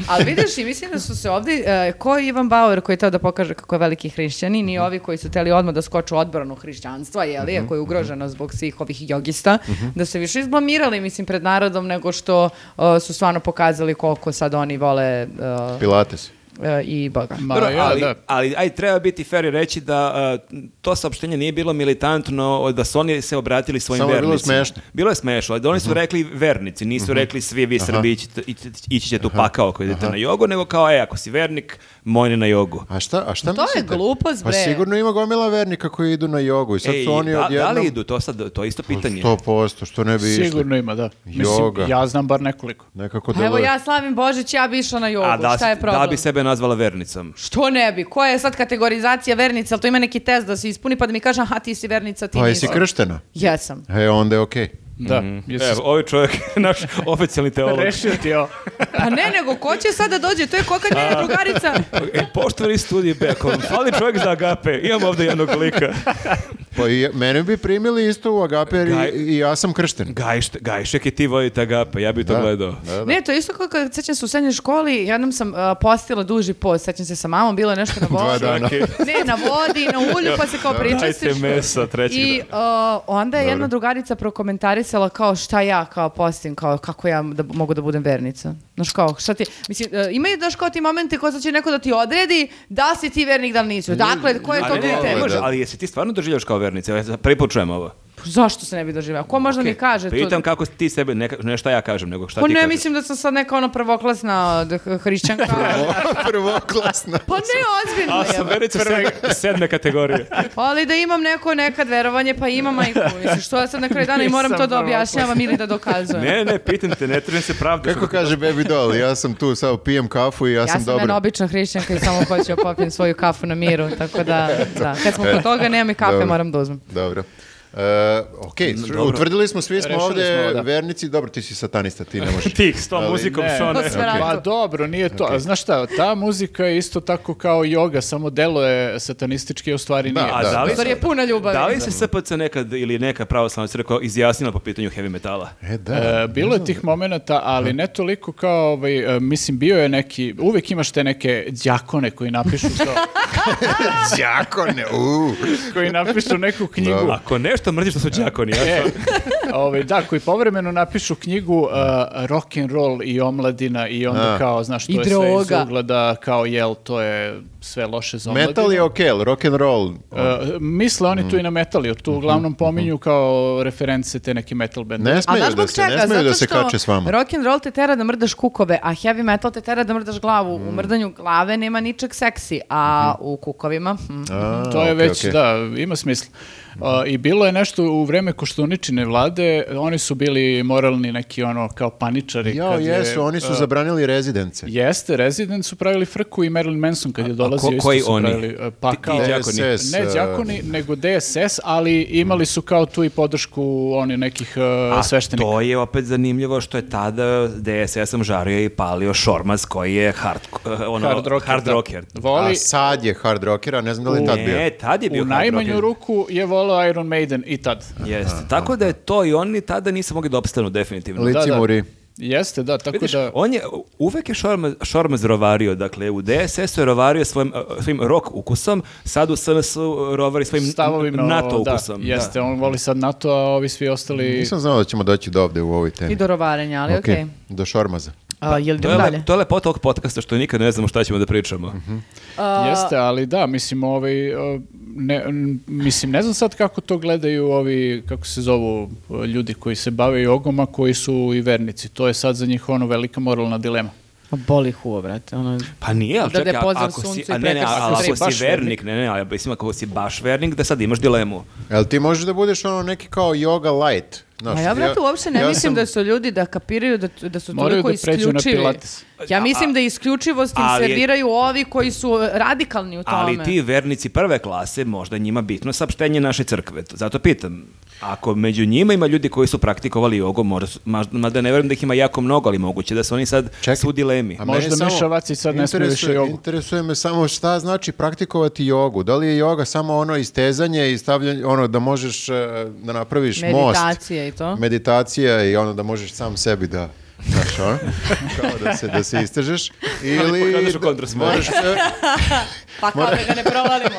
Speaker 1: Ali vidiš i mislim da su se ovdje, e, ko je Ivan Bauer koji je teo da pokaže kako je veliki hrišćanin
Speaker 3: Mhm.
Speaker 1: i ovi koji su teli odmah da skoču u odbranu hrišćanstva, jeli, ako
Speaker 3: mhm.
Speaker 1: je ugroženo zbog svih ovih jogista, da se više izblamirali, mislim, pred narodom nego što e, su stvarno pokazali koliko sad oni vole e,
Speaker 3: Pilates.
Speaker 1: e, i Boga.
Speaker 2: (laughs) Ma,
Speaker 4: Dobro,
Speaker 2: ja,
Speaker 4: ali,
Speaker 2: da.
Speaker 4: ali aj, treba biti fair i reći da a, to saopštenje nije bilo militantno, da su oni se obratili svojim
Speaker 3: Samo je bilo
Speaker 4: vernicima.
Speaker 3: smešno.
Speaker 4: Bilo je smešno, ali da oni su
Speaker 2: Mhm.
Speaker 4: rekli vernici, nisu rekli svi vi Srbi ići, ići ćete u pakao ako idete na jogu, nego kao, e, ako si vernik, moj ne na jogu.
Speaker 3: A šta, a šta
Speaker 1: To je
Speaker 3: mislite?
Speaker 1: glupost,
Speaker 3: Pa
Speaker 1: bre.
Speaker 3: sigurno ima gomila vernika koji idu na jogu i sad
Speaker 4: Ej,
Speaker 3: su oni
Speaker 4: E, da,
Speaker 3: odjednom...
Speaker 4: da li idu, to sad, to je isto pitanje.
Speaker 3: 100%, što ne bi išli.
Speaker 2: Sigurno ima, da. Mislim,
Speaker 3: Joga.
Speaker 2: ja znam bar nekoliko.
Speaker 3: Nekako
Speaker 1: A Evo
Speaker 3: deluje.
Speaker 1: ja slavim Božić, ja bi išla na jogu,
Speaker 4: A da,
Speaker 1: šta je
Speaker 4: si-
Speaker 1: problem?
Speaker 4: da bi sebe nazvala vernicom.
Speaker 1: Što ne bi? Koja je sad kategorizacija vernica? Ali to ima neki test da se ispuni pa da mi kaže aha ti si vernica, ti
Speaker 3: Pa
Speaker 1: nisi.
Speaker 3: jesi krštena?
Speaker 1: Jesam.
Speaker 3: E, onda je okej.
Speaker 2: Da, jesi
Speaker 4: Evo, ovaj čovjek je naš oficijalni teolog.
Speaker 2: Rešio ti ovo.
Speaker 1: Pa ne, nego ko će sad da dođe? To je ko kad njena drugarica.
Speaker 4: E, poštovani studij Bekom, fali čovjek za agape, imamo ovdje jednog lika.
Speaker 3: Pa i, mene bi primili isto u Agape jer i-
Speaker 4: Gaj-
Speaker 3: i, ja sam kršten.
Speaker 4: Gajšt, gajšek i ti vodite agape, ja bi to gledao.
Speaker 3: Da, da.
Speaker 1: Ne, to je isto kao kad sećam se u srednjoj školi, jednom sam a, postila duži post, sećam se sa mamom, bilo je nešto na
Speaker 3: Dva
Speaker 1: vodi.
Speaker 3: dana.
Speaker 1: ne, na vodi, na ulju, pa se kao
Speaker 4: Dajte
Speaker 1: pričastiš.
Speaker 4: mesa treći
Speaker 1: I a, onda je jedna drugarica prokomentarisala kao šta ja kao postim, kao kako ja da, mogu da budem vernica. Znaš kao, šta ti, mislim, a, ima i daš kao ti momente kao sad će neko da ti odredi da li si ti vernik, da li nisi. Dakle, ko je to
Speaker 4: Ali, ne, ne,
Speaker 1: kriterij?
Speaker 3: ovo je
Speaker 4: može,
Speaker 3: da.
Speaker 4: ali jesi ti stvarno doživljaš kao vernica? Ja sad prvi put čujem ovo.
Speaker 1: Pa Zašto se ne bi doživao? Ko možda mi
Speaker 4: Okej.
Speaker 1: kaže to?
Speaker 4: Pitam kako ti sebe, ne, ka- ne šta ja kažem, nego šta
Speaker 1: Pa
Speaker 4: ti
Speaker 1: ne,
Speaker 4: kažeš.
Speaker 1: mislim da sam sad neka ono prvoklasna od h-
Speaker 4: (laughs)
Speaker 1: hrišćanka.
Speaker 3: (laughs) Prvoklasna.
Speaker 1: pa ne, ozbiljno
Speaker 4: A
Speaker 1: je.
Speaker 4: sam vernica sedme, sedme
Speaker 1: (laughs)
Speaker 4: kategorije.
Speaker 1: Ali da imam neko nekad verovanje, pa imam majku. Mislim, što ja sad na kraju dana i moram
Speaker 2: Nisam
Speaker 1: to da
Speaker 2: prvoklasna.
Speaker 1: objašnjavam ili da dokazujem.
Speaker 4: Ne, ne, pitam te, ne trebam se pravda.
Speaker 3: Kako kaže Baby Doll, ja sam tu, sad pijem kafu i ja,
Speaker 1: ja sam,
Speaker 3: sam dobro.
Speaker 1: jedna obična hrišćanka i samo hoću da popijem svoju kafu na miru, tako
Speaker 3: (laughs)
Speaker 1: da, da. kad smo kod toga, nemam i kafe,
Speaker 3: E. Dobro.
Speaker 1: moram da uzmem.
Speaker 3: Dobro. E, ok,
Speaker 4: Mm, dobro.
Speaker 3: utvrdili smo, svi smo
Speaker 2: Rešili
Speaker 3: ovdje
Speaker 2: smo, da.
Speaker 3: vernici, dobro, ti si satanista, ti ne
Speaker 2: (laughs)
Speaker 3: možeš.
Speaker 4: Tih, s tom muzikom, (laughs)
Speaker 2: Ne.
Speaker 4: što ne.
Speaker 1: To sve radi.
Speaker 2: Pa dobro, nije to. A Znaš šta, ta muzika je isto tako kao joga, samo delo je satanistički, a u stvari
Speaker 3: Da,
Speaker 2: nije.
Speaker 4: A
Speaker 3: da,
Speaker 4: da
Speaker 3: da.
Speaker 4: li,
Speaker 1: Zar je puna ljubavi?
Speaker 4: da li se SPC nekad ili neka pravoslavna crkva izjasnila po pitanju heavy metala?
Speaker 3: E, da.
Speaker 2: E, bilo je tih momenata, ali ne toliko kao, ovaj, e, mislim, bio je neki, uvijek imaš te neke đakone koji napišu to,
Speaker 3: Đakone, u.
Speaker 2: koji napišu neku knjigu.
Speaker 4: Uh. Ako nešto mrziš što su đakoni, ja
Speaker 2: E, ovaj, da, koji povremeno napišu knjigu uh, rock and roll i omladina i onda
Speaker 3: A.
Speaker 2: kao, znaš, to
Speaker 1: I
Speaker 2: je sve iz
Speaker 1: droga.
Speaker 2: ugla da kao, jel, to je sve loše za omladinu.
Speaker 3: Metal je ok, ali rock and roll. ono.
Speaker 2: Uh, misle oni tu i na metal, jer
Speaker 4: Mhm,
Speaker 2: tu uglavnom pominju kao reference te neke metal bende.
Speaker 3: Ne
Speaker 1: A
Speaker 3: smeju
Speaker 1: znaš
Speaker 3: da
Speaker 1: zbog
Speaker 3: se,
Speaker 1: čega?
Speaker 3: ne smeju
Speaker 1: Zato
Speaker 3: da se
Speaker 1: što
Speaker 3: kače s vama.
Speaker 1: rock and roll te tera da mrdaš kukove, a heavy metal te tera da mrdaš glavu.
Speaker 3: Mm.
Speaker 1: U mrdanju glave nema ničeg seksi, a
Speaker 3: Mhm.
Speaker 1: u kukovima... hm.
Speaker 3: A,
Speaker 2: To je
Speaker 3: ok,
Speaker 2: već,
Speaker 3: ok.
Speaker 2: da, ima smisla.
Speaker 4: Mhm.
Speaker 2: A, I bilo je nešto u vreme koštuničine vlade, oni su bili moralni neki ono kao paničari.
Speaker 3: Jao,
Speaker 2: kad je,
Speaker 3: jesu, oni su
Speaker 2: a,
Speaker 3: zabranili rezidence.
Speaker 2: Jeste, Resident su pravili frku i Marilyn Manson kad je dolazio.
Speaker 4: ko-
Speaker 2: isto
Speaker 4: koji
Speaker 2: su
Speaker 4: oni?
Speaker 2: pravili, a, pa
Speaker 4: Ti- ti
Speaker 2: kao-
Speaker 4: đakoni.
Speaker 3: DSS,
Speaker 2: Ne
Speaker 3: e,
Speaker 2: đakoni, nego DSS, ali imali su kao tu i podršku oni nekih a,
Speaker 4: Mhm. A
Speaker 2: sveštenika.
Speaker 4: to je opet zanimljivo što je tada DSS-om žario i palio Šormaz koji je hard, ono, hard rocker.
Speaker 2: da. Voli,
Speaker 3: A sad je hard rockera, ne znam da li je tad bio.
Speaker 4: Ne, tad je bio
Speaker 2: u
Speaker 4: hard
Speaker 2: najmanju
Speaker 4: rocker.
Speaker 2: ruku je palo Iron Maiden i tad.
Speaker 4: Jeste. Tako da je to i oni tada nisu mogli da opstanu definitivno.
Speaker 3: Lici
Speaker 2: da.
Speaker 3: muri.
Speaker 2: Jeste, da, tako
Speaker 4: Vidiš,
Speaker 2: da...
Speaker 4: on je uvek je šorma, šormaz rovario, dakle u DSS-u je rovario svojim, a, svojim rock ukusom, sad u SNS-u rovari svojim n-
Speaker 2: stavovima o-
Speaker 4: NATO
Speaker 2: da,
Speaker 4: ukusom. Da.
Speaker 2: Jeste, on voli sad NATO, a ovi svi ostali...
Speaker 3: Nisam znao da ćemo doći do ovde u ovoj temi.
Speaker 1: I do rovarenja, ali
Speaker 3: E. Ok, Pa,
Speaker 1: okej.
Speaker 3: Do šormaza.
Speaker 1: A, jel
Speaker 4: To
Speaker 1: idemo
Speaker 4: je,
Speaker 1: dalje?
Speaker 4: le, to je lepota ovog podcasta što nikad ne znamo šta ćemo da pričamo.
Speaker 2: Mhm. Jeste, ali da, mislim, ovaj, e, ne, n- mislim, ne znam sad kako to gledaju ovi, kako se zovu, e, ljudi koji se bave jogom, a koji su i vernici. To je sad za njih ono velika moralna dilema.
Speaker 1: Ma boli huo, brate. Ono...
Speaker 4: Pa nije, ali
Speaker 1: Da
Speaker 4: čekaj,
Speaker 1: da je poziv
Speaker 4: ako si,
Speaker 1: suncu i
Speaker 4: a ne, ne,
Speaker 1: prekršaj.
Speaker 4: ali
Speaker 2: Ako si
Speaker 4: ako
Speaker 2: baš
Speaker 4: si vernik, ne, ne, ali mislim, ako si baš vernik, da sad imaš dilemu.
Speaker 3: Jel ti možeš da budeš ono neki kao yoga light? Znaš,
Speaker 1: A ja, brate, uopšte ne
Speaker 3: ja
Speaker 1: mislim
Speaker 3: sam-
Speaker 1: da su ljudi da kapiraju da, da su
Speaker 2: Moraju
Speaker 1: toliko
Speaker 2: da pređu na
Speaker 1: isključivi.
Speaker 2: Pilates.
Speaker 1: Ja
Speaker 4: A-
Speaker 1: mislim da isključivost im
Speaker 4: ali je-
Speaker 1: serviraju ovi koji su radikalni u tome.
Speaker 4: Ali ti vernici prve klase, možda njima bitno saopštenje naše crkve. Zato pitam, ako među njima ima ljudi koji su praktikovali jogu, možda, su- ma- mada ne verujem da ih ima jako mnogo, ali moguće da su oni sad
Speaker 3: Čekaj,
Speaker 4: su u dilemi.
Speaker 3: a mene
Speaker 2: Možda
Speaker 3: samo
Speaker 2: Miša Vacić sad ne smije
Speaker 3: interesuje-
Speaker 2: više jogu.
Speaker 3: Interesuje me samo šta znači praktikovati jogu. Da li je joga samo ono istezanje i stavljanje, ono da možeš e, da napraviš most.
Speaker 1: Meditacije i to.
Speaker 3: Meditacija i ono da možeš sam sebi da znaš,
Speaker 2: (laughs)
Speaker 3: ono, kao da se, da se istežeš. Ili,
Speaker 4: pogledaš u kontrasmeru.
Speaker 3: moraš, sve-
Speaker 1: Pa kao da ga ne provalimo.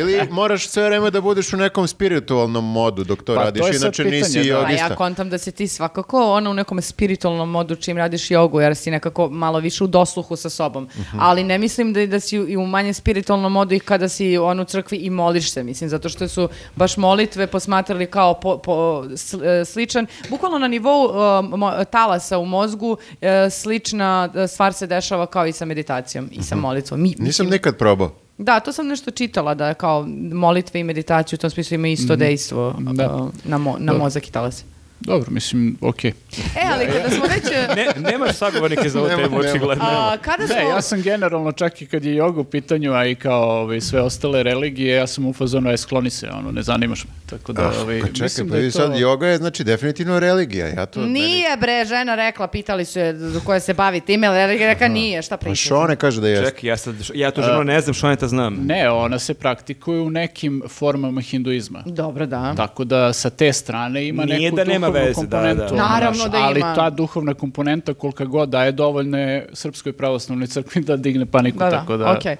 Speaker 3: ili moraš sve vreme da budeš u nekom spiritualnom modu dok to
Speaker 2: Pa, to
Speaker 3: radiš,
Speaker 2: je sad
Speaker 3: inače
Speaker 2: pitanje,
Speaker 3: nisi
Speaker 2: da.
Speaker 1: Pa
Speaker 3: jogista.
Speaker 1: ja kontam da si ti svakako ono u nekom spiritualnom modu čim radiš jogu, jer si nekako malo više u dosluhu sa sobom. Ali ne mislim da, da si i u manje spiritualnom modu i kada si on u crkvi i moliš se, mislim, zato što su baš molitve posmatrali kao po, po- sl- e, sličan, bukvalno na nivou e, mo- talasa u mozgu e, slična e, stvar se dešava kao i sa meditacijom i sa molitvom. Mi-
Speaker 3: Nisam nikad probao.
Speaker 1: da, to sam nešto čitala, da kao molitve i meditaciju u tom smislu ima isto dejstvo
Speaker 2: Da.
Speaker 1: e, na, mo- na
Speaker 2: Da.
Speaker 1: mozak i talas.
Speaker 2: Dobro, mislim, okej.
Speaker 1: E, ali kada smo
Speaker 2: (laughs)
Speaker 1: već...
Speaker 4: Ne, nemaš sagovornike za ovu
Speaker 3: Nema,
Speaker 4: temu,
Speaker 3: nema.
Speaker 4: očigledno.
Speaker 1: a, kada smo...
Speaker 2: Ne, ja sam generalno čak i kad je joga u pitanju, a i kao ovaj, sve ostale religije, ja sam u fazonu, aj skloni se, ono, ne zanimaš me. Tako da,
Speaker 1: Ah,
Speaker 2: ovaj,
Speaker 3: Pa čekaj,
Speaker 2: mislim
Speaker 3: pa
Speaker 2: da je
Speaker 3: vidi
Speaker 2: to...
Speaker 3: sad, joga je znači definitivno religija. Ja to, meni-
Speaker 1: Nije bre, žena rekla, pitali su je do koja se bavi time, ali reka, reka nije, šta
Speaker 3: Pa
Speaker 1: pričaš?
Speaker 3: Šone kaže da jeste.
Speaker 4: Ček, ja, sad, ja to ženo ne znam, što ne ta znam.
Speaker 2: Ne, ona se praktikuje u nekim formama hinduizma.
Speaker 1: Dobro, da.
Speaker 2: Tako da sa te strane ima
Speaker 4: Nije
Speaker 2: neku
Speaker 4: da nema
Speaker 2: duhovnu
Speaker 4: veze, da,
Speaker 2: komponentu.
Speaker 4: da.
Speaker 2: ono, znaš,
Speaker 1: Naravno da
Speaker 2: ali
Speaker 1: ima.
Speaker 2: ta duhovna komponenta kolika god da je dovoljne Srpskoj pravoslavnoj crkvi da digne paniku.
Speaker 1: Da, da,
Speaker 2: tako da,
Speaker 1: okej.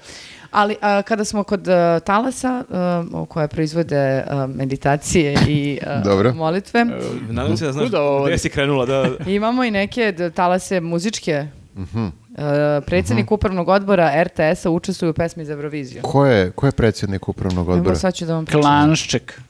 Speaker 1: Ali a, kada smo kod e, talasa, e, o koje proizvode e, meditacije i
Speaker 2: (laughs)
Speaker 1: e,
Speaker 3: Dobro.
Speaker 1: molitve,
Speaker 2: E,
Speaker 4: Nadam se da znaš
Speaker 2: Kuda ovo-
Speaker 4: gde si krenula. Da,
Speaker 1: (laughs) imamo i neke d- talase muzičke.
Speaker 2: Mhm.
Speaker 1: E, predsjednik upravnog odbora RTS-a učestvuje u pesmi za Euroviziju.
Speaker 3: Ko je, ko je predsjednik upravnog
Speaker 1: Evo,
Speaker 3: odbora?
Speaker 1: Sad ću da vam pričam.
Speaker 2: Klanšček.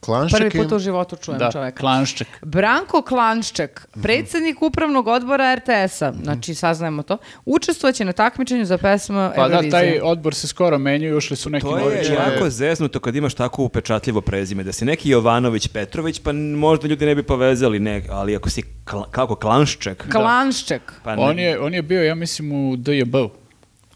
Speaker 3: Klanšek
Speaker 1: Prvi
Speaker 3: im-
Speaker 1: put u životu čujem
Speaker 2: Da,
Speaker 1: čoveka.
Speaker 2: klanšček.
Speaker 1: Branko Klanšček,
Speaker 2: Mhm.
Speaker 1: predsjednik upravnog odbora RTS-a, znači saznajemo to, učestvovaće na takmičenju za pesmu
Speaker 2: Pa da,
Speaker 1: Eurovizije.
Speaker 2: taj odbor se skoro menjuje, ušli su neki
Speaker 4: to
Speaker 2: novi
Speaker 4: je
Speaker 2: članovi.
Speaker 4: jako zeznuto kad imaš tako upečatljivo prezime. Da si neki Jovanović Petrović, pa n- možda ljudi ne bi povezali, ne, ali ako si kla- kako klanšček.
Speaker 1: Klanšček.
Speaker 4: Pa ne.
Speaker 2: On je, on je bio, ja mislim, u DJB.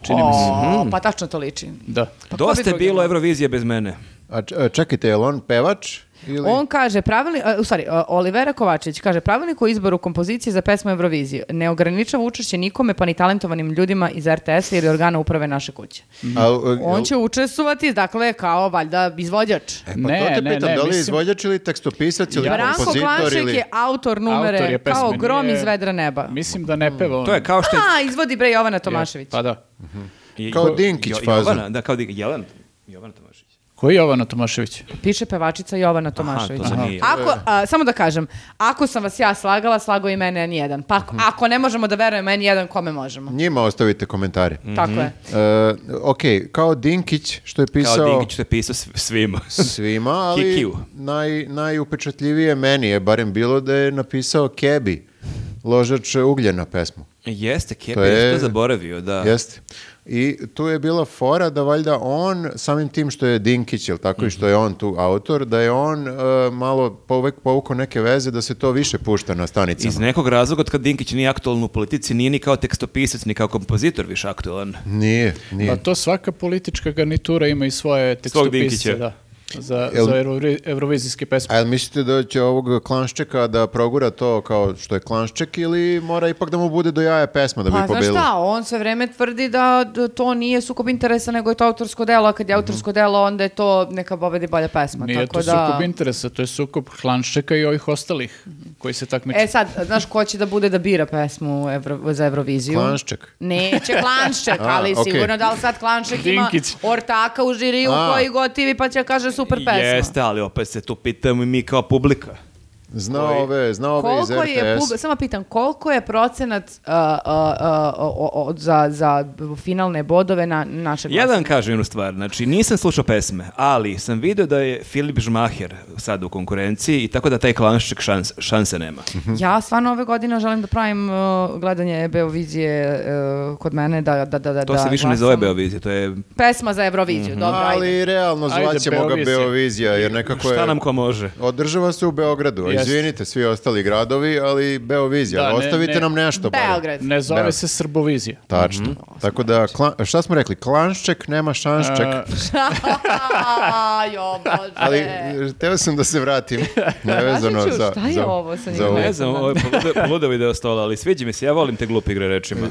Speaker 2: Čini mi se. Mhm.
Speaker 1: O, pa tačno to liči.
Speaker 2: Da.
Speaker 1: Pa ko bi
Speaker 4: Dosta je
Speaker 1: drugi
Speaker 4: bilo
Speaker 1: mogao?
Speaker 4: Eurovizije bez mene.
Speaker 3: A č- a čekajte, je li on pevač? Ili...
Speaker 1: On kaže, pravilni, a, u stvari, a, Olivera Kovačević kaže, pravilnik o izboru kompozicije za pesmu Euroviziju ne ograničava učešće nikome pa ni talentovanim ljudima iz RTS-a ili organa uprave naše kuće.
Speaker 3: A, e,
Speaker 1: On će učestvovati, dakle, kao valjda izvođač.
Speaker 3: E, pa
Speaker 2: Ne,
Speaker 3: to te
Speaker 2: ne,
Speaker 3: pitam,
Speaker 2: ne,
Speaker 3: da li je
Speaker 2: mislim-
Speaker 3: izvođač ili tekstopisac ili
Speaker 1: Branko
Speaker 3: kompozitor
Speaker 1: Klanšček
Speaker 3: ili...
Speaker 1: je autor numere
Speaker 2: Autor je pesme,
Speaker 1: kao grom
Speaker 2: nije-
Speaker 1: iz vedra neba.
Speaker 2: Mislim da ne
Speaker 1: Pa
Speaker 2: peva on.
Speaker 4: To je kao što je...
Speaker 1: A, izvodi bre Jovana Tomašević.
Speaker 2: Pa da.
Speaker 4: je-
Speaker 3: Kao Dinkić
Speaker 4: Jo-
Speaker 3: fazon.
Speaker 4: Jovana, da, kao Dinkić. Jelan, Jovana Tomašić.
Speaker 2: Koji je Jovana Tomašević?
Speaker 1: Piše pevačica Jovana Tomašević.
Speaker 4: to nije.
Speaker 1: Ako, a, samo da kažem, ako sam vas ja slagala, slago i mene N1. Pa
Speaker 2: Mhm.
Speaker 1: ako, ako ne možemo da verujemo N1, kome možemo?
Speaker 3: Njima ostavite komentare.
Speaker 2: Mm. Mhm.
Speaker 1: Tako je.
Speaker 2: Pa,
Speaker 3: E, ok, kao Dinkić što je pisao
Speaker 4: Kao Dinkić što je pisao sv- svima. (laughs)
Speaker 3: svima, ali
Speaker 4: Kikiju.
Speaker 3: naj, najupečatljivije meni je barem bilo da je napisao Kebi, ložač ugljena pesmu.
Speaker 4: Jeste, Kepi,
Speaker 3: To
Speaker 4: ja sam
Speaker 3: je-
Speaker 4: to zaboravio, da.
Speaker 3: Jeste. I tu je bila fora da valjda on, samim tim što je Dinkić, jel tako, i što je on tu autor, da je on e, malo povek povukao neke veze da se to više pušta na stanicama.
Speaker 4: Iz nekog razloga, od kad Dinkić nije aktualan u politici, nije ni kao tekstopisac, ni kao kompozitor više aktualan.
Speaker 3: Nije, nije.
Speaker 4: Pa-
Speaker 2: Pa to svaka politička garnitura ima i svoje tekstopisce.
Speaker 4: Dinkića.
Speaker 2: Da. za,
Speaker 3: Jel- E.
Speaker 2: za eurovi- eurovizijske pesme.
Speaker 3: A jel mislite da će ovog klanščeka da progura to kao što je klanšček ili mora ipak da mu bude do jaja pesma da bi
Speaker 1: Pa znaš
Speaker 3: pobedila?
Speaker 1: šta, on sve vreme tvrdi da d- to nije sukob interesa, nego je to autorsko delo, a kad je autorsko delo, onda je to neka pobedi bolja pesma.
Speaker 2: Mhm. Nije
Speaker 1: tako
Speaker 2: to
Speaker 1: da...
Speaker 2: sukob interesa, to je sukob Hlanščeka i ovih ostalih koji se takmiče.
Speaker 1: E sad, znaš ko će da bude da bira pesmu u Evro- za Euroviziju?
Speaker 3: Klanšček.
Speaker 1: Neće Klanšček,
Speaker 3: (laughs) A,
Speaker 1: ali
Speaker 3: okej.
Speaker 1: sigurno da li sad Klanšček ima
Speaker 2: Dinkić.
Speaker 1: ortaka u žiriju
Speaker 3: A.
Speaker 1: koji gotivi pa će kaže super pesma.
Speaker 4: Jeste, ali opet se tu pitamo i mi kao publika.
Speaker 3: Zna ove, zna ove iz
Speaker 1: Koliko je,
Speaker 3: RTS.
Speaker 1: pub- samo pitam, koliko je procenat uh, uh, uh, o- o- o- za, za finalne bodove na naše glasa?
Speaker 4: Ja da vam kažem jednu stvar, znači nisam slušao pesme, ali sam vidio da je Filip Žmaher sad u konkurenciji i tako da taj klanšček šans, šanse nema.
Speaker 1: Ja stvarno ove godine želim da pravim uh, gledanje Beovizije uh, kod mene da da da da.
Speaker 4: To
Speaker 1: da
Speaker 4: se više ne
Speaker 1: glasam.
Speaker 4: zove Beovizije, to je
Speaker 1: Pesma za Euroviziju, dobro. ajde.
Speaker 3: Mhm. Ali realno
Speaker 2: Ajde,
Speaker 3: zvaćemo ga
Speaker 2: Beovizija.
Speaker 3: Beovizija, jer nekako je...
Speaker 4: šta nam ko može.
Speaker 3: Održava se u Beogradu. a
Speaker 2: Jeste.
Speaker 3: Izvinite, svi ostali gradovi, ali Beovizija.
Speaker 2: Da, ne,
Speaker 3: Ostavite
Speaker 2: ne.
Speaker 3: nam nešto. barem.
Speaker 1: Beograd.
Speaker 2: Ne zove
Speaker 3: Da.
Speaker 2: se Srbovizija.
Speaker 3: Tačno.
Speaker 2: Mhm.
Speaker 3: Tako da, klan- šta smo rekli? Klanšček nema šanšček.
Speaker 2: A,
Speaker 1: (laughs) Aj, o bože.
Speaker 3: Ali e, teo sam da se vratim
Speaker 2: (laughs)
Speaker 3: nevezano
Speaker 1: Kaži ću,
Speaker 3: za,
Speaker 1: šta je
Speaker 3: za,
Speaker 1: ovo sa
Speaker 3: za
Speaker 1: njim?
Speaker 3: ovo.
Speaker 4: Ne znam, ovo je poludo- poludeo video stola, ali sviđa mi se, ja volim te glupe igre rečima.
Speaker 3: E,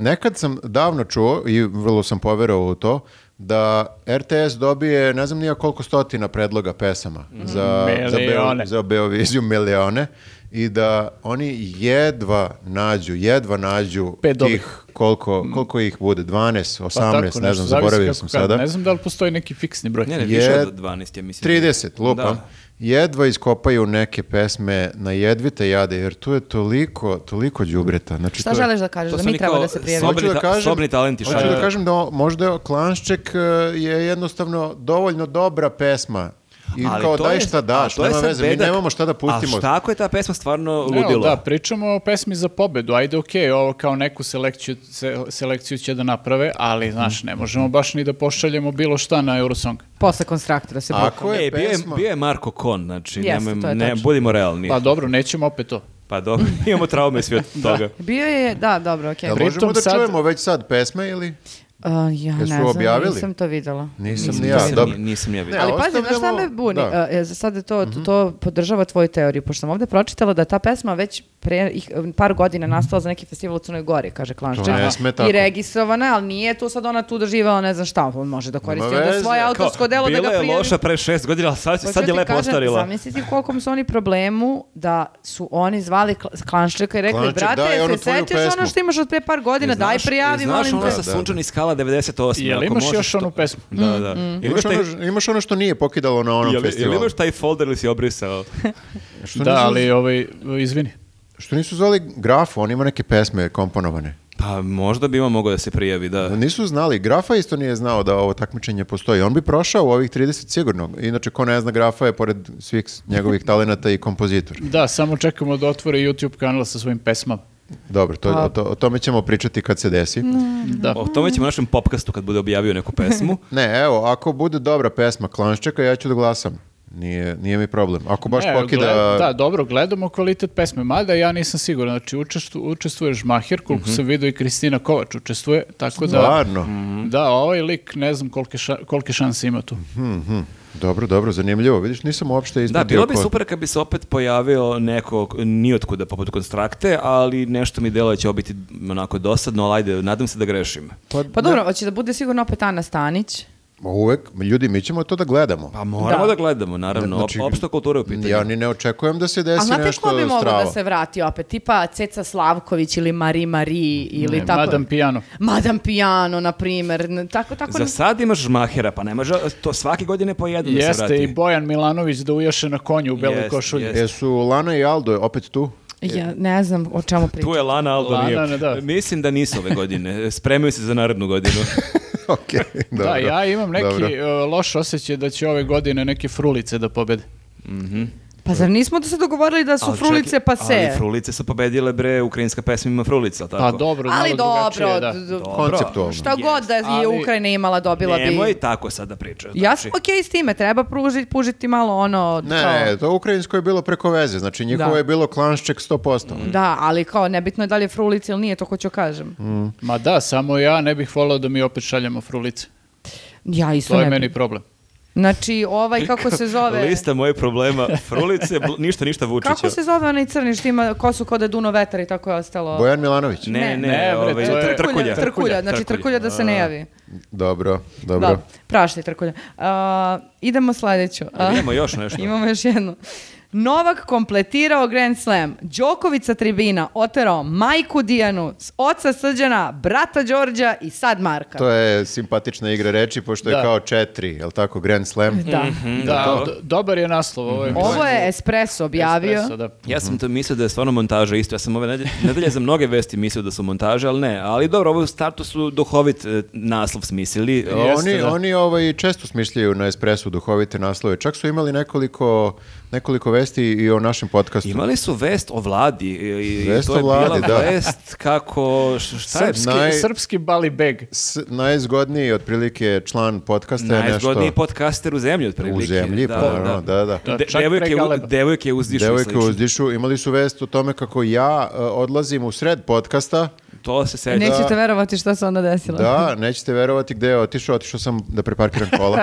Speaker 3: nekad sam davno čuo i vrlo sam poverovao u to da RTS dobije ne znam nija koliko stotina predloga pesama za, za,
Speaker 2: Mhm. Milione.
Speaker 3: Beo, za Beoviziju, milione i da oni jedva nađu, jedva nađu
Speaker 2: Pet dobrih.
Speaker 3: tih koliko, koliko ih bude, 12, 18,
Speaker 2: pa tako
Speaker 3: ne
Speaker 2: nešto,
Speaker 3: znam,
Speaker 2: zavisi
Speaker 3: zaboravio
Speaker 2: kako
Speaker 3: sam
Speaker 2: kad.
Speaker 3: sada.
Speaker 2: Ne znam da li postoji neki fiksni broj.
Speaker 4: Ne, ne, više
Speaker 3: Jed-
Speaker 4: od 12, ja mislim.
Speaker 3: 30, lupam.
Speaker 4: Da.
Speaker 3: Jedva iskopaju neke pesme na jedvite jade, jer tu je toliko, toliko đubreta. Znači,
Speaker 1: Šta
Speaker 3: to je-
Speaker 1: želiš da kažeš?
Speaker 4: To
Speaker 1: Da
Speaker 4: su
Speaker 1: mi
Speaker 4: oni
Speaker 1: treba
Speaker 4: kao
Speaker 1: da se prijavimo?
Speaker 4: sobe-
Speaker 3: Hoću da
Speaker 4: ta-
Speaker 3: kažem,
Speaker 4: sobni talenti, šta
Speaker 3: Hoću
Speaker 4: je?
Speaker 3: da kažem da o- možda Klanšček e, je jednostavno dovoljno dobra pesma. I
Speaker 4: Ali
Speaker 3: kao
Speaker 4: to
Speaker 3: daj
Speaker 4: je-
Speaker 3: šta
Speaker 4: a
Speaker 3: daš,
Speaker 4: to je
Speaker 3: nema
Speaker 4: sad
Speaker 3: veze, mi
Speaker 4: beda-
Speaker 3: nemamo šta da pustimo.
Speaker 4: A šta ako je ta pesma stvarno
Speaker 2: Evo,
Speaker 4: ludilo?
Speaker 2: da, pričamo o pesmi za pobedu. Ajde, okej, ovo kao neku selekciju, se- selekciju će da naprave,
Speaker 3: Mhm.
Speaker 2: ali, znaš, ne možemo baš ni da pošaljemo bilo šta na Eurosong. Pa
Speaker 1: Posle konstraktora se bukamo.
Speaker 3: Ako je
Speaker 4: E, bio, je,
Speaker 3: pesma...
Speaker 4: bio je Marko Kon, znači,
Speaker 1: Jeste,
Speaker 4: nemoj-
Speaker 1: to je
Speaker 4: ne,
Speaker 1: tačno.
Speaker 4: budimo realni.
Speaker 2: Pa
Speaker 4: Pa,
Speaker 2: dobro, nećemo opet to.
Speaker 4: dobro, (laughs) imamo traume svi od toga.
Speaker 1: Bio je, da, dobro, okej.
Speaker 3: Jel
Speaker 2: Pri-
Speaker 3: možemo
Speaker 2: Pritom
Speaker 3: da
Speaker 2: sad-
Speaker 3: čujemo već sad pesme ili?
Speaker 1: Uh, ja ne
Speaker 3: Jesu
Speaker 1: znam,
Speaker 3: objavili?
Speaker 1: nisam to videla.
Speaker 3: Nisam
Speaker 4: Nisam,
Speaker 3: ni ja,
Speaker 4: nisam,
Speaker 3: dobro.
Speaker 4: nisam ja vidio.
Speaker 3: Ne,
Speaker 1: Ali
Speaker 3: A
Speaker 1: pazi, znaš šta
Speaker 3: ostavljamo-
Speaker 1: me buni?
Speaker 3: da. Mhm.
Speaker 1: E, za sad je to, to podržava tvoju teoriju, pošto sam ovdje pročitala da je ta pesma već pre ih- par godina nastala za neki festival u Crnoj Gori, kaže Klanšček.
Speaker 3: To ne sme tako.
Speaker 1: I registrovana, ali nije tu sad ona tu doživala, ne znam šta, on može da koristi onda
Speaker 3: veze.
Speaker 1: svoje
Speaker 3: Kao,
Speaker 1: autorsko delo da ga
Speaker 4: Bila je
Speaker 1: prijavi.
Speaker 4: loša pre šest godina, ali sad,
Speaker 1: Hoću
Speaker 4: sad je
Speaker 1: Pa ti
Speaker 4: lepo
Speaker 1: kažem,
Speaker 4: ostarila.
Speaker 1: Zamisli ti kolikom su oni problemu da su oni zvali Kla- Klanščeka i rekli,
Speaker 3: Klanšček, daj
Speaker 1: brate,
Speaker 3: onu
Speaker 1: se
Speaker 3: tvoju
Speaker 1: sećaš ono
Speaker 3: pesmu."
Speaker 1: što imaš od pre par godina, daj prijavi,
Speaker 4: znaš
Speaker 1: molim
Speaker 4: ono
Speaker 1: te.
Speaker 4: sa
Speaker 3: Da, da.
Speaker 4: sunčanih skala 98.
Speaker 2: Jel
Speaker 4: ako
Speaker 2: imaš
Speaker 4: možeš
Speaker 2: još
Speaker 4: to-
Speaker 2: onu pesmu?
Speaker 4: Da, da. Jel
Speaker 3: Imaš
Speaker 4: Mm, imaš taj-
Speaker 3: ono, imaš ono što nije pokidalo na onom
Speaker 4: Jel, jel
Speaker 3: festivalu.
Speaker 4: imaš taj folder ili si obrisao?
Speaker 3: Što
Speaker 2: da,
Speaker 3: nisu-
Speaker 2: ali, ovaj, izvini.
Speaker 3: Što nisu zvali Grafu, on ima neke pesme komponovane.
Speaker 4: Pa možda bi imao mogao da se prijavi, da.
Speaker 3: Nisu znali, Grafa isto nije znao da ovo takmičenje postoji. On bi prošao u ovih 30 sigurno. Inače, ko ne zna, Grafa je pored svih s- njegovih talenata i kompozitor.
Speaker 2: Da, samo čekamo da otvore YouTube kanal sa svojim pesmama.
Speaker 3: Dobro, to,
Speaker 1: Pa-
Speaker 3: o, to- o tome ćemo pričati kad se desi.
Speaker 1: Mhm.
Speaker 2: Da.
Speaker 3: Oh,
Speaker 4: O tome ćemo u našem popkastu kad bude objavio neku (laughs) pesmu.
Speaker 3: Ne, evo, ako bude dobra pesma Klanščeka, ja ću da glasam. Nije, nije mi problem. Ako baš
Speaker 2: Ne,
Speaker 3: pokida...
Speaker 2: gled- da, dobro, gledamo kvalitet pesme, mada ja nisam siguran. Znači, učestvu, učestvuje Žmaher, koliko sam vidio i Kristina Kovač učestvuje, tako da...
Speaker 3: Mhm. Stvarno.
Speaker 2: Da, ovaj lik, ne znam kolike, ša- kolike šanse ima tu.
Speaker 3: Mhm. Dobro, dobro, zanimljivo. Vidiš, nisam uopšte ispratio
Speaker 4: Mm. Da, bilo bi
Speaker 3: ko-
Speaker 4: super kad bi se opet pojavio neko nijotkuda poput konstrakte, ali nešto mi delo da će ovo biti onako dosadno, ali ajde, nadam se da grešim.
Speaker 1: Pa dobro, hoće da bude sigurno opet Ana Stanić.
Speaker 3: Uvek, ljudi, mi ćemo to da gledamo.
Speaker 4: Pa moramo
Speaker 1: Da.
Speaker 4: da, gledamo, naravno.
Speaker 3: Znači,
Speaker 4: Op- opšta kultura je u pitanju.
Speaker 3: Ja ni ne očekujem da se desi
Speaker 1: A znate
Speaker 3: nešto
Speaker 1: ko bi mogao
Speaker 3: strava.
Speaker 1: da se vrati opet? Tipa Ceca Slavković ili Mari Mari ili
Speaker 2: Ne,
Speaker 1: tako.
Speaker 2: Madame E, Piano.
Speaker 1: Madame Piano, na primjer. N- Tako, tako.
Speaker 4: Za sad imaš žmahera, pa ne može to svake godine po jednom da se vrati.
Speaker 2: Jeste i Bojan Milanović da ujaše na konju u beloj
Speaker 4: Jeste,
Speaker 2: košulji.
Speaker 4: jeste.
Speaker 3: Jesu Lana i Aldo opet tu?
Speaker 1: Ja ne znam o čemu pričam.
Speaker 4: Tu je Lana, Aldo
Speaker 2: Lana,
Speaker 4: nije.
Speaker 2: ne, da.
Speaker 4: Mislim da nisu ove godine. Spremaju se za narednu godinu.
Speaker 3: (laughs) Okej, dobro.
Speaker 2: Da, ja imam neki
Speaker 3: Dobro.
Speaker 2: e, loš osjećaj da će ove godine neke frulice da pobede.
Speaker 1: Pa zar nismo da se dogovorili da (laughs) su
Speaker 4: Ali čak i-
Speaker 1: frulice pa se?
Speaker 4: Ali frulice su pobedile, bre, ukrajinska pesma ima frulica, tako?
Speaker 2: Pa dobro,
Speaker 1: Ali
Speaker 2: malo
Speaker 1: dobro,
Speaker 2: drugačije, da.
Speaker 1: d- d-
Speaker 3: Konceptualno.
Speaker 1: šta god da je
Speaker 2: ali-
Speaker 1: Ukrajina imala dobila bi.
Speaker 4: Nemoj tako sada
Speaker 3: Pa
Speaker 4: znači. pričati.
Speaker 1: Ja sam okej s time, treba pružiti, pužiti malo ono...
Speaker 3: znači- Ne,
Speaker 1: kao-
Speaker 3: ne, to ukrajinsko je bilo preko veze, znači njihovo
Speaker 1: Da.
Speaker 3: je bilo klanšček 100%.
Speaker 1: Da, ali kao nebitno je da li je frulica ili nije, to ko ću kažem.
Speaker 3: Mm.
Speaker 2: Ma da, samo ja ne bih volao da mi opet šaljemo frulice.
Speaker 1: Ja isto
Speaker 2: To je
Speaker 1: ne bi.
Speaker 2: meni problem.
Speaker 1: Znači,
Speaker 2: (laughs)
Speaker 1: ovaj, kako se zove...
Speaker 4: Lista moje problema, frulice, bl- ništa, ništa Vučića.
Speaker 1: Kako se zove onaj crni što ima kosu kod da duno vetar i tako je ostalo?
Speaker 3: Bojan Milanović.
Speaker 4: Ne,
Speaker 1: Ne.
Speaker 4: ne,
Speaker 2: Ne, bre,
Speaker 4: ovaj,
Speaker 2: to je-
Speaker 4: tr- trkulja.
Speaker 1: Trkulja, znači trkulja da se ne javi.
Speaker 3: Dobro, dobro.
Speaker 1: Da, prašti trkulja. A, idemo sledeću. A,
Speaker 4: Jel Imamo još nešto.
Speaker 1: imamo još jednu. Novak kompletirao Grand Slam. Đoković sa tribina oterao majku Dijanu, s- oca Srđana, brata Đorđa i sad Marka.
Speaker 3: To je simpatična igra reči, pošto je
Speaker 2: Da.
Speaker 3: kao četiri, jel tako, Grand Slam?
Speaker 1: Da.
Speaker 2: Mhm.
Speaker 4: Mm,
Speaker 2: Da, do- dobar je naslov. Ovo je,
Speaker 1: Ovo je Espresso objavio.
Speaker 2: Espresso, da.
Speaker 4: Ja sam to mislio da je stvarno montaža isto. Ja sam ove nedelje, nedelje za mnoge vesti mislio da su montaže, ali ne. Ali dobro, ovo u startu su duhovit e, naslov smislili.
Speaker 3: A oni oni ovaj, često smišljaju na Espresu duhovite naslove. Čak su imali nekoliko, nekoliko vesti i o našem podcastu.
Speaker 4: Imali su vest o vladi. i- i
Speaker 3: Vest
Speaker 4: to je
Speaker 3: o vladi,
Speaker 4: bila
Speaker 3: da.
Speaker 4: vest kako... š- Šta je?
Speaker 2: Srpski,
Speaker 3: Naj-
Speaker 2: srpski bali beg.
Speaker 3: S, najzgodniji otprilike član podcasta je nešto
Speaker 4: Najzgodniji podcaster u zemlji, otprilike.
Speaker 3: u zemlji, pa naravno, da, da.
Speaker 2: Da,
Speaker 4: De-
Speaker 2: čak
Speaker 4: devojke,
Speaker 2: pre
Speaker 4: u,
Speaker 2: Galeba.
Speaker 4: devojke uzdišu.
Speaker 3: Devojke
Speaker 4: slično.
Speaker 3: uzdišu, imali su vest o tome kako ja e, odlazim u sred podcasta.
Speaker 4: To se seća.
Speaker 1: E, Nećete verovati šta se onda desilo.
Speaker 3: Da, nećete verovati gde je otišao, otišao sam da preparkiram kola.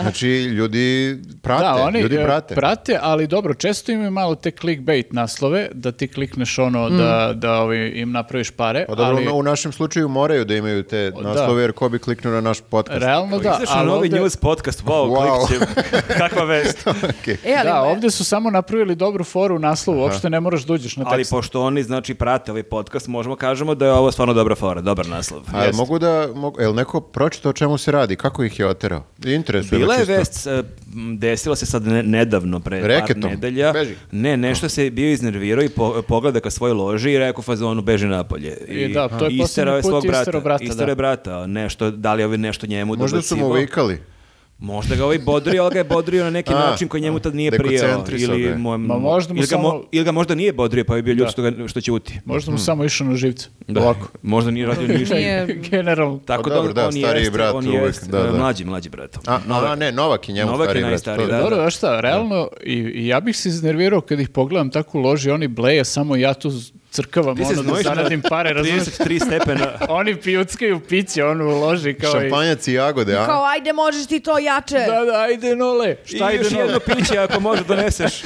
Speaker 3: Znači, ljudi prate,
Speaker 2: da, oni
Speaker 3: ljudi
Speaker 2: e,
Speaker 3: prate.
Speaker 2: ali dobro, često imaju malo te clickbait naslove, da ti klikneš ono da,
Speaker 1: Mm.
Speaker 2: da ovaj, im napraviš pare,
Speaker 3: Pa dobro,
Speaker 2: ali
Speaker 3: u našem slučaju moraju da imaju te naslove, jer ko bi kliknuo na naš podcast? (laughs)
Speaker 2: realno da.
Speaker 4: Pa Izašao
Speaker 2: Ali
Speaker 4: novi
Speaker 2: ovde-
Speaker 4: ono, ovaj news podcast, wow,
Speaker 3: Wow.
Speaker 4: klikćem. (laughs) Kakva
Speaker 3: (laughs)
Speaker 4: vest.
Speaker 3: Okej.
Speaker 1: E, ali
Speaker 2: da,
Speaker 1: me-
Speaker 2: ovdje su samo napravili dobru foru u naslovu, uopšte ne moraš da uđeš na
Speaker 4: Ali
Speaker 2: tekst.
Speaker 4: pošto oni, znači, prate ovaj podcast, možemo kažemo da je ovo stvarno dobra fora, dobar naslov.
Speaker 3: A jel mogu da, mogu, jel neko pročita o čemu se radi, kako ih je oterao? Interesuje me
Speaker 4: Bila je
Speaker 3: čisto.
Speaker 4: vest, e, m, desila se sad ne- nedavno, pre
Speaker 3: Reketom.
Speaker 4: par nedelja.
Speaker 3: Beži.
Speaker 4: Ne, nešto se bio iznervirao i po, pogleda ka svojoj loži i rekao fazonu beži napolje.
Speaker 2: I da, to je
Speaker 4: isterao
Speaker 2: posljednji put
Speaker 4: svog
Speaker 2: isterao brata,
Speaker 4: Isterao
Speaker 2: da.
Speaker 4: je brata, nešto, da li je ovaj nešto njemu
Speaker 3: Možda su mu
Speaker 4: dobacivao.
Speaker 3: vikali.
Speaker 4: Možda ga ovaj bodrio, ali ga je bodrio na neki
Speaker 3: (laughs) A,
Speaker 4: način koji njemu tad nije prijao.
Speaker 3: dekocentrisao ga
Speaker 4: Ili,
Speaker 3: je.
Speaker 4: mu je-
Speaker 2: Ma možda mu
Speaker 4: ili, ga mo-
Speaker 2: samo-
Speaker 4: ili ga možda nije bodrio pa je bio ljud
Speaker 2: Da.
Speaker 4: što, ga, što će uti.
Speaker 2: Možda mu samo išao na živce.
Speaker 1: (laughs)
Speaker 4: Da.
Speaker 2: Ovako.
Speaker 4: Možda nije radio ništa.
Speaker 1: Nije-
Speaker 2: (laughs) Generalno.
Speaker 4: Tako
Speaker 3: Pa
Speaker 4: da, on-
Speaker 3: dobro, da,
Speaker 4: on
Speaker 3: stariji
Speaker 4: jeste,
Speaker 3: brat
Speaker 4: on
Speaker 3: uvek,
Speaker 4: jeste,
Speaker 3: da, da.
Speaker 4: mlađi, mlađi brat.
Speaker 3: A, a ne, Novak je njemu
Speaker 4: Novak je
Speaker 3: stariji brat,
Speaker 4: najstariji,
Speaker 3: to-
Speaker 4: da.
Speaker 2: Dobro, znaš šta, realno, i, i ja bih se iznervirao kad ih pogledam tako u loži, oni bleje, samo ja tu z- crkavam,
Speaker 4: Ti se
Speaker 2: ono, da
Speaker 4: znojiš na
Speaker 2: zaradim
Speaker 4: (laughs)
Speaker 2: pare, razumiješ?
Speaker 4: 33
Speaker 2: (laughs)
Speaker 4: stepena.
Speaker 2: oni pijuckaju piće, ono u loži, kao
Speaker 3: Šampanjac i jagode, a?
Speaker 1: Kao, ajde, možeš ti to jače.
Speaker 2: i... Da, da, ajde nole. Šta
Speaker 4: I
Speaker 2: ide
Speaker 4: još
Speaker 2: nole?
Speaker 4: jedno piće ako može doneseš.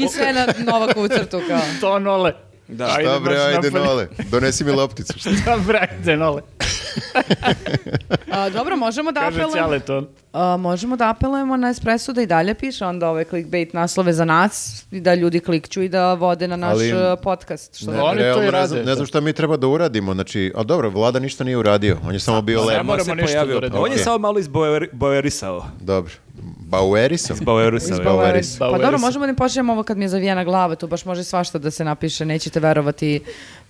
Speaker 1: I sve na Novakovu crtu, kao.
Speaker 2: To nole.
Speaker 4: Da.
Speaker 2: Ajde,
Speaker 3: Šta bre,
Speaker 2: baš
Speaker 3: ajde
Speaker 2: napolje.
Speaker 3: nole, donesi mi lopticu. šta?
Speaker 2: (laughs) Šta bre, ajde nole.
Speaker 1: A, dobro, možemo da
Speaker 2: Kaže
Speaker 1: apelujemo.
Speaker 2: Ćale to.
Speaker 1: A, možemo da apelujemo na Espresso da i dalje piše onda ove clickbait naslove za nas i da ljudi klikću i da vode na naš
Speaker 3: Ali-
Speaker 1: e, podcast. Što
Speaker 2: Ne, Oni to
Speaker 3: realno
Speaker 2: i
Speaker 3: ne
Speaker 2: rade,
Speaker 3: znam- Ne
Speaker 2: da.
Speaker 3: znam šta mi treba da uradimo, znači, a dobro, vlada ništa nije uradio, on je samo bio
Speaker 2: ne
Speaker 3: lep.
Speaker 2: moramo
Speaker 4: se
Speaker 2: ništa
Speaker 4: pojavio.
Speaker 2: da radimo.
Speaker 4: On je
Speaker 3: Ok.
Speaker 4: samo malo izbojerisao.
Speaker 3: Dobro. Bauerisom?
Speaker 4: Bauerisao je.
Speaker 3: Izbao- Baueris.
Speaker 1: Pa dobro,
Speaker 2: Baueris.
Speaker 1: možemo da im počnemo ovo kad mi je zavijena glava, tu baš može svašta da se napiše, nećete verovati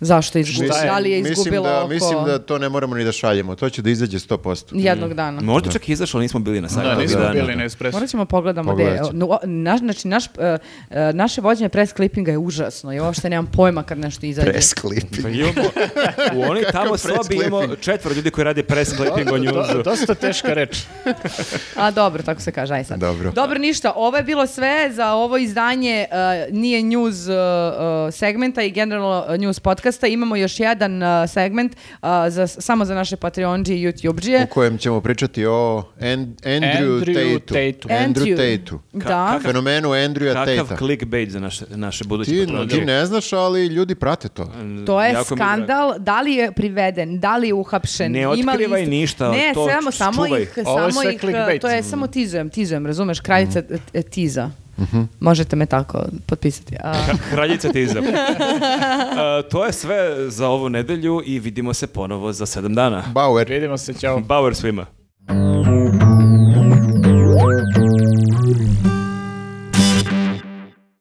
Speaker 1: zašto je izgubila, da li je
Speaker 3: Mislim
Speaker 1: izgubila
Speaker 3: da,
Speaker 1: oko
Speaker 3: mislim da to ne moramo ni da šaljemo, to će da izađe 100%.
Speaker 1: jednog dana.
Speaker 4: Možda čak i izašao, ali nismo bili na sajtu.
Speaker 2: Da, nismo
Speaker 4: ovih dana.
Speaker 2: bili na espresso.
Speaker 1: Morat ćemo pogledamo gde je.
Speaker 3: Pogledat ćemo.
Speaker 1: No, o, naš, znači, naš, e, e, naše vođenje press clippinga je užasno i uopšte nemam pojma kad nešto izađe.
Speaker 3: Press clipi.
Speaker 4: Pa imamo- u onoj tamo sobi imamo četvor ljudi koji rade press clipping o
Speaker 2: Do-
Speaker 4: njuzu.
Speaker 2: Dosta teška reč.
Speaker 1: A dobro, tako se kaže, aj sad.
Speaker 3: Dobro.
Speaker 1: ništa, ovo je bilo sve za ovo izdanje e, nije news e, e, segmenta i generalno e, news podcasta. Imamo još jedan e, segment e, za, samo za naše Patreonđe i YouTubeđe.
Speaker 3: U kojem ćemo pričati o An- Andrew,
Speaker 2: Andrew
Speaker 3: Tateu.
Speaker 2: Tateu.
Speaker 3: Andrew Tateu.
Speaker 1: Da.
Speaker 4: Ka-
Speaker 3: Fenomenu Andrewa
Speaker 4: Kakav
Speaker 3: Tateu.
Speaker 4: clickbait za naše, naše buduće
Speaker 3: Ti,
Speaker 4: patronje.
Speaker 3: ti ne znaš, ali ljudi prate to.
Speaker 1: To je
Speaker 4: Jako mi drago.
Speaker 1: skandal, da li je priveden, da li je uhapšen.
Speaker 4: Ne
Speaker 1: ima li
Speaker 4: otkrivaj
Speaker 1: ist-
Speaker 4: ništa,
Speaker 1: Ne,
Speaker 4: to
Speaker 1: samo,
Speaker 4: č-
Speaker 1: samo
Speaker 4: čuvaj. Mhm.
Speaker 1: ih,
Speaker 2: Ovo je
Speaker 1: samo
Speaker 2: sve
Speaker 1: ih,
Speaker 2: clickbait.
Speaker 1: to
Speaker 2: Mhm.
Speaker 1: je samo tizujem, tizujem, razumeš, kraljica e, e, tiza. Možete me tako potpisati. A,
Speaker 4: (laughs) Kraljica te
Speaker 3: (laughs)
Speaker 4: iza. A, to je sve za ovu nedelju i vidimo se ponovo za sedam dana.
Speaker 3: Bauer.
Speaker 2: Vidimo se, ćao.
Speaker 4: Bauer svima.